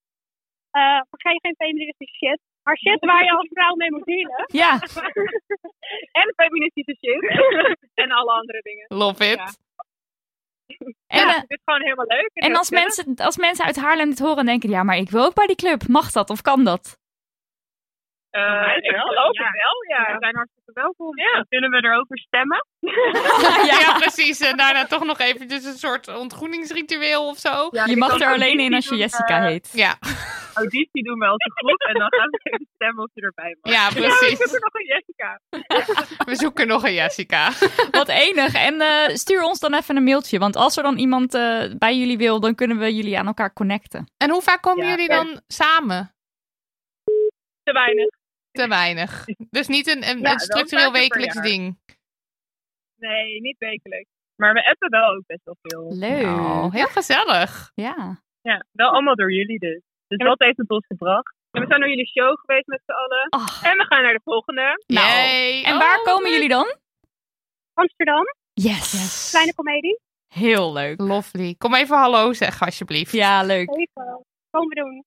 [SPEAKER 10] Eh vergeet geen feministische shit. Maar shit waar je als vrouw mee moet dealen.
[SPEAKER 3] Ja,
[SPEAKER 10] en feministische shit. en alle andere dingen.
[SPEAKER 2] Love it.
[SPEAKER 10] Ja.
[SPEAKER 3] en, eh,
[SPEAKER 10] het is gewoon helemaal leuk.
[SPEAKER 3] en als, mensen, als mensen uit Haarlem dit horen en denken, ja, maar ik wil ook bij die club. Mag dat of kan dat?
[SPEAKER 10] Eh, ik geloof het wel, ja. We zijn hartstikke welkom. Dan kunnen we erover stemmen.
[SPEAKER 2] Oh. Ja, precies. En daarna toch nog eventjes een soort ontgroeningsritueel of zo.
[SPEAKER 3] je mag er alleen in als je Jessica heet.
[SPEAKER 2] Ja,
[SPEAKER 10] auditie doen we als een groep. En dan gaan we even stemmen of je erbij mag.
[SPEAKER 2] ja precies.
[SPEAKER 10] nog een Jessica.
[SPEAKER 2] We zoeken nog een Jessica.
[SPEAKER 3] Wat enig. En eh, stuur ons dan even een mailtje, want als er dan iemand eh, bij jullie wil, dan kunnen we jullie aan elkaar connecten.
[SPEAKER 2] En hoe vaak komen
[SPEAKER 10] Ja,
[SPEAKER 2] jullie
[SPEAKER 10] ja.
[SPEAKER 2] dan samen?
[SPEAKER 10] Te weinig.
[SPEAKER 2] Te weinig. Dus niet een, een,
[SPEAKER 10] Ja,
[SPEAKER 2] een structureel
[SPEAKER 10] wel vaker per
[SPEAKER 2] wekelijks
[SPEAKER 10] jaar.
[SPEAKER 2] ding.
[SPEAKER 10] Nee, niet wekelijks. Maar we appen wel ook best wel veel.
[SPEAKER 3] Leuk. Oh,
[SPEAKER 2] Nou, heel gezellig.
[SPEAKER 3] Ja.
[SPEAKER 10] Ja, wel allemaal door jullie dus. Dus dat heeft het ons gebracht. En we zijn naar jullie show geweest met z'n allen.
[SPEAKER 3] Ach.
[SPEAKER 10] En we gaan naar de volgende.
[SPEAKER 3] Nou,
[SPEAKER 2] Yay.
[SPEAKER 3] En
[SPEAKER 2] Oh,
[SPEAKER 3] waar
[SPEAKER 2] wat
[SPEAKER 3] komen
[SPEAKER 2] leuk.
[SPEAKER 3] jullie dan?
[SPEAKER 10] Amsterdam,
[SPEAKER 3] Yes.
[SPEAKER 10] kleine komedie.
[SPEAKER 3] Heel leuk.
[SPEAKER 2] Lovely. Kom even hallo zeggen, alsjeblieft.
[SPEAKER 3] Ja, leuk.
[SPEAKER 10] Even. Komen we doen.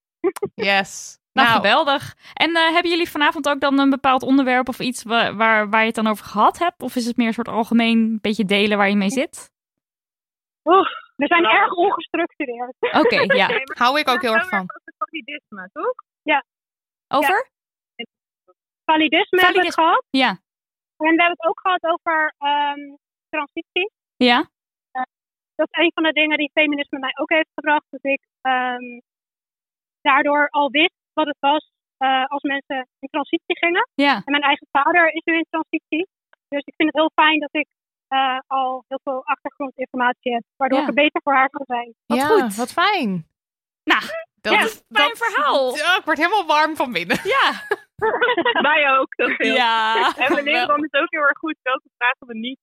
[SPEAKER 2] Yes.
[SPEAKER 3] Nou, geweldig. En eh, hebben jullie vanavond ook dan een bepaald onderwerp of iets wa- waar, waar je het dan over gehad hebt? Of is het meer een soort algemeen beetje delen waar je mee zit?
[SPEAKER 10] We zijn
[SPEAKER 3] Nou.
[SPEAKER 10] erg ongestructureerd.
[SPEAKER 3] Oké, ja.
[SPEAKER 2] hou ik ook heel erg van.
[SPEAKER 10] Validisme, toch?
[SPEAKER 3] Over?
[SPEAKER 10] Validisme hebben we het
[SPEAKER 3] Validisme.
[SPEAKER 10] gehad.
[SPEAKER 3] Ja.
[SPEAKER 10] En we hebben het ook gehad over ehm, transitie.
[SPEAKER 3] Ja.
[SPEAKER 10] Dat is een van de dingen die feminisme mij ook heeft gebracht. Dat ik ehm, daardoor al wist wat het was eh, als mensen in transitie gingen.
[SPEAKER 3] Ja.
[SPEAKER 10] En mijn eigen vader is nu in transitie. Dus ik vind het heel fijn dat ik eh, al heel veel achtergrondinformatie heb. Waardoor
[SPEAKER 3] Ja.
[SPEAKER 10] ik er beter voor haar kan zijn.
[SPEAKER 3] Wat
[SPEAKER 2] ja,
[SPEAKER 3] goed.
[SPEAKER 2] Wat fijn.
[SPEAKER 3] Nou,
[SPEAKER 2] dat
[SPEAKER 3] ja,
[SPEAKER 2] is-
[SPEAKER 3] fijn verhaal.
[SPEAKER 2] Ja, ik word helemaal warm van binnen.
[SPEAKER 3] Ja.
[SPEAKER 10] Wij ook, dat
[SPEAKER 3] Ja.
[SPEAKER 10] dan is ook heel erg goed welke vragen we niet,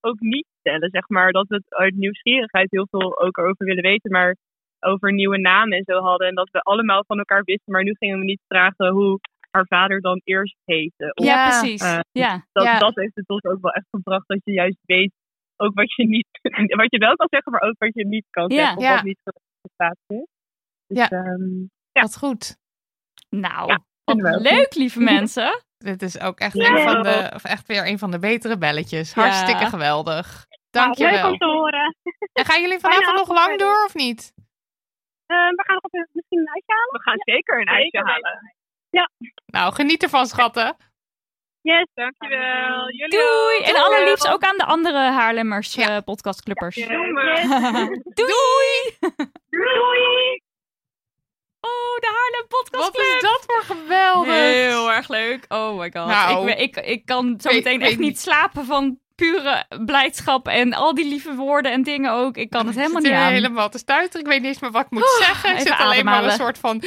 [SPEAKER 10] ook niet stellen. Zeg maar dat we het uit nieuwsgierigheid heel veel ook over willen weten. Maar over nieuwe namen en zo hadden. En dat we allemaal van elkaar wisten. Maar nu gingen we niet vragen hoe haar vader dan eerst heette.
[SPEAKER 3] Ja,
[SPEAKER 2] Ja.
[SPEAKER 3] precies.
[SPEAKER 10] Eh,
[SPEAKER 3] ja.
[SPEAKER 10] dat,
[SPEAKER 2] Ja.
[SPEAKER 10] dat heeft het ons ook wel echt gebracht dat je juist weet ook wat je niet, wat je wel kan zeggen, maar ook wat je niet kan
[SPEAKER 3] Ja.
[SPEAKER 10] zeggen of
[SPEAKER 2] Ja.
[SPEAKER 10] wat niet geplaatst is. Dus,
[SPEAKER 2] Ja.
[SPEAKER 10] ehm,
[SPEAKER 2] Wat goed.
[SPEAKER 3] Nou,
[SPEAKER 10] Ja, vinden we
[SPEAKER 3] wat
[SPEAKER 10] ook.
[SPEAKER 3] leuk, lieve mensen.
[SPEAKER 2] Dit is ook echt,
[SPEAKER 10] Ja.
[SPEAKER 2] een van de, of echt weer een van de betere belletjes.
[SPEAKER 3] Ja.
[SPEAKER 2] Hartstikke geweldig.
[SPEAKER 10] Nou,
[SPEAKER 13] Ah,
[SPEAKER 10] leuk
[SPEAKER 2] Dankjewel.
[SPEAKER 10] om te horen.
[SPEAKER 2] En gaan jullie vanavond
[SPEAKER 10] Bijna
[SPEAKER 2] nog lang
[SPEAKER 10] afgelopen.
[SPEAKER 2] door of niet?
[SPEAKER 10] Ehm, we gaan nog even- misschien een ijsje halen. We gaan zeker een ijsje halen.
[SPEAKER 2] Nou, geniet ervan, schatten.
[SPEAKER 14] Yes, dankjewel. Jullie
[SPEAKER 3] Doei!
[SPEAKER 14] ook.
[SPEAKER 3] En allerliefst ook aan de andere Haarlemmers eh podcastclubbers.
[SPEAKER 14] Doen we.
[SPEAKER 3] Doei!
[SPEAKER 14] Doei!
[SPEAKER 3] Oh, de Haarlem Podcast
[SPEAKER 2] Wat is dat voor geweldig?
[SPEAKER 3] Heel erg leuk. Oh my god.
[SPEAKER 2] Nou.
[SPEAKER 3] ik, ben- ik, ik kan zo
[SPEAKER 2] Weet-
[SPEAKER 3] meteen
[SPEAKER 2] weet
[SPEAKER 3] echt niet
[SPEAKER 2] niet.
[SPEAKER 3] slapen van pure blijdschap en al die lieve woorden en dingen ook. Ik kan het helemaal
[SPEAKER 2] Ik zit
[SPEAKER 3] niet
[SPEAKER 2] hier
[SPEAKER 3] aan.
[SPEAKER 2] helemaal te stuiteren. Ik weet niet eens meer wat ik moet
[SPEAKER 3] Oeh,
[SPEAKER 2] zeggen. Ik
[SPEAKER 3] even
[SPEAKER 2] zit alleen maar een
[SPEAKER 3] ademhalen.
[SPEAKER 2] soort van...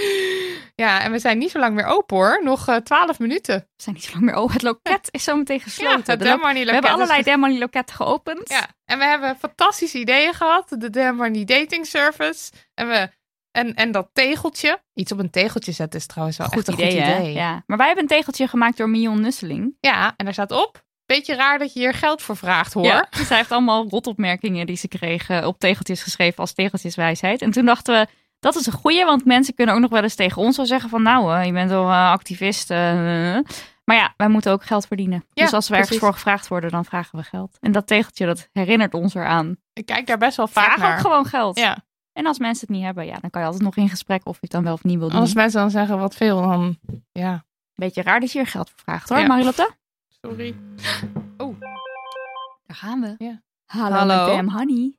[SPEAKER 2] Ja, en we zijn niet zo lang meer open hoor. Nog eh, 12 minuten. We
[SPEAKER 3] zijn niet zo lang meer open. Het loket is zo meteen gesloten.
[SPEAKER 2] Ja, het
[SPEAKER 3] De lo-
[SPEAKER 2] Denmark
[SPEAKER 3] we hebben allerlei Demony loketten geopend.
[SPEAKER 2] Ja, en we hebben fantastische ideeën gehad. De Denmark Dating Service. En, we, en, en dat tegeltje. Iets op een tegeltje zetten is trouwens wel echt
[SPEAKER 3] Goed idee,
[SPEAKER 2] een goed
[SPEAKER 3] hè?
[SPEAKER 2] idee.
[SPEAKER 3] Ja. Maar wij hebben een tegeltje gemaakt door Mion Nusseling.
[SPEAKER 2] Ja, en daar staat op. Beetje raar dat je hier geld voor vraagt hoor.
[SPEAKER 3] Ja, zij heeft allemaal rotopmerkingen die ze kreeg eh, op tegeltjes geschreven als tegeltjeswijsheid. En toen dachten we, dat is een goeie, want mensen kunnen ook nog wel eens tegen ons wel zeggen van... nou, eh, je bent wel eh, activist. eh, eh. maar ja, wij moeten ook geld verdienen.
[SPEAKER 2] Ja,
[SPEAKER 3] dus als we ergens
[SPEAKER 2] precies.
[SPEAKER 3] voor gevraagd worden, dan vragen we geld. En dat tegeltje, dat herinnert ons eraan.
[SPEAKER 2] Ik kijk daar best wel vaak
[SPEAKER 3] Vraag
[SPEAKER 2] naar.
[SPEAKER 3] ook gewoon geld.
[SPEAKER 2] Ja.
[SPEAKER 3] En als mensen het niet hebben, ja, dan kan je altijd nog in gesprek of je het dan wel of niet wil doen.
[SPEAKER 2] Als mensen dan zeggen wat veel, dan ja.
[SPEAKER 3] Beetje raar dat je er geld voor vraagt hoor,
[SPEAKER 2] Ja.
[SPEAKER 3] Marilotte.
[SPEAKER 2] Sorry. Oh.
[SPEAKER 3] Daar gaan we.
[SPEAKER 2] Ja.
[SPEAKER 3] Hallo,
[SPEAKER 2] Hallo.
[SPEAKER 3] met Dam Honey.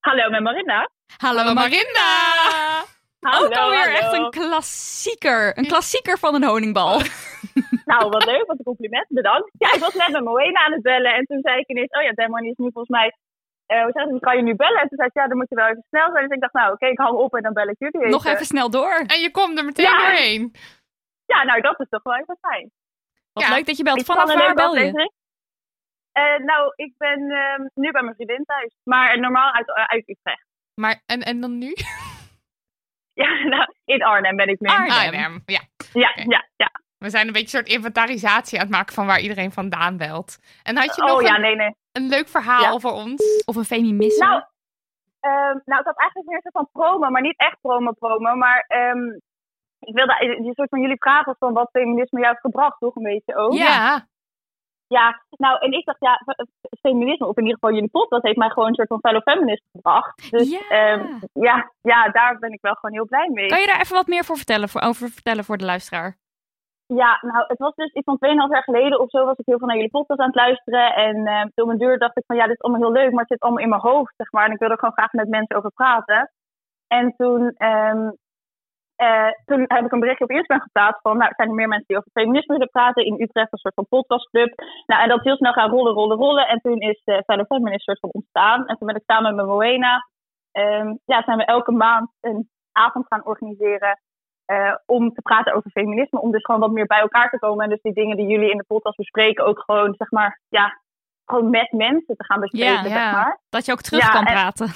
[SPEAKER 14] Hallo, met Marinda.
[SPEAKER 3] Hallo,
[SPEAKER 2] Marinda!
[SPEAKER 14] Hallo,
[SPEAKER 3] ook alweer
[SPEAKER 14] hallo.
[SPEAKER 3] echt een klassieker. Een klassieker van een honingbal.
[SPEAKER 14] Nou, wat leuk, wat een compliment. Bedankt. Ja, ik was net met Moena aan het bellen en toen zei ik ineens, oh ja, Demon is nu volgens mij, eh, hoe zeg je, dat, kan je nu bellen? En toen zei ze, ja, dan moet je wel even snel zijn. Dus ik dacht, nou oké, ik hang op en dan bel ik jullie even.
[SPEAKER 3] Nog even snel door.
[SPEAKER 2] En je komt er meteen
[SPEAKER 14] Ja.
[SPEAKER 2] doorheen.
[SPEAKER 14] Ja, nou, dat is toch wel even fijn.
[SPEAKER 3] Wat
[SPEAKER 2] Ja.
[SPEAKER 3] leuk dat je belt.
[SPEAKER 14] Ik vond
[SPEAKER 3] Vanaf
[SPEAKER 14] het een
[SPEAKER 3] waar
[SPEAKER 14] leuke
[SPEAKER 3] bel je?
[SPEAKER 14] aflevering. Eh, nou, ik ben ehm, nu bij mijn vriendin thuis, maar normaal uit, eh, uit Utrecht.
[SPEAKER 2] Maar, en, en dan nu?
[SPEAKER 14] Ja, nou, in Arnhem ben ik nu.
[SPEAKER 3] Arnhem.
[SPEAKER 2] Arnhem. Ja.
[SPEAKER 14] Ja,
[SPEAKER 2] Oké.
[SPEAKER 14] ja, ja.
[SPEAKER 2] We zijn een beetje een soort inventarisatie aan het maken van waar iedereen vandaan belt. En had je nog
[SPEAKER 14] Oh ja,
[SPEAKER 2] een,
[SPEAKER 14] nee, nee.
[SPEAKER 2] een leuk verhaal
[SPEAKER 14] Ja.
[SPEAKER 2] voor ons?
[SPEAKER 3] Of een feminisme?
[SPEAKER 14] Nou, ehm, nou, ik had eigenlijk meer een soort van promo, maar niet echt promo-promo. Maar ehm, ik wilde een soort van jullie vragen van wat feminisme jou heeft gebracht, toch een beetje ook?
[SPEAKER 3] Ja.
[SPEAKER 14] Ja, nou, en ik dacht, ja, f- f- feminisme, of in ieder geval jullie podcast, heeft mij gewoon een soort van fellow feminist gebracht. Dus
[SPEAKER 3] Ja.
[SPEAKER 14] ehm, ja, ja, daar ben ik wel gewoon heel blij mee.
[SPEAKER 3] kan je daar even wat meer voor vertellen, voor, over vertellen voor de luisteraar?
[SPEAKER 14] Ja, nou, het was dus iets van 2,5 jaar geleden of zo was ik heel veel naar jullie podcast aan het luisteren. En eh, toen mijn deur dacht ik van, ja, dit is allemaal heel leuk, maar het zit allemaal in mijn hoofd, zeg maar. En ik wil er gewoon graag met mensen over praten. En toen, ehm, eh, toen heb ik een berichtje op Instagram geplaatst van, nou, zijn er meer mensen die over feminisme willen praten? In Utrecht een soort van podcastclub. Nou, en dat is heel snel gaan rollen, rollen, rollen. En toen is eh Fellow Feminist soort van ontstaan. En toen ben ik samen met Moena, ehm, ja, zijn we elke maand een avond gaan organiseren eh, om te praten over feminisme. Om dus gewoon wat meer bij elkaar te komen. En dus die dingen die jullie in de podcast bespreken ook gewoon, zeg maar, ja, gewoon met mensen te gaan bespreken,
[SPEAKER 3] Ja,
[SPEAKER 14] zeg
[SPEAKER 2] ja.
[SPEAKER 14] maar.
[SPEAKER 3] Dat je ook terug
[SPEAKER 14] Ja,
[SPEAKER 3] kan
[SPEAKER 14] en-
[SPEAKER 3] praten.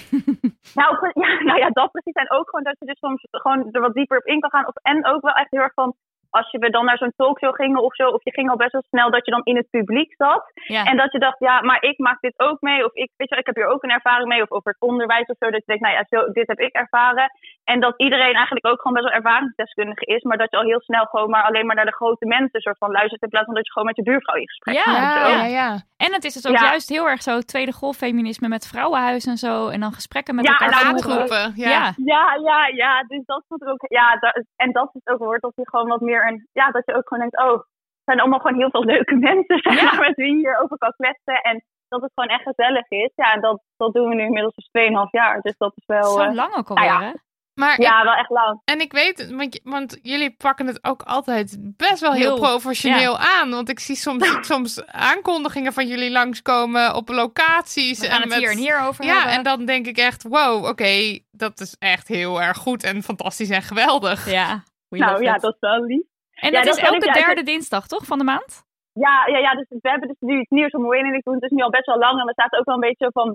[SPEAKER 14] Nou pre- ja, nou ja, dat precies. En ook gewoon dat je dus soms gewoon er wat dieper op in kan gaan. Of, en ook wel echt heel erg van, als je we dan naar zo'n talkshow gingen of zo, of je ging al best wel snel dat je dan in het publiek zat.
[SPEAKER 3] Ja.
[SPEAKER 14] En dat je dacht, ja, maar ik maak dit ook mee. Of ik, weet je, wel, ik heb hier ook een ervaring mee. Of over het onderwijs of zo. Dat je denkt, nou ja, zo, dit heb ik ervaren. En dat iedereen eigenlijk ook gewoon best wel ervaringsdeskundige is. Maar dat je al heel snel gewoon maar alleen maar naar de grote mensen soort van luistert. In plaats van dat je gewoon met je buurvrouw in gesprek
[SPEAKER 3] Ja,
[SPEAKER 14] gaat. en
[SPEAKER 2] Ja, ja,
[SPEAKER 14] zo.
[SPEAKER 2] ja.
[SPEAKER 3] En het is dus ook
[SPEAKER 14] Ja.
[SPEAKER 3] juist heel erg zo tweede golf feminisme met vrouwenhuis en zo. En dan gesprekken met
[SPEAKER 14] Ja,
[SPEAKER 3] elkaar
[SPEAKER 14] en
[SPEAKER 3] voeren.
[SPEAKER 2] Aangroepen.
[SPEAKER 3] Ja.
[SPEAKER 2] Ja.
[SPEAKER 14] Ja, ja, ja. Dus dat vond ik ook. Ja, da- en dat is ook wordt dat je gewoon wat meer een. Ja, dat je ook gewoon denkt, oh, het zijn allemaal gewoon heel veel leuke mensen zeg maar, met wie je hierover kan kletsen. En dat het gewoon echt gezellig is. Ja, en dat, dat doen we nu inmiddels dus 2,5 jaar. Dus dat is wel.
[SPEAKER 3] Zo
[SPEAKER 14] eh,
[SPEAKER 3] lang ook alweer,
[SPEAKER 14] nou ja.
[SPEAKER 3] hè?
[SPEAKER 2] Maar
[SPEAKER 14] ja, wel echt lang.
[SPEAKER 2] En ik weet, het, want, je- want jullie pakken het ook altijd best wel heel,
[SPEAKER 3] Heel,
[SPEAKER 2] professioneel aan. Want ik zie soms, soms aankondigingen van jullie langskomen op locaties.
[SPEAKER 3] We gaan
[SPEAKER 2] en
[SPEAKER 3] het
[SPEAKER 2] met-
[SPEAKER 3] hier en hier over
[SPEAKER 2] Ja,
[SPEAKER 3] hebben.
[SPEAKER 2] en dan denk ik echt, wow, oké, dat is echt heel erg goed en fantastisch en geweldig.
[SPEAKER 3] Ja, we
[SPEAKER 14] Nou
[SPEAKER 3] love
[SPEAKER 14] ja,
[SPEAKER 3] it.
[SPEAKER 14] dat is wel lief.
[SPEAKER 3] En
[SPEAKER 14] ja,
[SPEAKER 3] dat
[SPEAKER 14] dat
[SPEAKER 3] is
[SPEAKER 14] kan ik-
[SPEAKER 3] elke
[SPEAKER 14] ja, ik-
[SPEAKER 3] derde dinsdag, toch, van de maand?
[SPEAKER 14] Ja, ja, ja, dus we hebben dus nu iets nieuws om Wayne en ik doen. Het is nu al best wel lang en we zaten ook wel een beetje zo van...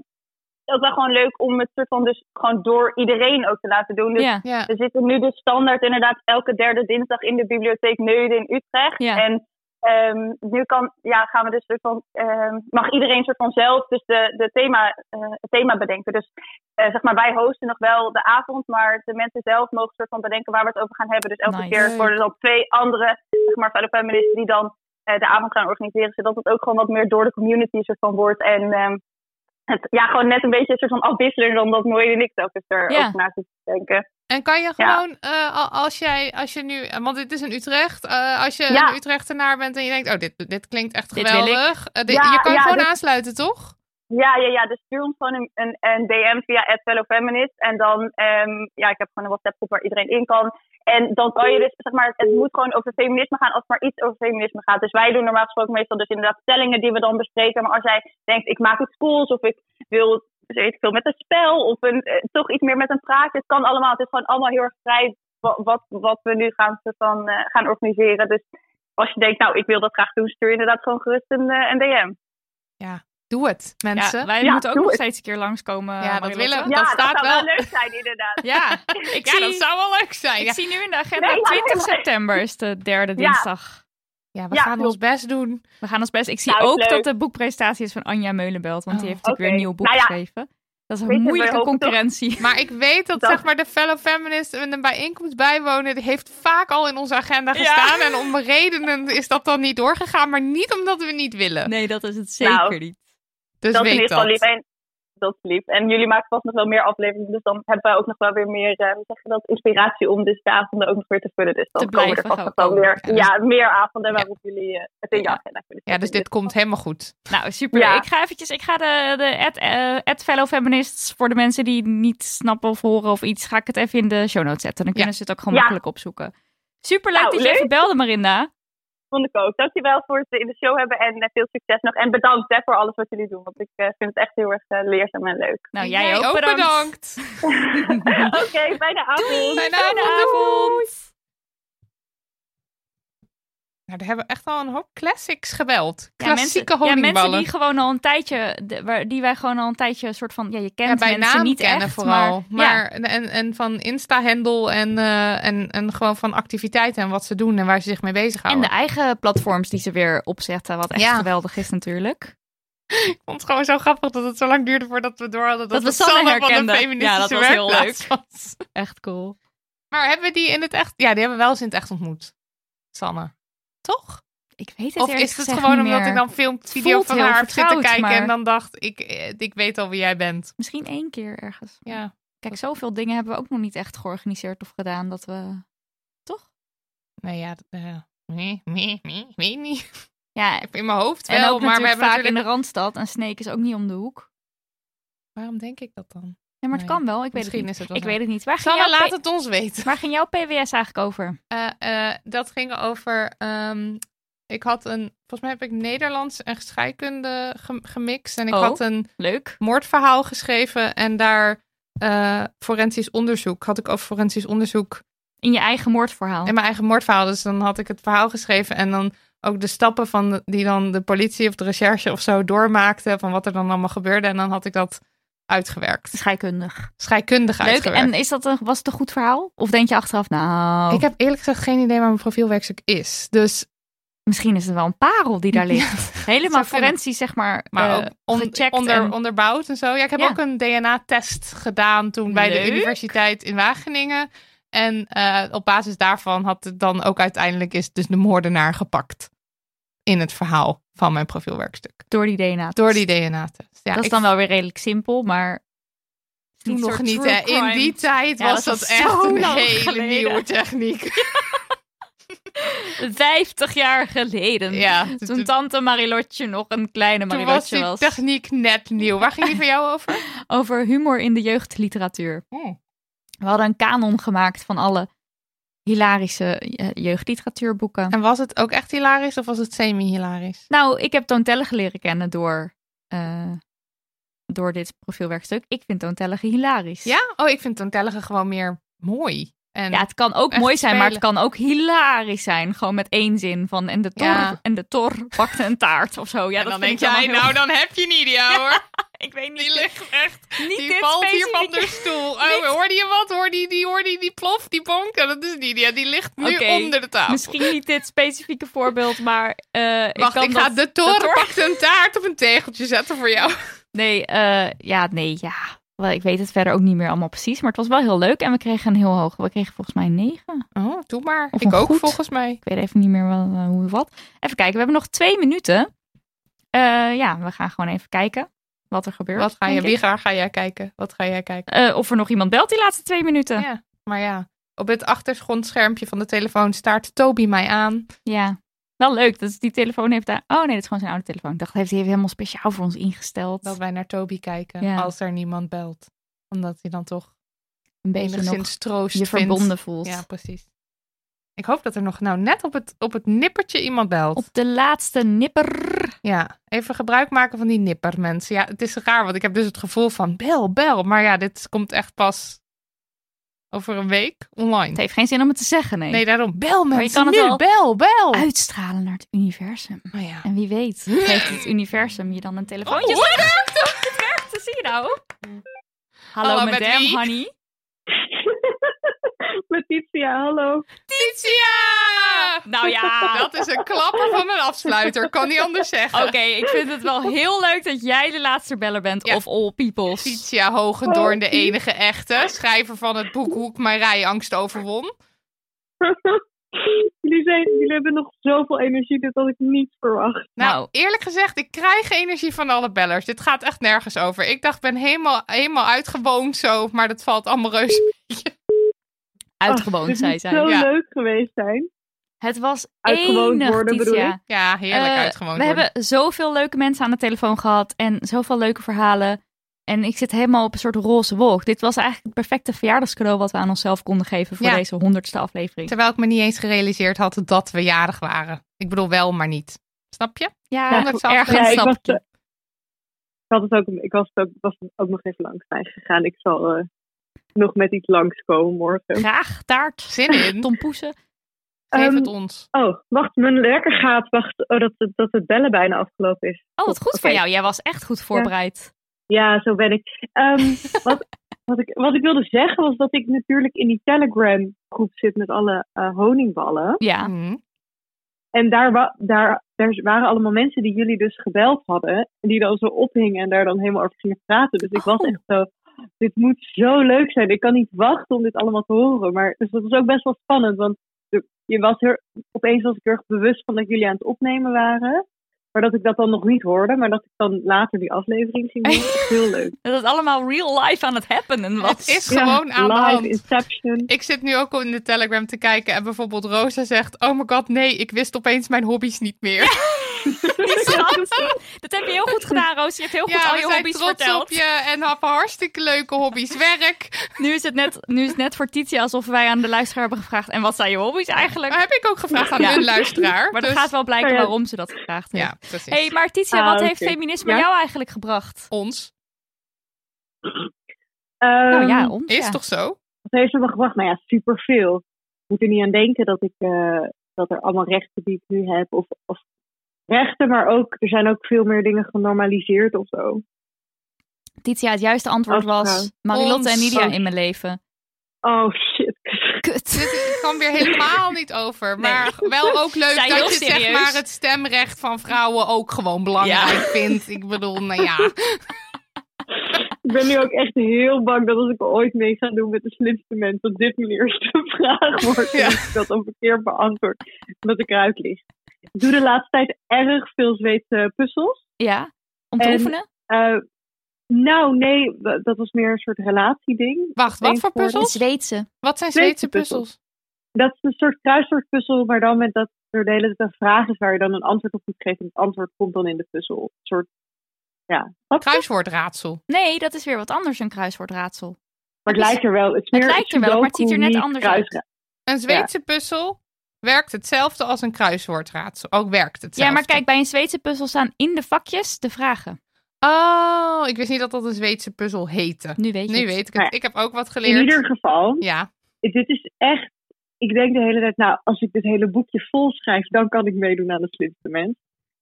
[SPEAKER 14] Het is ook wel gewoon leuk om het soort van dus gewoon door iedereen ook te laten doen. Dus
[SPEAKER 3] Ja.
[SPEAKER 2] Ja.
[SPEAKER 14] we zitten nu dus standaard inderdaad elke derde dinsdag in de bibliotheek Neuden in Utrecht.
[SPEAKER 3] Ja.
[SPEAKER 14] En ehm, nu kan, ja, gaan we dus soort van, ehm, mag iedereen soort van zelf dus de, de thema, eh, het thema bedenken. Dus eh, zeg maar, wij hosten nog wel de avond, maar de mensen zelf mogen soort van bedenken waar we het over gaan hebben. Dus elke
[SPEAKER 3] Nice.
[SPEAKER 14] keer worden er dan twee andere, zeg maar, fellow feministen die dan eh, de avond gaan organiseren. Zodat het ook gewoon wat meer door de community soort van wordt. En ehm, het, ja, gewoon net een beetje een soort van afwisseler dan dat Mooi en ik zelf dus er
[SPEAKER 3] Ja.
[SPEAKER 14] ook na zitten te denken.
[SPEAKER 2] En kan je gewoon, eh, al- als, jij, als je nu, want dit is in Utrecht, eh, als je
[SPEAKER 14] Ja.
[SPEAKER 2] een Utrechtenaar bent en je denkt, oh, dit, dit klinkt echt
[SPEAKER 14] Dit wil ik.
[SPEAKER 2] geweldig. eh, dit-
[SPEAKER 14] Ja,
[SPEAKER 2] je kan
[SPEAKER 14] ja,
[SPEAKER 2] gewoon
[SPEAKER 14] dit-
[SPEAKER 2] aansluiten, toch?
[SPEAKER 14] Ja, ja, ja. Dus stuur ons gewoon een, een, een DM via @fellowfeminist en dan, ehm, ja, ik heb gewoon een WhatsApp groep waar iedereen in kan. En dan kan je dus, zeg maar, het moet gewoon over feminisme gaan als het maar iets over feminisme gaat. Dus wij doen normaal gesproken meestal dus inderdaad stellingen die we dan bespreken. Maar als jij denkt, ik maak iets cools of ik wil, weet ik veel, met een spel of een, eh, toch iets meer met een praatje. Het kan allemaal. Het is gewoon allemaal heel erg vrij wa- wat, wat we nu gaan, soort van, eh, gaan organiseren. Dus als je denkt, nou, ik wil dat graag doen, stuur inderdaad gewoon gerust een, eh, een DM.
[SPEAKER 2] Ja, doe het, mensen.
[SPEAKER 3] Ja, wij
[SPEAKER 14] Ja,
[SPEAKER 3] moeten ook
[SPEAKER 14] doe
[SPEAKER 3] nog
[SPEAKER 14] het.
[SPEAKER 3] steeds een keer langskomen.
[SPEAKER 2] Ja, dat
[SPEAKER 3] Marilotte.
[SPEAKER 2] willen we.
[SPEAKER 14] Ah,
[SPEAKER 2] Ja, Dat dat staat zou wel wel.
[SPEAKER 14] leuk zijn, inderdaad.
[SPEAKER 3] Ja, ik
[SPEAKER 2] Ja,
[SPEAKER 3] zie,
[SPEAKER 2] dat zou wel leuk zijn.
[SPEAKER 3] Ik
[SPEAKER 2] ja.
[SPEAKER 3] zie nu in de agenda
[SPEAKER 14] Nee, ja,
[SPEAKER 3] 20
[SPEAKER 14] helemaal.
[SPEAKER 3] september is de derde
[SPEAKER 14] Ja.
[SPEAKER 3] dinsdag.
[SPEAKER 2] Ja, we
[SPEAKER 14] Ja,
[SPEAKER 2] gaan ons best doen.
[SPEAKER 3] We gaan ons best. Ik zie
[SPEAKER 14] Nou, is
[SPEAKER 3] ook
[SPEAKER 14] leuk.
[SPEAKER 3] dat de boekpresentatie is van Anja Meulenbelt. Want die
[SPEAKER 2] Oh,
[SPEAKER 3] heeft natuurlijk weer
[SPEAKER 14] Oké.
[SPEAKER 3] een nieuw boek
[SPEAKER 14] Nou ja.
[SPEAKER 3] geschreven. Dat is
[SPEAKER 14] Weet
[SPEAKER 3] een
[SPEAKER 14] je, we
[SPEAKER 3] moeilijke
[SPEAKER 14] hopen toch-
[SPEAKER 3] concurrentie.
[SPEAKER 2] Maar ik weet dat,
[SPEAKER 14] Dat-
[SPEAKER 2] zeg maar, de fellow feminist en de bijeenkomst bijwonen, die heeft vaak al in onze agenda gestaan. En om redenen is dat dan niet doorgegaan, maar niet omdat we niet willen.
[SPEAKER 3] Nee, dat is het zeker
[SPEAKER 14] Nou,
[SPEAKER 3] niet.
[SPEAKER 2] Dus
[SPEAKER 14] dat is in
[SPEAKER 2] weet
[SPEAKER 14] ieder geval
[SPEAKER 2] dat.
[SPEAKER 14] lief. En, dat is lief. En jullie maken vast nog wel meer afleveringen. Dus dan hebben wij ook nog wel weer meer eh, hoe zeg je dat, inspiratie om dus de avonden ook nog weer te vullen. Dus dan
[SPEAKER 3] Te
[SPEAKER 14] komen er
[SPEAKER 3] blijven
[SPEAKER 14] vast
[SPEAKER 3] gaan
[SPEAKER 14] nog wel
[SPEAKER 3] komen.
[SPEAKER 14] meer,
[SPEAKER 2] Ja,
[SPEAKER 14] ja, meer avonden waarop jullie eh, het in je
[SPEAKER 3] Ja.
[SPEAKER 14] agenda kunnen
[SPEAKER 2] Ja, dus dit komt helemaal goed.
[SPEAKER 3] Nou, super.
[SPEAKER 14] Ja.
[SPEAKER 3] Ik ga eventjes, ik ga de, de ad, eh, ad fellow feminists, voor de mensen die niet snappen of horen of iets, ga ik het even in de show notes zetten. Dan kunnen ze het ook gewoon
[SPEAKER 14] Ja.
[SPEAKER 3] makkelijk opzoeken. Super leuk
[SPEAKER 14] Nou,
[SPEAKER 3] dat je
[SPEAKER 14] leuk.
[SPEAKER 3] even belde, Marinda.
[SPEAKER 14] Vond ik ook. Dankjewel voor het in de show hebben en eh, veel succes nog. En bedankt hè, voor alles wat jullie doen. Want ik eh, vind het echt heel erg eh, leerzaam en leuk.
[SPEAKER 3] Nou, jij,
[SPEAKER 2] Jij, ook bedankt.
[SPEAKER 14] Oké, bijna avond.
[SPEAKER 2] Fijne
[SPEAKER 3] Fijne
[SPEAKER 2] avond.
[SPEAKER 3] avond.
[SPEAKER 2] Nou, er hebben echt al een hoop classics gebeld.
[SPEAKER 3] Ja,
[SPEAKER 2] Klassieke
[SPEAKER 3] mensen, ja, mensen
[SPEAKER 2] honingballen.
[SPEAKER 3] die gewoon al een tijdje, de- waar- die wij gewoon al een tijdje een soort van, ja, je kent
[SPEAKER 2] ja, bij
[SPEAKER 3] mensen
[SPEAKER 2] naam
[SPEAKER 3] niet
[SPEAKER 2] kennen
[SPEAKER 3] echt,
[SPEAKER 2] vooral.
[SPEAKER 3] maar, ja.
[SPEAKER 2] Maar, en, en van Insta-handle en, eh, en, en gewoon van activiteiten en wat ze doen en waar ze zich mee
[SPEAKER 3] En
[SPEAKER 2] bezighouden.
[SPEAKER 3] de eigen platforms die ze weer opzetten, wat echt
[SPEAKER 2] Ja.
[SPEAKER 3] geweldig is natuurlijk.
[SPEAKER 2] Ik vond het gewoon zo grappig dat het zo lang duurde voordat we door hadden dat,
[SPEAKER 3] Dat we
[SPEAKER 2] het
[SPEAKER 3] Sanne
[SPEAKER 2] van de
[SPEAKER 3] herkenden.
[SPEAKER 2] feministische
[SPEAKER 3] Ja, dat was heel
[SPEAKER 2] werkplaats was.
[SPEAKER 3] Echt cool.
[SPEAKER 2] Maar hebben we die in het echt... Ja, die hebben we wel eens in het echt ontmoet. Sanne. Toch?
[SPEAKER 3] Ik weet het
[SPEAKER 2] Of
[SPEAKER 3] eerlijk
[SPEAKER 2] is het
[SPEAKER 3] gezegd
[SPEAKER 2] gewoon
[SPEAKER 3] niet
[SPEAKER 2] omdat
[SPEAKER 3] meer.
[SPEAKER 2] ik dan film, video
[SPEAKER 3] voelt
[SPEAKER 2] van
[SPEAKER 3] heel
[SPEAKER 2] haar heb zitten
[SPEAKER 3] vertrouwd,
[SPEAKER 2] kijken en
[SPEAKER 3] maar-
[SPEAKER 2] dan dacht ik, eh, ik weet al wie jij bent.
[SPEAKER 3] Misschien één keer ergens.
[SPEAKER 2] Ja.
[SPEAKER 3] Kijk, zoveel dingen hebben we ook nog niet echt georganiseerd of gedaan dat we. Toch?
[SPEAKER 2] Nee, ja. dat- eh, nee, nee, nee, weet niet.
[SPEAKER 3] Ja,
[SPEAKER 2] Ik heb in mijn hoofd wel,
[SPEAKER 3] en ook
[SPEAKER 2] maar
[SPEAKER 3] maar
[SPEAKER 2] we hebben
[SPEAKER 3] vaak in
[SPEAKER 2] natuurlijk...
[SPEAKER 3] de randstad. En Sneek is ook niet om de hoek.
[SPEAKER 2] Waarom denk ik dat dan?
[SPEAKER 3] Ja, maar het
[SPEAKER 2] Nee,
[SPEAKER 3] kan wel. Ik weet het
[SPEAKER 2] Misschien
[SPEAKER 3] niet.
[SPEAKER 2] is het wel
[SPEAKER 3] Ik
[SPEAKER 2] zo.
[SPEAKER 3] weet het niet. Waar ging,
[SPEAKER 2] Sanne,
[SPEAKER 3] jouw
[SPEAKER 2] laat
[SPEAKER 3] P-
[SPEAKER 2] het ons weten.
[SPEAKER 3] waar ging jouw PWS eigenlijk over?
[SPEAKER 2] Eh, eh, dat ging over. ehm, ik had een. Volgens mij heb ik Nederlands en scheikunde gem- gemixt. En ik
[SPEAKER 3] Oh.
[SPEAKER 2] had een
[SPEAKER 3] Leuk.
[SPEAKER 2] moordverhaal geschreven. En daar eh, forensisch onderzoek. Had ik over forensisch onderzoek.
[SPEAKER 3] In je eigen moordverhaal.
[SPEAKER 2] En mijn eigen moordverhaal. Dus dan had ik het verhaal geschreven. En dan ook de stappen van de- die dan de politie of de recherche of zo doormaakte. Van wat er dan allemaal gebeurde. En dan had ik dat uitgewerkt.
[SPEAKER 3] Scheikundig.
[SPEAKER 2] Scheikundig
[SPEAKER 3] Leuk.
[SPEAKER 2] uitgewerkt.
[SPEAKER 3] En is dat een, was het een goed verhaal? Of denk je achteraf, nou,
[SPEAKER 2] Ik heb eerlijk gezegd geen idee waar mijn profielwerkstuk is. Dus
[SPEAKER 3] misschien is het wel een parel die daar ligt. Helemaal
[SPEAKER 2] Zou kunnen.
[SPEAKER 3] forensisch, zeg maar.
[SPEAKER 2] Maar
[SPEAKER 3] eh,
[SPEAKER 2] ook on-
[SPEAKER 3] gecheckt
[SPEAKER 2] onder,
[SPEAKER 3] en-
[SPEAKER 2] onderbouwd en zo. Ja, ik heb
[SPEAKER 3] Ja.
[SPEAKER 2] ook een DNA-test gedaan toen bij de
[SPEAKER 3] Leuk.
[SPEAKER 2] universiteit in Wageningen. En eh, op basis daarvan had het dan ook uiteindelijk is dus de moordenaar gepakt. In het verhaal van mijn profielwerkstuk.
[SPEAKER 3] door die DNA.
[SPEAKER 2] Door die DNA-test. Ja,
[SPEAKER 3] dat is
[SPEAKER 2] ik
[SPEAKER 3] dan wel weer redelijk simpel, maar.
[SPEAKER 2] toen
[SPEAKER 3] Niet
[SPEAKER 2] nog
[SPEAKER 3] soort
[SPEAKER 2] niet.
[SPEAKER 3] true
[SPEAKER 2] hè. In
[SPEAKER 3] crime.
[SPEAKER 2] die tijd
[SPEAKER 3] Ja,
[SPEAKER 2] was
[SPEAKER 3] dat
[SPEAKER 2] dat,
[SPEAKER 3] is
[SPEAKER 2] echt
[SPEAKER 3] zo
[SPEAKER 2] een
[SPEAKER 3] lang
[SPEAKER 2] hele
[SPEAKER 3] geleden.
[SPEAKER 2] nieuwe techniek.
[SPEAKER 3] 50 jaar geleden.
[SPEAKER 2] Ja,
[SPEAKER 3] Toen
[SPEAKER 2] toen-
[SPEAKER 3] tante Marilotje nog een kleine
[SPEAKER 2] Toen was
[SPEAKER 3] Marilotje
[SPEAKER 2] die
[SPEAKER 3] was.
[SPEAKER 2] techniek net nieuw. Waar ging die van jou over?
[SPEAKER 3] Over humor in de jeugdliteratuur.
[SPEAKER 2] Oh.
[SPEAKER 3] We hadden een kanon gemaakt van alle hilarische eh, jeugdliteratuurboeken.
[SPEAKER 2] En was het ook echt hilarisch of was het semi-hilarisch?
[SPEAKER 3] Nou, ik heb Toontellige leren kennen door, eh, door dit profielwerkstuk. Ik vind Toontellige hilarisch.
[SPEAKER 2] Ja? Oh, ik vind Toontellige gewoon meer mooi. En
[SPEAKER 3] Ja, het kan ook
[SPEAKER 2] Echt
[SPEAKER 3] mooi zijn, maar het
[SPEAKER 2] spelen.
[SPEAKER 3] kan ook hilarisch zijn. Gewoon met één zin van en de tor,
[SPEAKER 2] Ja.
[SPEAKER 3] en de tor pakte een taart of zo. Ja,
[SPEAKER 2] en
[SPEAKER 3] dat
[SPEAKER 2] dan
[SPEAKER 3] vind
[SPEAKER 2] denk
[SPEAKER 3] ik
[SPEAKER 2] jij,
[SPEAKER 3] allemaal heel-
[SPEAKER 2] nou dan heb je niet ja hoor.
[SPEAKER 3] ik weet niet.
[SPEAKER 2] Die
[SPEAKER 3] dit-
[SPEAKER 2] ligt echt,
[SPEAKER 3] niet
[SPEAKER 2] die
[SPEAKER 3] dit
[SPEAKER 2] valt hier van de
[SPEAKER 3] specifieke-
[SPEAKER 2] stoel. Oh, hoorde je wat? Hoorde je die, hoorde je die plof, die bonk? Ja, dat is niet ja. Die ligt nu
[SPEAKER 3] Oké,
[SPEAKER 2] onder de tafel.
[SPEAKER 3] Misschien niet dit specifieke voorbeeld, maar eh,
[SPEAKER 2] Wacht,
[SPEAKER 3] ik
[SPEAKER 2] ik,
[SPEAKER 3] kan
[SPEAKER 2] ga
[SPEAKER 3] dat-
[SPEAKER 2] de toren
[SPEAKER 3] dat-
[SPEAKER 2] pakt een taart op een tegeltje zetten voor jou.
[SPEAKER 3] Nee, eh, ja, nee, ja. Wel, ik weet het verder ook niet meer allemaal precies, maar het was wel heel leuk en we kregen een heel hoog. We kregen volgens mij een 9.
[SPEAKER 2] Oh, doe maar.
[SPEAKER 3] Of
[SPEAKER 2] ik
[SPEAKER 3] een
[SPEAKER 2] ook
[SPEAKER 3] goed.
[SPEAKER 2] volgens mij.
[SPEAKER 3] Ik weet even niet meer wel, eh, hoe wat. Even kijken, we hebben nog twee minuten. Eh, ja, we gaan gewoon even kijken wat er gebeurt.
[SPEAKER 2] Wat ga je,
[SPEAKER 3] denk ik.
[SPEAKER 2] wie ga, ga jij kijken? Wat ga jij kijken?
[SPEAKER 3] Eh, of er nog iemand belt die laatste twee minuten.
[SPEAKER 2] Ja. Maar ja, op het achtergrondschermpje van de telefoon staart Toby mij aan.
[SPEAKER 3] Ja, wel leuk. Dus die telefoon heeft daar... Oh nee, dat is gewoon zijn oude telefoon. Ik dacht, heeft hij helemaal speciaal voor ons ingesteld.
[SPEAKER 2] Dat wij naar Toby kijken
[SPEAKER 3] Ja.
[SPEAKER 2] als er niemand belt. Omdat hij dan toch
[SPEAKER 3] Een beetje
[SPEAKER 2] enigszins
[SPEAKER 3] nog
[SPEAKER 2] troost
[SPEAKER 3] je
[SPEAKER 2] vindt.
[SPEAKER 3] verbonden voelt.
[SPEAKER 2] Ja, precies. Ik hoop dat er nog nou net op het, op het nippertje iemand belt. Op
[SPEAKER 3] de laatste nipper.
[SPEAKER 2] Ja, even gebruik maken van die nipper, mensen. Ja, het is raar, want ik heb dus het gevoel van bel, bel. Maar ja, dit komt echt pas over een week online. Het
[SPEAKER 3] heeft geen zin om het te zeggen, nee.
[SPEAKER 2] Nee, daarom bel
[SPEAKER 3] Maar
[SPEAKER 2] mensen
[SPEAKER 3] je kan het
[SPEAKER 2] nu,
[SPEAKER 3] wel
[SPEAKER 2] bel, bel. Oh
[SPEAKER 3] Uitstralen naar het universum.
[SPEAKER 2] ja.
[SPEAKER 3] En wie weet, geeft het universum je dan een telefoontje.
[SPEAKER 2] Oh, hoe
[SPEAKER 3] het werkt, dat zie je nou. Hallo,
[SPEAKER 10] Hallo, met
[SPEAKER 3] madame,
[SPEAKER 10] wie?
[SPEAKER 3] honey.
[SPEAKER 13] Letitia, hallo.
[SPEAKER 2] Titia!
[SPEAKER 3] Nou ja.
[SPEAKER 2] Dat is een klapper van een afsluiter. Kan niet anders zeggen.
[SPEAKER 3] Oké, ik vind het wel heel leuk dat jij de laatste beller bent of all peoples.
[SPEAKER 2] Titia Hogendoorn,
[SPEAKER 13] Oh,
[SPEAKER 2] de enige echte. Schrijver van het boek Hoe ik mijn rijangst overwon.
[SPEAKER 13] jullie, zijn, jullie hebben nog zoveel energie, dit had ik niet verwacht.
[SPEAKER 2] Nou, eerlijk gezegd, ik krijg energie van alle bellers. Dit gaat echt nergens over. Ik dacht, ik ben helemaal, helemaal uitgewoond zo, maar dat valt allemaal reuze.
[SPEAKER 3] Uitgewoond,
[SPEAKER 7] Oh,
[SPEAKER 13] Ach, dit
[SPEAKER 3] zei
[SPEAKER 13] moet
[SPEAKER 3] zij.
[SPEAKER 13] zo
[SPEAKER 3] Ja.
[SPEAKER 13] leuk geweest zijn.
[SPEAKER 3] Het was
[SPEAKER 13] Uitgewoond
[SPEAKER 3] enig,
[SPEAKER 13] worden, bedoel
[SPEAKER 3] Titia. Eh,
[SPEAKER 13] ik? Ja, heerlijk uitgewoond
[SPEAKER 3] We
[SPEAKER 13] worden.
[SPEAKER 3] hebben zoveel leuke mensen aan de telefoon gehad en zoveel leuke verhalen. En ik zit helemaal op een soort roze wolk. Dit was eigenlijk het perfecte verjaardagscadeau wat we aan onszelf konden geven voor
[SPEAKER 2] Ja.
[SPEAKER 3] deze honderdste aflevering.
[SPEAKER 2] Terwijl ik me niet eens gerealiseerd had dat we jarig waren. Ik bedoel wel, maar niet. Snap je?
[SPEAKER 3] Ja,
[SPEAKER 2] Honderdste
[SPEAKER 13] Ja,
[SPEAKER 2] aflevering.
[SPEAKER 13] ik, was, eh, ik had het ook, ik was, het ook, was het ook nog even langs bij gegaan. Ik zal eh, nog met iets langskomen morgen.
[SPEAKER 3] Graag, taart.
[SPEAKER 2] Zin in.
[SPEAKER 3] Tompoesen.
[SPEAKER 2] Geef het
[SPEAKER 13] Ehm,
[SPEAKER 2] ons.
[SPEAKER 13] Oh, wacht, mijn wekker gaat. Wacht, oh, dat, dat het bellen bijna afgelopen is.
[SPEAKER 3] Oh, wat goed
[SPEAKER 13] Oké.
[SPEAKER 3] van jou. Jij was echt goed voorbereid.
[SPEAKER 13] Ja, zo ben ik. Ehm, wat, wat ik. Wat ik wilde zeggen was dat ik natuurlijk in die Telegram-groep zit met alle eh, honingballen.
[SPEAKER 3] Ja.
[SPEAKER 13] En daar, wa- daar, daar waren allemaal mensen die jullie dus gebeld hadden. En die dan zo ophingen en daar dan helemaal over gingen praten. Dus ik was echt zo, dit moet zo leuk zijn. Ik kan niet wachten om dit allemaal te horen. Maar dus dat was ook best wel spannend. Want er- je was er, opeens was ik heel erg bewust van dat jullie aan het opnemen waren. Maar dat ik dat dan nog niet hoorde. Maar dat ik dan later die aflevering ging doen. Heel leuk.
[SPEAKER 3] Dat het allemaal real life aan het happenen was.
[SPEAKER 2] Het is gewoon aan de hand.
[SPEAKER 13] Inception.
[SPEAKER 2] Ik zit nu ook in de Telegram te kijken en bijvoorbeeld Rosa zegt: Oh my god, nee, ik wist opeens mijn hobby's niet meer.
[SPEAKER 3] Dat heb je heel goed gedaan, Roos. Je hebt heel
[SPEAKER 2] Ja,
[SPEAKER 3] goed
[SPEAKER 2] we
[SPEAKER 3] al je
[SPEAKER 2] zijn
[SPEAKER 3] hobby's
[SPEAKER 2] trots
[SPEAKER 3] verteld.
[SPEAKER 2] op je en heb hartstikke leuke hobby's. Werk.
[SPEAKER 3] Nu is het net, nu is het net voor Titia alsof wij aan de luisteraar hebben gevraagd. En wat zijn je hobby's eigenlijk?
[SPEAKER 2] Maar heb ik ook gevraagd aan hun luisteraar,
[SPEAKER 3] Maar dat
[SPEAKER 2] dus-
[SPEAKER 3] gaat wel blijken
[SPEAKER 2] Ja, ja.
[SPEAKER 3] waarom ze dat gevraagd heeft.
[SPEAKER 2] Ja, precies.
[SPEAKER 3] hey, maar Titia,
[SPEAKER 2] Ah,
[SPEAKER 3] wat
[SPEAKER 2] oké.
[SPEAKER 3] heeft feminisme
[SPEAKER 2] Ja?
[SPEAKER 3] jou eigenlijk gebracht?
[SPEAKER 2] Ons.
[SPEAKER 3] nou ja,
[SPEAKER 13] Ehm,
[SPEAKER 3] ons.
[SPEAKER 13] is
[SPEAKER 3] ja.
[SPEAKER 13] toch
[SPEAKER 2] zo?
[SPEAKER 13] Wat heeft het me gebracht? Nou ja, superveel. Ik moet er niet aan denken dat, ik, eh, dat er allemaal rechten die ik nu heb. Of, of rechten, maar ook, er zijn ook veel meer dingen genormaliseerd of zo.
[SPEAKER 3] Titia, het juiste antwoord
[SPEAKER 13] Oh,
[SPEAKER 3] was
[SPEAKER 13] nou.
[SPEAKER 3] Marilotte en
[SPEAKER 13] Ons.
[SPEAKER 3] Nidia
[SPEAKER 13] Oh.
[SPEAKER 3] in mijn leven.
[SPEAKER 13] Oh shit.
[SPEAKER 3] Kut.
[SPEAKER 2] Dit kwam weer helemaal niet over. Maar wel ook leuk
[SPEAKER 3] Zijn heel
[SPEAKER 2] dat je zeg
[SPEAKER 3] serieus.
[SPEAKER 2] maar het stemrecht van vrouwen ook gewoon belangrijk vindt. Ik bedoel, nou ja.
[SPEAKER 13] Ik ben nu ook echt heel bang dat als ik ooit mee ga doen met de slimste mens, dat dit mijn eerste vraag wordt. En dat ik dat dan verkeerd beantwoord. Dat ik eruit lig. Ik doe de laatste tijd erg veel Zweedse puzzels.
[SPEAKER 3] Ja, om te
[SPEAKER 13] En,
[SPEAKER 3] oefenen?
[SPEAKER 13] eh, nou, nee, wa- dat was meer een soort relatieding.
[SPEAKER 2] Wacht, wat voor puzzels?
[SPEAKER 3] Zweedse.
[SPEAKER 2] Wat zijn Zweedse puzzels?
[SPEAKER 13] Dat is een soort kruiswoordpuzzel, maar dan met dat er de hele tijd een vraag is waar je dan een antwoord op moet geven. En het antwoord komt dan in de puzzel. Een soort, ja.
[SPEAKER 2] Kruiswoordraadsel.
[SPEAKER 3] Nee, dat is weer wat anders, een kruiswoordraadsel.
[SPEAKER 13] Maar het lijkt er wel. Het, is
[SPEAKER 3] Het
[SPEAKER 13] meer
[SPEAKER 3] lijkt er wel, maar het ziet er net
[SPEAKER 13] Sudoku, niet
[SPEAKER 3] anders uit.
[SPEAKER 13] kruisra-
[SPEAKER 2] Een Zweedse puzzel werkt hetzelfde als een kruiswoordraadsel. Ook werkt hetzelfde.
[SPEAKER 3] Ja, maar kijk, bij een Zweedse puzzel staan in de vakjes de vragen.
[SPEAKER 2] Oh, ik wist niet dat dat een Zweedse puzzel heette.
[SPEAKER 3] Nu weet je
[SPEAKER 2] nu
[SPEAKER 3] het.
[SPEAKER 2] Weet ik,
[SPEAKER 13] Nou
[SPEAKER 2] het.
[SPEAKER 13] ja.
[SPEAKER 2] ik heb ook wat geleerd.
[SPEAKER 13] In ieder geval.
[SPEAKER 2] Ja.
[SPEAKER 13] Dit is echt. Ik denk de hele tijd, nou, als ik dit hele boekje vol schrijf, dan kan ik meedoen aan de slimste mens.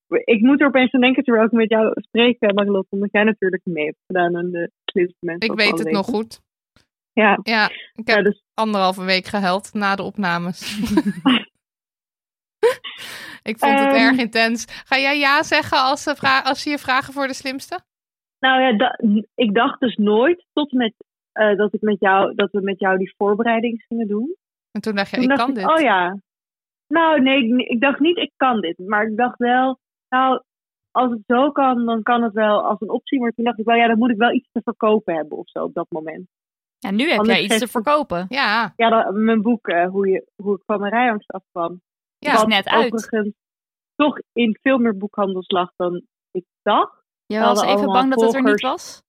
[SPEAKER 13] Ik moet er opeens aan denken terwijl ik met jou spreek, eh, Marilotte, omdat jij natuurlijk mee hebt gedaan aan de slimste mens.
[SPEAKER 2] Ik
[SPEAKER 13] zoals
[SPEAKER 2] weet
[SPEAKER 13] we
[SPEAKER 2] het
[SPEAKER 13] al
[SPEAKER 2] nog
[SPEAKER 13] weten.
[SPEAKER 2] goed.
[SPEAKER 13] Ja. dus-
[SPEAKER 2] Ja, ik heb anderhalve week gehuild na de opnames. ik vond het
[SPEAKER 13] Ehm.
[SPEAKER 2] erg intens. Ga jij ja zeggen als ze, vra- als ze je vragen voor de slimste?
[SPEAKER 13] Nou ja, da- ik dacht dus nooit tot en met, eh, dat, ik met jou, dat we met jou die voorbereiding gingen doen.
[SPEAKER 2] En toen dacht je,
[SPEAKER 13] Toen
[SPEAKER 2] ik
[SPEAKER 13] dacht
[SPEAKER 2] kan dit.
[SPEAKER 13] Oh ja. Nou nee, ik, ik dacht niet ik kan dit. Maar ik dacht wel, nou als het zo kan, dan kan het wel als een optie. Maar toen dacht ik wel, ja, dan moet ik wel iets te verkopen hebben of zo op dat moment.
[SPEAKER 3] Ja, nu heb
[SPEAKER 13] Anders
[SPEAKER 3] jij iets te
[SPEAKER 13] geeft-
[SPEAKER 3] verkopen.
[SPEAKER 2] Ja.
[SPEAKER 13] Ja, dat- mijn boek, eh, hoe, je, hoe ik van mijn rijangst afkwam.
[SPEAKER 3] Ja, is
[SPEAKER 13] Wat
[SPEAKER 3] net uit.
[SPEAKER 13] overigens toch in veel meer boekhandels lag dan ik dacht.
[SPEAKER 3] Je
[SPEAKER 13] We
[SPEAKER 3] was
[SPEAKER 13] hadden
[SPEAKER 3] even
[SPEAKER 13] allemaal
[SPEAKER 3] bang dat het er niet
[SPEAKER 13] volgers.
[SPEAKER 3] was?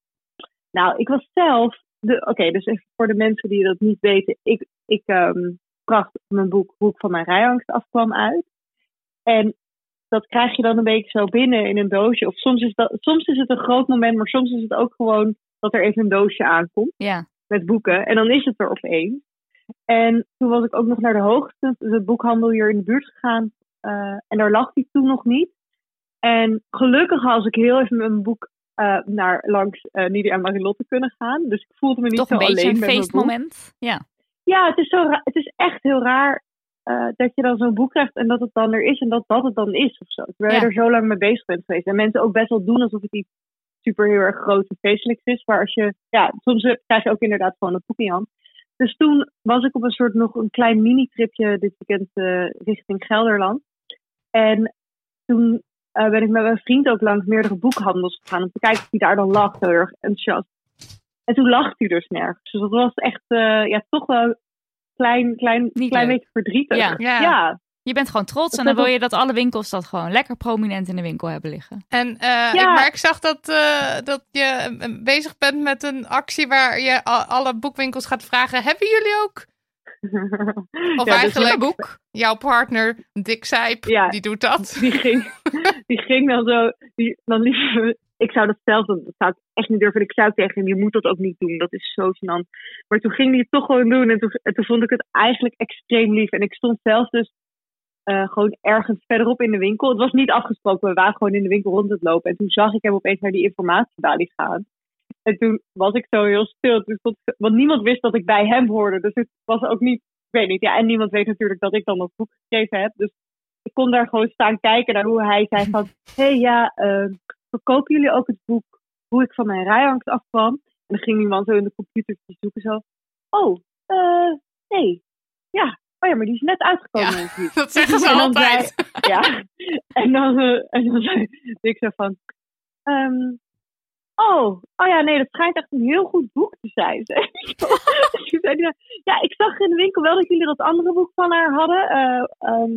[SPEAKER 13] Nou, ik was zelf... de- Oké, dus even voor de mensen die dat niet weten. Ik, ik ehm, bracht mijn boek Hoe ik van mijn rijangst afkwam uit. En dat krijg je dan een beetje zo binnen in een doosje. Of soms is, dat, soms is het een groot moment, maar soms is het ook gewoon dat er even een doosje aankomt
[SPEAKER 3] Ja.
[SPEAKER 13] met boeken. En dan is het er opeens. En toen was ik ook nog naar de hoogste, de boekhandel hier in de buurt gegaan. eh, en daar lag die toen nog niet. En gelukkig had ik heel even mijn boek eh, naar langs eh Nidia en Marilotte kunnen gaan. Dus ik voelde me niet
[SPEAKER 3] Toch
[SPEAKER 13] zo
[SPEAKER 3] een beetje
[SPEAKER 13] alleen
[SPEAKER 3] een
[SPEAKER 13] met mijn boek.
[SPEAKER 3] feestmoment. Ja.
[SPEAKER 13] Ja, het is, zo ra- het is echt heel raar eh, dat je dan zo'n boek krijgt en dat het dan er is en dat dat het dan is of zo. Terwijl
[SPEAKER 3] Ja.
[SPEAKER 13] je er zo lang mee bezig bent geweest. En mensen ook best wel doen alsof het iets super heel erg groot en feestelijks is. Maar als je, ja, soms eh, krijg je ook inderdaad gewoon een boek in je hand. Dus toen was ik op een soort nog een klein mini-tripje dit weekend eh, richting Gelderland. En toen eh, ben ik met mijn vriend ook langs meerdere boekhandels gegaan om te kijken of hij daar dan lag, heel erg enthousiast. En toen lag hij dus nergens. Dus dat was echt eh, ja, toch wel een klein, klein, klein
[SPEAKER 3] leuk.
[SPEAKER 13] beetje verdrietig.
[SPEAKER 3] Ja.
[SPEAKER 13] ja.
[SPEAKER 3] Je bent gewoon trots
[SPEAKER 13] Dat
[SPEAKER 3] en dan
[SPEAKER 13] dat-
[SPEAKER 3] wil je dat alle winkels dat gewoon lekker prominent in de winkel hebben liggen.
[SPEAKER 2] En, eh,
[SPEAKER 13] Ja.
[SPEAKER 2] ik, maar ik zag dat, eh, dat je eh, bezig bent met een actie waar je a- alle boekwinkels gaat vragen: Hebben jullie ook? Of
[SPEAKER 13] Ja, dus
[SPEAKER 2] eigenlijk
[SPEAKER 13] mijn
[SPEAKER 2] jouw partner, Dick Zijp, die doet dat.
[SPEAKER 13] Die ging, die ging dan zo. Die, dan liep, ze- ik zou dat zelf doen. Dat zou ik echt niet durven. Ik zou tegen hem, je moet dat ook niet doen. Dat is zo gênant. Maar toen ging hij het toch gewoon doen. En toen, en toen vond ik het eigenlijk extreem lief. En ik stond zelf dus eh, gewoon ergens verderop in de winkel. Het was niet afgesproken. We waren gewoon in de winkel rond het lopen. En toen zag ik hem opeens naar die informatiebalie gaan. En toen was ik zo heel stil. Toen stond, want niemand wist dat ik bij hem hoorde. Dus het was ook niet... Ik weet niet. Ja, en niemand weet natuurlijk dat ik dan dat boek gegeven heb. Dus ik kon daar gewoon staan kijken naar hoe hij zei van... Hé hey, ja, eh, verkopen jullie ook het boek Hoe ik van mijn rijangst afkwam? En dan ging iemand zo in de computer zoeken zo... Oh, eh, nee. Ja, oh ja, maar die is net uitgekomen. natuurlijk."
[SPEAKER 2] dat zeggen ze
[SPEAKER 13] En dan
[SPEAKER 2] altijd.
[SPEAKER 13] zei- ja, en dan, eh, en dan zei ik zo van... ehm, Oh, oh ja, nee, dat schijnt echt een heel goed boek te zijn. zei ik zo. Dus toen zei die, ja, ik zag in de winkel wel dat jullie dat andere boek van haar hadden. eh, ehm,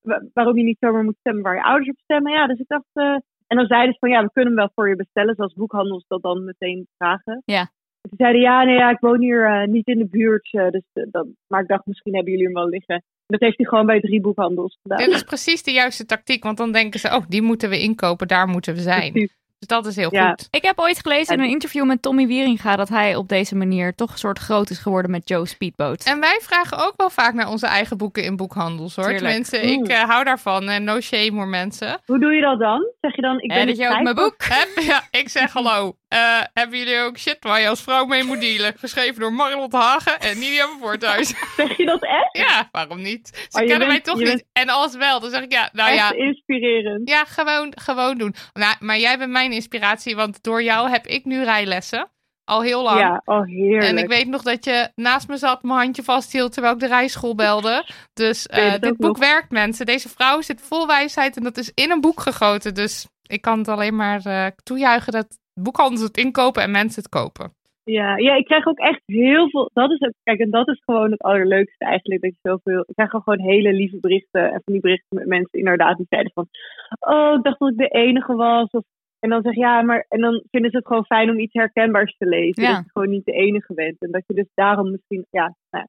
[SPEAKER 13] wa- waarom je niet zomaar moet stemmen waar je ouders op stemmen. Ja, dus ik dacht... eh, en dan zeiden ze van, ja, we kunnen hem wel voor je bestellen. Zoals boekhandels dat dan meteen vragen.
[SPEAKER 3] Ja.
[SPEAKER 13] En Toen zeiden ja, nee, ja, ik woon hier eh, niet in de buurt. eh, dus, eh, dat, maar ik dacht, misschien hebben jullie hem wel liggen. En dat heeft hij gewoon bij drie boekhandels gedaan.
[SPEAKER 2] Dit is precies de juiste tactiek, want dan denken ze: Oh, die moeten we inkopen, daar moeten we zijn. Dus dat is heel goed.
[SPEAKER 3] Ik heb ooit gelezen in
[SPEAKER 2] En-
[SPEAKER 3] een interview met Tommy Wieringa dat hij op deze manier toch een soort groot is geworden met Joe Speedboat.
[SPEAKER 2] En wij vragen ook wel vaak naar onze eigen boeken in boekhandels hoor.
[SPEAKER 3] Tuurlijk.
[SPEAKER 2] Mensen, ik
[SPEAKER 3] Oeh.
[SPEAKER 2] eh, hou daarvan en no shame hoor mensen.
[SPEAKER 13] Hoe doe je dat dan? Zeg je dan, ik ben
[SPEAKER 2] dat
[SPEAKER 13] het kwijt, of-
[SPEAKER 2] ja, ik zeg hallo. Eh, hebben jullie ook shit waar je als vrouw mee moet dealen? Geschreven door Marlot Hagen en Nidia van Voorthuis.
[SPEAKER 13] Zeg je dat echt?
[SPEAKER 2] Ja, waarom niet? Ze
[SPEAKER 13] Maar je
[SPEAKER 2] kennen mij
[SPEAKER 13] bent-
[SPEAKER 2] toch
[SPEAKER 13] je
[SPEAKER 2] niet.
[SPEAKER 13] bent
[SPEAKER 2] En als wel, dan zeg ik ja, nou
[SPEAKER 13] echt
[SPEAKER 2] ja.
[SPEAKER 13] inspirerend.
[SPEAKER 2] Ja, gewoon, gewoon doen. Nou, maar jij bent mijn inspiratie, want door jou heb ik nu rijlessen. Al heel lang.
[SPEAKER 13] Ja, oh heerlijk.
[SPEAKER 2] En ik weet nog dat je naast me zat, mijn handje vasthield terwijl ik de rijschool belde. Dus eh,
[SPEAKER 13] Weet het
[SPEAKER 2] dit
[SPEAKER 13] ook
[SPEAKER 2] boek
[SPEAKER 13] nog.
[SPEAKER 2] werkt, mensen. Deze vrouw zit vol wijsheid en dat is in een boek gegoten. Dus ik kan het alleen maar eh, toejuichen dat boekhandels het inkopen en mensen het kopen.
[SPEAKER 13] Ja, ja, ik krijg ook echt heel veel. Dat is het, kijk, en dat is gewoon het allerleukste eigenlijk. Dat je zoveel. Ik krijg ook gewoon hele lieve berichten. En van die berichten met mensen inderdaad die zeiden van. Oh, ik dacht dat ik de enige was. Of, en dan zeg je, ja, maar. En dan vinden ze het gewoon fijn om iets herkenbaars te lezen.
[SPEAKER 3] Ja.
[SPEAKER 13] Dat je gewoon niet de enige bent. En dat je dus daarom misschien. Ja, nou,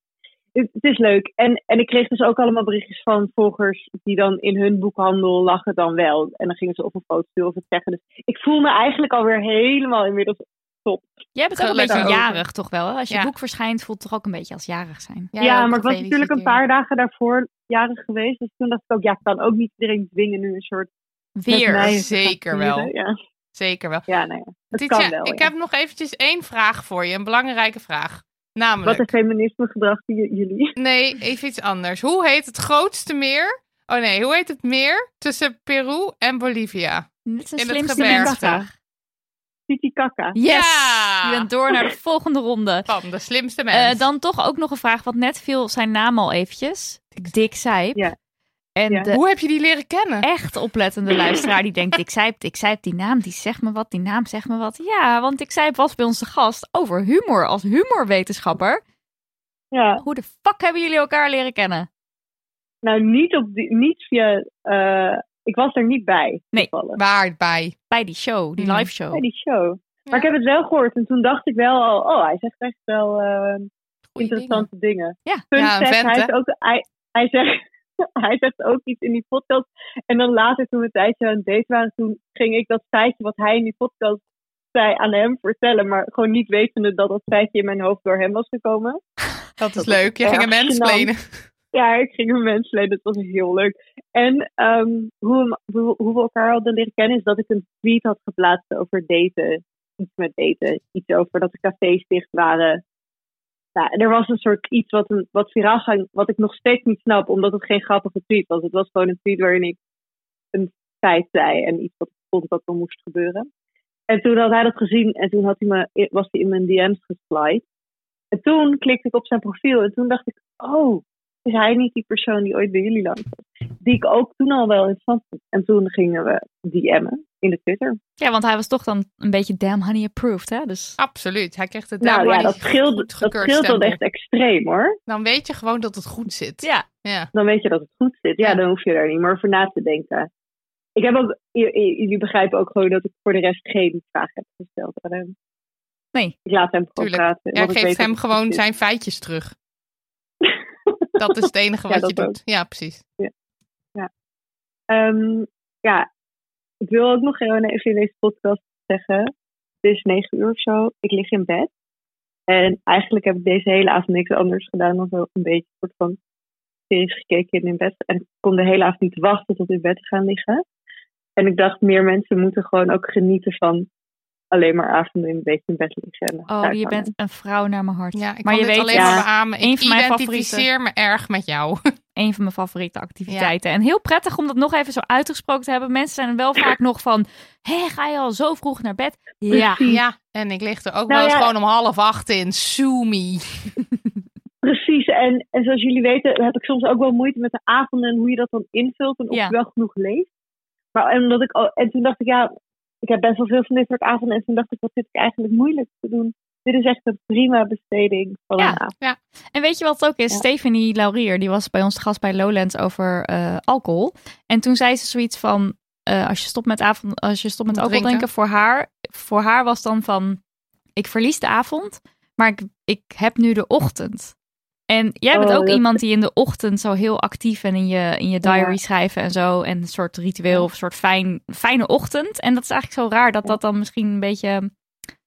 [SPEAKER 13] het, het is leuk. En, en ik kreeg dus ook allemaal berichtjes van volgers die dan in hun boekhandel lachen dan wel. En dan gingen ze of een foto sturen of het zeggen. Dus ik voel me eigenlijk alweer helemaal inmiddels top.
[SPEAKER 3] Jij bent ook een beetje
[SPEAKER 13] Gelukkig.
[SPEAKER 3] jarig toch wel? Hè? Als je
[SPEAKER 13] Ja.
[SPEAKER 3] boek verschijnt voelt het toch ook een beetje als jarig zijn.
[SPEAKER 13] Ja, maar ik was natuurlijk een paar dagen daarvoor jarig geweest. Dus toen dacht ik ook, ja, ik kan ook niet iedereen dwingen nu een soort... met
[SPEAKER 2] Weer,
[SPEAKER 13] mij te gaan
[SPEAKER 2] zeker wel.
[SPEAKER 13] vieren, Ja.
[SPEAKER 2] Zeker wel.
[SPEAKER 13] Ja, nou ja. Het
[SPEAKER 2] Tietje,
[SPEAKER 13] kan wel,
[SPEAKER 2] ik
[SPEAKER 13] ja.
[SPEAKER 2] heb nog eventjes één vraag voor je, een belangrijke vraag. Namelijk.
[SPEAKER 13] Wat is feminisme gedrag van j- jullie?
[SPEAKER 2] Nee, even iets anders. Hoe heet het grootste meer? Oh nee, hoe heet het meer tussen Peru en Bolivia?
[SPEAKER 3] Dit is een
[SPEAKER 2] In het
[SPEAKER 3] slimste
[SPEAKER 2] gebergte.
[SPEAKER 3] mensvraag.
[SPEAKER 13] Titicaca.
[SPEAKER 3] Yes!
[SPEAKER 2] Ja!
[SPEAKER 3] Je bent door naar de volgende ronde. Eh,
[SPEAKER 2] Van de slimste
[SPEAKER 3] dan toch ook nog een vraag, want net viel zijn naam al eventjes. Dick Zijp. En de
[SPEAKER 2] Hoe heb je die leren kennen?
[SPEAKER 3] Echt oplettende luisteraar die denkt, ik zei, ik zei die naam, die zegt me wat, die naam zegt me wat. Ja, want ik zei was bij onze gast over humor als humorwetenschapper.
[SPEAKER 13] Ja.
[SPEAKER 3] Hoe de fuck hebben jullie elkaar leren kennen?
[SPEAKER 13] Nou, niet, op die, niet via. eh, ik was er niet bij.
[SPEAKER 3] Nee,
[SPEAKER 2] waar bij? Hmm.
[SPEAKER 3] Bij die show, die live show.
[SPEAKER 13] Bij die show. Maar ik heb het wel gehoord en toen dacht ik wel al, oh, hij zegt echt wel eh, interessante dingen.
[SPEAKER 3] Ja,
[SPEAKER 13] Fun
[SPEAKER 2] Ja, een
[SPEAKER 13] fact,
[SPEAKER 2] vent,
[SPEAKER 13] hij,
[SPEAKER 2] hè?
[SPEAKER 13] is ook, hij, hij, zegt, hij zegt ook iets in die podcast. En dan later, toen we een tijdje aan het date waren, toen ging ik dat feitje wat hij in die podcast zei aan hem vertellen. Maar gewoon niet wetende dat dat feitje in mijn hoofd door hem was gekomen.
[SPEAKER 2] Dat is leuk. Je ging
[SPEAKER 13] erg
[SPEAKER 2] een mens plenen.
[SPEAKER 13] Ja, ik ging een mens lenen. Dat was heel leuk. En ehm, hoe, we- hoe, hoe we elkaar hadden leren kennen is dat ik een tweet had geplaatst over daten. Iets met daten. Iets over dat de cafés dicht waren. Ja, en er was een soort iets wat, een, wat viraal ging, wat ik nog steeds niet snap, omdat het geen grappige tweet was. Het was gewoon een tweet waarin ik een feit zei en iets wat ik vond dat er moest gebeuren. En toen had hij dat gezien en toen had hij me, was hij in mijn DM's geslide. En toen klikte ik op zijn profiel en toen dacht ik, oh, is hij niet die persoon die ooit bij jullie langs was? Die ik ook toen al wel interessant vond. En toen gingen we DM'en in de Twitter.
[SPEAKER 3] Ja, want hij was toch dan een beetje damn honey approved, hè? Dus...
[SPEAKER 2] Absoluut, hij kreeg het
[SPEAKER 13] nou ja, dat scheelt, dat
[SPEAKER 2] goedgekeurd
[SPEAKER 13] scheelt dan
[SPEAKER 2] stempel.
[SPEAKER 13] echt extreem hoor.
[SPEAKER 2] Dan weet je gewoon dat het goed zit.
[SPEAKER 3] Ja.
[SPEAKER 2] ja.
[SPEAKER 13] Dan weet je dat het goed zit. Ja, dan hoef je daar niet meer over na te denken. Ik heb ook, j- j- jullie begrijpen ook gewoon dat ik voor de rest geen vraag heb gesteld aan hem.
[SPEAKER 3] Nee.
[SPEAKER 13] Ik laat hem gewoon
[SPEAKER 2] Tuurlijk.
[SPEAKER 13] praten.
[SPEAKER 2] Jij
[SPEAKER 13] want ik weet
[SPEAKER 2] geeft
[SPEAKER 13] dat
[SPEAKER 2] hem
[SPEAKER 13] het
[SPEAKER 2] gewoon
[SPEAKER 13] goed zit.
[SPEAKER 2] zijn feitjes terug. dat is het enige
[SPEAKER 13] Ja,
[SPEAKER 2] wat je
[SPEAKER 13] dat
[SPEAKER 2] doet.
[SPEAKER 13] ook.
[SPEAKER 2] Ja, precies.
[SPEAKER 13] Ja. Ehm, ja, ik wil ook nog heel even in deze podcast zeggen. Het is negen uur of zo. Ik lig in bed. En eigenlijk heb ik deze hele avond niks anders gedaan dan zo een beetje een soort van series gekeken en in bed. En ik kon de hele avond niet wachten tot in bed te gaan liggen. En ik dacht, meer mensen moeten gewoon ook genieten van alleen maar avonden in een beetje in bed liggen. en
[SPEAKER 3] Oh, je
[SPEAKER 13] uithangen.
[SPEAKER 3] bent een vrouw naar mijn hart.
[SPEAKER 2] Ja, ik
[SPEAKER 3] maar
[SPEAKER 2] kan
[SPEAKER 3] je
[SPEAKER 2] dit
[SPEAKER 3] weet
[SPEAKER 2] alleen maar beamen.
[SPEAKER 3] een
[SPEAKER 2] Ik
[SPEAKER 3] van mijn favoriete,
[SPEAKER 2] identificeer me erg met jou.
[SPEAKER 3] een van mijn favoriete activiteiten. En heel prettig om dat nog even zo uitgesproken te hebben. Mensen zijn wel vaak nog van, hé, ga je al zo vroeg naar bed? Ja.
[SPEAKER 2] ja, en ik lig er ook
[SPEAKER 13] Nou
[SPEAKER 2] wel eens
[SPEAKER 13] ja.
[SPEAKER 2] gewoon om half acht in. Sumi.
[SPEAKER 13] Precies, en, en zoals jullie weten heb ik soms ook wel moeite met de avonden en hoe je dat dan invult en of
[SPEAKER 3] Ja.
[SPEAKER 13] je wel genoeg leest. Maar en omdat ik al, en toen dacht ik, ja, ik heb best wel veel van dit soort avonden en toen dacht ik, wat zit ik eigenlijk moeilijk te doen? Dit is echt een prima besteding van een avond.
[SPEAKER 2] Ja.
[SPEAKER 3] En weet je wat het ook is? Stephanie Laurier, die was bij ons te gast bij Lowlands over eh, alcohol. En toen zei ze zoiets van, eh, als je stopt met, avond, als je stopt met
[SPEAKER 2] Moet
[SPEAKER 3] alcohol drinken,
[SPEAKER 2] drinken.
[SPEAKER 3] voor, haar, voor haar was dan van, ik verlies de avond, maar ik, ik heb nu de ochtend. En jij bent
[SPEAKER 13] Oh,
[SPEAKER 3] ook
[SPEAKER 13] dat-
[SPEAKER 3] iemand die in de ochtend zo heel actief en in je, in je diary
[SPEAKER 13] Ja.
[SPEAKER 3] schrijven en zo. En een soort ritueel of een soort fijn, fijne ochtend. En dat is eigenlijk zo raar dat dat dan misschien een beetje...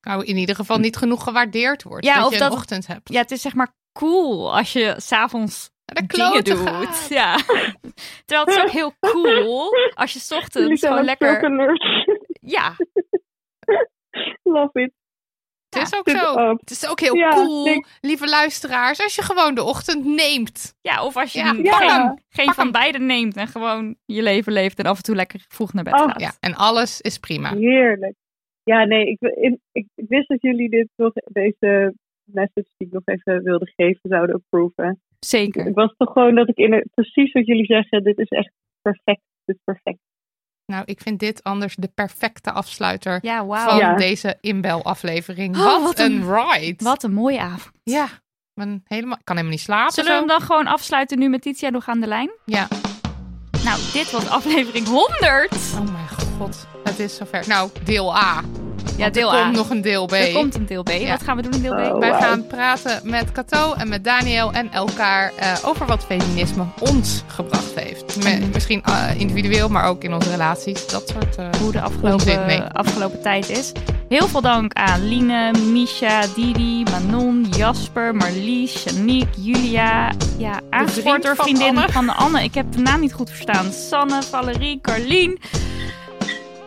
[SPEAKER 2] Nou, in ieder geval niet genoeg gewaardeerd wordt.
[SPEAKER 3] Ja,
[SPEAKER 2] dat
[SPEAKER 3] of
[SPEAKER 2] je
[SPEAKER 3] dat-
[SPEAKER 2] een ochtend hebt.
[SPEAKER 3] Ja, het is zeg maar cool als je s'avonds
[SPEAKER 2] De
[SPEAKER 3] dingen
[SPEAKER 2] klote
[SPEAKER 3] doet.
[SPEAKER 2] gaat.
[SPEAKER 3] Ja. Terwijl het is ook heel cool als je 's
[SPEAKER 13] Jullie
[SPEAKER 3] ochtends
[SPEAKER 13] zijn
[SPEAKER 3] gewoon
[SPEAKER 13] ook zulke
[SPEAKER 3] lekker...
[SPEAKER 13] nerds.
[SPEAKER 3] Ja,
[SPEAKER 13] Love it.
[SPEAKER 2] Het is ook
[SPEAKER 13] Dit
[SPEAKER 2] zo.
[SPEAKER 13] ook.
[SPEAKER 2] Het is ook heel
[SPEAKER 13] Ja,
[SPEAKER 2] cool,
[SPEAKER 13] denk-
[SPEAKER 2] lieve luisteraars, als je gewoon de ochtend neemt.
[SPEAKER 3] ja, of als je
[SPEAKER 2] Ja,
[SPEAKER 3] geen,
[SPEAKER 2] pak hem.
[SPEAKER 3] geen
[SPEAKER 2] Pak
[SPEAKER 3] van
[SPEAKER 2] hem.
[SPEAKER 3] beide neemt en gewoon je leven leeft en af en toe lekker vroeg naar bed
[SPEAKER 13] Oh,
[SPEAKER 3] gaat.
[SPEAKER 2] Ja, en alles is prima.
[SPEAKER 13] Heerlijk. Ja, nee, ik, ik, ik wist dat jullie dit nog, deze message die ik nog even wilde geven zouden approven.
[SPEAKER 3] Zeker.
[SPEAKER 13] Ik was toch gewoon dat ik in het- precies wat jullie zeggen, dit is echt perfect. Dit is perfect.
[SPEAKER 2] Nou, ik vind dit anders de perfecte afsluiter
[SPEAKER 3] Ja, wauw.
[SPEAKER 2] van
[SPEAKER 13] Ja.
[SPEAKER 2] deze inbelaflevering.
[SPEAKER 3] Oh,
[SPEAKER 2] wat,
[SPEAKER 3] wat
[SPEAKER 2] een,
[SPEAKER 3] een-
[SPEAKER 2] ride.
[SPEAKER 3] Wat een mooie avond.
[SPEAKER 2] Ja, ik ben helemaal, ik kan helemaal niet slapen.
[SPEAKER 3] Zullen we hem
[SPEAKER 2] zo.
[SPEAKER 3] dan gewoon afsluiten nu met Titia nog aan de lijn?
[SPEAKER 2] Ja.
[SPEAKER 3] Nou, dit was aflevering 100.
[SPEAKER 2] Oh mijn god, het is zover. Nou, deel A.
[SPEAKER 3] Ja,
[SPEAKER 2] er
[SPEAKER 3] deel
[SPEAKER 2] komt
[SPEAKER 3] A.
[SPEAKER 2] nog een deel B.
[SPEAKER 3] Er komt een deel B. Wat gaan we doen in deel B?
[SPEAKER 13] Oh,
[SPEAKER 2] Wij
[SPEAKER 13] wauw.
[SPEAKER 2] gaan praten met Cato en met Daniel en elkaar eh, over wat feminisme ons gebracht heeft. Me- misschien eh, individueel, maar ook in onze relaties. Dat soort eh,
[SPEAKER 3] hoe de
[SPEAKER 2] onzin.
[SPEAKER 3] afgelopen,
[SPEAKER 2] Nee.
[SPEAKER 3] afgelopen tijd is. Heel veel dank aan Line, Misha, Didi, Manon, Jasper, Marlies, Janiek, Julia. Ja, aangespoord
[SPEAKER 2] vriend
[SPEAKER 3] door
[SPEAKER 2] van
[SPEAKER 3] vriendin
[SPEAKER 2] Anne.
[SPEAKER 3] van Anne. Ik heb de naam niet goed verstaan. Sanne, Valerie, Carlien,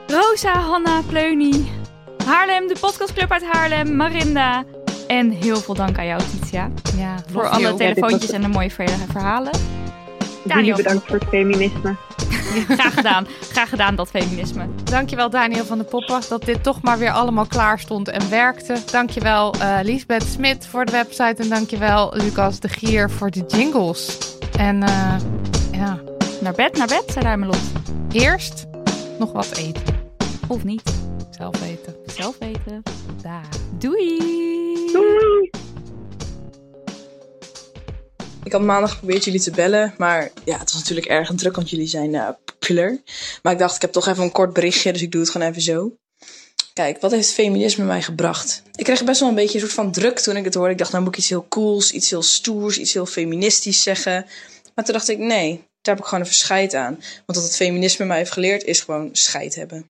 [SPEAKER 3] Rosa, Hanna, Pleunie, Haarlem, de podcastclub uit Haarlem, Marinda. En heel veel dank aan jou, Titia.
[SPEAKER 2] Ja,
[SPEAKER 3] Voor
[SPEAKER 2] love
[SPEAKER 3] alle
[SPEAKER 2] you.
[SPEAKER 3] telefoontjes en de mooie verhalen.
[SPEAKER 13] Jullie
[SPEAKER 3] Daniel,
[SPEAKER 13] bedankt voor het feminisme.
[SPEAKER 3] graag gedaan. Graag gedaan, dat feminisme.
[SPEAKER 2] Dankjewel Daniel van de Poppen dat dit toch maar weer allemaal klaar stond en werkte. Dankjewel eh Lisbeth Smit voor de website en dankjewel Lucas de Gier voor de jingles. En eh, ja,
[SPEAKER 3] Naar bed, naar bed, zei Ruimelot.
[SPEAKER 2] Eerst nog wat eten.
[SPEAKER 3] Of niet.
[SPEAKER 2] Zelf eten.
[SPEAKER 3] Zelf weten.
[SPEAKER 2] Daar.
[SPEAKER 3] Doei!
[SPEAKER 11] Doei!
[SPEAKER 15] Ik had maandag geprobeerd jullie te bellen, maar ja, het was natuurlijk erg druk, want jullie zijn eh, populair. Maar ik dacht, ik heb toch even een kort berichtje, dus ik doe het gewoon even zo. Kijk, wat heeft feminisme mij gebracht? Ik kreeg best wel een beetje een soort van druk toen ik het hoorde. Ik dacht, nou moet ik iets heel cools, iets heel stoers, iets heel feministisch zeggen. Maar toen dacht ik, nee, daar heb ik gewoon een verscheid aan. Want wat het feminisme mij heeft geleerd, is gewoon scheid hebben.